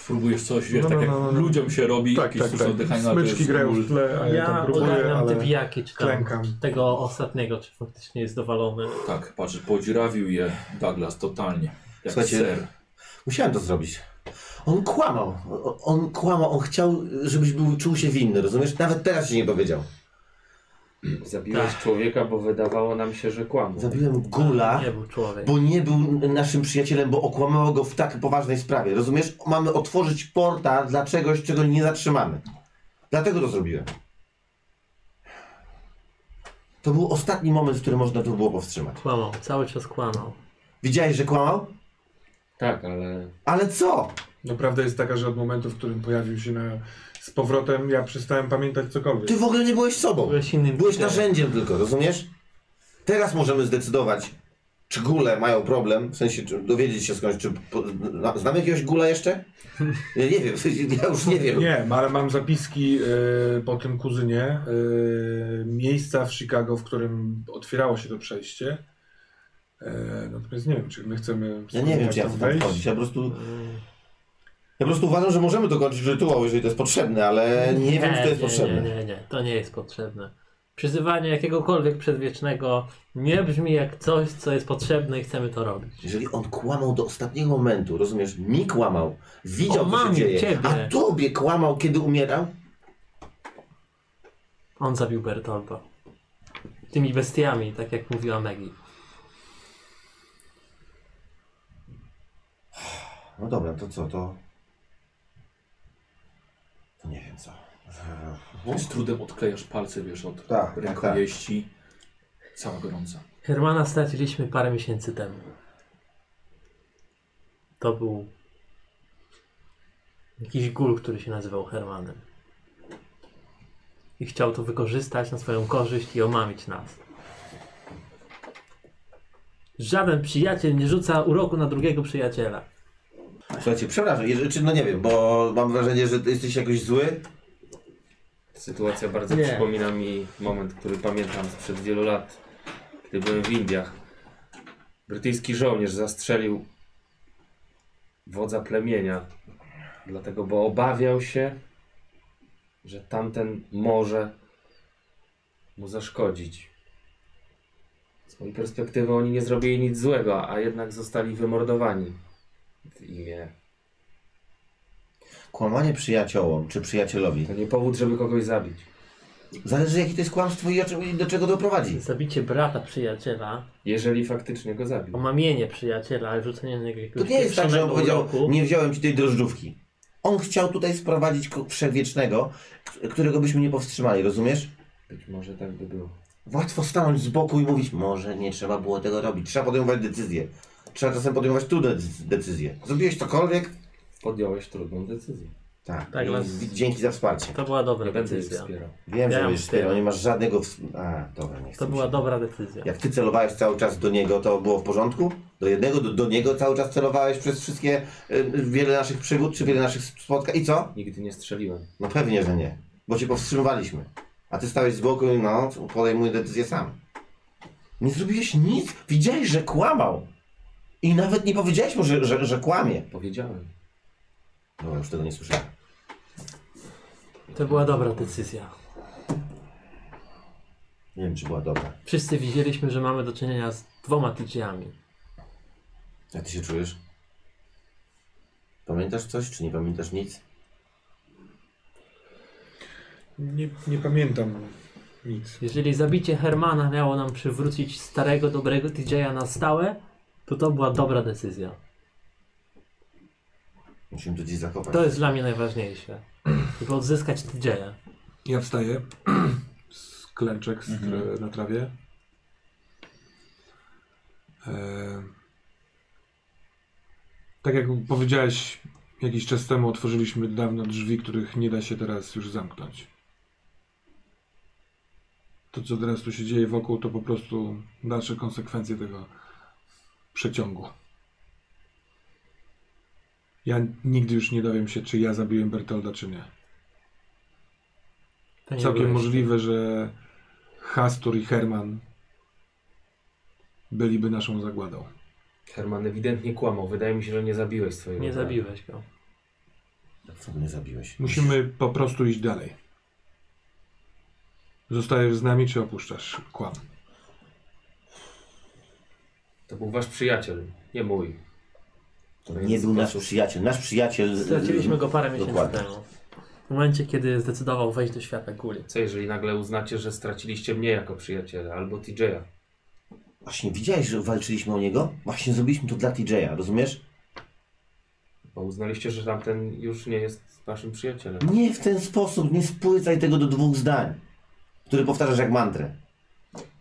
[SPEAKER 2] Próbujesz coś, wiesz,
[SPEAKER 3] No,
[SPEAKER 2] tak
[SPEAKER 3] no,
[SPEAKER 2] jak
[SPEAKER 3] no, no.
[SPEAKER 2] ludziom się robi,
[SPEAKER 3] Tak,
[SPEAKER 2] jakieś
[SPEAKER 3] tak,
[SPEAKER 2] sztuczne
[SPEAKER 3] tak.
[SPEAKER 2] oddychanie, ale no to
[SPEAKER 3] Smyczki
[SPEAKER 2] jest
[SPEAKER 3] grają
[SPEAKER 2] ból.
[SPEAKER 3] w tle, a ja,
[SPEAKER 5] Ja
[SPEAKER 3] tam próbuję,
[SPEAKER 5] ogarniam te
[SPEAKER 3] ale...
[SPEAKER 5] bijaki, czy tam
[SPEAKER 3] klękam.
[SPEAKER 5] tego ostatniego, czy faktycznie jest dowalony.
[SPEAKER 2] Tak, patrz, podziurawił je Douglas totalnie. Jak
[SPEAKER 1] Słuchajcie,
[SPEAKER 2] ser.
[SPEAKER 1] Musiałem to zrobić. On kłamał. O- On kłamał, on chciał, żebyś był, czuł się winny, rozumiesz? Nawet teraz się nie powiedział.
[SPEAKER 4] Zabiłeś człowieka, bo wydawało nam się, że kłamał.
[SPEAKER 1] Zabiłem gula,
[SPEAKER 5] Nie był człowiek.
[SPEAKER 1] bo nie był naszym przyjacielem, bo okłamało go w tak poważnej sprawie. Rozumiesz? Mamy otworzyć portal dla czegoś, czego nie zatrzymamy. Dlatego to zrobiłem. To był ostatni moment, w którym można to było powstrzymać.
[SPEAKER 5] Kłamał, cały czas kłamał.
[SPEAKER 1] Widziałeś, że kłamał?
[SPEAKER 4] Tak, ale
[SPEAKER 1] Ale co?
[SPEAKER 3] No prawda jest taka, że od momentu, w którym pojawił się na... z powrotem, ja przestałem pamiętać cokolwiek.
[SPEAKER 1] Ty w ogóle nie byłeś sobą.
[SPEAKER 5] Byłeś innym
[SPEAKER 1] Byłeś
[SPEAKER 5] liderem.
[SPEAKER 1] narzędziem tylko, rozumiesz? Teraz możemy zdecydować, czy gule mają problem, w sensie czy dowiedzieć się skądś, czy po, na- znamy jakiegoś gula jeszcze? Ja nie wiem, w sensie, ja już nie wiem.
[SPEAKER 3] Nie, ale mam zapiski y, po tym kuzynie y, miejsca w Chicago, w którym otwierało się to przejście. Y, natomiast nie wiem, czy my chcemy
[SPEAKER 1] Ja nie wiem, czy ja
[SPEAKER 3] tam
[SPEAKER 1] chcę tam
[SPEAKER 3] wejść.
[SPEAKER 1] wchodzić, ja po prostu... Ja po prostu uważam, że możemy dokończyć rytuał, jeżeli to jest potrzebne, ale nie, wiem, czy to jest
[SPEAKER 5] nie,
[SPEAKER 1] potrzebne.
[SPEAKER 5] Nie, nie, nie, to nie jest potrzebne. Przyzywanie jakiegokolwiek przedwiecznego nie brzmi jak coś, co jest potrzebne i chcemy to robić.
[SPEAKER 1] Jeżeli on kłamał do ostatniego momentu, rozumiesz, mi kłamał, widział,
[SPEAKER 5] O,
[SPEAKER 1] co się
[SPEAKER 5] mamie,
[SPEAKER 1] dzieje,
[SPEAKER 5] ciebie.
[SPEAKER 1] a tobie kłamał, kiedy umierał,
[SPEAKER 5] On zabił Bertoldo. Tymi bestiami, tak jak mówiła Maggie.
[SPEAKER 1] No dobra, to co, to... To nie wiem co.
[SPEAKER 2] Z trudem odklejasz palce, wiesz, od
[SPEAKER 1] no. Tak,
[SPEAKER 2] rękojeści. Cała gorąca.
[SPEAKER 5] Hermana straciliśmy parę miesięcy temu. To był jakiś gól, który się nazywał Hermanem. I chciał to wykorzystać na swoją korzyść i omamić nas. Żaden przyjaciel nie rzuca uroku na drugiego przyjaciela.
[SPEAKER 1] Słuchajcie, przepraszam, jeżeli, czy, no nie wiem, bo mam wrażenie, że ty jesteś jakoś zły.
[SPEAKER 4] sytuacja bardzo
[SPEAKER 5] Nie.
[SPEAKER 4] przypomina mi moment, który pamiętam sprzed wielu lat, gdy byłem w Indiach. Brytyjski żołnierz zastrzelił wodza plemienia, dlatego, bo obawiał się, że tamten może mu zaszkodzić. Z mojej perspektywy oni nie zrobili nic złego, a jednak zostali wymordowani w imię
[SPEAKER 1] Kłamanie przyjaciołom czy przyjacielowi.
[SPEAKER 4] To nie powód, żeby kogoś zabić.
[SPEAKER 1] Zależy jakie to jest kłamstwo i, o czym- i do czego doprowadzi.
[SPEAKER 5] Zabicie brata przyjaciela,
[SPEAKER 4] Jeżeli faktycznie go zabił.
[SPEAKER 5] omamienie przyjaciela, ale rzucenie na niego
[SPEAKER 1] To
[SPEAKER 5] jakiegoś
[SPEAKER 1] nie jest tak, że on
[SPEAKER 5] pieprzonego
[SPEAKER 1] powiedział,
[SPEAKER 5] uroku.
[SPEAKER 1] nie wziąłem ci tej drożdżówki. On chciał tutaj sprowadzić ko- wszechwiecznego, k- którego byśmy nie powstrzymali, rozumiesz?
[SPEAKER 4] Być może tak by było.
[SPEAKER 1] Łatwo stanąć z boku i mówić, może nie trzeba było tego robić, trzeba podejmować decyzję. trzeba czasem podejmować trudne decy- decyzje. Zrobiłeś cokolwiek?
[SPEAKER 7] Podjąłeś trudną decyzję.
[SPEAKER 1] Tak.
[SPEAKER 5] Tak,
[SPEAKER 1] I
[SPEAKER 5] was-
[SPEAKER 1] Dzięki za wsparcie.
[SPEAKER 5] To była dobra
[SPEAKER 7] Nie będę jej
[SPEAKER 5] decyzja.
[SPEAKER 7] wspierał.
[SPEAKER 1] Wiem,
[SPEAKER 5] Ja
[SPEAKER 1] że
[SPEAKER 5] ją
[SPEAKER 1] będziesz
[SPEAKER 5] wspieram.
[SPEAKER 1] wspierał, nie masz żadnego... Ws- A, dobra, nie chcę
[SPEAKER 5] To
[SPEAKER 1] mi
[SPEAKER 5] była
[SPEAKER 1] się-
[SPEAKER 5] dobra decyzja.
[SPEAKER 1] Jak ty celowałeś cały czas do niego, to było w porządku? Do jednego, do, do niego cały czas celowałeś przez wszystkie y, wiele naszych przygód, czy wiele naszych spotkań i co?
[SPEAKER 7] Nigdy nie strzeliłem.
[SPEAKER 1] No pewnie, że nie. Bo cię powstrzymywaliśmy. A ty stałeś z boku i no, podejmuj decyzję sam. Nie zrobiłeś nic. Widziałeś, że kłamał. I nawet nie powiedziałeś mu, że, że, że kłamie.
[SPEAKER 7] Powiedziałem.
[SPEAKER 1] No już tego nie słyszałem.
[SPEAKER 5] To była dobra decyzja.
[SPEAKER 1] Nie wiem, czy była dobra.
[SPEAKER 5] Wszyscy widzieliśmy, że mamy do czynienia z dwoma tydzieniami.
[SPEAKER 1] Jak ty się czujesz? Pamiętasz coś, czy nie pamiętasz nic?
[SPEAKER 3] Nie, nie pamiętam nic.
[SPEAKER 5] Jeżeli zabicie Hermana miało nam przywrócić starego, dobrego TJ'a na stałe, to to była dobra decyzja.
[SPEAKER 1] Musimy to gdzieś zakopać.
[SPEAKER 5] To jest dla mnie najważniejsze. Żeby odzyskać TJ'a.
[SPEAKER 3] Ja wstaję z klęczek z, na trawie. E, tak jak powiedziałeś jakiś czas temu, otworzyliśmy dawno drzwi, których nie da się teraz już zamknąć. To, co teraz tu się dzieje wokół, to po prostu dalsze konsekwencje tego przeciągu. Ja nigdy już nie dowiem się, czy ja zabiłem Bertolda, czy nie.
[SPEAKER 5] To nie
[SPEAKER 3] Całkiem
[SPEAKER 5] byłeś
[SPEAKER 3] możliwe, że Hastur i Herman byliby naszą zagładą.
[SPEAKER 4] Herman ewidentnie kłamał. Wydaje mi się, że nie zabiłeś
[SPEAKER 5] ty.
[SPEAKER 4] swojego.
[SPEAKER 5] Nie
[SPEAKER 4] brata.
[SPEAKER 5] zabiłeś go.
[SPEAKER 1] Dlaczego mnie zabiłeś?
[SPEAKER 3] Musimy po prostu iść dalej. Zostajesz z nami, czy opuszczasz kłam?
[SPEAKER 4] To był wasz przyjaciel, nie mój.
[SPEAKER 1] To nie był nasz przyjaciel. Nasz przyjaciel... y,
[SPEAKER 5] Straciliśmy go parę miesięcy
[SPEAKER 1] Dokładnie.
[SPEAKER 5] temu. W momencie, kiedy zdecydował wejść do świata góry.
[SPEAKER 4] Co jeżeli nagle uznacie, że straciliście mnie jako przyjaciela albo TJ'a?
[SPEAKER 1] Właśnie widziałeś, że walczyliśmy o niego? Właśnie zrobiliśmy to dla TJ'a, rozumiesz?
[SPEAKER 4] Bo uznaliście, że tamten już nie jest naszym przyjacielem.
[SPEAKER 1] Nie w ten sposób, nie spłycaj tego do dwóch zdań, które powtarzasz jak mantrę.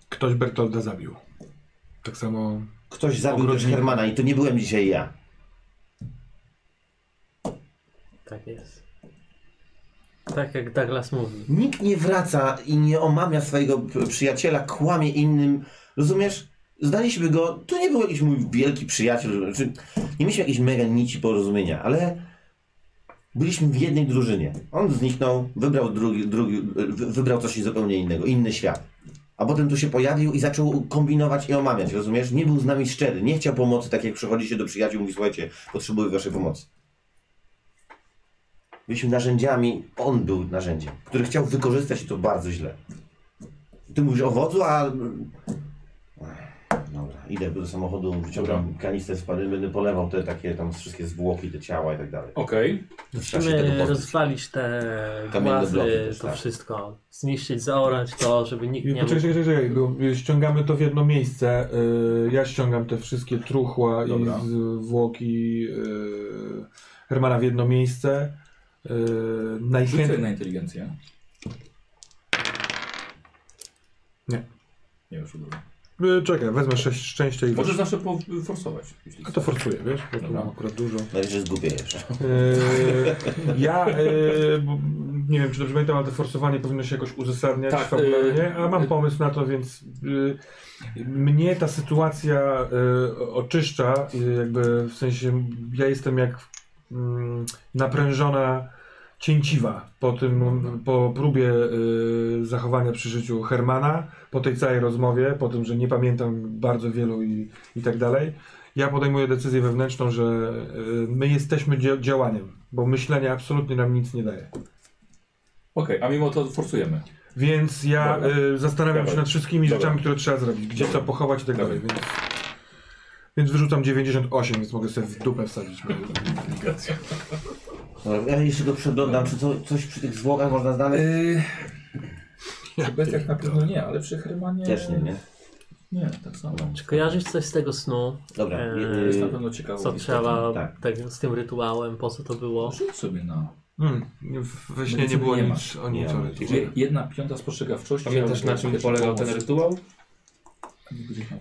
[SPEAKER 3] Ktoś Bertolda zabił. Tak samo
[SPEAKER 1] Ktoś zabił też
[SPEAKER 3] Ogrodnik.
[SPEAKER 1] Hermana i to nie byłem dzisiaj ja.
[SPEAKER 5] Tak jest. Tak jak Douglas mówi.
[SPEAKER 1] Nikt nie wraca i nie omamia swojego p- przyjaciela, kłamie innym, rozumiesz? Znaliśmy go, to nie był jakiś mój wielki przyjaciel, czy nie mieliśmy jakiejś mega nici porozumienia, ale byliśmy w jednej drużynie. On zniknął, wybrał drugi, drugi wy- wybrał coś zupełnie innego, inny świat. A potem tu się pojawił i zaczął kombinować i omamiać, rozumiesz? Nie był z nami szczery, nie chciał pomocy, tak jak przychodzi się do przyjaciół i mówi, słuchajcie, potrzebuję waszej pomocy. Byliśmy narzędziami, on był narzędziem, który chciał wykorzystać i to bardzo źle. Ty mówisz o wodzu, a... Dobra, idę do samochodu, wyciągam kanister z pary, będę polewał te takie tam wszystkie zwłoki, te ciała i tak dalej.
[SPEAKER 2] Okej.
[SPEAKER 1] Trzeba się tego
[SPEAKER 5] Musimy
[SPEAKER 1] pozbyć.
[SPEAKER 5] rozwalić te
[SPEAKER 1] Kamienne bloki
[SPEAKER 5] głazy,
[SPEAKER 1] też,
[SPEAKER 5] to
[SPEAKER 1] tak.
[SPEAKER 5] wszystko. Zniszczyć, zaorać to, żeby nikt nie
[SPEAKER 3] Czekaj,
[SPEAKER 5] mógł...
[SPEAKER 3] czekaj, czekaj, czekaj, bo y, ściągamy to w jedno miejsce. Y, Ja ściągam te wszystkie truchła
[SPEAKER 1] Dobra.
[SPEAKER 3] i zwłoki y, Hermana w jedno miejsce. Y,
[SPEAKER 2] Rzucaj
[SPEAKER 3] Najchętniej.
[SPEAKER 2] na inteligencję.
[SPEAKER 3] Nie.
[SPEAKER 2] Nie już udało.
[SPEAKER 3] Y, Czekaj, wezmę sześć szczęścia i
[SPEAKER 2] Możesz zawsze po- forsować. Jeśli
[SPEAKER 3] A No to forsuję, wiesz? Bo tu mam akurat dużo.
[SPEAKER 1] Najwyżej zgubię jeszcze.
[SPEAKER 3] Y, ja y, bo nie wiem, czy dobrze pamiętam, ale to forsowanie powinno się jakoś uzasadniać
[SPEAKER 2] Tak,
[SPEAKER 3] fabularnie,
[SPEAKER 2] y,
[SPEAKER 3] a mam pomysł na to, więc y, mnie ta sytuacja y, oczyszcza, y, jakby w sensie ja jestem jak mm, naprężona cięciwa po tym, po próbie y, zachowania przy życiu Hermana, po tej całej rozmowie, po tym, że nie pamiętam bardzo wielu i, i tak dalej. Ja podejmuję decyzję wewnętrzną, że y, my jesteśmy dzia działaniem, bo myślenie absolutnie nam nic nie daje.
[SPEAKER 2] Okej, a mimo to forsujemy.
[SPEAKER 3] Więc ja
[SPEAKER 2] Dobra.
[SPEAKER 3] y, zastanawiam
[SPEAKER 2] Dobra.
[SPEAKER 3] się nad wszystkimi
[SPEAKER 2] Dobra.
[SPEAKER 3] rzeczami, które trzeba zrobić, gdzie
[SPEAKER 2] Dobra.
[SPEAKER 3] co pochować i tak
[SPEAKER 2] Dobra.
[SPEAKER 3] dalej. Więc, więc wyrzucam 98, więc mogę sobie w dupę wsadzić.
[SPEAKER 1] Dobra, ja jeszcze go przeglądam, czy co, coś przy tych zwłokach można znaleźć?
[SPEAKER 2] Yy... Betiach na pewno nie, ale przy Hermanie...
[SPEAKER 1] Też nie, No. nie?
[SPEAKER 2] Nie, tak samo.
[SPEAKER 5] Czy kojarzysz coś z tego snu?
[SPEAKER 1] Dobra,
[SPEAKER 5] Eee,
[SPEAKER 1] yy,
[SPEAKER 2] Jest na pewno ciekawe.
[SPEAKER 5] Co trzeba
[SPEAKER 1] tak.
[SPEAKER 5] tak, z tym rytuałem, po co to było?
[SPEAKER 2] Rzuć sobie na...
[SPEAKER 3] Hmm, we śnie
[SPEAKER 2] Medycyny
[SPEAKER 3] nie było
[SPEAKER 2] nie
[SPEAKER 3] nic o
[SPEAKER 1] Nie
[SPEAKER 3] nic
[SPEAKER 1] ma.
[SPEAKER 3] o
[SPEAKER 2] Je- Jedna piąta spostrzegawczości...
[SPEAKER 4] Pamiętasz na czym polegał ten rytuał?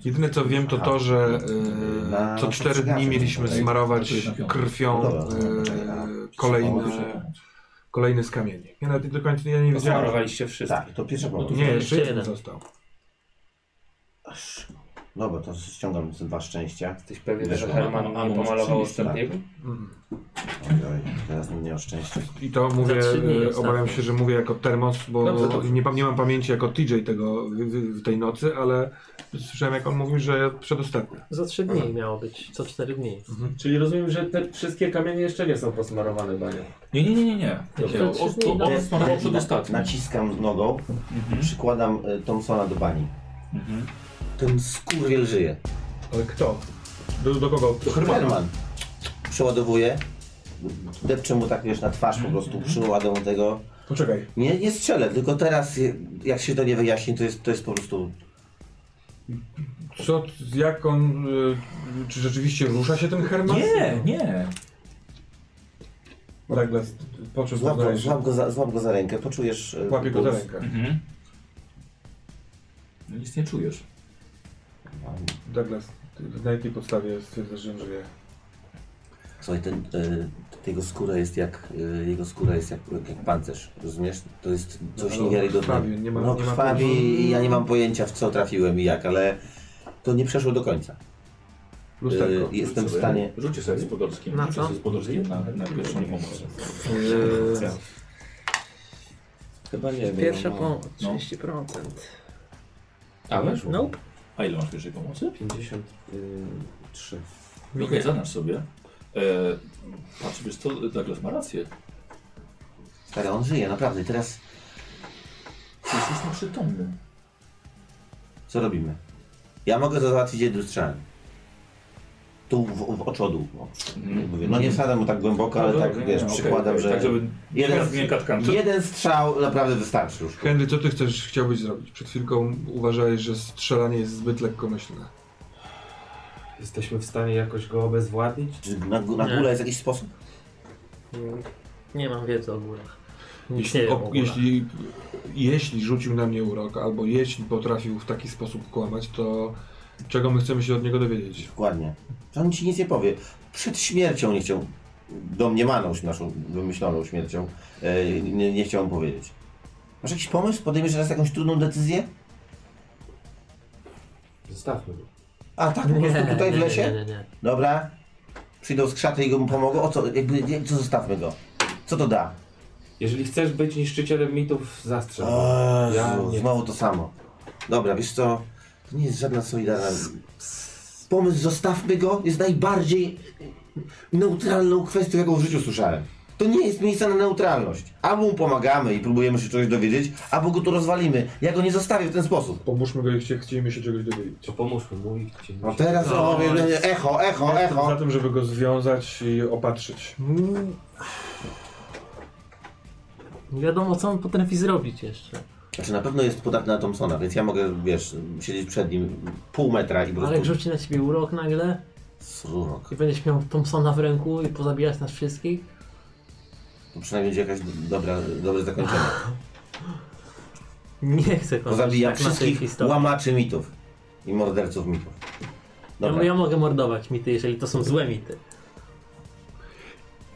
[SPEAKER 3] Jedyne co wiem to to, że e,
[SPEAKER 1] Na-
[SPEAKER 3] co cztery dni mieliśmy smarować krwią e, kolejne, kolejne skamienie. Ja nawet do końca ja nie wiedziałem.
[SPEAKER 7] Smarowaliście wszystko.
[SPEAKER 1] Tak, to
[SPEAKER 2] No
[SPEAKER 1] pierwsza pomoc.
[SPEAKER 3] Nie,
[SPEAKER 5] Jeszcze
[SPEAKER 3] jeszcze jeden
[SPEAKER 5] jeden.
[SPEAKER 3] został.
[SPEAKER 1] No bo to ściągam te dwa szczęścia.
[SPEAKER 4] Jesteś pewien,
[SPEAKER 1] Wiesz,
[SPEAKER 4] że
[SPEAKER 1] no,
[SPEAKER 4] Herman
[SPEAKER 2] no, a
[SPEAKER 4] nie
[SPEAKER 2] może
[SPEAKER 4] pomalował
[SPEAKER 2] przynieść, tak?
[SPEAKER 4] ostatniego?
[SPEAKER 3] Mm.
[SPEAKER 1] Ojoj, teraz mnie nie o szczęście.
[SPEAKER 3] I to mówię,
[SPEAKER 5] trzy dni
[SPEAKER 3] e,
[SPEAKER 5] ostatnio.
[SPEAKER 3] obawiam się, że mówię jako termos, bo
[SPEAKER 2] Dobrze, dobrze.
[SPEAKER 3] nie, pam- nie mam pamięci jako TJ tego w, w, w tej nocy, ale słyszałem jak on mówił, że przedostatni.
[SPEAKER 5] Za trzy dni miało być, co cztery dni.
[SPEAKER 7] Czyli rozumiem, że te wszystkie kamienie jeszcze nie są posmarowane, Bania.
[SPEAKER 2] Nie, nie, nie, nie, nie.
[SPEAKER 5] Dobrze,
[SPEAKER 2] Nie, o-
[SPEAKER 5] trzy dni,
[SPEAKER 2] to-
[SPEAKER 5] no.
[SPEAKER 2] On smarował przedostatni.
[SPEAKER 1] Naciskam nogą, przykładam y, Thompsona do bani.
[SPEAKER 2] Mhm.
[SPEAKER 1] Ten skurwiel żyje.
[SPEAKER 3] Ale kto? Do, do kogo?
[SPEAKER 1] Herman. Przeładowuje. Depczę mu tak wiesz na twarz po prostu,
[SPEAKER 2] Mhm.
[SPEAKER 1] przyładę mu tego.
[SPEAKER 3] Poczekaj.
[SPEAKER 1] Nie, nie strzelę, tylko teraz je- jak się to nie wyjaśni, to jest, to jest po prostu...
[SPEAKER 3] Co, jak on, y, czy rzeczywiście rusza się ten Herman?
[SPEAKER 2] Nie, nie.
[SPEAKER 3] Douglas, poczuł
[SPEAKER 1] Złap go,
[SPEAKER 3] poznałeś, że
[SPEAKER 1] złap go, za, złap go za rękę, poczujesz... y,
[SPEAKER 3] łapie go za
[SPEAKER 1] puls.
[SPEAKER 3] rękę.
[SPEAKER 2] Mhm. No nic nie czujesz.
[SPEAKER 3] Douglas, ty na jakiej podstawie stwierdzasz, że on żyje?
[SPEAKER 1] Słuchaj, ten, y, jego skóra jest jak, y, jego skóra jest jak, jak pancerz, rozumiesz? To jest coś
[SPEAKER 3] No, ale
[SPEAKER 1] niewiarygodnego.
[SPEAKER 3] krwawi, nie ma-
[SPEAKER 1] no
[SPEAKER 3] nie ma
[SPEAKER 1] krwawi
[SPEAKER 3] powodu.
[SPEAKER 1] i ja nie mam pojęcia w co trafiłem i jak, ale to nie przeszło do końca.
[SPEAKER 3] Lusterko.
[SPEAKER 1] Y, jestem w
[SPEAKER 2] Sobie.
[SPEAKER 1] stanie...
[SPEAKER 2] Rzućcie sobie z Podorskim.
[SPEAKER 5] Na
[SPEAKER 2] Rzućcie
[SPEAKER 5] co?
[SPEAKER 2] sobie z Podorskim na, na pierwszą pomoc.
[SPEAKER 3] Yy,
[SPEAKER 4] Chyba nie wiem.
[SPEAKER 5] Pierwsza
[SPEAKER 4] no.
[SPEAKER 5] pomoc,
[SPEAKER 2] No.
[SPEAKER 5] 30%.
[SPEAKER 7] A
[SPEAKER 3] No.
[SPEAKER 7] weszło?
[SPEAKER 5] Nope.
[SPEAKER 2] A ile masz pierwszej pomocy?
[SPEAKER 4] y,
[SPEAKER 7] 53.
[SPEAKER 2] Okej, zadasz sobie. E, patrz, wiesz co, Douglas ma rację.
[SPEAKER 1] Stary, on żyje, naprawdę. I teraz
[SPEAKER 2] Ty jesteś nieprzytomny.
[SPEAKER 1] co robimy? Ja mogę to załatwić jednym strzałem. Tu w, w oczodu. No, Jak mówię, no nie wsadzam mu tak głęboko, ale
[SPEAKER 2] No
[SPEAKER 1] tak
[SPEAKER 2] dobra,
[SPEAKER 1] wiesz,
[SPEAKER 2] nie, nie,
[SPEAKER 1] przykładam,
[SPEAKER 2] okej,
[SPEAKER 1] że...
[SPEAKER 2] Tak, żeby
[SPEAKER 1] jeden,
[SPEAKER 2] jeden miękka tkanka.
[SPEAKER 1] jeden strzał naprawdę wystarczy już.
[SPEAKER 3] Henry, co ty chcesz, chciałbyś zrobić? Przed chwilką uważałeś, że strzelanie jest zbyt lekkomyślne.
[SPEAKER 7] Jesteśmy w stanie jakoś go obezwładnić?
[SPEAKER 1] Czy na, na
[SPEAKER 5] Nie.
[SPEAKER 1] górę jest jakiś sposób?
[SPEAKER 5] Nie mam wiedzy o górach. Nic
[SPEAKER 3] Jeśli,
[SPEAKER 5] nie wiem o
[SPEAKER 3] o,
[SPEAKER 5] górach.
[SPEAKER 3] jeśli, jeśli rzucił na mnie urok, albo jeśli potrafił w taki sposób kłamać, to czego my chcemy się od niego dowiedzieć?
[SPEAKER 1] Dokładnie. Że on ci nic nie powie. Przed śmiercią nie chciał, domniemaną naszą wymyśloną śmiercią, e, nie, nie chciał mu powiedzieć. Masz jakiś pomysł? Podejmiesz teraz jakąś trudną decyzję?
[SPEAKER 7] Zostawmy go.
[SPEAKER 1] A tak po prostu tutaj w lesie?
[SPEAKER 5] Nie, nie, nie, nie.
[SPEAKER 1] Dobra. Przyjdą z krzaty i go mu pomogą. O co? Jakby, nie, co zostawmy go. Co to da?
[SPEAKER 7] Jeżeli chcesz być niszczycielem mitów, zastrzel. go.
[SPEAKER 1] Jezu,
[SPEAKER 7] Ja nie-
[SPEAKER 1] Znowu to samo. Dobra, wiesz co? To nie jest żadna solidarna... Pomysł zostawmy go jest najbardziej neutralną kwestią, jaką w życiu słyszałem. To nie jest miejsce na neutralność. Albo mu pomagamy i próbujemy się czegoś dowiedzieć, albo go tu rozwalimy. Ja go nie zostawię w ten sposób.
[SPEAKER 3] Pomóżmy go, jeśli chcemy się czegoś dowiedzieć.
[SPEAKER 7] To pomóżmy mu i gdzie
[SPEAKER 1] No teraz o, echo, echo,
[SPEAKER 3] Jestem za
[SPEAKER 1] echo.
[SPEAKER 3] tym, żeby go związać i opatrzyć.
[SPEAKER 5] Nie wiadomo, co on potrafi zrobić jeszcze.
[SPEAKER 1] Znaczy na pewno jest podatny na Thompsona, więc ja mogę, wiesz, siedzieć przed nim pół metra i po
[SPEAKER 5] Ale jak
[SPEAKER 1] prostu...
[SPEAKER 5] rzuci na ciebie urok nagle
[SPEAKER 1] Srurok.
[SPEAKER 5] i będziesz miał Thompsona w ręku i pozabijać nas wszystkich,
[SPEAKER 1] To przynajmniej będzie jakaś dobra, dobre zakończenie.
[SPEAKER 5] nie chcę kończyć
[SPEAKER 1] Pozabija
[SPEAKER 5] tak na tej
[SPEAKER 1] wszystkich
[SPEAKER 5] historii.
[SPEAKER 1] łamaczy mitów i morderców mitów.
[SPEAKER 5] Ja,
[SPEAKER 1] Dobra.
[SPEAKER 5] ja mogę mordować mity, jeżeli to są złe mity.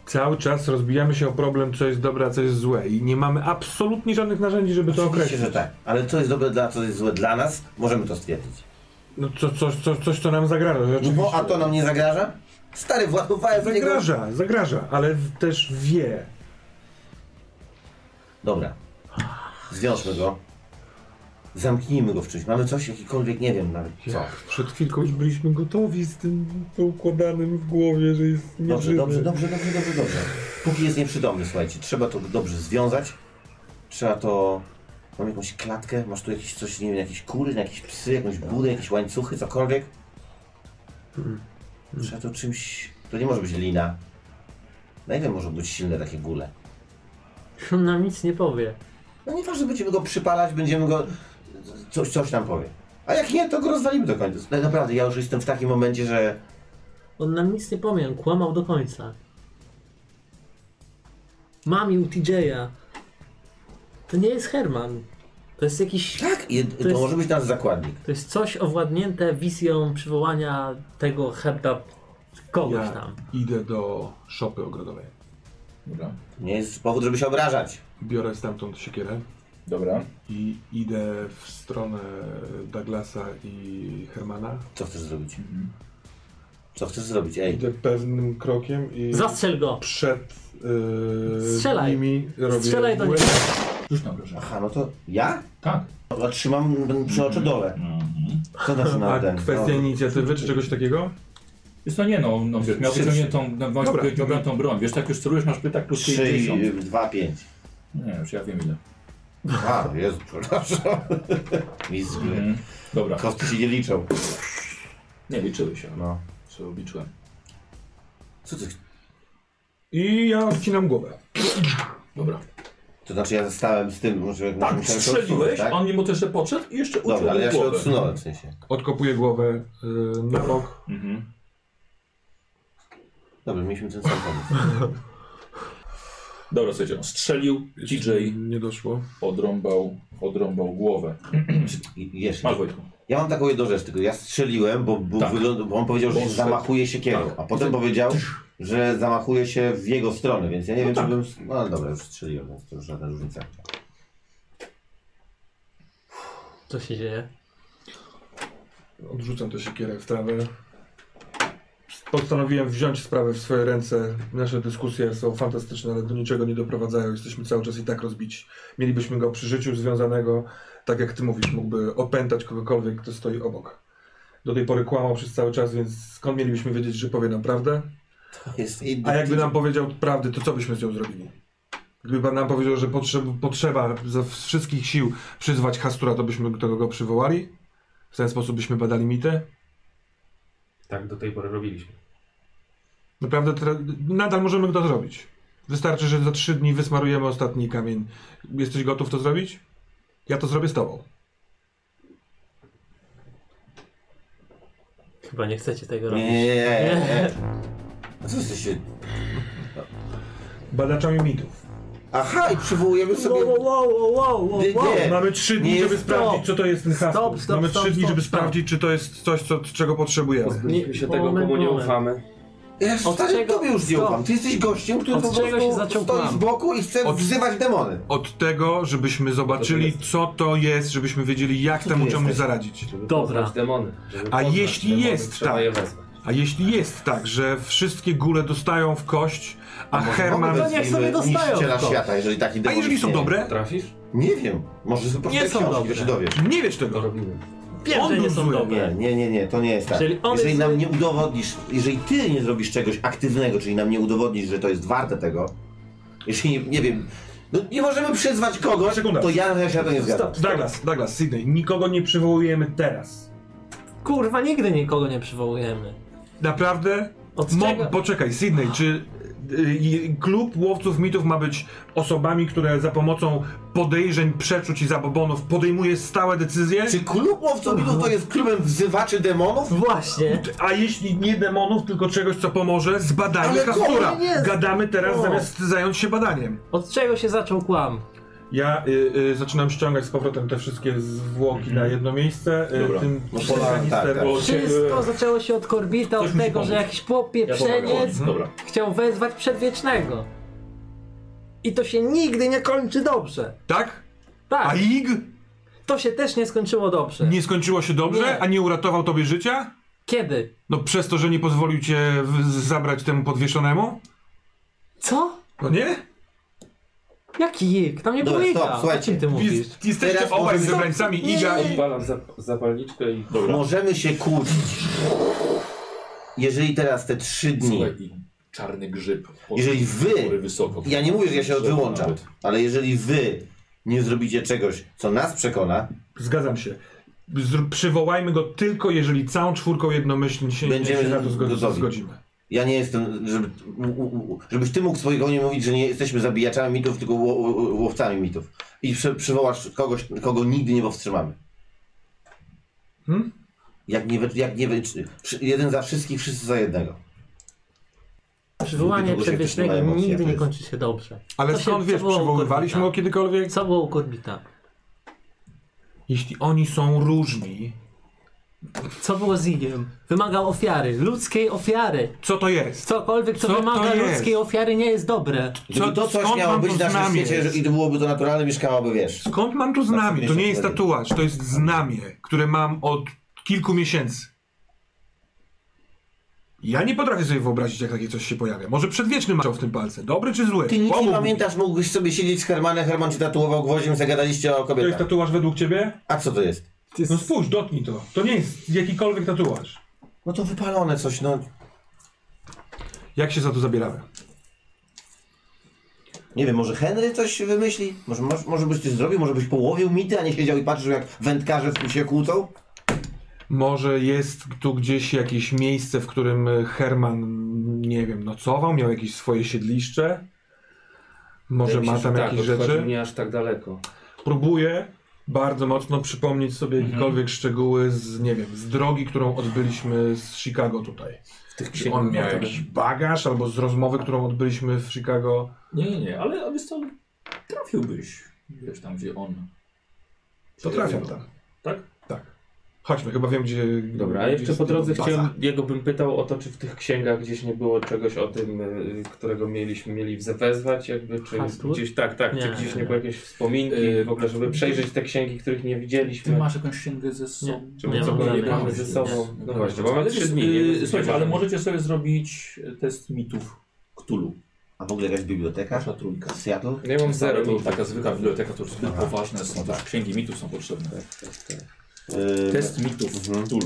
[SPEAKER 3] Cały czas rozbijamy się o problem, co jest dobre, a co jest złe. I nie mamy absolutnie żadnych narzędzi, żeby to
[SPEAKER 1] Oczywiście,
[SPEAKER 3] określić.
[SPEAKER 1] że tak. Ale co jest dobre dla, co jest złe dla nas, możemy to stwierdzić.
[SPEAKER 3] No co, co, co, coś, co nam zagraża.
[SPEAKER 1] No
[SPEAKER 3] rzeczywiście.
[SPEAKER 1] bo a to nam nie zagraża? Stary, władowałem w niego.
[SPEAKER 3] Zagraża, zagraża, ale w- też wie.
[SPEAKER 1] Dobra. Zwiążmy go. Zamknijmy go w czymś. Mamy coś, jakikolwiek, nie wiem nawet co.
[SPEAKER 3] Przed chwilką już byliśmy gotowi z tym poukładanym w głowie, że jest
[SPEAKER 1] Dobrze, dobrze, dobrze, dobrze, dobrze, dobrze. Póki jest nieprzytomny, słuchajcie, trzeba to dobrze związać. Trzeba to... Mam jakąś klatkę, masz tu jakieś coś, nie wiem, jakieś kury, jakieś psy, jakąś budę, jakieś łańcuchy, cokolwiek. Hmm. Trzeba to czymś... To nie może być lina. Na ile może być silne takie góle?
[SPEAKER 5] On nam nic nie powie.
[SPEAKER 1] No nieważne, będziemy go przypalać, będziemy go... Coś, coś nam powie. A jak nie, to go rozwalimy do końca. No, naprawdę, ja już jestem w takim momencie, że...
[SPEAKER 5] On nam nic nie powie, on kłamał do końca. Mamił TJ-a. To nie jest Herman. To jest jakiś.
[SPEAKER 1] Tak, i to,
[SPEAKER 5] jest-
[SPEAKER 1] może być nasz zakładnik.
[SPEAKER 5] To jest coś owładnięte wizją przywołania tego hebda kogoś
[SPEAKER 3] Ja
[SPEAKER 5] tam.
[SPEAKER 3] idę do szopy ogrodowej.
[SPEAKER 2] Dobra.
[SPEAKER 1] Nie jest powód, żeby się obrażać.
[SPEAKER 3] Biorę stamtąd siekierę
[SPEAKER 2] Dobra.
[SPEAKER 3] i idę w stronę Douglasa i Hermana.
[SPEAKER 1] Co chcesz zrobić? Co chcesz zrobić? Ej,
[SPEAKER 3] Idę pewnym krokiem i
[SPEAKER 5] Zastrzel go!
[SPEAKER 3] przed yy,
[SPEAKER 5] Strzelaj.
[SPEAKER 3] nimi robię
[SPEAKER 5] Strzelaj do
[SPEAKER 3] błysk.
[SPEAKER 5] niego!
[SPEAKER 2] Już na obrażenie.
[SPEAKER 1] aha, no to ja?
[SPEAKER 2] Tak.
[SPEAKER 1] Dobra, Trzymam m, przy oczy dole.
[SPEAKER 2] Mhm.
[SPEAKER 1] Co znaczy na
[SPEAKER 3] A
[SPEAKER 1] ten?
[SPEAKER 3] kwestia
[SPEAKER 1] no.
[SPEAKER 3] inicjatywy czy czegoś takiego?
[SPEAKER 2] Wiesz co, nie no, no wiesz, miał
[SPEAKER 1] Trzy-
[SPEAKER 2] wyciągniętą, no, miał
[SPEAKER 3] Dobra.
[SPEAKER 2] wyciągniętą broń. Wiesz, tak już celujesz, masz pytak plus
[SPEAKER 1] 3,
[SPEAKER 2] 50.
[SPEAKER 1] 2, 5.
[SPEAKER 2] Nie, już ja wiem ile.
[SPEAKER 1] A, Jezu, przepraszam. Nic zły.
[SPEAKER 2] Mhm. Dobra.
[SPEAKER 1] Kostki się nie liczą.
[SPEAKER 2] Nie, liczyły się. No.
[SPEAKER 1] No.
[SPEAKER 2] Co obliczyłem.
[SPEAKER 1] Co ty?
[SPEAKER 3] I ja odcinam głowę.
[SPEAKER 2] Dobra.
[SPEAKER 1] To znaczy ja stałem z tym, może jak
[SPEAKER 2] Tak, strzeliłeś, on mimo to jeszcze podszedł i jeszcze uciął
[SPEAKER 1] Dobra, ale ja się
[SPEAKER 2] głowę.
[SPEAKER 1] odsunąłem w sensie.
[SPEAKER 3] Odkopuję głowę yy, na bok.
[SPEAKER 2] Mhm.
[SPEAKER 1] Dobra, mieliśmy ten sam pomysł.
[SPEAKER 2] Dobra, słuchajcie, on strzelił, DJ
[SPEAKER 3] Nie doszło.
[SPEAKER 2] odrąbał, odrąbał głowę.
[SPEAKER 1] I, jeszcze.
[SPEAKER 2] Masz Wojtku.
[SPEAKER 1] Ja mam taką jedną rzecz, tylko ja strzeliłem, bo, bo,
[SPEAKER 2] Tak.
[SPEAKER 1] wygląda, bo on powiedział, że
[SPEAKER 2] Bo on
[SPEAKER 1] zamachuje się kierą,
[SPEAKER 2] tak.
[SPEAKER 1] a potem powiedział, że zamachuje się w jego stronę, więc ja nie wiem,
[SPEAKER 5] tak.
[SPEAKER 1] czy bym... No ale dobra, już strzeliłem, więc to już żadna różnica.
[SPEAKER 5] Co się dzieje?
[SPEAKER 3] Odrzucam tę siekierę w trawę. Postanowiłem wziąć sprawę w swoje ręce. Nasze dyskusje są fantastyczne, ale do niczego nie doprowadzają. Jesteśmy cały czas i tak rozbici. Mielibyśmy go przy życiu związanego, tak jak ty mówisz, mógłby opętać kogokolwiek, kto stoi obok. Do tej pory kłamał przez cały czas, więc skąd mielibyśmy wiedzieć, że powie nam prawdę?
[SPEAKER 1] Jest
[SPEAKER 3] A jakby nam powiedział prawdę, to co byśmy z nią zrobili? Gdyby pan nam powiedział, że potrzeb, potrzeba ze wszystkich sił przyzwać Hastura, to byśmy tego go przywołali? W ten sposób byśmy badali mitę?
[SPEAKER 4] Tak do tej pory robiliśmy.
[SPEAKER 3] Naprawdę tra- nadal możemy to zrobić. Wystarczy, że za trzy dni wysmarujemy ostatni kamień. Jesteś gotów to zrobić? Ja to zrobię z tobą.
[SPEAKER 5] Chyba nie chcecie tego
[SPEAKER 1] Nie,
[SPEAKER 5] robić.
[SPEAKER 1] nie, nie, nie, nie. A co jesteście...
[SPEAKER 3] Badaczami mitów.
[SPEAKER 1] Aha, i przywołujemy sobie...
[SPEAKER 5] Wow, wow, wow, wow, wow,
[SPEAKER 1] Nie,
[SPEAKER 5] wow.
[SPEAKER 1] nie.
[SPEAKER 3] Mamy trzy dni,
[SPEAKER 1] Nie,
[SPEAKER 3] żeby
[SPEAKER 1] stop.
[SPEAKER 3] sprawdzić, co to jest ten Hastur.
[SPEAKER 5] Stop, stop,
[SPEAKER 3] Mamy
[SPEAKER 5] stop,
[SPEAKER 3] trzy dni,
[SPEAKER 5] stop,
[SPEAKER 3] żeby
[SPEAKER 5] stop.
[SPEAKER 3] sprawdzić, czy to jest coś, co, czego potrzebujemy.
[SPEAKER 7] Pozbyliśmy się tego,
[SPEAKER 5] moment,
[SPEAKER 7] komu nie
[SPEAKER 5] moment.
[SPEAKER 7] ufamy.
[SPEAKER 1] Ja
[SPEAKER 5] Od
[SPEAKER 1] stary,
[SPEAKER 5] czego-
[SPEAKER 1] tobie już nie
[SPEAKER 5] Stop.
[SPEAKER 1] ufam. Ty jesteś gościem, który
[SPEAKER 5] Od
[SPEAKER 1] po
[SPEAKER 5] czego
[SPEAKER 1] prostu
[SPEAKER 5] się zaczął
[SPEAKER 1] stoi
[SPEAKER 5] plan?
[SPEAKER 1] z boku i chce
[SPEAKER 3] Od-
[SPEAKER 1] wzywać demony.
[SPEAKER 3] Od tego, żebyśmy zobaczyli, co to jest, żebyśmy wiedzieli, jak
[SPEAKER 1] Co
[SPEAKER 3] temu
[SPEAKER 1] ty
[SPEAKER 3] czemuś
[SPEAKER 1] jesteś?
[SPEAKER 3] zaradzić.
[SPEAKER 7] Żeby
[SPEAKER 5] Dobra.
[SPEAKER 7] poznać demony. Żeby
[SPEAKER 3] A
[SPEAKER 7] poznać
[SPEAKER 3] jeśli
[SPEAKER 7] demony,
[SPEAKER 3] jest
[SPEAKER 7] trzeba
[SPEAKER 3] tak?
[SPEAKER 7] je wezwać.
[SPEAKER 3] A jeśli jest tak, że wszystkie góle dostają w kość, a Herman...
[SPEAKER 5] No niech sobie dostają
[SPEAKER 1] Niszczyciela
[SPEAKER 5] w to.
[SPEAKER 1] świata, jeżeli taki
[SPEAKER 3] A
[SPEAKER 1] demon
[SPEAKER 3] jeżeli są
[SPEAKER 1] istnieje.
[SPEAKER 3] dobre?
[SPEAKER 7] Trafisz?
[SPEAKER 1] Nie wiem. Może sobie poczytaj
[SPEAKER 5] Nie są
[SPEAKER 1] książki,
[SPEAKER 5] dobre.
[SPEAKER 1] to się dowiesz.
[SPEAKER 3] Nie wiesz
[SPEAKER 7] To
[SPEAKER 3] tego.
[SPEAKER 7] robimy.
[SPEAKER 5] Wiem,
[SPEAKER 3] On
[SPEAKER 5] że
[SPEAKER 3] był
[SPEAKER 5] nie są
[SPEAKER 3] zły.
[SPEAKER 1] Nie,
[SPEAKER 5] dobre.
[SPEAKER 1] nie, nie, nie, to nie jest tak.
[SPEAKER 5] Jeżeli on
[SPEAKER 1] jeżeli
[SPEAKER 5] jest-
[SPEAKER 1] nam nie udowodnisz, jeżeli ty nie zrobisz czegoś aktywnego, czyli nam nie udowodnisz, że to jest warte tego, jeśli nie, nie wiem, no nie możemy przyzwać kogoś,
[SPEAKER 3] Sekunda.
[SPEAKER 1] to ja, ja się na to nie zgadzam.
[SPEAKER 3] Douglas, Douglas, Sydney, nikogo nie przywołujemy teraz.
[SPEAKER 5] Kurwa, nigdy nikogo nie przywołujemy.
[SPEAKER 3] Naprawdę?
[SPEAKER 5] Od
[SPEAKER 3] Mo-
[SPEAKER 5] czego?
[SPEAKER 3] poczekaj, Sydney, czy y, y, klub łowców mitów ma być osobami, które za pomocą podejrzeń, przeczuć i zabobonów podejmuje stałe decyzje?
[SPEAKER 1] Czy klub łowców mitów to jest klubem wzywaczy demonów?
[SPEAKER 5] Właśnie.
[SPEAKER 3] A jeśli nie demonów, tylko czegoś, co pomoże, zbadajmy
[SPEAKER 1] Ale
[SPEAKER 3] Hastura.
[SPEAKER 1] koło jest?
[SPEAKER 3] Gadamy teraz,
[SPEAKER 5] O.
[SPEAKER 3] zamiast zająć się badaniem.
[SPEAKER 5] Od czego się zaczął kłam?
[SPEAKER 3] Ja y, y, zaczynam ściągać z powrotem te wszystkie zwłoki na jedno miejsce.
[SPEAKER 2] Dobra.
[SPEAKER 3] Y, tym
[SPEAKER 1] Mhm. No
[SPEAKER 3] wszystkim
[SPEAKER 1] pola- tak,
[SPEAKER 3] mister-
[SPEAKER 1] tak.
[SPEAKER 5] Wszystko zaczęło się od Korbita,
[SPEAKER 2] Ktoś
[SPEAKER 5] od
[SPEAKER 2] musi
[SPEAKER 5] tego, że
[SPEAKER 2] pomóc.
[SPEAKER 5] jakiś popieprzeniec
[SPEAKER 2] Dobra.
[SPEAKER 5] chciał wezwać Przedwiecznego. I to się nigdy nie kończy dobrze.
[SPEAKER 3] tak? A
[SPEAKER 5] Tak,
[SPEAKER 3] Ig
[SPEAKER 5] to się też nie skończyło dobrze.
[SPEAKER 3] nie skończyło się dobrze,
[SPEAKER 5] Nie.
[SPEAKER 3] a nie uratował tobie życia?
[SPEAKER 5] Kiedy?
[SPEAKER 3] No przez to, że nie pozwolił cię w- zabrać temu podwieszonemu?
[SPEAKER 5] Co?
[SPEAKER 3] No nie?
[SPEAKER 5] Jaki jik? Tam nie
[SPEAKER 1] Dobra,
[SPEAKER 5] było
[SPEAKER 1] No, stop,
[SPEAKER 5] jika. O
[SPEAKER 1] słuchajcie.
[SPEAKER 5] czym ty mówisz?
[SPEAKER 3] Jest, jesteście
[SPEAKER 1] Teraz
[SPEAKER 3] obaj
[SPEAKER 1] możemy-
[SPEAKER 3] wybrańcami Iga i...
[SPEAKER 7] Odpalam zap zapalniczkę i...
[SPEAKER 1] Możemy się kłócić. Jeżeli teraz te trzy dni,
[SPEAKER 2] Słuchaj, i czarny grzyb. pod-
[SPEAKER 1] jeżeli wy,
[SPEAKER 2] góry wysoko.
[SPEAKER 1] ja nie mówię, że ja się
[SPEAKER 2] Drzewo
[SPEAKER 1] odwyłączam,
[SPEAKER 2] nawet.
[SPEAKER 1] ale jeżeli wy nie zrobicie czegoś, co nas przekona,
[SPEAKER 3] Zgadzam się. Zr- przywołajmy go tylko, jeżeli całą czwórką jednomyślnie się,
[SPEAKER 1] Będziemy
[SPEAKER 3] się na to zgo-
[SPEAKER 1] gotowi.
[SPEAKER 3] zgodzimy.
[SPEAKER 1] Ja nie jestem, żeby, u, u, u, żebyś ty mógł swojego nie mówić, że nie jesteśmy zabijaczami mitów, tylko ło, ło- łowcami mitów. I przy, przywołasz kogoś, kogo nigdy nie powstrzymamy.
[SPEAKER 3] Hmm?
[SPEAKER 1] Jak nie, we- jak nie we- czy- przy- jeden za wszystkich, wszyscy za jednego.
[SPEAKER 5] Przywołanie
[SPEAKER 1] Długo się
[SPEAKER 5] Przedwiecznego
[SPEAKER 1] też nie ma emocji,
[SPEAKER 5] nigdy
[SPEAKER 1] jak
[SPEAKER 5] nie
[SPEAKER 1] jest.
[SPEAKER 5] kończy się dobrze.
[SPEAKER 3] Ale
[SPEAKER 5] Co się-
[SPEAKER 3] skąd
[SPEAKER 5] co
[SPEAKER 3] wiesz,
[SPEAKER 5] było u
[SPEAKER 3] przywoływaliśmy go
[SPEAKER 5] Korbita?
[SPEAKER 3] kiedykolwiek?
[SPEAKER 5] Co było u Korbita?
[SPEAKER 3] Jeśli oni są różni,
[SPEAKER 5] Co było z Igiem? Wymagał ofiary, ludzkiej ofiary.
[SPEAKER 3] co to jest?
[SPEAKER 5] Cokolwiek, co,
[SPEAKER 3] Co to
[SPEAKER 5] wymaga
[SPEAKER 3] jest?
[SPEAKER 5] ludzkiej ofiary, nie jest dobre.
[SPEAKER 1] Gdyby to coś
[SPEAKER 3] skąd
[SPEAKER 1] miało
[SPEAKER 3] mam
[SPEAKER 1] być
[SPEAKER 3] to
[SPEAKER 1] w naszym
[SPEAKER 3] znamię?
[SPEAKER 1] świecie że- i to byłoby to naturalne, mieszkałaby, wiesz.
[SPEAKER 3] Skąd mam to znamie? To nie jest
[SPEAKER 1] Wtedy.
[SPEAKER 3] tatuaż, to jest znamie, które mam od kilku miesięcy. Ja nie potrafię sobie wyobrazić, jak takie coś się pojawia. Może przedwieczny maczał w tym palce. Dobry czy zły?
[SPEAKER 1] Ty nic
[SPEAKER 3] Pomógł
[SPEAKER 1] nie
[SPEAKER 3] mi.
[SPEAKER 1] pamiętasz, mógłbyś sobie siedzieć z Hermanem, Herman ci tatuował gwoździem, zagadaliście o
[SPEAKER 3] To jest
[SPEAKER 1] kobietach.
[SPEAKER 3] tatuaż według ciebie?
[SPEAKER 1] A co to jest?
[SPEAKER 3] No spójrz, dotknij to. To nie jest jakikolwiek tatuaż.
[SPEAKER 1] No to wypalone coś, no.
[SPEAKER 3] Jak się za to zabieramy?
[SPEAKER 1] Nie wiem, może Henry coś wymyśli? Może, może, może byś ty zrobił, może byś połowił mity, a nie siedział i patrzył jak wędkarze w- się kłócą?
[SPEAKER 3] Może jest tu gdzieś jakieś miejsce, w którym e, Herman, nie wiem, nocował, miał jakieś swoje siedlisze? Może
[SPEAKER 7] Wydaje mi się,
[SPEAKER 3] ma
[SPEAKER 7] że
[SPEAKER 3] tam
[SPEAKER 7] tak,
[SPEAKER 3] jakieś
[SPEAKER 7] odchodzi
[SPEAKER 3] rzeczy?
[SPEAKER 7] nie aż tak daleko.
[SPEAKER 3] Próbuję bardzo mocno przypomnieć sobie
[SPEAKER 7] Mhm.
[SPEAKER 3] jakiekolwiek szczegóły z, nie wiem, z drogi, którą odbyliśmy z Chicago tutaj.
[SPEAKER 7] W tych
[SPEAKER 3] Czy on
[SPEAKER 7] księgach.
[SPEAKER 3] miał jakiś bagaż, albo z rozmowy, którą odbyliśmy w Chicago.
[SPEAKER 2] Nie, nie, nie, ale ale wiesz co, trafiłbyś, wiesz, tam gdzie on.
[SPEAKER 3] To trafiam tam.
[SPEAKER 2] Tak?
[SPEAKER 3] Tak. Chodźmy, chyba wiem, gdzie...
[SPEAKER 7] Dobra, a
[SPEAKER 3] gdzie
[SPEAKER 7] jeszcze
[SPEAKER 3] jest
[SPEAKER 7] po drodze
[SPEAKER 3] baza.
[SPEAKER 7] chciałem, jego bym pytał o to, czy w tych księgach gdzieś nie było czegoś o tym, y, którego mieliśmy mieli wezwać, jakby, czy
[SPEAKER 5] Hastwood?
[SPEAKER 7] gdzieś, tak, tak,
[SPEAKER 5] Nie,
[SPEAKER 7] czy gdzieś
[SPEAKER 5] nie.
[SPEAKER 7] nie było jakieś wspominki,
[SPEAKER 3] E,
[SPEAKER 2] Y,
[SPEAKER 7] w ogóle, żeby przejrzeć te księgi, których nie
[SPEAKER 2] Ty
[SPEAKER 7] widzieliśmy.
[SPEAKER 2] masz jakąś księgę ze sobą?
[SPEAKER 7] Czemu
[SPEAKER 5] Nie,
[SPEAKER 7] co
[SPEAKER 5] mam
[SPEAKER 7] go nie
[SPEAKER 5] żadnej.
[SPEAKER 7] mamy ze
[SPEAKER 5] Nie.
[SPEAKER 7] sobą? No właśnie, bo mamy
[SPEAKER 2] Ale,
[SPEAKER 7] trzy
[SPEAKER 2] czy,
[SPEAKER 7] dni. nie?
[SPEAKER 2] y,
[SPEAKER 7] Więc
[SPEAKER 2] słuchajcie,
[SPEAKER 7] nie
[SPEAKER 2] ale
[SPEAKER 7] mamy.
[SPEAKER 2] możecie sobie zrobić e, test mitów Cthulhu.
[SPEAKER 1] A w ogóle jakaś biblioteka?
[SPEAKER 2] Nasza trójka.
[SPEAKER 1] Seattle?
[SPEAKER 7] Ja mam zero.
[SPEAKER 2] to taka zwykła biblioteka, to już zbyt poważne są,
[SPEAKER 1] Tak.
[SPEAKER 2] też księgi mitów są potrzebne.
[SPEAKER 1] Yy,
[SPEAKER 2] Test mitów Cthulhu.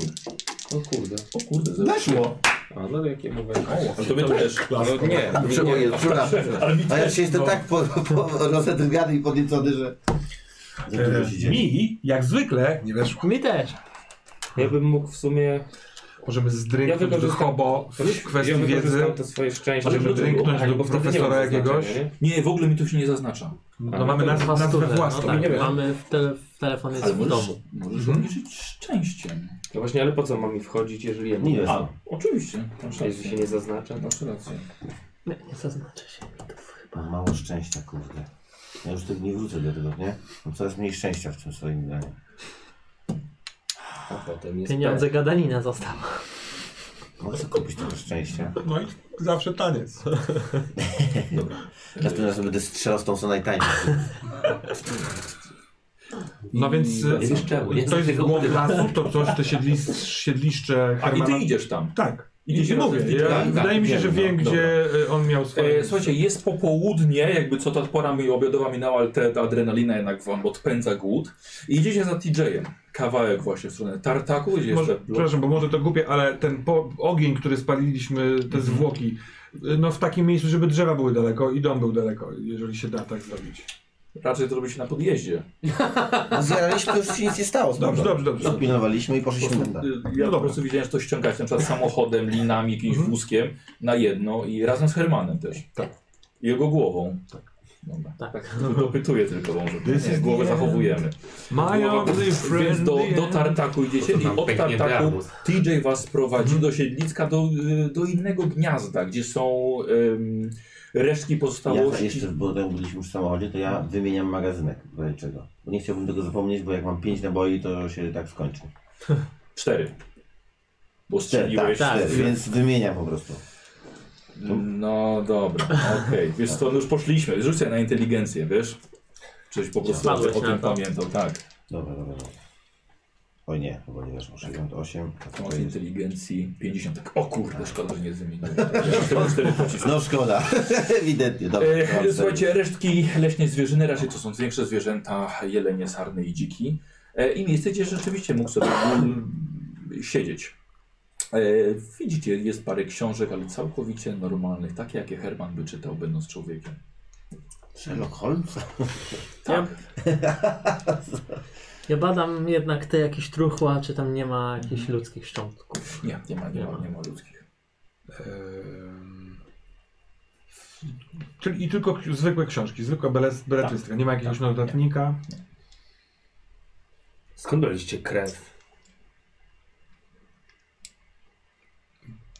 [SPEAKER 7] O kurde.
[SPEAKER 2] O kurde, zero.
[SPEAKER 1] Weszło!
[SPEAKER 7] A no jakie mówię.
[SPEAKER 2] Ale to my też.
[SPEAKER 7] No nie, nie,
[SPEAKER 1] Czemu
[SPEAKER 7] nie.
[SPEAKER 1] jest? Przepraszam.
[SPEAKER 2] Ale mi
[SPEAKER 1] A ja
[SPEAKER 2] też,
[SPEAKER 1] się jestem
[SPEAKER 2] no.
[SPEAKER 1] tak po, po rozedrgany i podniecony, że... Za dużo się
[SPEAKER 3] E,
[SPEAKER 1] dzieje.
[SPEAKER 3] Mi, jak zwykle, nie weszło.
[SPEAKER 5] Mi też.
[SPEAKER 7] Ja bym mógł w sumie...
[SPEAKER 3] Możemy
[SPEAKER 7] Ja
[SPEAKER 3] zdrynąć do
[SPEAKER 7] wykorzystam-
[SPEAKER 3] hobo w
[SPEAKER 7] ja
[SPEAKER 3] kwestii
[SPEAKER 7] bym
[SPEAKER 3] wiedzy.
[SPEAKER 7] wykorzystał to swoje szczęście,
[SPEAKER 2] Ale
[SPEAKER 7] żeby...
[SPEAKER 3] dręknąć
[SPEAKER 7] tak,
[SPEAKER 3] do
[SPEAKER 7] bo wtedy nie
[SPEAKER 3] profesora
[SPEAKER 7] mam zaznaczenia,
[SPEAKER 3] jakiegoś?
[SPEAKER 7] nie?
[SPEAKER 2] Nie, w ogóle mi tu się nie zaznacza.
[SPEAKER 3] No mamy nazwę, nazwę
[SPEAKER 5] Pasturę,
[SPEAKER 3] własną.
[SPEAKER 5] No
[SPEAKER 7] nie
[SPEAKER 5] tak,
[SPEAKER 7] wiem.
[SPEAKER 5] mamy w tele, w telefon jest
[SPEAKER 2] Ale
[SPEAKER 5] w
[SPEAKER 2] możesz,
[SPEAKER 5] domu.
[SPEAKER 2] możesz
[SPEAKER 1] Mhm.
[SPEAKER 2] obniżyć szczęściem.
[SPEAKER 7] No właśnie, ale po co mam mi wchodzić, jeżeli ja
[SPEAKER 1] Nie
[SPEAKER 7] nie
[SPEAKER 1] jest.
[SPEAKER 2] A, oczywiście. Masz
[SPEAKER 7] Jeśli się
[SPEAKER 2] rację.
[SPEAKER 7] nie no. zaznacza, to...
[SPEAKER 2] Masz rację.
[SPEAKER 5] Nie, nie zaznaczy się mitów chyba.
[SPEAKER 1] Mam mało szczęścia, kurde. Ja już tak nie wrócę do tego, nie? Mam coraz mniej szczęścia w tym swoim graniu.
[SPEAKER 7] A potem jest...
[SPEAKER 5] Pieniądze gadanina została.
[SPEAKER 1] Mogę sobie kupić trochę szczęścia.
[SPEAKER 3] No i zawsze taniec.
[SPEAKER 1] Następnym razem będę strzelał z tą, co najtańszą.
[SPEAKER 3] No więc
[SPEAKER 2] Nie wiesz czemu, nie?
[SPEAKER 3] to jest
[SPEAKER 2] Tego
[SPEAKER 3] głowy
[SPEAKER 2] motywa.
[SPEAKER 3] lasu, to coś, te siedlis, siedliszcze
[SPEAKER 2] A i ty
[SPEAKER 3] Hermana-
[SPEAKER 2] idziesz tam.
[SPEAKER 3] Tak.
[SPEAKER 2] I ty się
[SPEAKER 3] mówię.
[SPEAKER 2] razem z
[SPEAKER 3] Ja,
[SPEAKER 2] Dickienem.
[SPEAKER 3] wydaje mi się,
[SPEAKER 2] Tak,
[SPEAKER 3] że
[SPEAKER 2] wiem,
[SPEAKER 3] wiem,
[SPEAKER 2] no,
[SPEAKER 3] gdzie e, on miał swoje.
[SPEAKER 2] E, słuchajcie, jest popołudnie, jakby co ta pora mi obiodowa minęła, ale te- ta adrenalina jednak wam odpędza głód. I idziecie za TJ-em. Kawałek właśnie w stronę tartaku, gdzie
[SPEAKER 3] może,
[SPEAKER 2] jeszcze...
[SPEAKER 3] przepraszam, bo może to głupie, ale ten po, ogień, który spaliliśmy, te
[SPEAKER 2] Mhm.
[SPEAKER 3] zwłoki, e, no w takim miejscu, żeby drzewa były daleko i dom był daleko, jeżeli się da tak zrobić.
[SPEAKER 2] Raczej to robi się na podjeździe.
[SPEAKER 1] No zjaraliśmy, to już się nic nie stało. z
[SPEAKER 3] Dobrze,
[SPEAKER 1] tego.
[SPEAKER 3] dobrze, dobrze.
[SPEAKER 1] Dopilnowaliśmy i poszliśmy tam.
[SPEAKER 2] Y,
[SPEAKER 3] No
[SPEAKER 2] Ja
[SPEAKER 3] dobra.
[SPEAKER 2] po prostu widziałem, że to ściągacie na przykład samochodem, linami, jakimś
[SPEAKER 3] Mhm.
[SPEAKER 2] wózkiem na jedno i razem z Hermanem też.
[SPEAKER 3] Tak.
[SPEAKER 2] I Jego głową. Tak. Dobra.
[SPEAKER 5] Tak.
[SPEAKER 2] Dopytuję tylko może.
[SPEAKER 3] This
[SPEAKER 2] Nie,
[SPEAKER 3] is
[SPEAKER 2] głowę
[SPEAKER 3] the
[SPEAKER 2] zachowujemy.
[SPEAKER 3] My
[SPEAKER 2] Głowa-
[SPEAKER 3] only friend.
[SPEAKER 2] Więc do,
[SPEAKER 3] the
[SPEAKER 2] do
[SPEAKER 3] end.
[SPEAKER 2] tartaku idziecie i
[SPEAKER 4] Mam
[SPEAKER 2] od
[SPEAKER 4] pięknie
[SPEAKER 2] tartaku
[SPEAKER 4] diabłów.
[SPEAKER 2] TJ was
[SPEAKER 5] Mhm.
[SPEAKER 2] prowadzi do siedliska, do, y, do innego gniazda, gdzie są ym, resztki
[SPEAKER 1] Ja
[SPEAKER 2] pozostałości.
[SPEAKER 1] jeszcze, bo tam byliśmy już w samochodzie, to ja wymieniam magazynek czego. Bo nie chciałbym tego zapomnieć, bo jak mam 5 naboi, to się tak skończy.
[SPEAKER 2] Cztery. Bo
[SPEAKER 1] Cztery,
[SPEAKER 2] strzeliłeś.
[SPEAKER 1] tak, cztery, więc wymieniam po prostu.
[SPEAKER 2] No dobra, okej. Wiesz co, no już poszliśmy. Rzucę na inteligencję, wiesz? Coś po prostu o,
[SPEAKER 5] Spadłeś
[SPEAKER 2] o tym
[SPEAKER 5] na to.
[SPEAKER 2] pamiętał, tak.
[SPEAKER 1] Dobra, dobra, dobra. O nie, chyba nie weszło. 68. a
[SPEAKER 2] To
[SPEAKER 1] co
[SPEAKER 2] masz
[SPEAKER 1] to jest?
[SPEAKER 2] inteligencji 50. Tak, o kurde, szkoda, że nie zmieniłem. Ja cztery pociski.
[SPEAKER 1] No szkoda, ewidentnie. Dobra,
[SPEAKER 2] E,
[SPEAKER 1] mam cztery.
[SPEAKER 2] Słuchajcie, resztki leśnej zwierzyny, raczej to są większe zwierzęta, jelenie, sarny i dziki. E, I miejsce, gdzie rzeczywiście mógł sobie mm, siedzieć. E, Widzicie, jest parę książek, ale całkowicie normalnych, takie jakie Herman by czytał, będąc człowiekiem.
[SPEAKER 1] Sherlock Holmes?
[SPEAKER 5] Ja, ja badam jednak te jakieś truchła, czy tam nie ma jakichś ludzkich szczątków.
[SPEAKER 2] Nie, nie ma, nie
[SPEAKER 5] Nie
[SPEAKER 2] ma,
[SPEAKER 5] ma.
[SPEAKER 2] nie ma ludzkich.
[SPEAKER 3] Em, Czyli I tylko k- zwykłe książki, zwykła beles- beletrystyka. Nie ma jakiegoś notatnika.
[SPEAKER 4] Skąd braliście krew?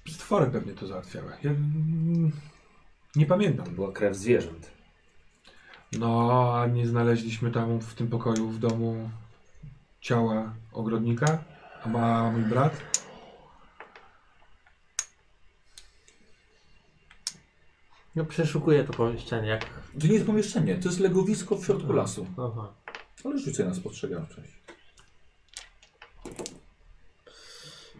[SPEAKER 3] Stwory pewnie to załatwiały. Ja, mm, nie
[SPEAKER 4] To
[SPEAKER 3] pamiętam.
[SPEAKER 4] była krew zwierząt.
[SPEAKER 3] No, a nie znaleźliśmy tam w tym pokoju w domu ciała ogrodnika, a ma mój brat.
[SPEAKER 5] No przeszukuję to pomieszczenie jak...
[SPEAKER 2] To nie jest pomieszczenie, to jest legowisko w środku lasu.
[SPEAKER 5] Aha.
[SPEAKER 2] Ale rzucę na spostrzegawczość.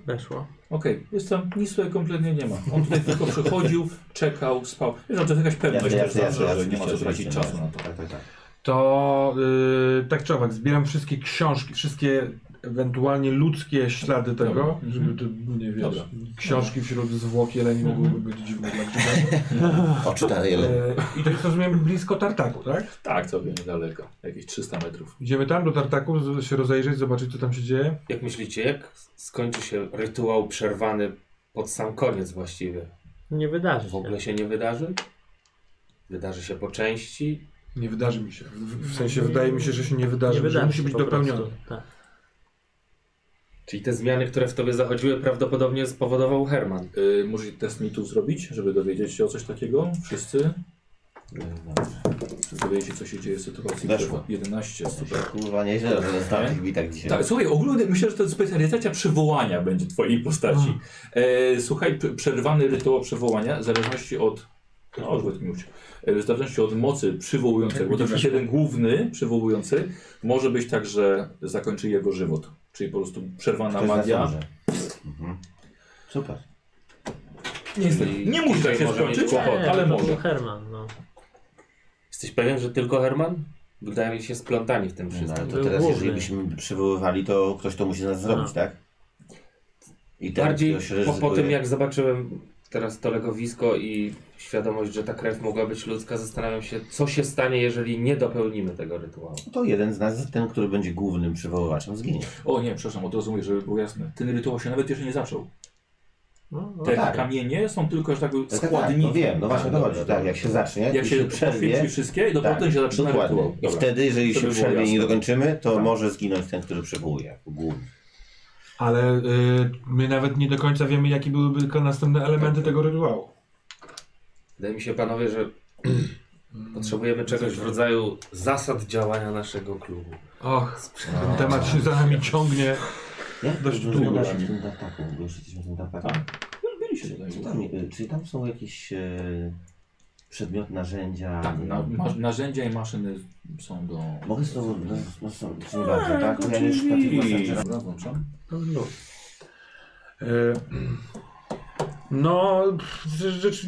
[SPEAKER 5] Weszło.
[SPEAKER 2] Okej, jest tam, nic tutaj kompletnie nie ma. On tutaj tylko przechodził, czekał, spał. Wiesz, no to jest jakaś pewność też zawsze, że nie ma co tracić czasu na to.
[SPEAKER 9] Tak, tak, tak.
[SPEAKER 3] To yy, tak czy owak, zbieram wszystkie książki, wszystkie ewentualnie ludzkie ślady tego,
[SPEAKER 2] Dobra.
[SPEAKER 3] żeby to, nie wiesz,
[SPEAKER 2] Dobra.
[SPEAKER 3] książki wśród zwłok jeleni mogłyby być dziwne dla grzyba.
[SPEAKER 9] Oczy ta
[SPEAKER 1] E,
[SPEAKER 9] jelen.
[SPEAKER 3] Yy, I to jest, rozumiem, blisko tartaku, tak?
[SPEAKER 2] Tak, całkiem niedaleko, jakieś 300 metrów.
[SPEAKER 3] Idziemy tam do tartaku, z- się rozejrzeć, zobaczyć co tam się dzieje.
[SPEAKER 4] Jak myślicie, jak skończy się rytuał przerwany pod sam koniec właściwie?
[SPEAKER 5] No, Nie wydarzy
[SPEAKER 4] W
[SPEAKER 5] się.
[SPEAKER 4] ogóle się nie wydarzy? Wydarzy się po części?
[SPEAKER 3] Nie wydarzy mi się. W, w sensie wydaje mi się, że się nie wydarzy, że musi
[SPEAKER 5] się
[SPEAKER 3] być
[SPEAKER 5] po
[SPEAKER 3] dopełniony.
[SPEAKER 5] prostu, Tak.
[SPEAKER 4] Czyli te zmiany, które w tobie zachodziły, prawdopodobnie spowodował Herman.
[SPEAKER 2] Yy, możecie test mitów zrobić, żeby dowiedzieć się o coś takiego? Wszyscy? Żeby dowiedzieć się, co się dzieje w sytuacji.
[SPEAKER 9] Weszło.
[SPEAKER 2] 11, super.
[SPEAKER 9] Kurwa, nieźle, że zostałem tych bitach dzisiaj.
[SPEAKER 2] E? Tak, słuchaj, ogólnie myślę, że to specjalizacja przywołania będzie twojej postaci. E, słuchaj, p- przerwany rytuał przywołania w zależności od. No, odwrót mi uciekł. E, W zależności od mocy przywołującego, bo to jest jeden główny przywołujący, może być tak, że zakończy jego żywot. Czyli po prostu przerwana
[SPEAKER 9] Ktoś z nas
[SPEAKER 2] magia.
[SPEAKER 9] może. Mhm. Super.
[SPEAKER 2] Niestety, nie musi tak się
[SPEAKER 4] Może mieć
[SPEAKER 2] skończyć,
[SPEAKER 4] kłopot.
[SPEAKER 5] Nie,
[SPEAKER 2] ale
[SPEAKER 5] to był
[SPEAKER 2] może.
[SPEAKER 5] Herman, no.
[SPEAKER 4] Jesteś pewien, że tylko Herman? Wydaje mi się splątani w tym
[SPEAKER 9] No,
[SPEAKER 4] wszystkim.
[SPEAKER 9] ale to
[SPEAKER 5] był
[SPEAKER 9] teraz,
[SPEAKER 5] główny.
[SPEAKER 9] jeżeli byśmy przywoływali, to ktoś to musi z nas zrobić,
[SPEAKER 5] A.
[SPEAKER 9] tak? I ten,
[SPEAKER 4] Bardziej
[SPEAKER 9] ktoś
[SPEAKER 4] po, po
[SPEAKER 9] ryzykuje.
[SPEAKER 4] tym, jak zobaczyłem teraz to legowisko i świadomość, że ta krew mogła być ludzka, zastanawiam się, co się stanie, jeżeli nie dopełnimy tego rytuału.
[SPEAKER 9] To jeden z nas, ten, który będzie głównym przywoływaczem, zginie.
[SPEAKER 2] O nie, przepraszam, od razu mówię, żeby było jasne. Ten rytuał się nawet jeszcze nie zaczął.
[SPEAKER 5] no, no
[SPEAKER 2] Te
[SPEAKER 9] tak.
[SPEAKER 2] kamienie są tylko, że tak powiem,
[SPEAKER 9] No tak, tak,
[SPEAKER 2] składniki.
[SPEAKER 9] no wiem, no właśnie o to chodzi. Tak, jak się zacznie,
[SPEAKER 2] Jak
[SPEAKER 9] i
[SPEAKER 2] się
[SPEAKER 9] przerwie,
[SPEAKER 2] poświęci wszystkie i dopiero
[SPEAKER 9] tak,
[SPEAKER 2] ten się zaczyna
[SPEAKER 9] dokładnie.
[SPEAKER 2] rytuał.
[SPEAKER 9] I
[SPEAKER 2] Dobra.
[SPEAKER 9] wtedy, jeżeli
[SPEAKER 2] Żeby
[SPEAKER 9] się
[SPEAKER 2] było
[SPEAKER 9] przerwie i nie
[SPEAKER 2] jasne.
[SPEAKER 9] dokończymy, to może zginąć ten, który przywołuje. Główny.
[SPEAKER 3] Ale y, my nawet nie do końca wiemy, jakie byłyby tylko następne elementy tego rytuału.
[SPEAKER 4] Wydaje mi się, panowie, że potrzebujemy czegoś w rodzaju zasad działania naszego klubu.
[SPEAKER 3] Och,
[SPEAKER 2] No.
[SPEAKER 3] ten
[SPEAKER 9] No.
[SPEAKER 3] temat się za nami ciągnie.
[SPEAKER 9] Jak
[SPEAKER 3] Dość
[SPEAKER 9] to
[SPEAKER 3] długo
[SPEAKER 9] wygląda
[SPEAKER 3] właśnie.
[SPEAKER 9] w tym tartaku, bo już jesteśmy w tym tartaku.
[SPEAKER 2] Tak. Byliście
[SPEAKER 9] Czy,
[SPEAKER 2] tutaj.
[SPEAKER 9] czy, tam, y, czy tam są jakieś e, przedmioty, narzędzia?
[SPEAKER 2] Tak,
[SPEAKER 9] nie
[SPEAKER 2] na,
[SPEAKER 9] wiem?
[SPEAKER 2] ma, narzędzia i maszyny są do...
[SPEAKER 9] Mogę z tobą, no, no, są- czy nie bardzo, tak? Bo Ja nie szukam tych
[SPEAKER 2] Oczywiście.
[SPEAKER 9] masażera.
[SPEAKER 2] Dobra, włączam.
[SPEAKER 3] No. E, No, rzecz, rzecz-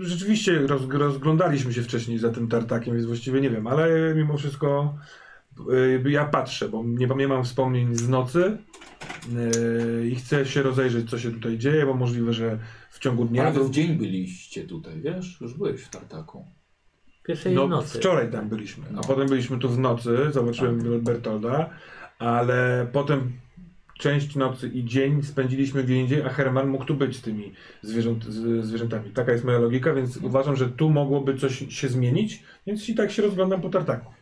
[SPEAKER 3] rzeczywiście roz, rozglądaliśmy się wcześniej za tym tartakiem, więc właściwie nie wiem, ale mimo wszystko e, ja patrzę, bo nie, nie mam wspomnień z nocy e, i chcę się rozejrzeć, co się tutaj dzieje, bo możliwe, że w ciągu dnia...
[SPEAKER 2] Ale w dzień byliście tutaj, wiesz? Już byłeś w tartaku.
[SPEAKER 5] Pierwszej
[SPEAKER 3] no,
[SPEAKER 5] nocy. Tak.
[SPEAKER 3] Wczoraj tam byliśmy, a potem byliśmy tu w nocy, zobaczyłem Bertolda, ale potem część nocy i dzień spędziliśmy gdzie indziej, a Herman mógł tu być z tymi zwierząt, z, zwierzętami. Taka jest moja logika, więc
[SPEAKER 5] Mhm.
[SPEAKER 3] uważam, że tu mogłoby coś się zmienić, więc i tak się rozglądam po tartaku.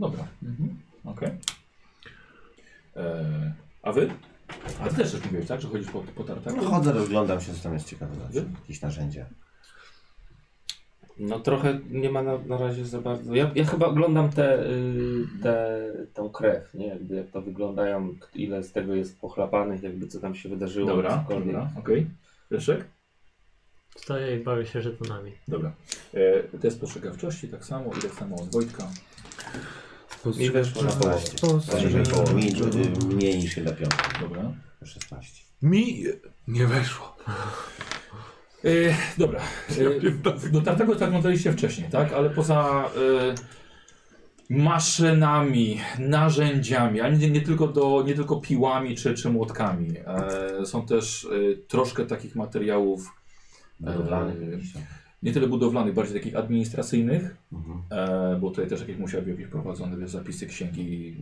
[SPEAKER 2] Dobra. Mhm. Okej. E, A wy? A ty też coś mówiłeś, tak? Że chodzisz po, po tartaku?
[SPEAKER 9] Chodzę, rozglądam się, co tam jest ciekawe.
[SPEAKER 2] Dobrze.
[SPEAKER 9] Jakieś narzędzia.
[SPEAKER 4] No trochę nie ma na, na razie za bardzo. Ja, ja chyba oglądam te, y, te, tą krew, nie? Jakby jak to wyglądają, k- ile z tego jest pochlapanych, jakby co tam się wydarzyło.
[SPEAKER 2] Dobra,
[SPEAKER 4] cokolwiek.
[SPEAKER 2] dobra, okej. Leszek?
[SPEAKER 5] Stoję i bawię się żetonami.
[SPEAKER 2] Dobra. E, test spostrzegawczości tak samo i tak samo od Wojtka.
[SPEAKER 4] Mi weszło na połowę.
[SPEAKER 9] 16. Połowa, mniej, y, mniej niż 1 piątka.
[SPEAKER 2] Dobra.
[SPEAKER 9] 16.
[SPEAKER 3] Mi nie weszło.
[SPEAKER 2] E, dobra. E, do tamtego zaglądaliście wcześniej, tak? Ale poza e, maszynami, narzędziami, a nie, nie, tylko, do, nie tylko piłami czy, czy młotkami. E, są też e, troszkę takych materiałów,
[SPEAKER 9] Budowlane.
[SPEAKER 2] Eee, nie tyle budowlanych, bardziej takich administracyjnych,
[SPEAKER 9] Mhm.
[SPEAKER 2] e, bo tutaj też jakieś musiały być prowadzone wiesz, zapisy księgi,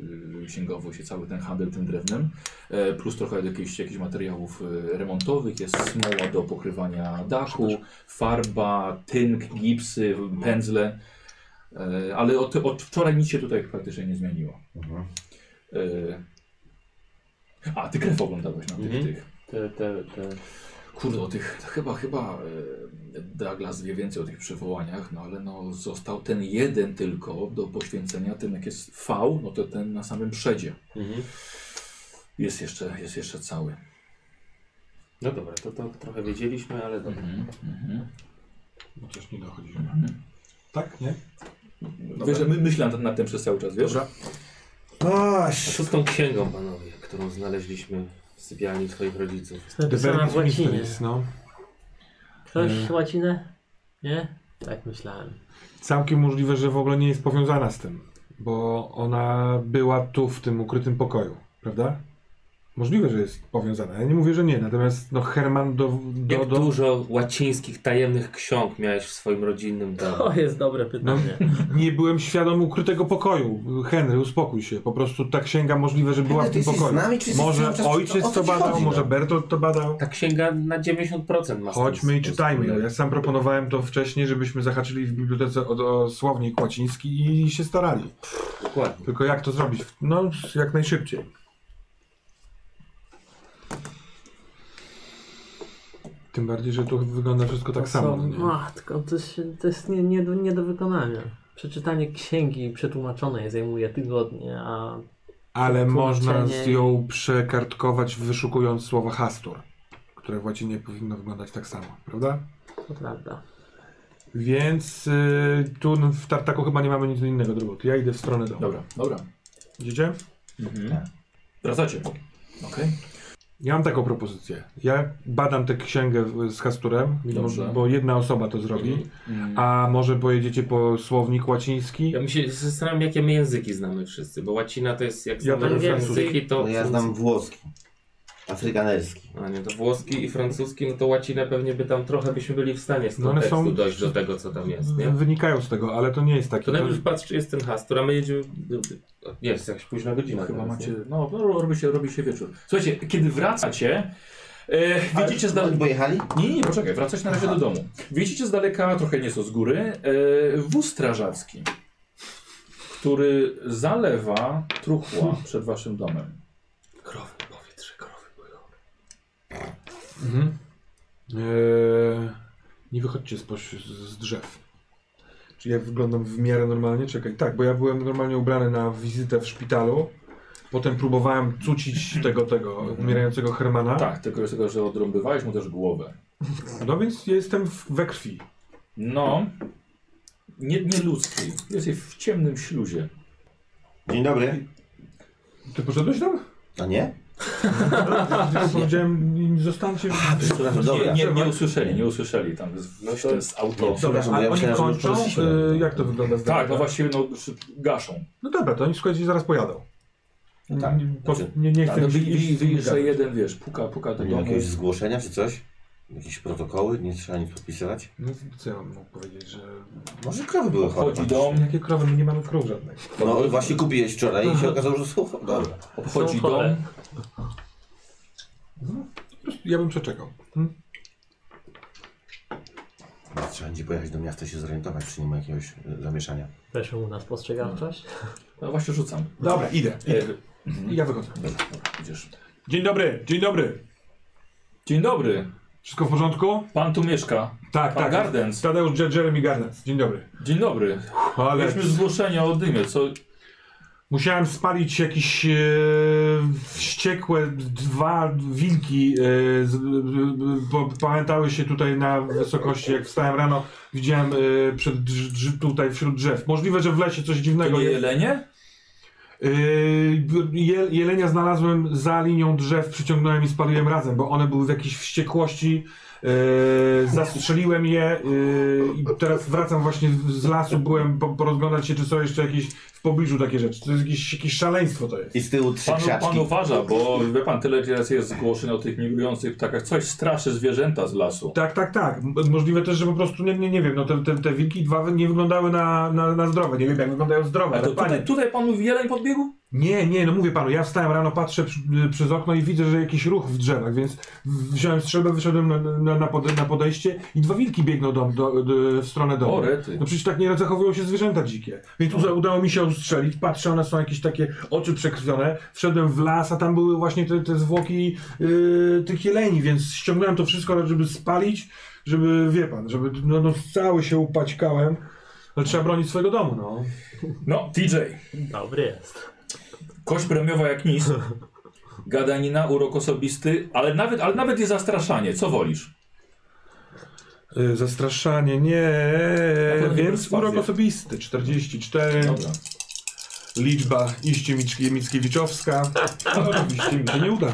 [SPEAKER 2] y, księgowość i cały ten handel tym drewnem, e, plus trochę jakichś, jakichś materiałów e, remontowych, jest smoła do pokrywania dachu, farba, tynk, gipsy,
[SPEAKER 9] Mhm.
[SPEAKER 2] pędzle, e, ale od, od wczoraj nic się tutaj praktycznie nie zmieniło.
[SPEAKER 9] Mhm.
[SPEAKER 2] E, a, ty krew oglądałeś na tych,
[SPEAKER 4] Mhm.
[SPEAKER 2] tych.
[SPEAKER 4] Te, te, te
[SPEAKER 2] Kurde, o tych, to chyba, chyba e, Douglas wie więcej o tych przywołaniach, no ale no został ten jeden tylko do poświęcenia, ten jak jest V, no to ten na samym przedzie. Jest jeszcze, jest jeszcze cały.
[SPEAKER 7] No dobra, to, to trochę wiedzieliśmy, ale dobra.
[SPEAKER 3] Chociaż nie dochodzimy. Tak, nie?
[SPEAKER 2] Wiesz, że my myślę nad, nad tym przez cały czas, wiesz?
[SPEAKER 3] Dobra.
[SPEAKER 4] A co z tą księgą, panowie, którą znaleźliśmy w sypialni twoich rodziców?
[SPEAKER 5] Jest napisana w łacinie.
[SPEAKER 3] Mysteries, no.
[SPEAKER 5] Ktoś łacinę? Nie? Tak myślałem.
[SPEAKER 3] Całkiem możliwe, że w ogóle nie jest powiązana z tym, bo ona była tu w tym ukrytym pokoju, prawda? Możliwe, że jest powiązana. Ja nie mówię, że nie, natomiast no Herman do... do,
[SPEAKER 4] Jak
[SPEAKER 3] do
[SPEAKER 4] dużo łacińskich tajemnych ksiąg miałeś w swoim rodzinnym domu?
[SPEAKER 5] To jest dobre pytanie.
[SPEAKER 3] no, nie byłem świadom ukrytego pokoju. Henry, uspokój się. Po prostu ta księga możliwe, że była
[SPEAKER 1] Henry,
[SPEAKER 3] w tym
[SPEAKER 1] ty jesteś
[SPEAKER 3] pokoju.
[SPEAKER 1] z nami, czy jesteś
[SPEAKER 3] może
[SPEAKER 1] cały czas-
[SPEAKER 3] ojciec
[SPEAKER 1] o co
[SPEAKER 3] to
[SPEAKER 1] ci
[SPEAKER 3] badał,
[SPEAKER 1] chodzi, no?
[SPEAKER 3] może Bertolt to badał.
[SPEAKER 4] Ta księga na 90% ma
[SPEAKER 3] Chodźmy i czytajmy. ją.
[SPEAKER 4] ją.
[SPEAKER 3] Ja sam proponowałem to wcześniej, żebyśmy zahaczyli w bibliotece o, o słownik łaciński i się starali.
[SPEAKER 4] Dokładnie.
[SPEAKER 3] Tylko jak to zrobić? No, jak najszybciej. Tym bardziej, że tu wygląda wszystko tak
[SPEAKER 5] To
[SPEAKER 3] samo.
[SPEAKER 5] są-
[SPEAKER 3] nie?
[SPEAKER 5] Matko, to, się, to jest nie, nie, do- nie do wykonania. Przeczytanie księgi przetłumaczonej zajmuje tygodnie, a
[SPEAKER 3] Ale można z
[SPEAKER 5] tłumaczenie-
[SPEAKER 3] ją przekartkować, wyszukując słowo hastur, które w łacinie powinno wyglądać tak samo, prawda?
[SPEAKER 5] to prawda.
[SPEAKER 3] Więc y, tu w tartaku chyba nie mamy nic innego do roboty. Ja idę w stronę domu.
[SPEAKER 2] Dobra, dobra.
[SPEAKER 3] Idziecie?
[SPEAKER 2] Wracacie. Okej.
[SPEAKER 3] Ja mam taką propozycję. Ja badam tę księgę w- z Hasturem,
[SPEAKER 2] Dobrze.
[SPEAKER 3] bo jedna osoba to zrobi.
[SPEAKER 2] Mm.
[SPEAKER 3] A może pojedziecie po słownik łaciński?
[SPEAKER 4] Ja mi się zastanawiam, jakie my języki znamy wszyscy, bo łacina to jest, jak
[SPEAKER 3] Ja
[SPEAKER 4] znamy
[SPEAKER 5] tak wiem.
[SPEAKER 4] języki, to...
[SPEAKER 1] No ja znam włoski. Afrykanerski.
[SPEAKER 4] A nie, to włoski i francuski, no to łacinę pewnie by tam trochę byśmy byli w stanie z
[SPEAKER 3] No one
[SPEAKER 4] kontekstu
[SPEAKER 3] są- No.
[SPEAKER 4] dojść do tego, co tam jest,
[SPEAKER 3] W-
[SPEAKER 4] nie?
[SPEAKER 3] Wynikają z tego, ale to nie jest
[SPEAKER 4] To
[SPEAKER 3] takie. To,
[SPEAKER 4] najpierw patrz, czy jest ten has, która my jedziemy... Jest jakaś późna godzina
[SPEAKER 2] Chyba
[SPEAKER 4] teraz,
[SPEAKER 2] macie.
[SPEAKER 4] nie?
[SPEAKER 2] No, no, robi się, robi się wieczór. Słuchajcie, kiedy wracacie, e, widzicie z daleka.
[SPEAKER 1] Bo jechali?
[SPEAKER 2] Nie, nie, poczekaj, wracacie na razie do domu. Widzicie z daleka, trochę nieco z góry, e, wóz strażacki, który zalewa truchła przed waszym domem.
[SPEAKER 4] Krowy, powietrze, krowy były.
[SPEAKER 3] mhm. Eee, nie wychodźcie spoś, z, z drzew. Czy ja wyglądam w miarę normalnie? Czekaj, tak, bo ja byłem normalnie ubrany na wizytę w szpitalu. Potem próbowałem cucić tego, tego umierającego Hermana.
[SPEAKER 2] Tak, tylko jest tego, że odrąbywałeś mu też głowę.
[SPEAKER 3] No więc jestem w, we krwi.
[SPEAKER 2] No, nie, nie ludzki. Jesteś w ciemnym śluzie.
[SPEAKER 1] Dzień dobry.
[SPEAKER 3] Ty poszedłeś tam?
[SPEAKER 1] A nie?
[SPEAKER 3] Ja powiedziałem, zostańcie.
[SPEAKER 1] Przepraszam,
[SPEAKER 2] Nie,
[SPEAKER 1] No dobra.
[SPEAKER 2] nie, nie usłyszeli, nie usłyszeli tam. Jest, no to jest auto.
[SPEAKER 1] Dobra,
[SPEAKER 3] A
[SPEAKER 1] bo ja
[SPEAKER 3] oni
[SPEAKER 1] myślałem, że już
[SPEAKER 3] kończą?
[SPEAKER 1] poszliśmy.
[SPEAKER 3] Y, jak to wygląda z
[SPEAKER 2] Tak,
[SPEAKER 3] daleka?
[SPEAKER 2] no właściwie no, szy- gaszą.
[SPEAKER 3] No dobra, to oni słuchajcie, zaraz pojadą.
[SPEAKER 1] No tak.
[SPEAKER 3] Nie- po-
[SPEAKER 1] Znaczy,
[SPEAKER 3] nie, nie chcę
[SPEAKER 2] Ale
[SPEAKER 3] iść-
[SPEAKER 2] wy- wy-
[SPEAKER 3] iść z nimi
[SPEAKER 2] wy- że
[SPEAKER 3] gadać.
[SPEAKER 2] jeden, wiesz, puka, puka do
[SPEAKER 1] Nie ma
[SPEAKER 2] domu.
[SPEAKER 1] jakiegoś zgłoszenia czy coś? Jakieś protokoły? Nie trzeba nic podpisywać?
[SPEAKER 3] No co ja mam mu powiedzieć, że...
[SPEAKER 1] Może krowy były chore.
[SPEAKER 2] Chodzi do mnie.
[SPEAKER 3] Jakie krowy? My nie mamy krów żadnych.
[SPEAKER 1] No właśnie kupiłeś wczoraj i się okazało, że słucham.
[SPEAKER 3] No,
[SPEAKER 1] Dobra.
[SPEAKER 2] Obchodzi
[SPEAKER 5] Są chore.
[SPEAKER 2] dom.
[SPEAKER 3] Po prostu Ja bym przeczekał. Hmm?
[SPEAKER 1] Trzeba będzie pojechać do miasta i się zorientować, czy nie ma jakiegoś e, zamieszania.
[SPEAKER 5] Weszło u nas postrzegawczość.
[SPEAKER 2] No właśnie rzucam.
[SPEAKER 3] Dobra, idę.
[SPEAKER 2] E,
[SPEAKER 3] I ja wychodzę.
[SPEAKER 2] dobra, dobra, idziesz.
[SPEAKER 3] Dzień dobry, dzień dobry.
[SPEAKER 2] Dzień dobry.
[SPEAKER 3] Wszystko w porządku?
[SPEAKER 2] Pan tu mieszka.
[SPEAKER 3] Tak,
[SPEAKER 2] Pan
[SPEAKER 3] tak.
[SPEAKER 2] Gardens.
[SPEAKER 3] Tadeusz Je- Jeremy Gardens. Dzień dobry.
[SPEAKER 2] Dzień dobry.
[SPEAKER 3] Ale
[SPEAKER 2] Mieliśmy zgłoszenie o dymie, co...
[SPEAKER 3] musiałem spalić jakieś e, wściekłe dwa wilki. E, z, e, po, pamiętały się tutaj na wysokości, jak wstałem rano. Widziałem e, przed drz, drz, tutaj wśród drzew. Możliwe, że w lesie coś
[SPEAKER 2] To
[SPEAKER 3] dziwnego
[SPEAKER 2] nie
[SPEAKER 3] jest.
[SPEAKER 2] jelenie?
[SPEAKER 3] Yy, je, jelenia znalazłem za linią drzew, przyciągnąłem i spaliłem razem, bo one były w jakiejś wściekłości. Yy, zastrzeliłem je yy, i teraz wracam właśnie z lasu, byłem po, porozglądać się, czy są jeszcze jakieś w pobliżu takie rzeczy. To jest jakieś, jakieś szaleństwo to jest.
[SPEAKER 1] I z tyłu trzy
[SPEAKER 2] Pan, pan
[SPEAKER 1] krzaczki.
[SPEAKER 2] uważa, bo wie pan, tyle teraz jest zgłoszeń o tych migrujących ptakach. Coś straszy zwierzęta z lasu.
[SPEAKER 3] Tak, tak, tak. M- Możliwe też, że po prostu nie, nie, nie wiem, no te, te, te wilki dwa wy- nie wyglądały na, na, na zdrowe. Nie wiem jak wyglądają zdrowe,
[SPEAKER 2] Ale
[SPEAKER 3] ale
[SPEAKER 2] to
[SPEAKER 3] panie,
[SPEAKER 2] tutaj, tutaj pan mówi jeleń podbiegł?
[SPEAKER 3] Nie, nie, no mówię panu, ja wstałem rano, patrzę przy, przez okno i widzę, że jakiś ruch w drzewach, więc wziąłem strzelbę, wyszedłem na, na, na, pode, na podejście i dwa wilki biegną do, do, do, w stronę domu.
[SPEAKER 2] O, rety.
[SPEAKER 3] No przecież tak nie zachowują się zwierzęta dzikie. Więc uza, udało mi się ustrzelić, patrzę, one są jakieś takie oczy przekrwione, wszedłem w las, a tam były właśnie te, te zwłoki yy, tych jeleni, więc ściągnąłem to wszystko, żeby spalić, żeby, wie pan, żeby no, no, cały się upaćkałem, ale trzeba bronić swojego domu, no.
[SPEAKER 2] No, TJ.
[SPEAKER 5] Dobry jest.
[SPEAKER 2] Kość premiowa jak nic. Gadanina, urok osobisty, ale nawet, ale nawet i zastraszanie. Co wolisz?
[SPEAKER 3] Y, Zastraszanie, nie,
[SPEAKER 2] pewno nie
[SPEAKER 3] więc
[SPEAKER 2] perswazja.
[SPEAKER 3] urok osobisty, 44,
[SPEAKER 2] Dobra.
[SPEAKER 3] liczba iście Mick- Mickiewiczowska, no, oczywiście mi się nie uda.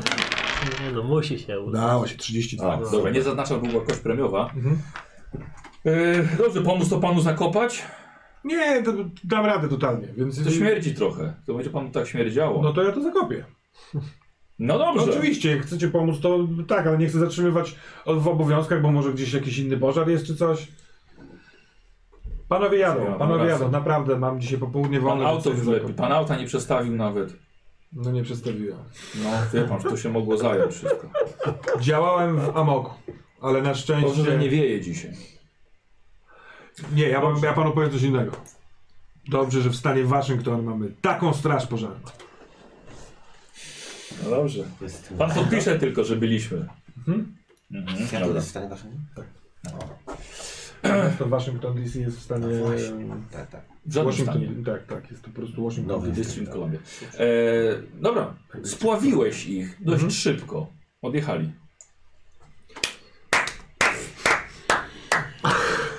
[SPEAKER 5] Nie no, musi się udać.
[SPEAKER 3] Udało się, 32.
[SPEAKER 2] A, dobra, No, nie zaznaczam, bo była kość premiowa.
[SPEAKER 3] Mhm.
[SPEAKER 2] Yy, dobrze, pomóc to panu zakopać?
[SPEAKER 3] Nie, to, dam radę totalnie, więc...
[SPEAKER 2] To śmierdzi trochę. To będzie panu tak śmierdziało.
[SPEAKER 3] No
[SPEAKER 2] No,
[SPEAKER 3] to ja to zakopię. No
[SPEAKER 2] dobrze.
[SPEAKER 3] oczywiście, jak chcecie pomóc, to tak, ale nie chcę zatrzymywać w obowiązkach, bo może gdzieś jakiś inny pożar jest czy coś. Panowie jadą,
[SPEAKER 2] Ja
[SPEAKER 3] panowie
[SPEAKER 2] mam
[SPEAKER 3] jadą,
[SPEAKER 2] rację.
[SPEAKER 3] naprawdę mam dzisiaj popołudnie
[SPEAKER 2] Pan
[SPEAKER 3] wolne. więc
[SPEAKER 2] auto
[SPEAKER 3] sobie
[SPEAKER 2] wylepi.
[SPEAKER 3] zakopię.
[SPEAKER 2] Pan auta nie przestawił nawet.
[SPEAKER 3] No nie przestawiłem.
[SPEAKER 2] No, wie pan, że to się mogło zająć wszystko.
[SPEAKER 3] Działałem w amoku, ale na szczęście...
[SPEAKER 2] Dobrze, że nie wieje dzisiaj.
[SPEAKER 3] Nie, ja, wam- ja panu powiem coś innego. Dobrze, że w stanie Waszyngton mamy taką straż pożarną.
[SPEAKER 2] No dobrze. Pan podpisze tylko, że byliśmy.
[SPEAKER 3] Mhm.
[SPEAKER 2] Mhm, dobra.
[SPEAKER 1] w stanie waszym?
[SPEAKER 3] To Waszyngton DC jest w stanie.
[SPEAKER 1] No Tak, tak.
[SPEAKER 2] No W żadnym stanie.
[SPEAKER 3] Washington, tak, tak, jest to po prostu Washington.
[SPEAKER 1] Nowy
[SPEAKER 3] DC.
[SPEAKER 2] District Columbia. E, dobra, spławiłeś ich
[SPEAKER 3] Mhm.
[SPEAKER 2] dość szybko. Odjechali.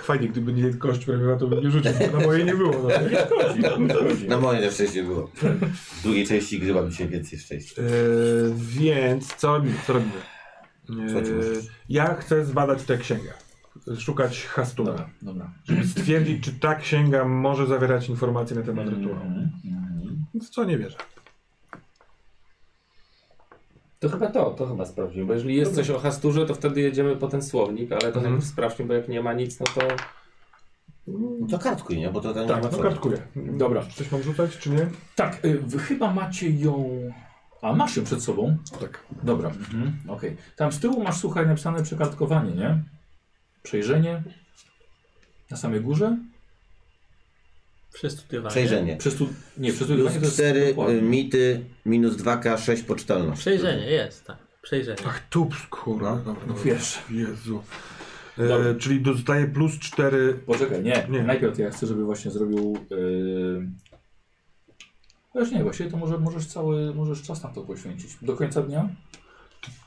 [SPEAKER 3] Fajnie, gdyby nie kość premiera, to bym nie rzucił, bo na mojej nie było. No.
[SPEAKER 1] Na moje na szczęście było. W drugiej części gry mam dzisiaj więcej szczęścia.
[SPEAKER 3] Eee, więc co robimy? Co robimy?
[SPEAKER 1] Co ci
[SPEAKER 3] Eee, ja chcę zbadać tę księgę. Szukać hastuna.
[SPEAKER 2] Dobra, dobra.
[SPEAKER 3] Żeby stwierdzić, czy ta księga może zawierać informacje na temat rytuału.
[SPEAKER 2] Mhm, mhm.
[SPEAKER 3] W co nie wierzę.
[SPEAKER 7] To chyba to, to chyba sprawdzimy, bo jeżeli jest coś o hasturze, to wtedy jedziemy po ten słownik, ale to
[SPEAKER 3] Mhm.
[SPEAKER 7] tak, najpierw sprawdźmy, bo jak nie ma nic, no to
[SPEAKER 1] No to kartkuj, nie? Bo to tam nie
[SPEAKER 3] Tak,
[SPEAKER 1] ma
[SPEAKER 3] to
[SPEAKER 1] co.
[SPEAKER 3] kartkuję.
[SPEAKER 2] Dobra.
[SPEAKER 3] Coś mam rzucać, czy nie?
[SPEAKER 2] Tak, y, wy chyba macie ją. A masz ją przed sobą?
[SPEAKER 3] Tak.
[SPEAKER 2] Dobra, mhm, okej. Tam z tyłu masz, słuchaj, napisane przekartkowanie, nie? Przejrzenie. Na samej górze? Tak.
[SPEAKER 5] Przestudiowanie.
[SPEAKER 1] Przejrzenie.
[SPEAKER 2] Przestu... Nie, przestudiowanie to
[SPEAKER 1] Plus
[SPEAKER 2] jest
[SPEAKER 1] 4
[SPEAKER 2] dokładnie.
[SPEAKER 1] mity, minus 2k6 pocztalność.
[SPEAKER 5] Przejrzenie, jest, tak. Przejrzenie.
[SPEAKER 3] Ach, tu skóra. Dobra,
[SPEAKER 2] No
[SPEAKER 3] dobra.
[SPEAKER 2] wiesz.
[SPEAKER 3] Jezu.
[SPEAKER 2] Dobra.
[SPEAKER 3] E, czyli dostaję plus 4.
[SPEAKER 2] Poczekaj, nie.
[SPEAKER 3] Nie.
[SPEAKER 2] Najpierw ja chcę, żeby właśnie zrobił. Yy... Chociaż nie, właściwie to może, możesz cały, możesz czas na to poświęcić. Do końca dnia?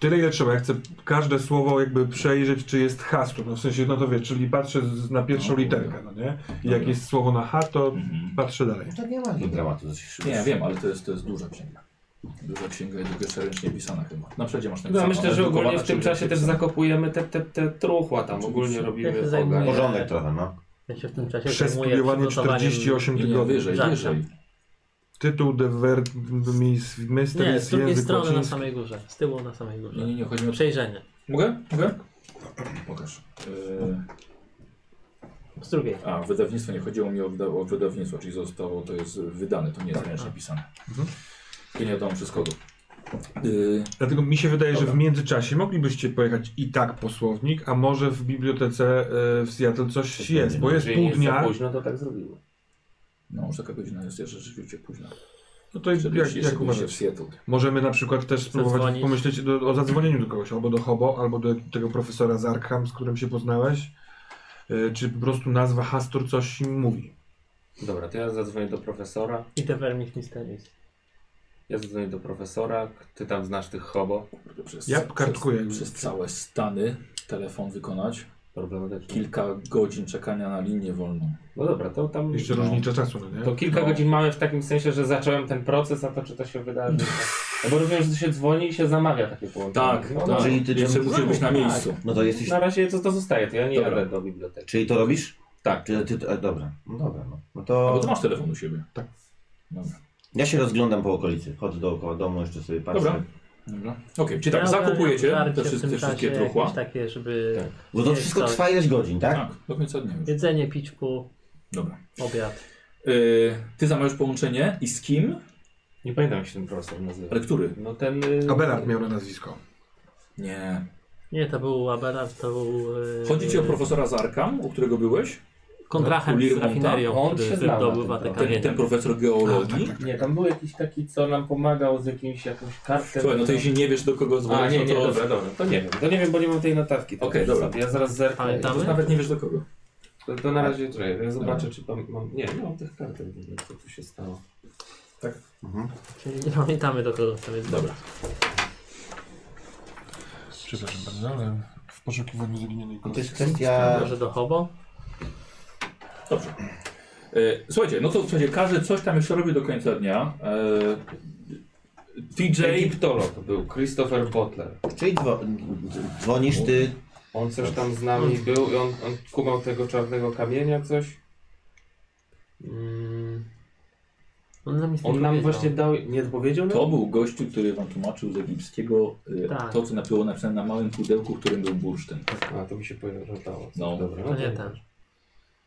[SPEAKER 3] Tyle ile trzeba. Ja chcę każde słowo jakby przejrzeć, czy jest hasło. No w sensie, no to wie, czyli patrzę z, na pierwszą
[SPEAKER 2] No,
[SPEAKER 3] literkę, no nie? I
[SPEAKER 2] Dobra.
[SPEAKER 3] jak jest słowo na H, to
[SPEAKER 2] Mhm.
[SPEAKER 3] patrzę dalej.
[SPEAKER 1] To nie ma
[SPEAKER 5] Tak.
[SPEAKER 9] No
[SPEAKER 1] takiego dramatu, co się szybko.
[SPEAKER 2] Nie, wiem, ale to jest, to jest duża księga. Duża księga i tylko jeszcze ręcznie pisana chyba. Na przedzie masz
[SPEAKER 7] No,
[SPEAKER 2] napisane.
[SPEAKER 7] ja myślę, że
[SPEAKER 2] drukowana,
[SPEAKER 7] ogólnie w tym
[SPEAKER 2] czy
[SPEAKER 7] czasie też
[SPEAKER 2] napisana.
[SPEAKER 7] zakopujemy te, te, te truchła tam,
[SPEAKER 2] Oczywiście.
[SPEAKER 7] ogólnie
[SPEAKER 5] Ja się
[SPEAKER 7] robimy
[SPEAKER 5] zajmuję.
[SPEAKER 7] ogon.
[SPEAKER 1] Porządek trochę, no.
[SPEAKER 5] Ja się w tym czasie
[SPEAKER 3] Przestudiowanie
[SPEAKER 5] zajmuję przygotowaniem-
[SPEAKER 3] 48
[SPEAKER 2] Nie, nie,
[SPEAKER 3] tygodni.
[SPEAKER 2] wyżej,
[SPEAKER 5] Żadna.
[SPEAKER 2] wyżej.
[SPEAKER 3] Tytuł The Verb Mis- Mystery
[SPEAKER 5] Nie, z
[SPEAKER 3] jest
[SPEAKER 5] drugiej
[SPEAKER 3] język
[SPEAKER 5] strony na
[SPEAKER 3] łaciński.
[SPEAKER 5] samej górze. Z tyłu na samej
[SPEAKER 2] Nie,
[SPEAKER 5] górze.
[SPEAKER 2] nie, nie, chodzi o...
[SPEAKER 5] Przejrzenie.
[SPEAKER 2] Mogę? Mogę? Pokaż. Yy,
[SPEAKER 5] Z drugiej.
[SPEAKER 2] a, wydawnictwo, nie chodziło mi o, wyda o wydawnictwo, czyli zostało, to jest wydane, to nie jest ręcznie pisane. I nie wiadomo przez kogo. Yy,
[SPEAKER 3] Dlatego mi się wydaje,
[SPEAKER 2] Dobra.
[SPEAKER 3] że w międzyczasie moglibyście pojechać i tak po słownik, a może w bibliotece e, w Seattle coś jest, bo jest
[SPEAKER 7] Jeżeli
[SPEAKER 3] pół
[SPEAKER 7] jest za
[SPEAKER 3] dnia.
[SPEAKER 7] późno, to tak zrobimy.
[SPEAKER 2] No, już taka godzina jest jeszcze rzeczywiście późna.
[SPEAKER 3] No to jak,
[SPEAKER 2] Żeby
[SPEAKER 3] jak,
[SPEAKER 2] jak,
[SPEAKER 3] jak
[SPEAKER 2] byliście
[SPEAKER 3] uważacie?
[SPEAKER 2] w Seattle.
[SPEAKER 3] Możemy na przykład też spróbować
[SPEAKER 5] Zadzwonić.
[SPEAKER 3] pomyśleć do, o zadzwonieniu do kogoś, albo do Hobo, albo do tego profesora z Arkham, z którym się poznałeś. Y, Czy po prostu nazwa Hastur coś im mówi?
[SPEAKER 7] Dobra, to ja zadzwonię do profesora.
[SPEAKER 5] I The Vermich Mysteries.
[SPEAKER 7] Ja zadzwonię do profesora. Ty tam znasz tych hobo.
[SPEAKER 2] Przez,
[SPEAKER 3] Ja kartkuję.
[SPEAKER 2] Przez, przez całe Stany telefon wykonać.
[SPEAKER 7] Problematyczne.
[SPEAKER 2] Kilka godzin czekania na linię wolną.
[SPEAKER 7] No dobra, to tam...
[SPEAKER 3] Jeszcze
[SPEAKER 2] No.
[SPEAKER 3] różnicę czasu, no nie?
[SPEAKER 7] To kilka
[SPEAKER 2] No.
[SPEAKER 7] godzin mamy w takim sensie, że zacząłem ten proces, a to czy to się wydarzy. No bo rozumiem, że to się dzwoni i się zamawia takie połączenie.
[SPEAKER 2] Tak,
[SPEAKER 7] no,
[SPEAKER 2] tak.
[SPEAKER 1] Czyli ty
[SPEAKER 2] Jeszcze
[SPEAKER 1] czymś-
[SPEAKER 2] musisz być na
[SPEAKER 5] Tak.
[SPEAKER 2] miejscu.
[SPEAKER 1] No to jesteś...
[SPEAKER 7] Na razie to, to zostaje, to ja nie
[SPEAKER 2] Dobra.
[SPEAKER 7] jadę do biblioteki.
[SPEAKER 1] Czyli to robisz?
[SPEAKER 7] Tak.
[SPEAKER 1] Czy ty...
[SPEAKER 9] e,
[SPEAKER 1] A, dobra, no dobra, no. no
[SPEAKER 2] A bo
[SPEAKER 1] to...
[SPEAKER 2] ty masz telefon u siebie.
[SPEAKER 3] Tak.
[SPEAKER 2] Dobra.
[SPEAKER 1] Ja się rozglądam po okolicy. Chodzę dookoła domu, jeszcze sobie patrzę.
[SPEAKER 2] Dobra. Dobra. Okej, czyli tak, zakupujecie te, wszystkie- te wszystkie truchła.
[SPEAKER 5] takie, żeby
[SPEAKER 1] Bo to
[SPEAKER 5] Nie,
[SPEAKER 1] wszystko
[SPEAKER 5] wcale.
[SPEAKER 1] trwa ileś godzin, tak?
[SPEAKER 2] Tak, do końca dnia już.
[SPEAKER 5] jedzenie, pićku,
[SPEAKER 2] Dobra. Y,
[SPEAKER 5] obiad.
[SPEAKER 2] Yy, ty zamawiasz połączenie i z kim?
[SPEAKER 4] Nie pamiętam jak się ten profesor nazywa.
[SPEAKER 2] Ale który?
[SPEAKER 4] No ten... y,
[SPEAKER 3] Abelard miał na nazwisko.
[SPEAKER 2] Nie.
[SPEAKER 5] Nie, to był Abelard, to był... e,
[SPEAKER 2] Chodzi ci o profesora z Arkam, u którego byłeś?
[SPEAKER 5] Kontrahent z
[SPEAKER 2] Lirmonta?
[SPEAKER 5] rafinerią,
[SPEAKER 4] On
[SPEAKER 5] który
[SPEAKER 4] się znał na tym tak.
[SPEAKER 5] wydobywa te
[SPEAKER 4] trochę.
[SPEAKER 2] Ten,
[SPEAKER 5] kamienie.
[SPEAKER 2] ten profesor geologii?
[SPEAKER 4] Nie, tam był jakiś taki, co nam pomagał z jakimś, jakąś kartą.
[SPEAKER 2] Słuchaj, no to jeśli nie wiesz do kogo
[SPEAKER 4] tak. A,
[SPEAKER 2] dzwonić,
[SPEAKER 4] nie, nie,
[SPEAKER 2] no to...
[SPEAKER 4] dobra, dobra. To nie wiem, to nie wiem, bo nie mam tej notatki.
[SPEAKER 2] Okej, dobra.
[SPEAKER 4] Ja zaraz zerknę.
[SPEAKER 5] Pamiętamy?
[SPEAKER 2] To nawet nie wiesz do kogo.
[SPEAKER 4] To, to na razie czekaj, ja zobaczę, czy pam- mam... Nie, nie mam tych kartek, nie wiem, co tu się stało.
[SPEAKER 5] Czyli nie pamiętamy do kogo tam jest.
[SPEAKER 2] Dobra.
[SPEAKER 3] Przepraszam bardzo, ale w poszukiwaniu zaginionej
[SPEAKER 9] To
[SPEAKER 3] kości.
[SPEAKER 9] jest kwestia...
[SPEAKER 5] Może do Hobo?
[SPEAKER 2] Dobrze. E, słuchajcie, no to słuchajcie, każdy coś tam jeszcze robi do końca dnia. E, TJ...
[SPEAKER 4] Egiptolog był, Christopher Butler.
[SPEAKER 9] Czyli dzwo... dzwonisz ty...
[SPEAKER 4] On coś tam z nami był i on, on kumał tego czarnego kamienia coś. Mm,
[SPEAKER 5] On nam, nic nie
[SPEAKER 4] on nam
[SPEAKER 5] powiedział.
[SPEAKER 4] właśnie dał... Nie powiedział nam?
[SPEAKER 2] To był gościu, który wam tłumaczył z egipskiego e,
[SPEAKER 5] Tak.
[SPEAKER 2] to, co na- było napisane na małym pudełku, w którym był bursztyn.
[SPEAKER 4] A, to mi się pojawiało.
[SPEAKER 2] No.
[SPEAKER 4] Dobra,
[SPEAKER 5] To nie ten.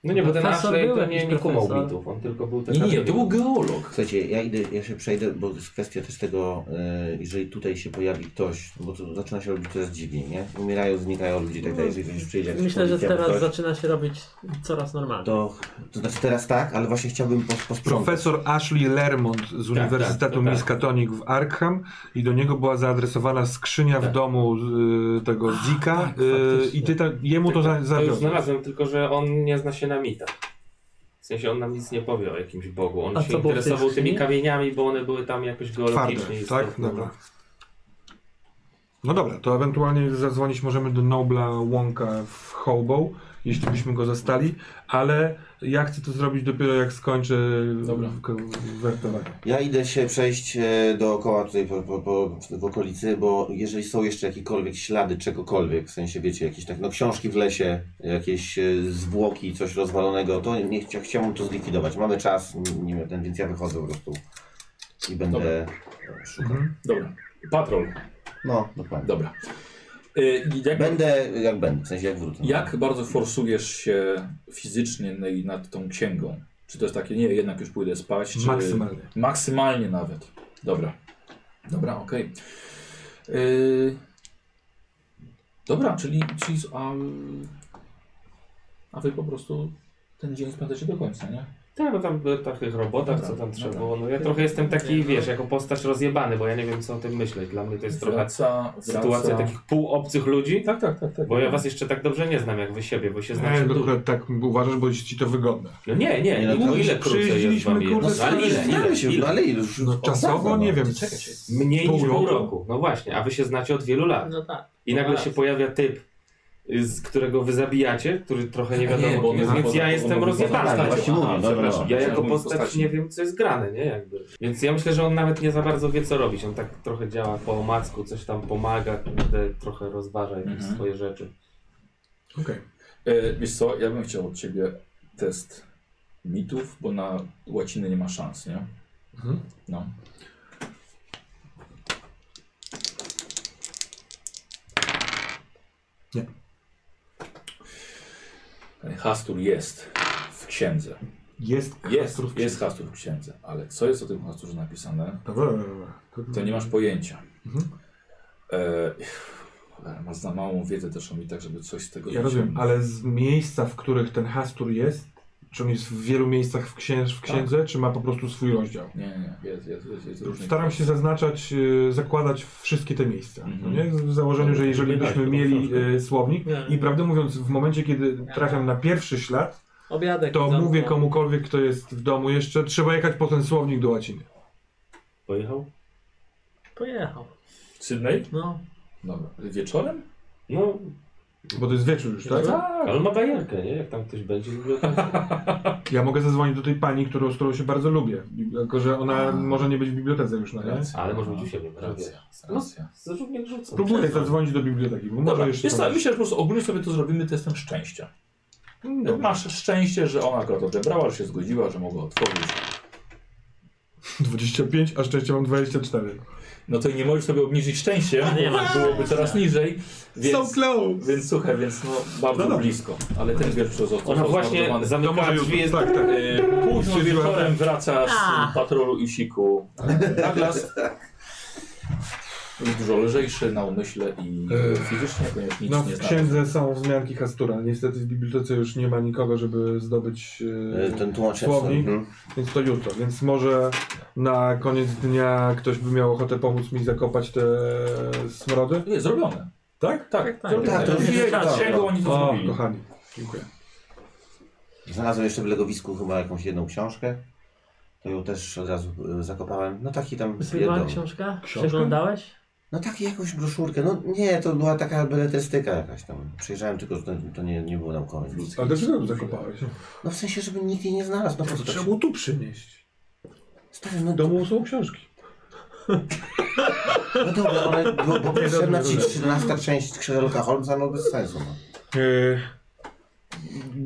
[SPEAKER 4] No nie, bo ten
[SPEAKER 5] Profesor
[SPEAKER 4] Ashley
[SPEAKER 5] był
[SPEAKER 4] to nie,
[SPEAKER 5] jakiś
[SPEAKER 4] nie kumał
[SPEAKER 5] profesor.
[SPEAKER 4] mitów, on tylko był
[SPEAKER 2] Nie,
[SPEAKER 4] taki...
[SPEAKER 2] nie, to był geolog.
[SPEAKER 9] Słuchajcie, ja idę, ja się przejdę, bo jest kwestia też tego, e, jeżeli tutaj się pojawi ktoś, no bo to zaczyna się robić coraz dziwniej, nie? Umierają, znikają ludzie i tak dalej, jeżeli przyjdzie jakiś
[SPEAKER 5] Myślę, że
[SPEAKER 9] policja, bo
[SPEAKER 5] teraz
[SPEAKER 9] coś,
[SPEAKER 5] zaczyna się robić coraz normalniej.
[SPEAKER 9] to, to znaczy teraz tak, ale właśnie chciałbym pos, posprzątać.
[SPEAKER 3] Profesor Ashley Lermont z Uniwersytetu
[SPEAKER 4] tak.
[SPEAKER 3] Miskatonic w Arkham i do niego była zaadresowana skrzynia w domu y, tego Zika y, i ty ta, jemu to za,
[SPEAKER 4] To już
[SPEAKER 3] zawiodłeś.
[SPEAKER 4] znalazłem, tylko że on nie zna się na mitach. W sensie on nam nic nie powie o jakimś Bogu. On
[SPEAKER 5] A
[SPEAKER 4] się
[SPEAKER 5] co było w tej
[SPEAKER 4] interesował tymi
[SPEAKER 5] skrzyni?
[SPEAKER 4] kamieniami, bo one były tam jakoś
[SPEAKER 3] Twarde,
[SPEAKER 4] geologicznie
[SPEAKER 3] tak?
[SPEAKER 4] istotne.
[SPEAKER 3] Dobra. No dobra, to ewentualnie zadzwonić możemy do Nobla Łąka w Hobo, jeśli byśmy go zastali, ale ja chcę to zrobić dopiero jak skończę
[SPEAKER 2] Dobra.
[SPEAKER 3] k- wertowanie.
[SPEAKER 9] Ja idę się przejść e, dookoła tutaj po, po, po, w okolicy, bo jeżeli są jeszcze jakiekolwiek ślady czegokolwiek, w sensie wiecie, jakieś tak, no książki w lesie, jakieś e, zwłoki, coś rozwalonego, to nie chcia, chciałbym to zlikwidować. Mamy czas, n- nie wiem, ten, więc ja wychodzę po prostu i będę szukał.
[SPEAKER 2] Dobra. Patrol.
[SPEAKER 9] No, dokładnie.
[SPEAKER 2] Dobra. E, jak,
[SPEAKER 9] Będę jak będę, w sensie jak wrócę.
[SPEAKER 2] jak bardzo forsujesz się fizycznie na- nad tą księgą? Czy to jest takie, nie, jednak już pójdę spać? Czy...
[SPEAKER 3] Maksymalnie.
[SPEAKER 2] Maksymalnie nawet. Dobra. Dobra, okej. Yy... Dobra, czyli, czyli z- a, a wy po prostu ten dzień spędzacie do końca, nie?
[SPEAKER 4] Tak, no tam były takich robotach, co tam
[SPEAKER 2] Dobra,
[SPEAKER 4] trzeba
[SPEAKER 2] dobra.
[SPEAKER 4] było. No ja trochę jestem taki, wiesz, jako postać rozjebany, bo ja nie wiem co o tym myśleć. Dla mnie to jest trochę
[SPEAKER 2] Wraca,
[SPEAKER 4] sytuacja takich półobcych ludzi.
[SPEAKER 2] Tak, tak, tak. tak
[SPEAKER 4] Bo ja was jeszcze tak dobrze nie znam jak wy siebie, bo się
[SPEAKER 3] Nie,
[SPEAKER 4] znacie
[SPEAKER 3] no,
[SPEAKER 4] dużo.
[SPEAKER 3] akurat tak uważasz, bo jest ci to wygodne.
[SPEAKER 4] No nie, nie,
[SPEAKER 9] Nie,
[SPEAKER 4] nie
[SPEAKER 9] no to
[SPEAKER 4] mów, ile krócej jest
[SPEAKER 3] przyjeździliśmy,
[SPEAKER 4] wam
[SPEAKER 3] kurde,
[SPEAKER 4] jedno.
[SPEAKER 3] z-
[SPEAKER 4] No, ale ile, ile,
[SPEAKER 9] Znamy się,
[SPEAKER 4] ile?
[SPEAKER 9] no ale już, już
[SPEAKER 3] No,
[SPEAKER 9] od
[SPEAKER 3] czasowo
[SPEAKER 9] dawna, no.
[SPEAKER 3] nie wiem.
[SPEAKER 4] Mniej
[SPEAKER 3] Pół
[SPEAKER 4] niż pół
[SPEAKER 3] roku.
[SPEAKER 4] roku. No właśnie, a wy się znacie od wielu lat.
[SPEAKER 5] No tak.
[SPEAKER 4] I nagle
[SPEAKER 5] Raz.
[SPEAKER 4] się pojawia typ, y, z którego wy zabijacie, który trochę nie wiadomo,
[SPEAKER 2] Nie, bo
[SPEAKER 4] kim
[SPEAKER 2] on
[SPEAKER 4] jest,
[SPEAKER 2] jest
[SPEAKER 4] więc
[SPEAKER 2] poza-
[SPEAKER 4] ja
[SPEAKER 2] on
[SPEAKER 4] jestem
[SPEAKER 2] mówi poza
[SPEAKER 4] rozjebany. Tak,
[SPEAKER 2] postacią.
[SPEAKER 9] Właśnie
[SPEAKER 2] Aha,
[SPEAKER 9] mówię, dobra,
[SPEAKER 2] przepraszam.
[SPEAKER 9] dobra.
[SPEAKER 4] Ja
[SPEAKER 2] Chciałem
[SPEAKER 4] jako
[SPEAKER 2] mówić
[SPEAKER 4] postać
[SPEAKER 2] postaci.
[SPEAKER 4] nie wiem, co jest grane, nie? Jakby. Więc ja myślę, że on nawet nie za bardzo wie, co robić. On tak trochę działa po omacku, coś tam pomaga, kurde, trochę rozważa jakieś
[SPEAKER 2] Mhm.
[SPEAKER 4] swoje rzeczy.
[SPEAKER 3] Okej.
[SPEAKER 2] E, wiesz co, ja bym chciał od ciebie test mitów, bo na łaciny nie ma szans, nie?
[SPEAKER 3] Mhm.
[SPEAKER 2] No.
[SPEAKER 3] Nie.
[SPEAKER 2] Hastur jest w księdze.
[SPEAKER 3] Jest
[SPEAKER 2] Jest,
[SPEAKER 3] kastrów-
[SPEAKER 2] jest Hastur w księdze, ale co jest o tym Hasturze napisane,
[SPEAKER 3] Dobra, dobra, dobra.
[SPEAKER 2] to nie masz pojęcia.
[SPEAKER 3] Mhm.
[SPEAKER 2] E, cholera, masz za małą wiedzę też o mitach, żeby coś z tego
[SPEAKER 3] Ja rozumiem,
[SPEAKER 2] wyciągnąć.
[SPEAKER 3] ale z miejsca, w których ten hastur jest, czy on jest w wielu miejscach w, księż, w księdze, czy ma po prostu swój rozdział?
[SPEAKER 2] Nie, nie, nie, jest, jest, jest, jest różnie.
[SPEAKER 3] Staram się zaznaczać, y, zakładać wszystkie te miejsca.
[SPEAKER 2] Mhm.
[SPEAKER 3] No nie? W założeniu, że jeżeli
[SPEAKER 4] Dobra,
[SPEAKER 3] byśmy
[SPEAKER 4] dobra,
[SPEAKER 3] mieli
[SPEAKER 4] książkę.
[SPEAKER 3] y, słownik
[SPEAKER 5] Nie, nie.
[SPEAKER 3] i prawdę mówiąc, w momencie, kiedy trafiam na pierwszy ślad,
[SPEAKER 5] Obiadek.
[SPEAKER 3] to
[SPEAKER 5] w domu.
[SPEAKER 3] mówię komukolwiek, kto jest w domu jeszcze, trzeba jechać po ten słownik do łaciny.
[SPEAKER 4] Pojechał?
[SPEAKER 5] Pojechał.
[SPEAKER 2] Sydney?
[SPEAKER 5] No.
[SPEAKER 2] Dobra. Wieczorem?
[SPEAKER 4] No,
[SPEAKER 3] Bo to jest wieczór już, tak?
[SPEAKER 4] ale on ma bajerkę, nie? Jak tam ktoś będzie, to będzie
[SPEAKER 3] Ja mogę zadzwonić do tej pani, którą, z którą się bardzo lubię. Tylko, że ona
[SPEAKER 2] A.
[SPEAKER 3] może nie być w bibliotece już, no nie?
[SPEAKER 4] Ale może być u siebie, na razie.
[SPEAKER 2] No, Racja, racja.
[SPEAKER 4] Zrób mnie rzucą.
[SPEAKER 3] Próbuję zadzwonić do biblioteki, bo No, może
[SPEAKER 2] Dobra,
[SPEAKER 3] jeszcze...
[SPEAKER 2] wiesz co, myślę, że po prostu ogólnie sobie to zrobimy testem szczęścia.
[SPEAKER 3] No.
[SPEAKER 2] Masz szczęście, że ona akurat odebrała, że się zgodziła, że mogła otworzyć.
[SPEAKER 3] 25, a szczęście mam 24.
[SPEAKER 2] no to nie możesz sobie obniżyć szczęścia,
[SPEAKER 5] Nie
[SPEAKER 2] bo
[SPEAKER 5] ma
[SPEAKER 2] byłoby coraz niżej.
[SPEAKER 3] So
[SPEAKER 2] Więc,
[SPEAKER 3] close!
[SPEAKER 2] więc słuchaj, więc no bardzo blisko. Ale ten wiersz został
[SPEAKER 4] Ona właśnie
[SPEAKER 2] zmarnowany.
[SPEAKER 4] zamykała drzwi, jest...
[SPEAKER 3] Tak, tak.
[SPEAKER 2] E, Późno
[SPEAKER 3] Stwierdziła,
[SPEAKER 2] wieczorem wraca
[SPEAKER 5] A.
[SPEAKER 2] z patrolu i siku. Douglas jest dużo lżejszy na umyśle i fizycznie, ponieważ nic
[SPEAKER 3] No,
[SPEAKER 2] nie
[SPEAKER 3] w
[SPEAKER 2] znaczy.
[SPEAKER 3] księdze są wzmianki Hastura. Niestety w bibliotece już nie ma nikogo, żeby zdobyć e,
[SPEAKER 9] E, Ten tłumacz
[SPEAKER 3] Słownik.
[SPEAKER 9] Mhm.
[SPEAKER 3] Więc to jutro, więc może na koniec dnia ktoś by miał ochotę pomóc mi zakopać te smrody?
[SPEAKER 2] Nie, zrobione.
[SPEAKER 3] Tak?
[SPEAKER 2] Tak,
[SPEAKER 5] tak.
[SPEAKER 2] zrobione.
[SPEAKER 9] Tak, to już
[SPEAKER 2] Księgą
[SPEAKER 5] jest-
[SPEAKER 2] księgą oni to
[SPEAKER 3] O,
[SPEAKER 2] zrobili.
[SPEAKER 3] kochani, dziękuję.
[SPEAKER 9] Znalazłem jeszcze w legowisku chyba jakąś jedną książkę. To ją też od razu e, zakopałem. No taki tam
[SPEAKER 5] Była
[SPEAKER 9] pierdol.
[SPEAKER 5] książka?
[SPEAKER 3] Książka?
[SPEAKER 5] Przeglądałeś?
[SPEAKER 9] No taki jakąś broszurkę. No nie, to była taka beletrystyka jakaś tam. Przejrzałem tylko, że to, to nie, nie było naukowe.
[SPEAKER 3] Ale dlaczego ją zakopałeś?
[SPEAKER 9] No w sensie, żeby nikt jej nie znalazł. No po
[SPEAKER 3] To
[SPEAKER 9] prostu.
[SPEAKER 3] trzeba było tu przynieść.
[SPEAKER 9] Stary, no,
[SPEAKER 3] W domu są książki.
[SPEAKER 9] no dobra, ale bo, bo
[SPEAKER 3] Nie, dobra,
[SPEAKER 9] potrzebna ci
[SPEAKER 3] dobra.
[SPEAKER 9] 13 część Sherlocka Holmesa, no bez sensu. No.
[SPEAKER 3] E,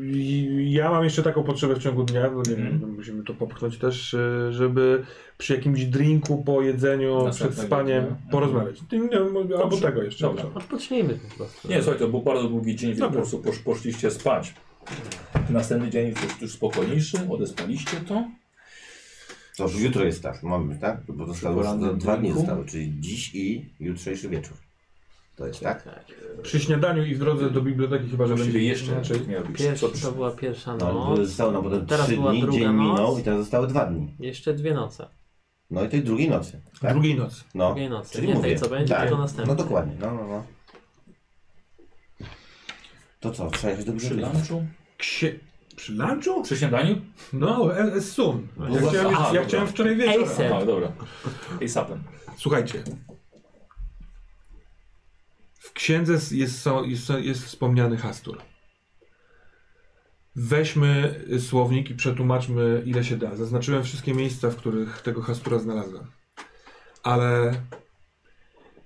[SPEAKER 3] i- Ja mam jeszcze taką potrzebę w ciągu dnia, bo nie
[SPEAKER 2] Mhm.
[SPEAKER 3] wiem, no musimy to popchnąć też, e, żeby przy jakimś drinku, po jedzeniu, przed
[SPEAKER 2] Następnego
[SPEAKER 3] spaniem
[SPEAKER 2] dnia.
[SPEAKER 3] porozmawiać. Nie, nie, Albo
[SPEAKER 2] no. Mhm. Dobrze.
[SPEAKER 3] tego jeszcze.
[SPEAKER 2] Dobra.
[SPEAKER 5] Odpocznijmy po prostu.
[SPEAKER 2] Nie, słuchaj, to był bardzo długi dzień, więc po
[SPEAKER 3] Dobra.
[SPEAKER 2] prostu posz, poszliście spać. Następny dzień już, już spokojniejszy, odespaliście to.
[SPEAKER 9] To już jutro jest tak, mamy, tak? Bo zostało już
[SPEAKER 2] porannym
[SPEAKER 9] do- dwa dni
[SPEAKER 2] drinku?
[SPEAKER 9] zostały, czyli dziś i jutrzejszy wieczór. To jest tak?
[SPEAKER 3] Przy śniadaniu i w drodze do biblioteki chyba, że
[SPEAKER 2] Właściwie
[SPEAKER 3] będzie
[SPEAKER 2] jeszcze
[SPEAKER 3] inaczej.
[SPEAKER 2] nie robicie. Co,
[SPEAKER 5] Pierwsza, to była pierwsza
[SPEAKER 9] No,
[SPEAKER 5] noc.
[SPEAKER 9] zostało nam potem
[SPEAKER 5] Teraz
[SPEAKER 9] trzy
[SPEAKER 5] była
[SPEAKER 9] dni,
[SPEAKER 5] druga no.
[SPEAKER 9] dzień
[SPEAKER 5] noc.
[SPEAKER 9] minął i teraz zostały dwa dni.
[SPEAKER 5] Jeszcze dwie noce.
[SPEAKER 9] No i tej drugiej nocy. Tak?
[SPEAKER 3] Drugiej nocy.
[SPEAKER 9] No.
[SPEAKER 5] drugiej nocy.
[SPEAKER 9] Czyli
[SPEAKER 5] Nie
[SPEAKER 9] mówię.
[SPEAKER 5] tej, co będzie,
[SPEAKER 9] tak.
[SPEAKER 5] tylko następnej.
[SPEAKER 9] No dokładnie, no, no, no. To co, trzeba jechać do
[SPEAKER 2] przy
[SPEAKER 9] Brzyla?
[SPEAKER 2] lunchu?
[SPEAKER 3] Ksie... Przy lunchu?
[SPEAKER 2] Przy śniadaniu?
[SPEAKER 3] No, e- e- sun. Ja
[SPEAKER 2] no, Aha,
[SPEAKER 3] chciałem, ja
[SPEAKER 2] dobra.
[SPEAKER 3] chciałem wczoraj wieczorem.
[SPEAKER 5] Ej, se-
[SPEAKER 2] A, dobra. I sapem.
[SPEAKER 3] Słuchajcie. W księdze s- jest, są- jest, są- jest wspomniany Hastur. Weźmy y, słownik i przetłumaczmy ile się da. Zaznaczyłem wszystkie miejsca, w których tego Hastura znalazłem. Ale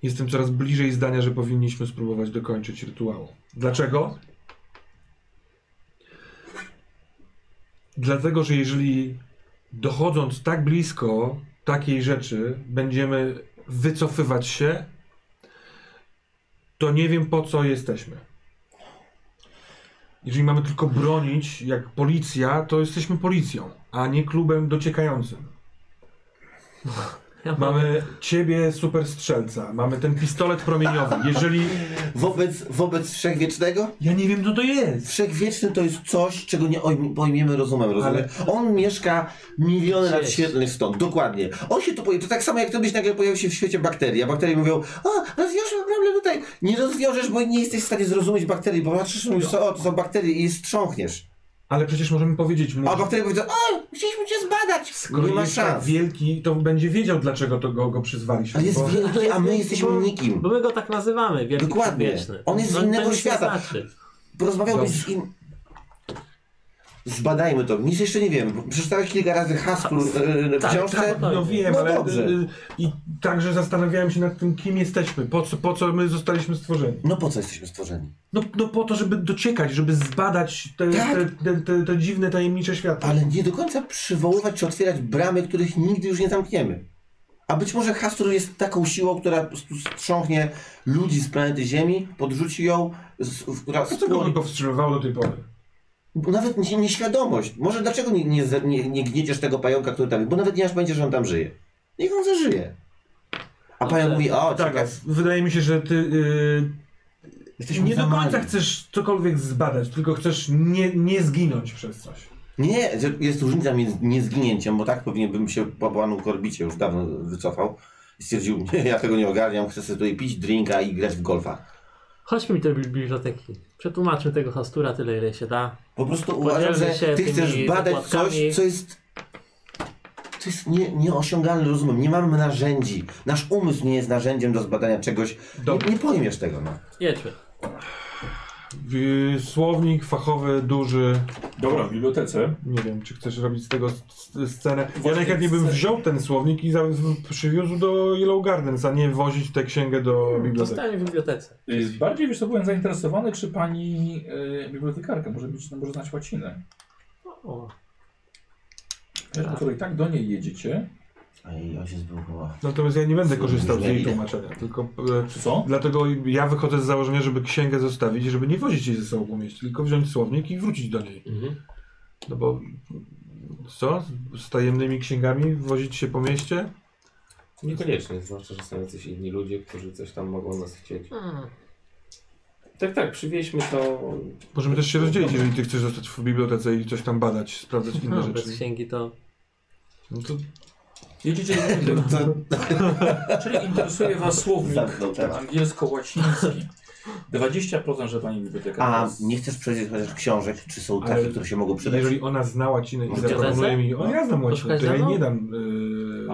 [SPEAKER 3] jestem coraz bliżej zdania, że powinniśmy spróbować dokończyć rytuału. Dlaczego? Dlatego, że jeżeli dochodząc tak blisko takiej rzeczy, będziemy wycofywać się, to nie wiem po co jesteśmy. Jeżeli mamy tylko bronić jak policja, to jesteśmy policją, a nie klubem dociekającym.
[SPEAKER 5] Ja mam-
[SPEAKER 3] Mamy ciebie, superstrzelca, mamy ten pistolet promieniowy. Jeżeli.
[SPEAKER 9] Wobec, wobec Wszechwiecznego?
[SPEAKER 3] Ja nie wiem, co to jest.
[SPEAKER 9] Wszechwieczny to jest coś, czego nie ojm- pojmiemy rozumem, rozumiesz? On mieszka miliony lat
[SPEAKER 5] Gdzieś.
[SPEAKER 9] świetlnych stąd, dokładnie. On się tu pojawił, to tak samo jak kiedyś nagle pojawił się w świecie bakterii, a bakterie mówią, a rozwiążmy problem tutaj. Nie rozwiążesz, bo nie jesteś w stanie zrozumieć bakterii, bo patrzysz i mówisz, o, to są bakterie i strząchniesz.
[SPEAKER 3] Ale przecież możemy powiedzieć mu.
[SPEAKER 9] A bakterie powiedzą, o, chcieliśmy cię zbadać,
[SPEAKER 3] Skoro
[SPEAKER 9] nie ma
[SPEAKER 3] jest tak
[SPEAKER 9] szans.
[SPEAKER 3] wielki, to będzie wiedział, dlaczego to go, go przyzwaliśmy.
[SPEAKER 9] Ale jest
[SPEAKER 3] bo-
[SPEAKER 9] wielki, a my jesteśmy
[SPEAKER 5] bo-
[SPEAKER 9] nikim.
[SPEAKER 5] Bo my go tak nazywamy, wielki No,
[SPEAKER 9] Dokładnie.
[SPEAKER 5] Wieczny.
[SPEAKER 9] On jest z innego
[SPEAKER 5] to nic nie
[SPEAKER 9] świata.
[SPEAKER 5] Znaczy.
[SPEAKER 9] Porozmawiałbyś
[SPEAKER 3] Dobrze.
[SPEAKER 9] z im. Zbadajmy to. Nic jeszcze nie wiem. Przeczytałeś kilka razy Hastur e, w
[SPEAKER 5] tak,
[SPEAKER 9] książce.
[SPEAKER 5] tak,
[SPEAKER 3] No wiem,
[SPEAKER 9] No
[SPEAKER 3] ale
[SPEAKER 9] dobrze.
[SPEAKER 3] y, y, i także zastanawiałem się nad tym, kim jesteśmy, po co, po co my zostaliśmy stworzeni.
[SPEAKER 9] No po co jesteśmy stworzeni?
[SPEAKER 3] No, no po to, żeby dociekać, żeby zbadać te,
[SPEAKER 9] Tak.
[SPEAKER 3] te, te, te, te dziwne, tajemnicze światy.
[SPEAKER 9] Ale nie do końca przywoływać czy otwierać bramy, których nigdy już nie zamkniemy. A być może Hastur jest taką siłą, która po prostu strząchnie ludzi z planety Ziemi, podrzuci ją, z, w- która
[SPEAKER 3] Co tego by
[SPEAKER 9] spłoni.
[SPEAKER 3] powstrzymywało do tej pory?
[SPEAKER 9] Bo Nawet nie, nieświadomość. Może dlaczego nie, nie, ze- nie, nie gniedziesz tego pająka, który tam jest? Bo nawet nie aż będzie, że on tam żyje. Niech on zażyje. A pająk mówi, o,
[SPEAKER 3] Tak,
[SPEAKER 9] ciekaw,
[SPEAKER 3] wydaje mi się, że ty y,
[SPEAKER 9] jesteśmy
[SPEAKER 3] nie
[SPEAKER 9] za
[SPEAKER 3] do końca
[SPEAKER 9] mali.
[SPEAKER 3] chcesz cokolwiek zbadać, tylko chcesz nie, nie zginąć przez coś.
[SPEAKER 9] Nie, że jest różnica między niezginięciem, bo tak powinien bym się po panu Korbicie już dawno wycofał i stwierdził, nie, ja tego nie ogarniam, chcę sobie tutaj pić drinka i grać w golfa.
[SPEAKER 5] Chodźmy mi do biblioteki. Przetłumaczmy tego Hastura tyle, ile się da.
[SPEAKER 9] Po prostu
[SPEAKER 5] Podzielmy
[SPEAKER 9] uważam,
[SPEAKER 5] się
[SPEAKER 9] że ty
[SPEAKER 5] tymi
[SPEAKER 9] chcesz badać
[SPEAKER 5] zakładkami.
[SPEAKER 9] coś, co jest, co jest nie, nieosiągalne rozumem. Nie mamy narzędzi. Nasz umysł nie jest narzędziem do zbadania czegoś.
[SPEAKER 3] Dobra.
[SPEAKER 9] Nie, nie pojmiesz tego, no.
[SPEAKER 5] Jedźmy.
[SPEAKER 3] Y, słownik fachowy, duży,
[SPEAKER 2] Dobra, w bibliotece.
[SPEAKER 3] Nie wiem, czy chcesz robić z tego s- s- scenę. Ja
[SPEAKER 2] Właśnie
[SPEAKER 3] najchętniej bym
[SPEAKER 2] scenę.
[SPEAKER 3] wziął ten słownik i za- w- przywiózł do Yellow Gardens, a nie wozić tę księgę do biblioteki.
[SPEAKER 5] Zostańmy w bibliotece.
[SPEAKER 2] Y, Bardziej wiesz, co byłem zainteresowany, czy pani y, bibliotekarka może, być, może znać łacinę.
[SPEAKER 5] O,
[SPEAKER 2] Wiesz, bo skoro i tak do niej jedziecie,
[SPEAKER 1] A i on się zbugował.
[SPEAKER 3] Natomiast ja nie będę korzystał z jej
[SPEAKER 1] Ile?
[SPEAKER 3] tłumaczenia, tylko e,
[SPEAKER 2] Czy co?
[SPEAKER 3] dlatego ja wychodzę z założenia, żeby księgę zostawić, i żeby nie wozić jej ze sobą mieć, tylko wziąć słownik i wrócić do niej. No bo co? Z tajemnymi księgami wozić się po mieście?
[SPEAKER 4] Niekoniecznie, zwłaszcza, że są jacyś inni ludzie, którzy coś tam mogą nas chcieć.
[SPEAKER 7] Tak, tak, przywieźmy to.
[SPEAKER 3] Możemy też się rozdzielić, jeżeli ty chcesz zostać w bibliotece i coś tam badać, sprawdzać inne
[SPEAKER 5] No, bez
[SPEAKER 3] rzeczy.
[SPEAKER 5] księgi to
[SPEAKER 3] No to
[SPEAKER 2] Jedziecie do
[SPEAKER 1] No
[SPEAKER 2] Czyli interesuje was słownik
[SPEAKER 1] Zamknął temat.
[SPEAKER 2] angielsko-łaciński. 20% że pani biblioteka.
[SPEAKER 1] A
[SPEAKER 2] teraz-
[SPEAKER 1] nie chcesz przejrzeć chociaż książek? Czy są
[SPEAKER 3] Ale-
[SPEAKER 1] takie, które się mogą przydać?
[SPEAKER 3] jeżeli ona zna łacinę i
[SPEAKER 1] Bibliotece?
[SPEAKER 3] zaproponuje mi, o ja znam łacinę,
[SPEAKER 5] Poszukasz
[SPEAKER 3] to ja jej
[SPEAKER 5] ze mną?
[SPEAKER 3] nie dam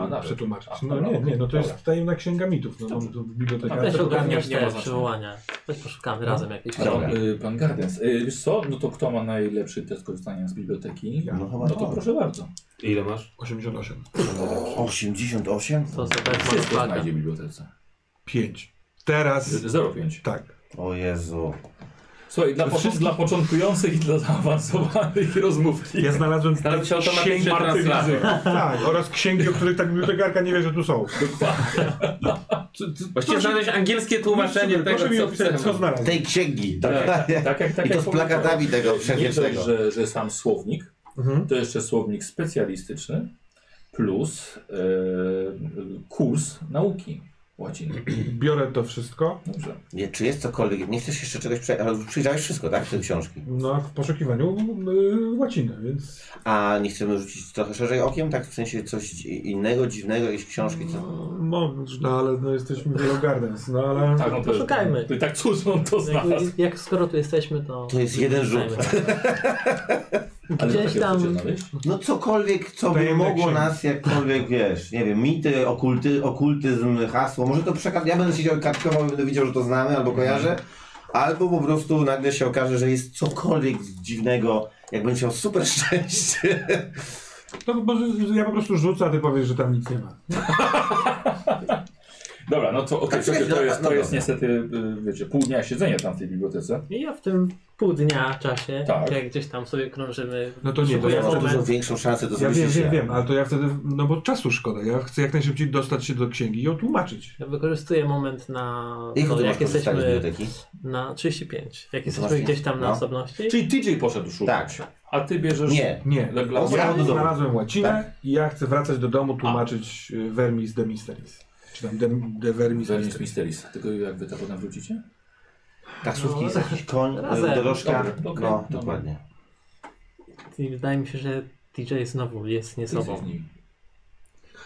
[SPEAKER 2] A,
[SPEAKER 3] e,
[SPEAKER 2] nawet.
[SPEAKER 3] przetłumaczyć.
[SPEAKER 2] A,
[SPEAKER 3] No
[SPEAKER 2] dobra,
[SPEAKER 3] nie, nie, no to
[SPEAKER 2] dobra.
[SPEAKER 3] jest tajemna księga mitów, no, no
[SPEAKER 2] Dobrze.
[SPEAKER 3] to biblioteka.
[SPEAKER 2] No,
[SPEAKER 5] też
[SPEAKER 2] to
[SPEAKER 5] ogarniasz
[SPEAKER 2] nie ma
[SPEAKER 5] te
[SPEAKER 2] znaczenia.
[SPEAKER 5] przywołania. Weź
[SPEAKER 9] No.
[SPEAKER 5] poszukamy razem jakiejś
[SPEAKER 1] Dobra.
[SPEAKER 5] książki.
[SPEAKER 2] Y, Pan Gardens, y, wiesz co? No to kto ma najlepszy test korzystania z biblioteki?
[SPEAKER 1] No chyba
[SPEAKER 2] No to
[SPEAKER 1] to.
[SPEAKER 2] proszę bardzo.
[SPEAKER 4] Ile masz?
[SPEAKER 3] 88.
[SPEAKER 1] 88?
[SPEAKER 5] To sobie
[SPEAKER 2] Wszystko
[SPEAKER 5] ma
[SPEAKER 2] znajdzie w bibliotece.
[SPEAKER 3] 5. Teraz
[SPEAKER 2] 0,5.
[SPEAKER 3] tak.
[SPEAKER 1] O Jezu.
[SPEAKER 2] Słuchaj, dla, począt, dla początkujących i dla zaawansowanych rozmówki.
[SPEAKER 3] Ja znalazłem
[SPEAKER 4] Znalazł się automatycznie
[SPEAKER 3] księgi,
[SPEAKER 4] na slajd.
[SPEAKER 3] tak, oraz księgi, o których tak bibliotekarka nie wie, że tu są.
[SPEAKER 4] Właściwie
[SPEAKER 3] Proszę-
[SPEAKER 4] znaleźć angielskie tłumaczenie tego,
[SPEAKER 3] Proszę mi
[SPEAKER 4] co
[SPEAKER 3] opisać, co
[SPEAKER 4] chcemy.
[SPEAKER 3] znalazł.
[SPEAKER 1] Tej księgi.
[SPEAKER 2] Tak, tak, tak, jak- tak
[SPEAKER 1] I to
[SPEAKER 2] jak
[SPEAKER 1] z plakatami tego
[SPEAKER 2] Nie dość,
[SPEAKER 1] przewiecznego.
[SPEAKER 2] że, że sam słownik,
[SPEAKER 3] Mhm.
[SPEAKER 2] to jeszcze słownik specjalistyczny plus e, kurs nauki łaciny.
[SPEAKER 3] Biorę to wszystko.
[SPEAKER 2] Dobrze.
[SPEAKER 1] Nie, czy jest cokolwiek? Nie chcesz jeszcze czegoś przejrzeć? Ale już Przyjrzałeś wszystko, tak? Te książki.
[SPEAKER 3] No, w poszukiwaniu y, łaciny, więc
[SPEAKER 1] A nie chcemy rzucić trochę szerzej okiem? Tak? W sensie coś innego, dziwnego, jakieś książki? Co?
[SPEAKER 3] no, można, ale no, jesteśmy wielogardenc, no ale...
[SPEAKER 2] Tak, no to
[SPEAKER 5] Poszukajmy.
[SPEAKER 2] To, i tak cóż on to znalazł.
[SPEAKER 5] No Jak, jak skoro tu jesteśmy, to.
[SPEAKER 1] To jest jeden rzut.
[SPEAKER 2] Ale
[SPEAKER 5] Gdzieś
[SPEAKER 2] takie chcecie
[SPEAKER 5] tam.
[SPEAKER 2] znaleźć?
[SPEAKER 1] No cokolwiek, co by
[SPEAKER 3] Tajemne
[SPEAKER 1] mogło
[SPEAKER 3] księgi.
[SPEAKER 1] nas jakkolwiek, wiesz, nie wiem, mity, okulty, okultyzm, hasło, może to przekaz... Ja będę siedział i kartkował i będę widział, że to znamy albo kojarzę, albo po prostu nagle się okaże, że jest cokolwiek dziwnego, jak będziesz miał super szczęście.
[SPEAKER 3] To może ja po prostu rzucę, a ty powiesz, że tam nic nie ma.
[SPEAKER 2] Dobra, no to okej,
[SPEAKER 1] Tak,
[SPEAKER 2] słuchajcie, to
[SPEAKER 1] no,
[SPEAKER 2] jest,
[SPEAKER 1] no
[SPEAKER 2] to jest
[SPEAKER 1] dobra.
[SPEAKER 2] niestety, y, wiecie, pół dnia siedzenia tam w tej bibliotece.
[SPEAKER 5] I ja w tym pół dnia czasie,
[SPEAKER 2] Tak.
[SPEAKER 5] jak gdzieś tam sobie krążymy.
[SPEAKER 3] No to nie, to
[SPEAKER 1] To
[SPEAKER 3] ja
[SPEAKER 1] ja mam
[SPEAKER 5] Szukamy-
[SPEAKER 1] dużo większą szansę do
[SPEAKER 3] Ja wiem,
[SPEAKER 1] się.
[SPEAKER 3] wiem, wiem, ale to ja wtedy, no bo czasu szkoda, ja chcę jak najszybciej dostać się do księgi i ją tłumaczyć.
[SPEAKER 5] Ja wykorzystuję moment na.
[SPEAKER 1] Jak
[SPEAKER 3] No,
[SPEAKER 5] to,
[SPEAKER 1] ty masz
[SPEAKER 5] jak
[SPEAKER 1] korzystanie z
[SPEAKER 5] jesteśmy
[SPEAKER 1] biblioteki?
[SPEAKER 5] na 35. Jak jesteśmy
[SPEAKER 1] Właśnie.
[SPEAKER 5] gdzieś tam na
[SPEAKER 1] No.
[SPEAKER 5] osobności.
[SPEAKER 2] Czyli TJ poszedł
[SPEAKER 1] Tak.
[SPEAKER 2] szukać, a ty bierzesz...
[SPEAKER 1] Nie.
[SPEAKER 3] Nie,
[SPEAKER 2] Dla- dla-
[SPEAKER 1] On
[SPEAKER 3] ja
[SPEAKER 1] sam do domu.
[SPEAKER 3] znalazłem łacinę i ja chcę wracać do domu, tłumaczyć y, vermis de misteris. Czy tam de, de vermis
[SPEAKER 2] Zanim
[SPEAKER 3] misteris.
[SPEAKER 2] Misteris. Tylko jak wy to potem wrócicie?
[SPEAKER 1] Taksówki,
[SPEAKER 5] No,
[SPEAKER 1] jest jakiś koń,
[SPEAKER 5] razem.
[SPEAKER 1] dorożka.
[SPEAKER 2] Dobra, okej,
[SPEAKER 1] no,
[SPEAKER 2] dobra.
[SPEAKER 1] dokładnie.
[SPEAKER 5] I wydaje mi się, że DJ znowu jest nie
[SPEAKER 2] Ty jesteś
[SPEAKER 5] sobą.
[SPEAKER 2] nim.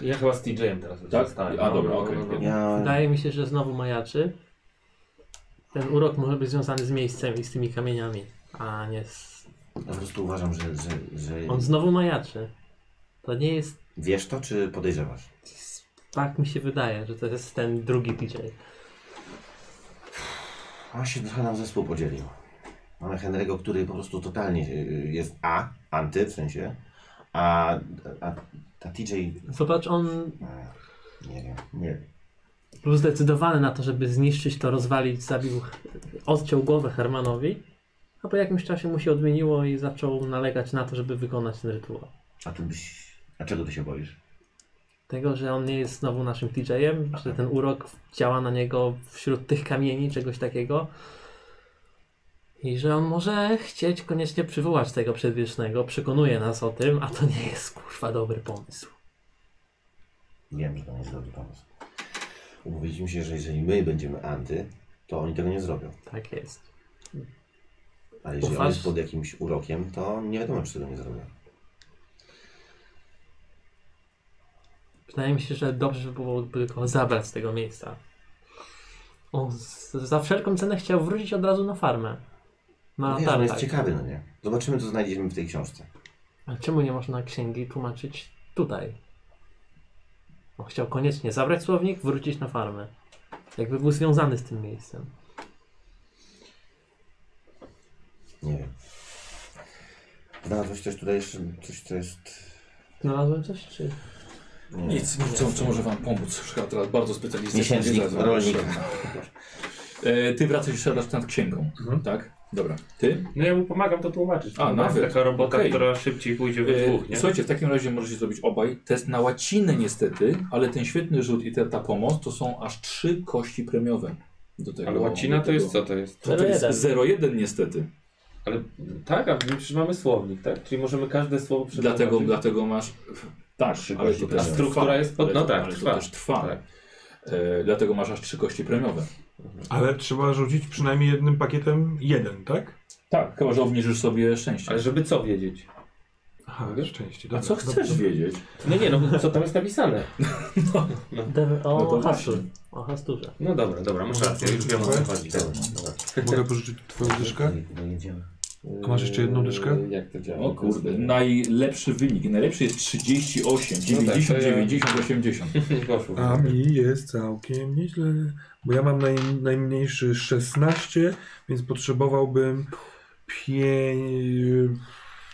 [SPEAKER 4] Ja chyba z TJ-em teraz już
[SPEAKER 2] Tak?
[SPEAKER 4] zostałem. no,
[SPEAKER 2] A, dobra, okej.
[SPEAKER 1] Ja...
[SPEAKER 5] Wydaje mi się, że znowu majaczy. Ten urok może być związany z miejscem i z tymi kamieniami, a nie z...
[SPEAKER 1] ja po prostu uważam, że, że, że
[SPEAKER 5] On znowu majaczy. To nie jest...
[SPEAKER 1] wiesz to, czy podejrzewasz?
[SPEAKER 5] Tak mi się wydaje, że to jest ten drugi DJ.
[SPEAKER 1] On się trochę nam zespół podzielił. Mamy Henry'ego, który po prostu totalnie yy, jest A, anty w sensie, a, a, a TJ,
[SPEAKER 5] Zobacz, on
[SPEAKER 1] nie wiem, nie wiem.
[SPEAKER 5] był zdecydowany na to, żeby zniszczyć to, rozwalić, zabił, odciął głowę Hermanowi, a po jakimś czasie mu się odmieniło i zaczął nalegać na to, żeby wykonać ten rytuał.
[SPEAKER 1] A ty byś, a czego ty się boisz?
[SPEAKER 5] Tego, że on nie jest znowu naszym DJ-em, że ten urok działa na niego wśród tych kamieni, czegoś takiego. I że on może chcieć koniecznie przywołać tego przedwiecznego, przekonuje nas o tym, a to nie jest kurwa dobry pomysł.
[SPEAKER 1] Wiem, że to nie jest dobry pomysł. Umówiliśmy się, że jeżeli my będziemy anty, to oni tego nie zrobią.
[SPEAKER 5] Tak jest.
[SPEAKER 1] Ale jeżeli on
[SPEAKER 5] Ufasz?
[SPEAKER 1] jest pod jakimś urokiem, to nie wiadomo, czy tego nie zrobią.
[SPEAKER 5] Wydaje mi się, że dobrze by było by go zabrać z tego miejsca. On z, za wszelką cenę chciał wrócić od razu na farmę.
[SPEAKER 1] No,
[SPEAKER 5] Na
[SPEAKER 1] wiesz, on jest
[SPEAKER 5] tartak.
[SPEAKER 1] ciekawy, no nie? Zobaczymy, co znajdziemy w tej książce.
[SPEAKER 5] A czemu nie można księgi tłumaczyć tutaj? On chciał koniecznie zabrać słownik, wrócić na farmę. Jakby był związany z tym miejscem.
[SPEAKER 1] Nie wiem. Znalazłeś coś tutaj jeszcze, coś co jest...
[SPEAKER 5] Znalazłem coś, czy...
[SPEAKER 1] Nie.
[SPEAKER 2] Nic, nic co, co może wam pomóc. Szkoda teraz bardzo specjalistyczny.
[SPEAKER 1] Miesięcznik rolnika.
[SPEAKER 2] E, ty wracasz jeszcze raz nad księgą,
[SPEAKER 7] Mhm.
[SPEAKER 2] tak? Dobra. Ty?
[SPEAKER 7] No ja mu pomagam to tłumaczyć.
[SPEAKER 2] A,
[SPEAKER 7] To
[SPEAKER 2] nawet.
[SPEAKER 7] Taka robota,
[SPEAKER 2] Okej.
[SPEAKER 7] która szybciej pójdzie we
[SPEAKER 2] E,
[SPEAKER 7] dwóch, nie?
[SPEAKER 2] Słuchajcie, w takim razie możecie zrobić obaj test na łacinę niestety, ale ten świetny rzut i ta, ta pomoc to są aż trzy kości premiowe. Do tego,
[SPEAKER 7] Ale łacina
[SPEAKER 2] do
[SPEAKER 7] to
[SPEAKER 2] tego-
[SPEAKER 7] jest co to jest?
[SPEAKER 2] To jest 0,1 niestety.
[SPEAKER 7] Ale tak, a my przecież mamy słownik, tak? Czyli możemy każde słowo przetłumaczyć.
[SPEAKER 2] Dlatego, dlatego masz. Tak,
[SPEAKER 1] Trzy
[SPEAKER 2] ale
[SPEAKER 1] kości
[SPEAKER 2] to
[SPEAKER 1] premiowe.
[SPEAKER 2] też
[SPEAKER 1] A
[SPEAKER 7] struktura
[SPEAKER 2] trwa.
[SPEAKER 7] jest pod-
[SPEAKER 2] Ale
[SPEAKER 7] no
[SPEAKER 2] to-
[SPEAKER 7] tak,
[SPEAKER 2] ale
[SPEAKER 7] trwa.
[SPEAKER 2] to też trwa.
[SPEAKER 7] Tak.
[SPEAKER 2] E, dlatego masz aż trzy kości premiowe.
[SPEAKER 3] Ale trzeba rzucić przynajmniej jednym pakietem jeden, tak?
[SPEAKER 2] Tak, chyba że obniżysz sobie szczęście.
[SPEAKER 7] Ale żeby co wiedzieć?
[SPEAKER 3] Aha, szczęście.
[SPEAKER 2] A
[SPEAKER 3] dobra,
[SPEAKER 2] co
[SPEAKER 3] dobra.
[SPEAKER 2] chcesz wiedzieć?
[SPEAKER 7] No nie, no co tam jest napisane?
[SPEAKER 5] Dev-
[SPEAKER 2] No
[SPEAKER 5] o
[SPEAKER 2] to
[SPEAKER 5] hasztur. O haszturze.
[SPEAKER 7] No dobra, dobra, masz rację, już wiem o co chodzi.
[SPEAKER 3] Mogę pożyczyć twoją dyszkę? A masz jeszcze jedną dyszkę?
[SPEAKER 7] Jak to działa?
[SPEAKER 2] O kurde, najlepszy wynik. Najlepszy jest 38,
[SPEAKER 7] No tak,
[SPEAKER 2] 90,
[SPEAKER 7] to ja-
[SPEAKER 2] 90, 80.
[SPEAKER 7] Nie poszło.
[SPEAKER 3] A mi jest całkiem nieźle, bo ja mam naj, najmniejszy 16, więc potrzebowałbym pie,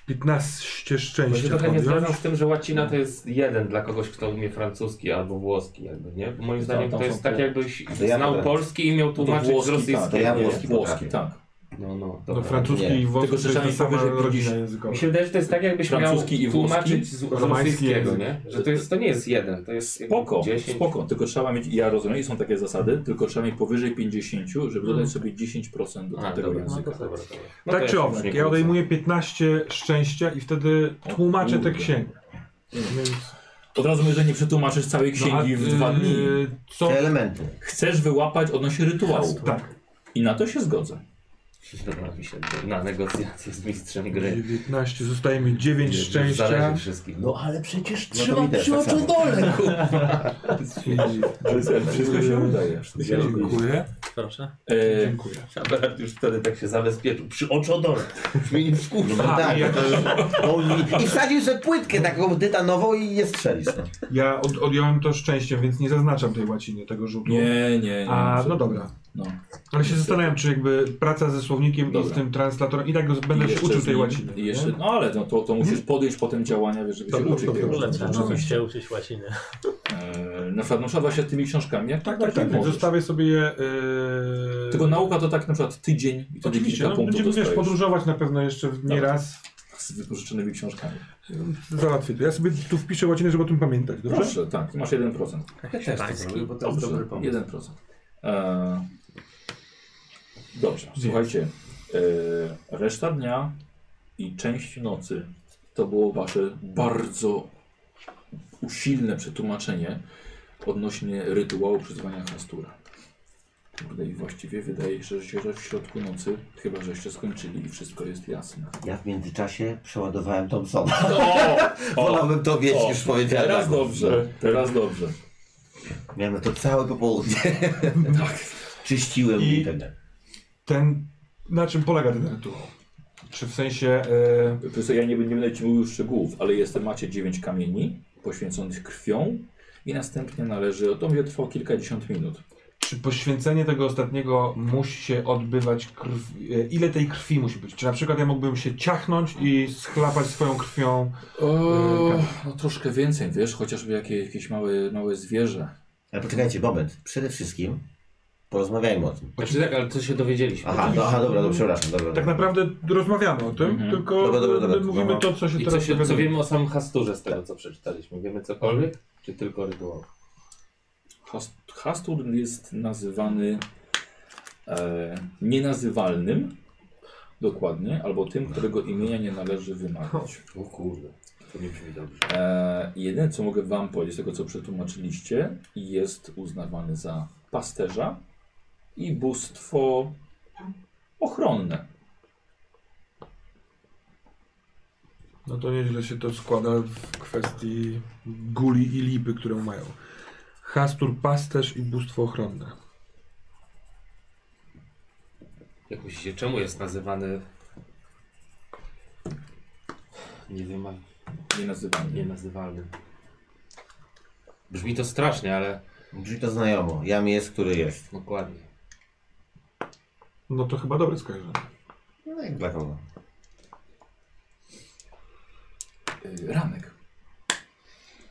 [SPEAKER 3] 15
[SPEAKER 7] Bo się
[SPEAKER 3] szczęścia.
[SPEAKER 7] trochę nie
[SPEAKER 3] podjąć.
[SPEAKER 7] zgadzam z tym, że łacina to jest jeden dla kogoś, kto umie francuski albo włoski, jakby, nie? Bo moim zdaniem
[SPEAKER 2] tam
[SPEAKER 7] to
[SPEAKER 2] są
[SPEAKER 7] jest tak,
[SPEAKER 2] te-
[SPEAKER 7] jakbyś
[SPEAKER 1] to ja
[SPEAKER 7] znał
[SPEAKER 1] będę-
[SPEAKER 7] polski i miał tłumaczyć z
[SPEAKER 2] tak,
[SPEAKER 7] rosyjskiego.
[SPEAKER 2] to ja
[SPEAKER 1] nie?
[SPEAKER 2] włoski, włoski,
[SPEAKER 1] Potrafię.
[SPEAKER 2] tak.
[SPEAKER 7] No, no,
[SPEAKER 3] No,
[SPEAKER 7] dobra.
[SPEAKER 3] francuski
[SPEAKER 1] Nie.
[SPEAKER 3] i włoski
[SPEAKER 2] Tylko
[SPEAKER 3] to jest ta
[SPEAKER 2] słyszałem
[SPEAKER 3] sama
[SPEAKER 2] powyżej
[SPEAKER 3] rodzina
[SPEAKER 2] 50.
[SPEAKER 3] językowa.
[SPEAKER 7] Mi się wydaje, że to jest tak, jakbyś
[SPEAKER 2] Francuski i
[SPEAKER 7] miał
[SPEAKER 2] włoski?
[SPEAKER 7] tłumaczyć z, z
[SPEAKER 3] Romański
[SPEAKER 7] rosyjskiego,
[SPEAKER 3] język.
[SPEAKER 7] nie? Że to, jest, to nie jest jeden, to jest jakby
[SPEAKER 2] Spoko,
[SPEAKER 7] 10.
[SPEAKER 2] spoko, tylko trzeba mieć, ja rozumiem, i są takie zasady, tylko trzeba mieć powyżej 50, żeby dodać sobie 10% do
[SPEAKER 7] A,
[SPEAKER 2] tego
[SPEAKER 7] dobra,
[SPEAKER 2] języka.
[SPEAKER 7] dobra, dobra. No to
[SPEAKER 3] Tak
[SPEAKER 7] ja
[SPEAKER 3] czy
[SPEAKER 7] się już nie
[SPEAKER 3] owak, ja
[SPEAKER 7] kłócę.
[SPEAKER 3] odejmuję 15 szczęścia i wtedy
[SPEAKER 2] O
[SPEAKER 3] tłumaczę tę
[SPEAKER 2] kurde.
[SPEAKER 3] księgę. Więc, no,
[SPEAKER 2] Od razu mówię, że nie przetłumaczysz całej księgi w
[SPEAKER 3] a,
[SPEAKER 2] dwa
[SPEAKER 3] y,
[SPEAKER 2] dni.
[SPEAKER 3] Co?
[SPEAKER 1] Te elementy.
[SPEAKER 2] Chcesz wyłapać odnośnie rytuału.
[SPEAKER 3] Tak.
[SPEAKER 2] I na to się zgodzę.
[SPEAKER 7] Dobra, mi się na negocjacje z mistrzem gry.
[SPEAKER 3] 19, zostaje mi 9 szczęścia.
[SPEAKER 7] Zależy wszystkich.
[SPEAKER 1] No ale przecież trzyma no przy
[SPEAKER 2] Wszystko się udaje.
[SPEAKER 3] Dziękuję.
[SPEAKER 5] Proszę.
[SPEAKER 2] E,
[SPEAKER 3] Dziękuję.
[SPEAKER 7] Szaberat już wtedy tak się zabezpieczył. Przy oczodole. Już mnie nie wkurzył.
[SPEAKER 1] No
[SPEAKER 3] A,
[SPEAKER 1] tak,
[SPEAKER 3] i ja,
[SPEAKER 1] no i- I wsadził sobie płytkę taką tytanową i je strzelił. No.
[SPEAKER 3] ja od, odjąłem to szczęście, więc nie zaznaczam tej łaciny, tego rzutu.
[SPEAKER 2] nie, nie, nie.
[SPEAKER 3] A, no dobra.
[SPEAKER 2] No.
[SPEAKER 3] Ale się zastanawiam, czy jakby praca ze słownikiem i
[SPEAKER 2] Dobra.
[SPEAKER 3] z tym translatorem, i tak go z-
[SPEAKER 2] I
[SPEAKER 3] będę się
[SPEAKER 2] jeszcze
[SPEAKER 3] uczył
[SPEAKER 2] z
[SPEAKER 3] tej
[SPEAKER 2] nim-
[SPEAKER 3] łaciny.
[SPEAKER 2] i Jeszcze,
[SPEAKER 3] nie? Tak,
[SPEAKER 2] no ale no, to, to musisz podejść potem działania, wiesz, żeby się
[SPEAKER 3] Dobra,
[SPEAKER 2] uczyć
[SPEAKER 3] dobra,
[SPEAKER 2] tego.
[SPEAKER 3] dobra.
[SPEAKER 5] Królem trzeba oczywiście uczyć łaciny.
[SPEAKER 2] E, na przykład no, trzeba się tymi książkami, jak
[SPEAKER 3] Tak, tak, tak.
[SPEAKER 2] możesz.
[SPEAKER 3] Zostawię sobie je. Yy...
[SPEAKER 2] Tylko nauka to tak na przykład tydzień i wtedy
[SPEAKER 3] Oczywiście,
[SPEAKER 2] kilka
[SPEAKER 3] no,
[SPEAKER 2] punktów
[SPEAKER 3] będziemy wiesz,
[SPEAKER 2] dostajesz
[SPEAKER 3] podróżować na pewno jeszcze w- nie
[SPEAKER 2] Dobra.
[SPEAKER 3] raz.
[SPEAKER 2] z wypożyczonymi książkami.
[SPEAKER 3] Załatwię to. Ja sobie tu wpiszę łacinę, żeby o tym pamiętać, dobrze?
[SPEAKER 2] Proszę, tak, masz 1%.
[SPEAKER 7] Ja też tak to zrobię, bo to jest dobry pomysł.
[SPEAKER 2] 1%. E, dobrze, słuchajcie. E, reszta dnia i część nocy to było wasze bardzo usilne przetłumaczenie odnośnie rytuału przyzwania Hastura. Kurde, i właściwie wydaje się, że że w środku nocy, chyba żeście skończyli i wszystko jest jasne.
[SPEAKER 1] Ja w międzyczasie przeładowałem Thompsona.
[SPEAKER 2] O!
[SPEAKER 1] Wolałbym to wiedzieć,
[SPEAKER 2] o,
[SPEAKER 1] już powiedziałem.
[SPEAKER 2] Teraz
[SPEAKER 1] tak.
[SPEAKER 2] dobrze, teraz dobrze.
[SPEAKER 1] Miałem to całe popołudnie.
[SPEAKER 2] Tak.
[SPEAKER 1] Czyściłem
[SPEAKER 3] I-
[SPEAKER 1] internet.
[SPEAKER 3] Ten, na czym polega ten rytuał? Czy w sensie. e,
[SPEAKER 2] Wiesz co, ja nie, nie będę ci mówił szczegółów, ale jest, macie dziewięć kamieni poświęconych krwią i następnie należy, to będzie trwało kilkadziesiąt minut.
[SPEAKER 3] czy poświęcenie tego ostatniego musi się odbywać krw, e, ile tej krwi musi być? Czy na przykład ja mógłbym się ciachnąć i schlapać swoją krwią?
[SPEAKER 2] O, no troszkę więcej, wiesz, chociażby jakie, jakieś małe, małe zwierzę.
[SPEAKER 1] Ale poczekajcie, moment. Przede wszystkim porozmawiajmy o tym.
[SPEAKER 7] Znaczy tak, ale co się dowiedzieliśmy?
[SPEAKER 1] Aha, do, aha dobra, dobra, przepraszam. Dobra,
[SPEAKER 3] Tak
[SPEAKER 1] dobra.
[SPEAKER 3] naprawdę rozmawiamy o tym,
[SPEAKER 2] Mhm.
[SPEAKER 3] tylko
[SPEAKER 1] Dobra, dobra, dobra.
[SPEAKER 3] mówimy
[SPEAKER 1] Dobra.
[SPEAKER 3] to, co się
[SPEAKER 7] I co,
[SPEAKER 3] teraz
[SPEAKER 7] się, co
[SPEAKER 3] dowiadujemy.
[SPEAKER 7] wiemy o samym Hasturze z tego, co przeczytaliśmy? Wiemy cokolwiek? Czy tylko rytuał?
[SPEAKER 2] Hast- Hastur jest nazywany e, nienazywalnym, dokładnie, albo tym, którego imienia nie należy wymagać.
[SPEAKER 7] O kurde, to nie brzmi dobrze.
[SPEAKER 2] E, jedyne, co mogę Wam powiedzieć, z tego co przetłumaczyliście, jest uznawany za pasterza i bóstwo ochronne.
[SPEAKER 3] No to nieźle się to składa w kwestii guli i lipy, którą mają. Hastur, pasterz i bóstwo ochronne.
[SPEAKER 7] Jak myślicie, czemu jest nazywany... Nie wiem,
[SPEAKER 2] Nie nazywam.
[SPEAKER 7] nienazywalnym? Brzmi to strasznie, ale
[SPEAKER 1] Brzmi to znajomo. Jam jest, który jest.
[SPEAKER 7] dokładnie.
[SPEAKER 3] No to chyba dobre skojarzenie.
[SPEAKER 1] No jak dla kogo?
[SPEAKER 2] Y, Ramek.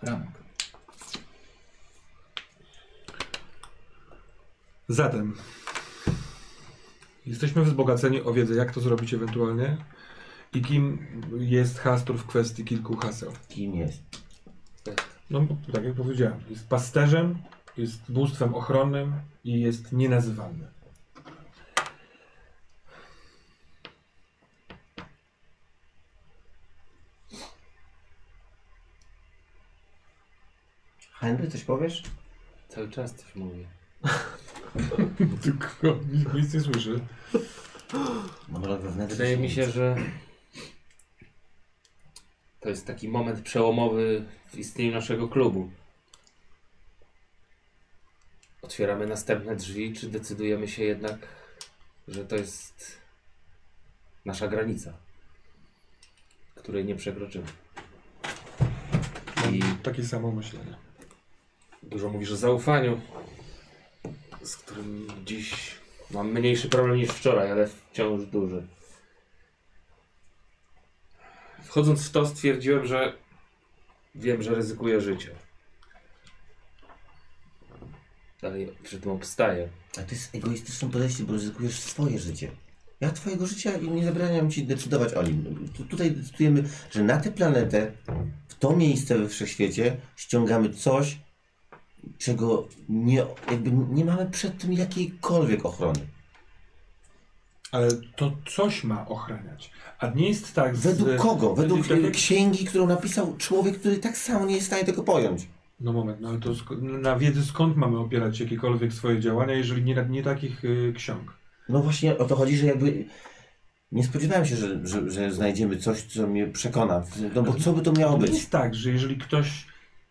[SPEAKER 2] Ramek.
[SPEAKER 3] Zatem Jesteśmy wzbogaceni o wiedzę, jak to zrobić ewentualnie i kim jest Hastur w kwestii kilku haseł.
[SPEAKER 1] Kim jest?
[SPEAKER 3] No, bo tak jak powiedziałem, jest pasterzem, jest bóstwem ochronnym i jest nienazywalny.
[SPEAKER 1] Henry, coś powiesz?
[SPEAKER 4] Cały czas coś mówię.
[SPEAKER 3] Tylko nic, nic nie słyszy.
[SPEAKER 1] Mam rok wewnętrzny.
[SPEAKER 4] Wydaje mi się, że to jest taki moment przełomowy w istnieniu naszego klubu. Otwieramy następne drzwi, czy decydujemy się jednak, że to jest nasza granica, której nie przekroczymy. I
[SPEAKER 3] Takie samo myślenie.
[SPEAKER 4] dużo mówisz o zaufaniu, z którym dziś mam mniejszy problem niż wczoraj, ale wciąż duży. Wchodząc w to stwierdziłem, że wiem, że ryzykuję życie. Dalej przy tym obstaję.
[SPEAKER 1] A to jest egoistyczne podejście, bo ryzykujesz swoje życie. Ja twojego życia i nie zabraniam ci decydować o nim. Tu, tutaj decydujemy, że na tę planetę, w to miejsce we wszechświecie ściągamy coś, czego nie, jakby nie mamy przed tym jakiejkolwiek ochrony.
[SPEAKER 3] Ale to coś ma ochraniać. A nie jest tak z...
[SPEAKER 1] Według kogo? Według e,
[SPEAKER 3] tak jak-
[SPEAKER 1] księgi, którą napisał człowiek, który tak samo nie jest w stanie tego pojąć.
[SPEAKER 3] No moment, no ale to sk- na wiedzy skąd mamy opierać jakiekolwiek swoje działania, jeżeli nie, nie takich y, ksiąg?
[SPEAKER 1] No właśnie o to chodzi, że jakby nie spodziewałem się, że, że, że znajdziemy coś, co mnie przekona. No bo co by to miało
[SPEAKER 3] To
[SPEAKER 1] być?
[SPEAKER 3] jest tak, że jeżeli ktoś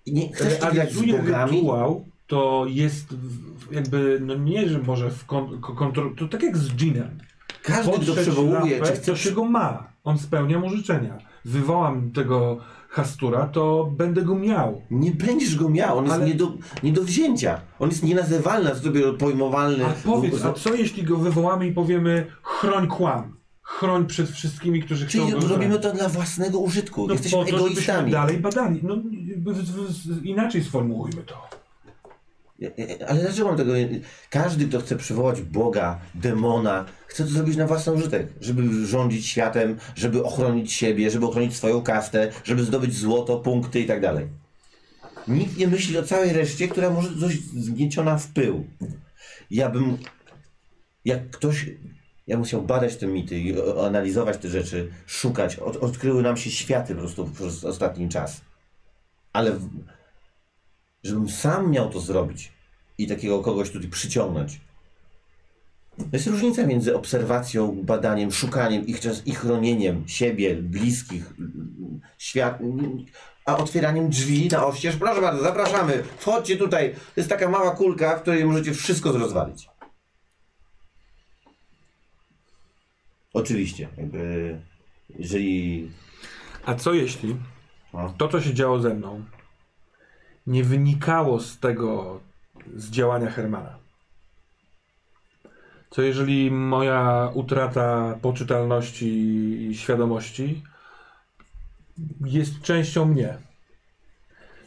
[SPEAKER 1] I Nie, chcesz tak jak z
[SPEAKER 3] realizuje
[SPEAKER 1] bogami?
[SPEAKER 3] rytuał, to jest w- w- jakby, no nie, że może w kon- ko- kontrol... To tak jak z dżinem.
[SPEAKER 1] Każdy, kto
[SPEAKER 3] Potrzeć
[SPEAKER 1] przywołuje,
[SPEAKER 3] lampę,
[SPEAKER 1] czy
[SPEAKER 3] to
[SPEAKER 1] chcesz...
[SPEAKER 3] się go ma. On spełnia mu życzenia. Wywołam tego hastura, to będę go miał.
[SPEAKER 1] Nie będziesz go miał, on
[SPEAKER 3] Ale-
[SPEAKER 1] jest nie do, nie do wzięcia. On jest nienazywalny, a co dopiero pojmowalny.
[SPEAKER 3] A powiedz,
[SPEAKER 1] w-
[SPEAKER 3] a co jeśli go wywołamy i powiemy chroń kłam? Chroń przed wszystkimi, którzy chcą
[SPEAKER 1] Czyli
[SPEAKER 3] go
[SPEAKER 1] robimy
[SPEAKER 3] chronić.
[SPEAKER 1] to dla własnego użytku.
[SPEAKER 3] no,
[SPEAKER 1] Jesteśmy
[SPEAKER 3] po to, żebyśmy
[SPEAKER 1] egoistami.
[SPEAKER 3] dalej badali. No, jakby w, w, z- inaczej sformułujmy to.
[SPEAKER 1] E, e, Ale dlaczego mam tego... Każdy, kto chce przywołać Boga, demona, chce to zrobić na własny użytek. Żeby rządzić światem, żeby ochronić siebie, żeby ochronić swoją kaftę, żeby zdobyć złoto, punkty i tak dalej. Nikt nie myśli o całej reszcie, która może zostać zgnieciona w pył. Ja bym... Jak ktoś... Ja musiał badać te mity i o- analizować te rzeczy, szukać. Od, odkryły nam się światy po prostu przez ostatni czas. Ale w, żebym sam miał to zrobić i takiego kogoś tutaj przyciągnąć. To jest różnica między obserwacją, badaniem, szukaniem ich, czas- i chronieniem siebie, bliskich, mm, świat, mm, a otwieraniem drzwi na oścież. Proszę bardzo, zapraszamy, wchodźcie tutaj. To jest taka mała kulka, w której możecie wszystko zrozwalić. Oczywiście, jakby, jeżeli
[SPEAKER 3] A co jeśli
[SPEAKER 1] No.
[SPEAKER 3] to, co się działo ze mną, nie wynikało z tego, z działania Hermana? Co jeżeli moja utrata poczytalności i świadomości jest częścią mnie?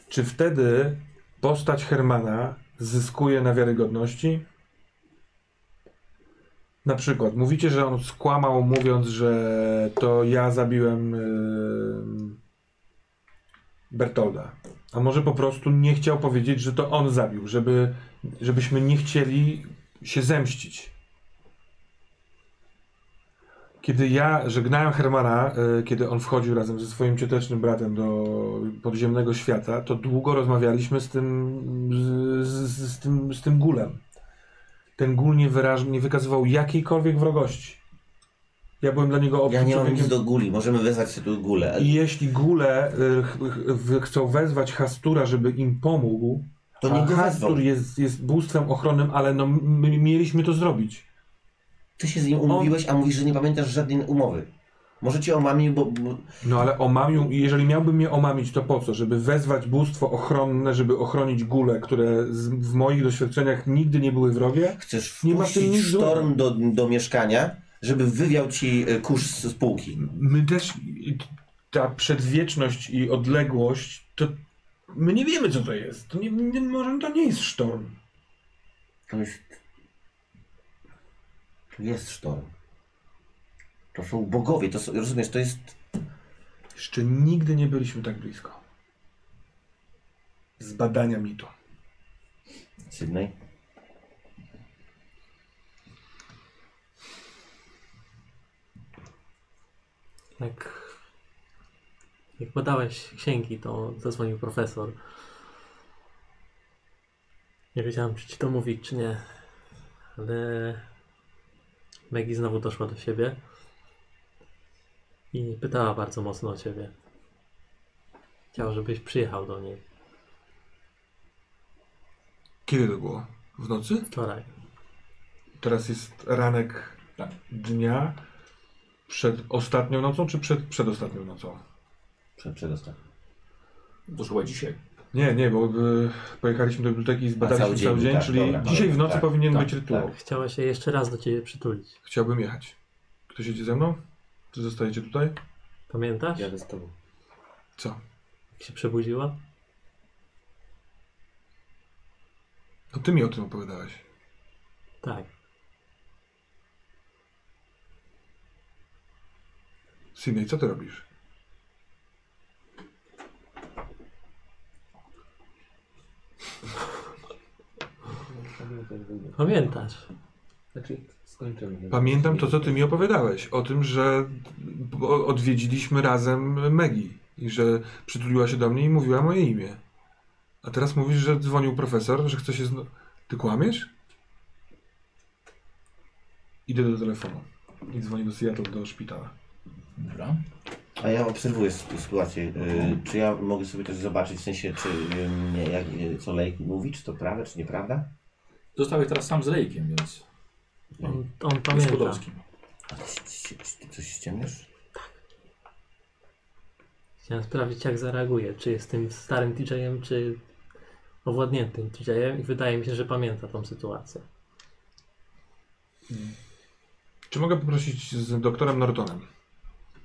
[SPEAKER 3] Czy wtedy postać Hermana zyskuje na wiarygodności? Na przykład, mówicie, że on skłamał, mówiąc, że to ja zabiłem ym, Bertolda. A może po prostu nie chciał powiedzieć, że to on zabił, żeby, żebyśmy nie chcieli się zemścić. Kiedy ja żegnałem Hermana, y, kiedy on wchodził razem ze swoim ciotecznym bratem do podziemnego świata, to długo rozmawialiśmy z tym, z, z, z tym, z tym gulem ten gul nie, wyraż, nie wykazywał jakiejkolwiek wrogości. Ja byłem dla niego obcym
[SPEAKER 1] ja nie mam nic
[SPEAKER 3] człowiekiem.
[SPEAKER 1] do guli, możemy wezwać sobie tu gulę.
[SPEAKER 3] I jeśli gule y, ch, ch, wy- chcą wezwać Hastura, żeby im pomógł,
[SPEAKER 1] To
[SPEAKER 3] a
[SPEAKER 1] nie go wezwał.
[SPEAKER 3] Hastur jest, jest bóstwem ochronnym, ale no, my mieliśmy to zrobić.
[SPEAKER 1] Ty się z nim umówiłeś, a mówisz, że nie pamiętasz żadnej umowy. Może cię omamił, bo, bo
[SPEAKER 3] No ale omamił, i jeżeli miałbym je omamić, to po co? Żeby wezwać bóstwo ochronne, żeby ochronić gule, które z, w moich doświadczeniach nigdy nie były wrogie?
[SPEAKER 1] chcesz
[SPEAKER 3] Nie ma w tym
[SPEAKER 1] wpuścić
[SPEAKER 3] nic złego.
[SPEAKER 1] sztorm do, do mieszkania, żeby wywiał ci y, kurz z spółki.
[SPEAKER 3] My też, i t- ta przedwieczność i odległość, to my nie wiemy co to jest. To nie, nie, może to nie jest sztorm.
[SPEAKER 1] To jest...
[SPEAKER 9] Jest sztorm. To są bogowie, to są, rozumiesz, to jest
[SPEAKER 3] Jeszcze nigdy nie byliśmy tak blisko. Z badania mitu.
[SPEAKER 9] Sydney.
[SPEAKER 5] Jak, jak badałeś księgi, to zadzwonił profesor. Nie wiedziałam, czy ci to mówić, czy nie, ale Maggie znowu doszła do siebie i pytała bardzo mocno o ciebie. Chciała, żebyś przyjechał do niej
[SPEAKER 3] Kiedy to było? W nocy?
[SPEAKER 5] wczoraj.
[SPEAKER 3] Teraz jest ranek
[SPEAKER 2] Tak.
[SPEAKER 3] dnia przed ostatnią nocą, czy przed przedostatnią nocą?
[SPEAKER 9] Prze- Przedostatni.
[SPEAKER 2] To już chyba dzisiaj.
[SPEAKER 3] Nie, nie, bo y, pojechaliśmy do biblioteki i zbadaliśmy
[SPEAKER 9] cały
[SPEAKER 3] cały
[SPEAKER 9] dzień,
[SPEAKER 3] dzień,
[SPEAKER 9] tak,
[SPEAKER 3] czyli
[SPEAKER 9] dobra,
[SPEAKER 3] dzisiaj
[SPEAKER 9] dobra,
[SPEAKER 3] w nocy
[SPEAKER 9] tak,
[SPEAKER 3] powinien
[SPEAKER 2] tak,
[SPEAKER 3] być rytuał.
[SPEAKER 5] Chciała się jeszcze raz do ciebie przytulić.
[SPEAKER 3] Chciałbym jechać. Ktoś jedzie ze mną? Czy zostajecie tutaj?
[SPEAKER 5] Pamiętasz?
[SPEAKER 10] Jadę z tobą.
[SPEAKER 3] Co?
[SPEAKER 5] Jak się przebudziła?
[SPEAKER 3] No ty mi o tym opowiadałeś.
[SPEAKER 5] Tak.
[SPEAKER 3] Sydney, co ty robisz?
[SPEAKER 5] Pamiętasz?
[SPEAKER 10] Znaczy, skończymy.
[SPEAKER 3] Pamiętam to, co ty mi opowiadałeś. O tym, że o- odwiedziliśmy razem Megi i że przytuliła się do mnie i mówiła moje imię. A teraz mówisz, że dzwonił profesor, że chce się zno... Ty kłamiesz? Idę do telefonu i dzwonię do Seattle, do szpitala.
[SPEAKER 2] Dobra.
[SPEAKER 9] A ja obserwuję sy- sytuację. Y, czy ja mogę sobie też zobaczyć, w sensie, czy y, nie, jak, y, co Lejk mówi, czy to prawda, czy nieprawda?
[SPEAKER 2] Zostałeś teraz sam z Lejkiem, więc
[SPEAKER 5] On, on
[SPEAKER 2] z
[SPEAKER 5] pamięta.
[SPEAKER 2] Podolskim.
[SPEAKER 9] A ty, ty, ty, ty coś ściemniasz?
[SPEAKER 5] Chciałem sprawdzić, jak zareaguje. Czy jest tym starym DJ-em, czy owładniętym DJ-em. I wydaje mi się, że pamięta tą sytuację.
[SPEAKER 3] Czy mogę poprosić z doktorem Nortonem?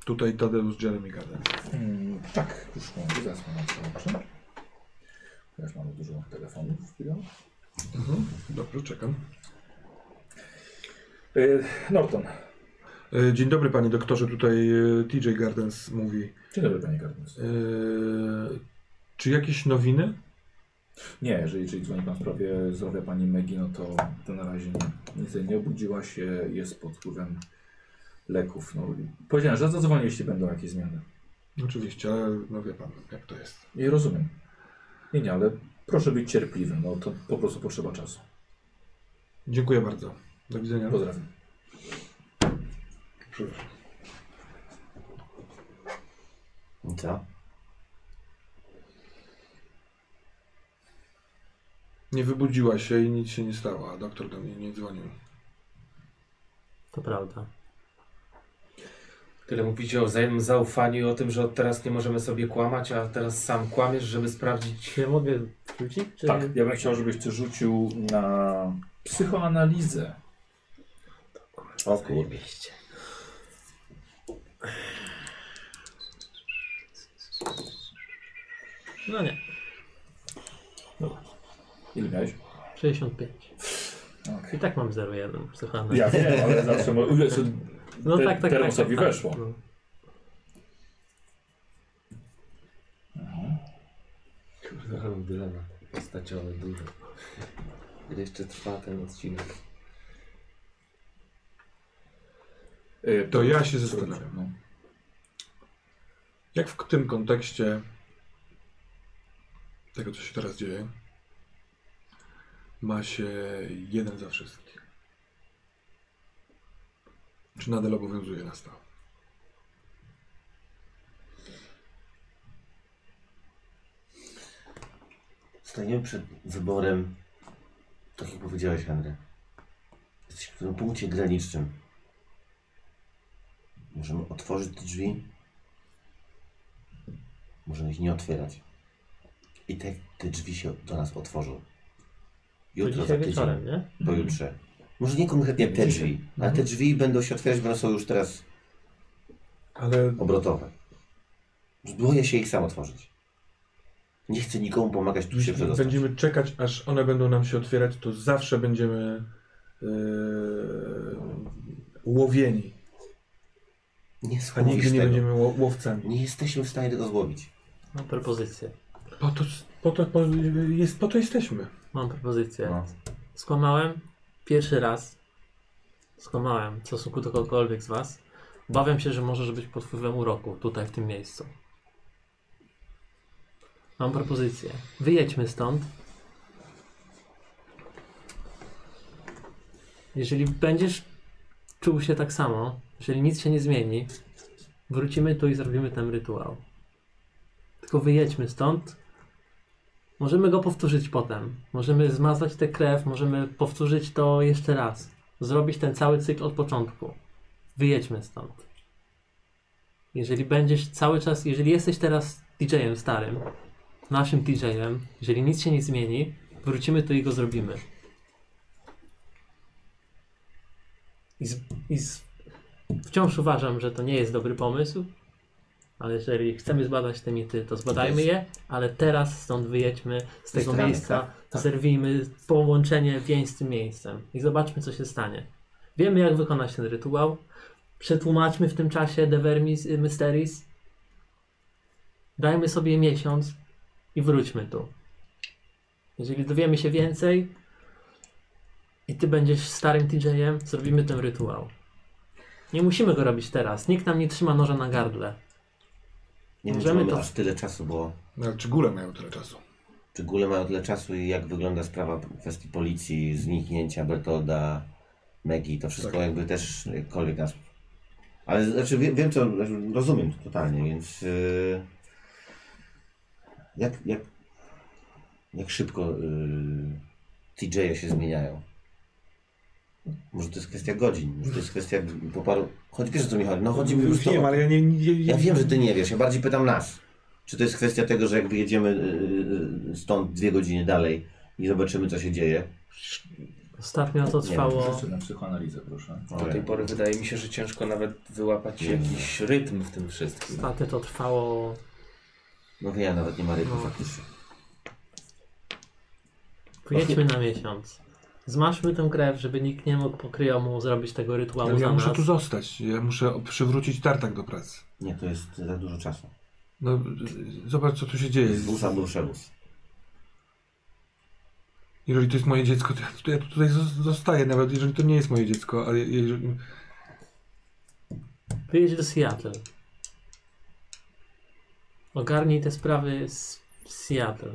[SPEAKER 3] Tutaj Tadeusz Jeremy Garden.
[SPEAKER 2] Mm, tak, już mam, zaraz mam przełączę. Już mamy dużo telefonów. chwilę.
[SPEAKER 3] Mhm, Dobrze, czekam.
[SPEAKER 2] Y, Norton.
[SPEAKER 3] E, Dzień dobry panie doktorze, tutaj e, TJ Gardens mówi.
[SPEAKER 2] Dzień dobry, panie Gardnus.
[SPEAKER 3] E, Czy jakieś nowiny?
[SPEAKER 2] Nie, jeżeli, jeżeli dzwoni pan w sprawie zdrowia pani Megi, no to, to na razie nie, niestety nie obudziła się, jest pod wpływem leków. No, powiedziałem, że zadzwonię, jeśli będą jakieś zmiany.
[SPEAKER 3] Oczywiście, ale no wie pan, jak to jest.
[SPEAKER 2] I rozumiem. Nie, nie, ale proszę być cierpliwym, no to po prostu potrzeba czasu.
[SPEAKER 3] Dziękuję bardzo. Do widzenia.
[SPEAKER 2] Pozdrawiam.
[SPEAKER 9] I Co?
[SPEAKER 3] Nie wybudziła się i nic się nie stało, a doktor do mnie nie dzwonił.
[SPEAKER 5] To prawda.
[SPEAKER 4] Tyle mówicie o wzajemnym zaufaniu i o tym, że od teraz nie możemy sobie kłamać, a teraz sam kłamiesz, żeby sprawdzić.
[SPEAKER 5] Czy ja mogę wrócić? Czy...
[SPEAKER 2] Tak, ja bym chciał, żebyś ty rzucił na psychoanalizę.
[SPEAKER 9] O kurde.
[SPEAKER 5] No nie.
[SPEAKER 2] Ile miałeś?
[SPEAKER 5] 65.
[SPEAKER 2] Okej.
[SPEAKER 5] I tak mam 0,1 psychana.
[SPEAKER 2] Ja wiem, ale zawsze mo- ile co-
[SPEAKER 5] No
[SPEAKER 2] te-
[SPEAKER 5] tak, tak, tak.
[SPEAKER 2] Termosowi
[SPEAKER 5] tak, tak.
[SPEAKER 2] weszło.
[SPEAKER 5] No.
[SPEAKER 10] Kurde, ale dylemat. Postaciowy, duży. Ile jeszcze trwa ten odcinek?
[SPEAKER 2] Y,
[SPEAKER 3] To ja się
[SPEAKER 2] co
[SPEAKER 3] zastanawiam.
[SPEAKER 2] robicie, no.
[SPEAKER 3] Jak w tym kontekście tego, co się teraz dzieje, ma się jeden za wszystkich? Czy nadal obowiązuje nas to?
[SPEAKER 9] Stajemy przed wyborem, tak jak powiedziałeś, Henry. Jesteśmy w tym punkcie granicznym. Możemy otworzyć te drzwi, możemy ich nie otwierać. I te, te drzwi się do nas otworzą.
[SPEAKER 5] To
[SPEAKER 9] Jutro, za
[SPEAKER 5] dzisiaj
[SPEAKER 9] tydzień,
[SPEAKER 5] wieczorem, nie?
[SPEAKER 9] pojutrze. Może nie konkretnie te drzwi, ale te drzwi będą się otwierać, bo one są już teraz
[SPEAKER 3] Ale
[SPEAKER 9] obrotowe. Boję się ich sam otworzyć. Nie chcę nikomu pomagać tu się
[SPEAKER 3] jeśli
[SPEAKER 9] przedostać.
[SPEAKER 3] będziemy czekać, aż one będą nam się otwierać, to zawsze będziemy yy, e, łowieni,
[SPEAKER 1] Nie
[SPEAKER 3] a nigdy
[SPEAKER 1] słowisz
[SPEAKER 3] nie
[SPEAKER 1] tego.
[SPEAKER 3] będziemy ło- łowcami.
[SPEAKER 1] Nie jesteśmy w stanie tego złowić.
[SPEAKER 5] Mam propozycję.
[SPEAKER 3] Po to, po to, po, jest, po to jesteśmy.
[SPEAKER 5] Mam propozycję.
[SPEAKER 2] No.
[SPEAKER 5] Skłamałem pierwszy raz. Skłamałem w stosunku do kogokolwiek z was. Obawiam się, że możesz być pod wpływem uroku tutaj, w tym miejscu. Mam propozycję. Wyjedźmy stąd. Jeżeli będziesz czuł się tak samo, jeżeli nic się nie zmieni, wrócimy tu i zrobimy ten rytuał. Tylko wyjedźmy stąd, Możemy go powtórzyć potem. Możemy zmazać tę krew, możemy powtórzyć to jeszcze raz. Zrobić ten cały cykl od początku. Wyjedźmy stąd. Jeżeli będziesz cały czas, jeżeli jesteś teraz DJ-em starym, naszym DJ-em, jeżeli nic się nie zmieni, wrócimy tu i go zrobimy. I, z, i z, wciąż uważam, że to nie jest dobry pomysł, ale jeżeli chcemy zbadać te mity, to zbadajmy je, ale teraz stąd wyjedźmy z tego
[SPEAKER 2] strony,
[SPEAKER 5] miejsca,
[SPEAKER 2] tak, tak.
[SPEAKER 5] zerwijmy połączenie więź z tym miejscem i zobaczmy, co się stanie. Wiemy, jak wykonać ten rytuał. Przetłumaczmy w tym czasie The Vermis y, Mysteries. Dajmy sobie miesiąc i wróćmy tu. Jeżeli dowiemy się więcej i ty będziesz starym DJ-em, zrobimy ten rytuał. Nie musimy go robić teraz. Nikt nam nie trzyma noża na gardle.
[SPEAKER 1] Nie
[SPEAKER 5] Możemy
[SPEAKER 1] możemy
[SPEAKER 5] to-
[SPEAKER 1] aż tyle czasu, bo
[SPEAKER 3] No, czy góle mają tyle czasu?
[SPEAKER 1] czy góle mają tyle czasu i jak wygląda sprawa w kwestii policji, zniknięcia Bertolda, Megi, to wszystko
[SPEAKER 3] Tak.
[SPEAKER 1] jakby też jakkolwiek nas... Ale znaczy wiem, wiem co, znaczy, rozumiem to totalnie, więc yy, jak, jak, jak szybko yy, TJ-e się zmieniają? Może to jest kwestia godzin, może to jest kwestia po paru... Chodź, wiesz o co mi chodzi? No chodzi mi już
[SPEAKER 3] Już
[SPEAKER 1] to,
[SPEAKER 3] nie wiem, ale ja nie... nie, nie
[SPEAKER 1] ja wiem, że ty nie wiesz, ja bardziej pytam nas. Czy to jest kwestia tego, że jak wyjedziemy y, y, stąd dwie godziny dalej i zobaczymy, co się dzieje?
[SPEAKER 5] Ostatnio to trwało.
[SPEAKER 2] Wszyscy na psychoanalizę, proszę.
[SPEAKER 4] Do tej pory wydaje mi się, że ciężko nawet wyłapać jakiś rytm w tym wszystkim.
[SPEAKER 5] Ostatnio to trwało.
[SPEAKER 1] No ja nawet nie ma rytmu
[SPEAKER 5] No.
[SPEAKER 1] faktycznie.
[SPEAKER 5] Pojedźmy na miesiąc. Zmaszmy tę krew, żeby nikt nie mógł pokryjomu zrobić tego rytuału
[SPEAKER 3] Ale
[SPEAKER 5] za
[SPEAKER 3] ja muszę
[SPEAKER 5] nas.
[SPEAKER 3] tu zostać. Ja muszę o- przywrócić tartak do pracy.
[SPEAKER 1] Nie, to jest za dużo czasu.
[SPEAKER 3] No, y, zobacz, co tu się dzieje.
[SPEAKER 1] Z wóz albo przewóz.
[SPEAKER 3] Jeżeli to jest moje dziecko, to ja, to ja tutaj zos- zostaję, nawet jeżeli to nie jest moje dziecko, ale jeżeli,
[SPEAKER 5] Wyjedź do Seattle. Ogarnij te sprawy z w Seattle.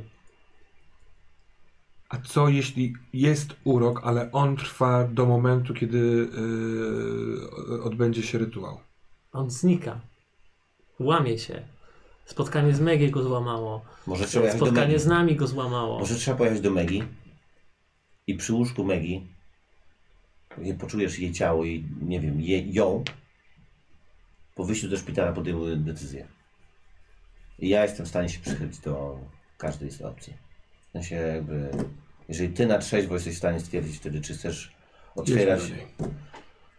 [SPEAKER 3] A co jeśli jest urok, ale on trwa do momentu, kiedy yy, odbędzie się rytuał?
[SPEAKER 5] On znika. Łamie się. Spotkanie z Megie go złamało.
[SPEAKER 1] Może trzeba jechać do
[SPEAKER 5] Spotkanie
[SPEAKER 1] Megi.
[SPEAKER 5] z nami go złamało.
[SPEAKER 1] Może trzeba pojechać do Megi i przy łóżku Megi jak poczujesz jej ciało i nie wiem, je, ją po wyjściu do szpitala podejmuję decyzję. I ja jestem w stanie się przychylić do każdej z opcji. W sensie jakby, jeżeli ty na trzeźwo jesteś w stanie stwierdzić wtedy, czy chcesz otwierać...
[SPEAKER 3] Jedźmy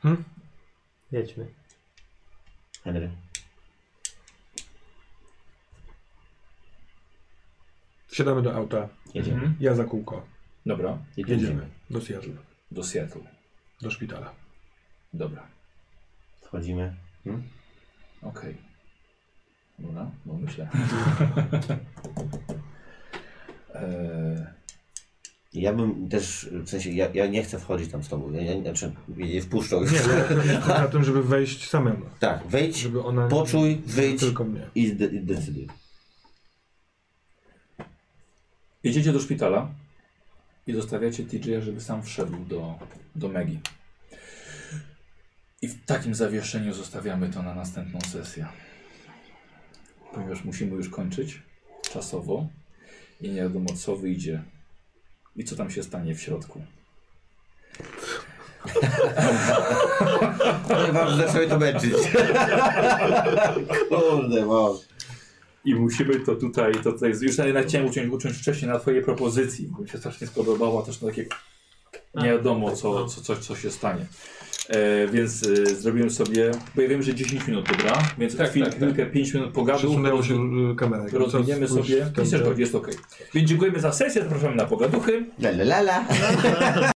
[SPEAKER 3] dalej.
[SPEAKER 5] Jedźmy.
[SPEAKER 1] Henry?
[SPEAKER 3] Wsiadamy do auta,
[SPEAKER 1] Jedziemy.
[SPEAKER 2] Mhm.
[SPEAKER 3] ja za kółko.
[SPEAKER 2] Dobra,
[SPEAKER 1] I tu
[SPEAKER 3] Jedziemy do Seattle,
[SPEAKER 2] do Seattle.
[SPEAKER 3] do szpitala.
[SPEAKER 2] Dobra,
[SPEAKER 1] Wchodzimy. Hmm?
[SPEAKER 2] okej. Dobra, no myślę. eee,
[SPEAKER 1] Ja bym też, w sensie, ja, ja nie chcę wchodzić tam z tobą. Ja, ja, znaczy, mnie nie wpuszczą już.
[SPEAKER 3] Nie, ja jestem na tym, żeby wejść samemu.
[SPEAKER 1] Tak, wejdź,
[SPEAKER 3] Żeby ona...
[SPEAKER 1] poczuj, wyjdź
[SPEAKER 3] Tylko mnie.
[SPEAKER 1] i, zde- i decyduj.
[SPEAKER 2] Jedziecie do szpitala i zostawiacie TJ, żeby sam wszedł do, do Megi. I w takim zawieszeniu zostawiamy to na następną sesję. Ponieważ musimy już kończyć czasowo i nie wiadomo co wyjdzie i co tam się stanie w środku.
[SPEAKER 1] Nie wam zaczęły to męczyć. Kurde, wow.
[SPEAKER 2] I musimy to tutaj, to tutaj już nawet chciałem uciąć, uciąć wcześniej na twojej propozycji, bo mi się strasznie spodobała też takie nie wiadomo co, co, co, co się stanie. E, więc e, zrobiłem sobie, bo ja wiem, że 10 minut, dobra? Więc
[SPEAKER 7] Tak,
[SPEAKER 2] chwil,
[SPEAKER 7] tak, tak.
[SPEAKER 2] chwilkę, 5 minut pogadu,
[SPEAKER 3] Przesunęło się y, kamera. Jak
[SPEAKER 2] rozwiniemy
[SPEAKER 3] co, spójrz
[SPEAKER 2] sobie,
[SPEAKER 3] w ten-
[SPEAKER 2] myślę, że jest ok. Więc dziękujemy za sesję, zapraszamy na pogaduchy.
[SPEAKER 1] La la la la.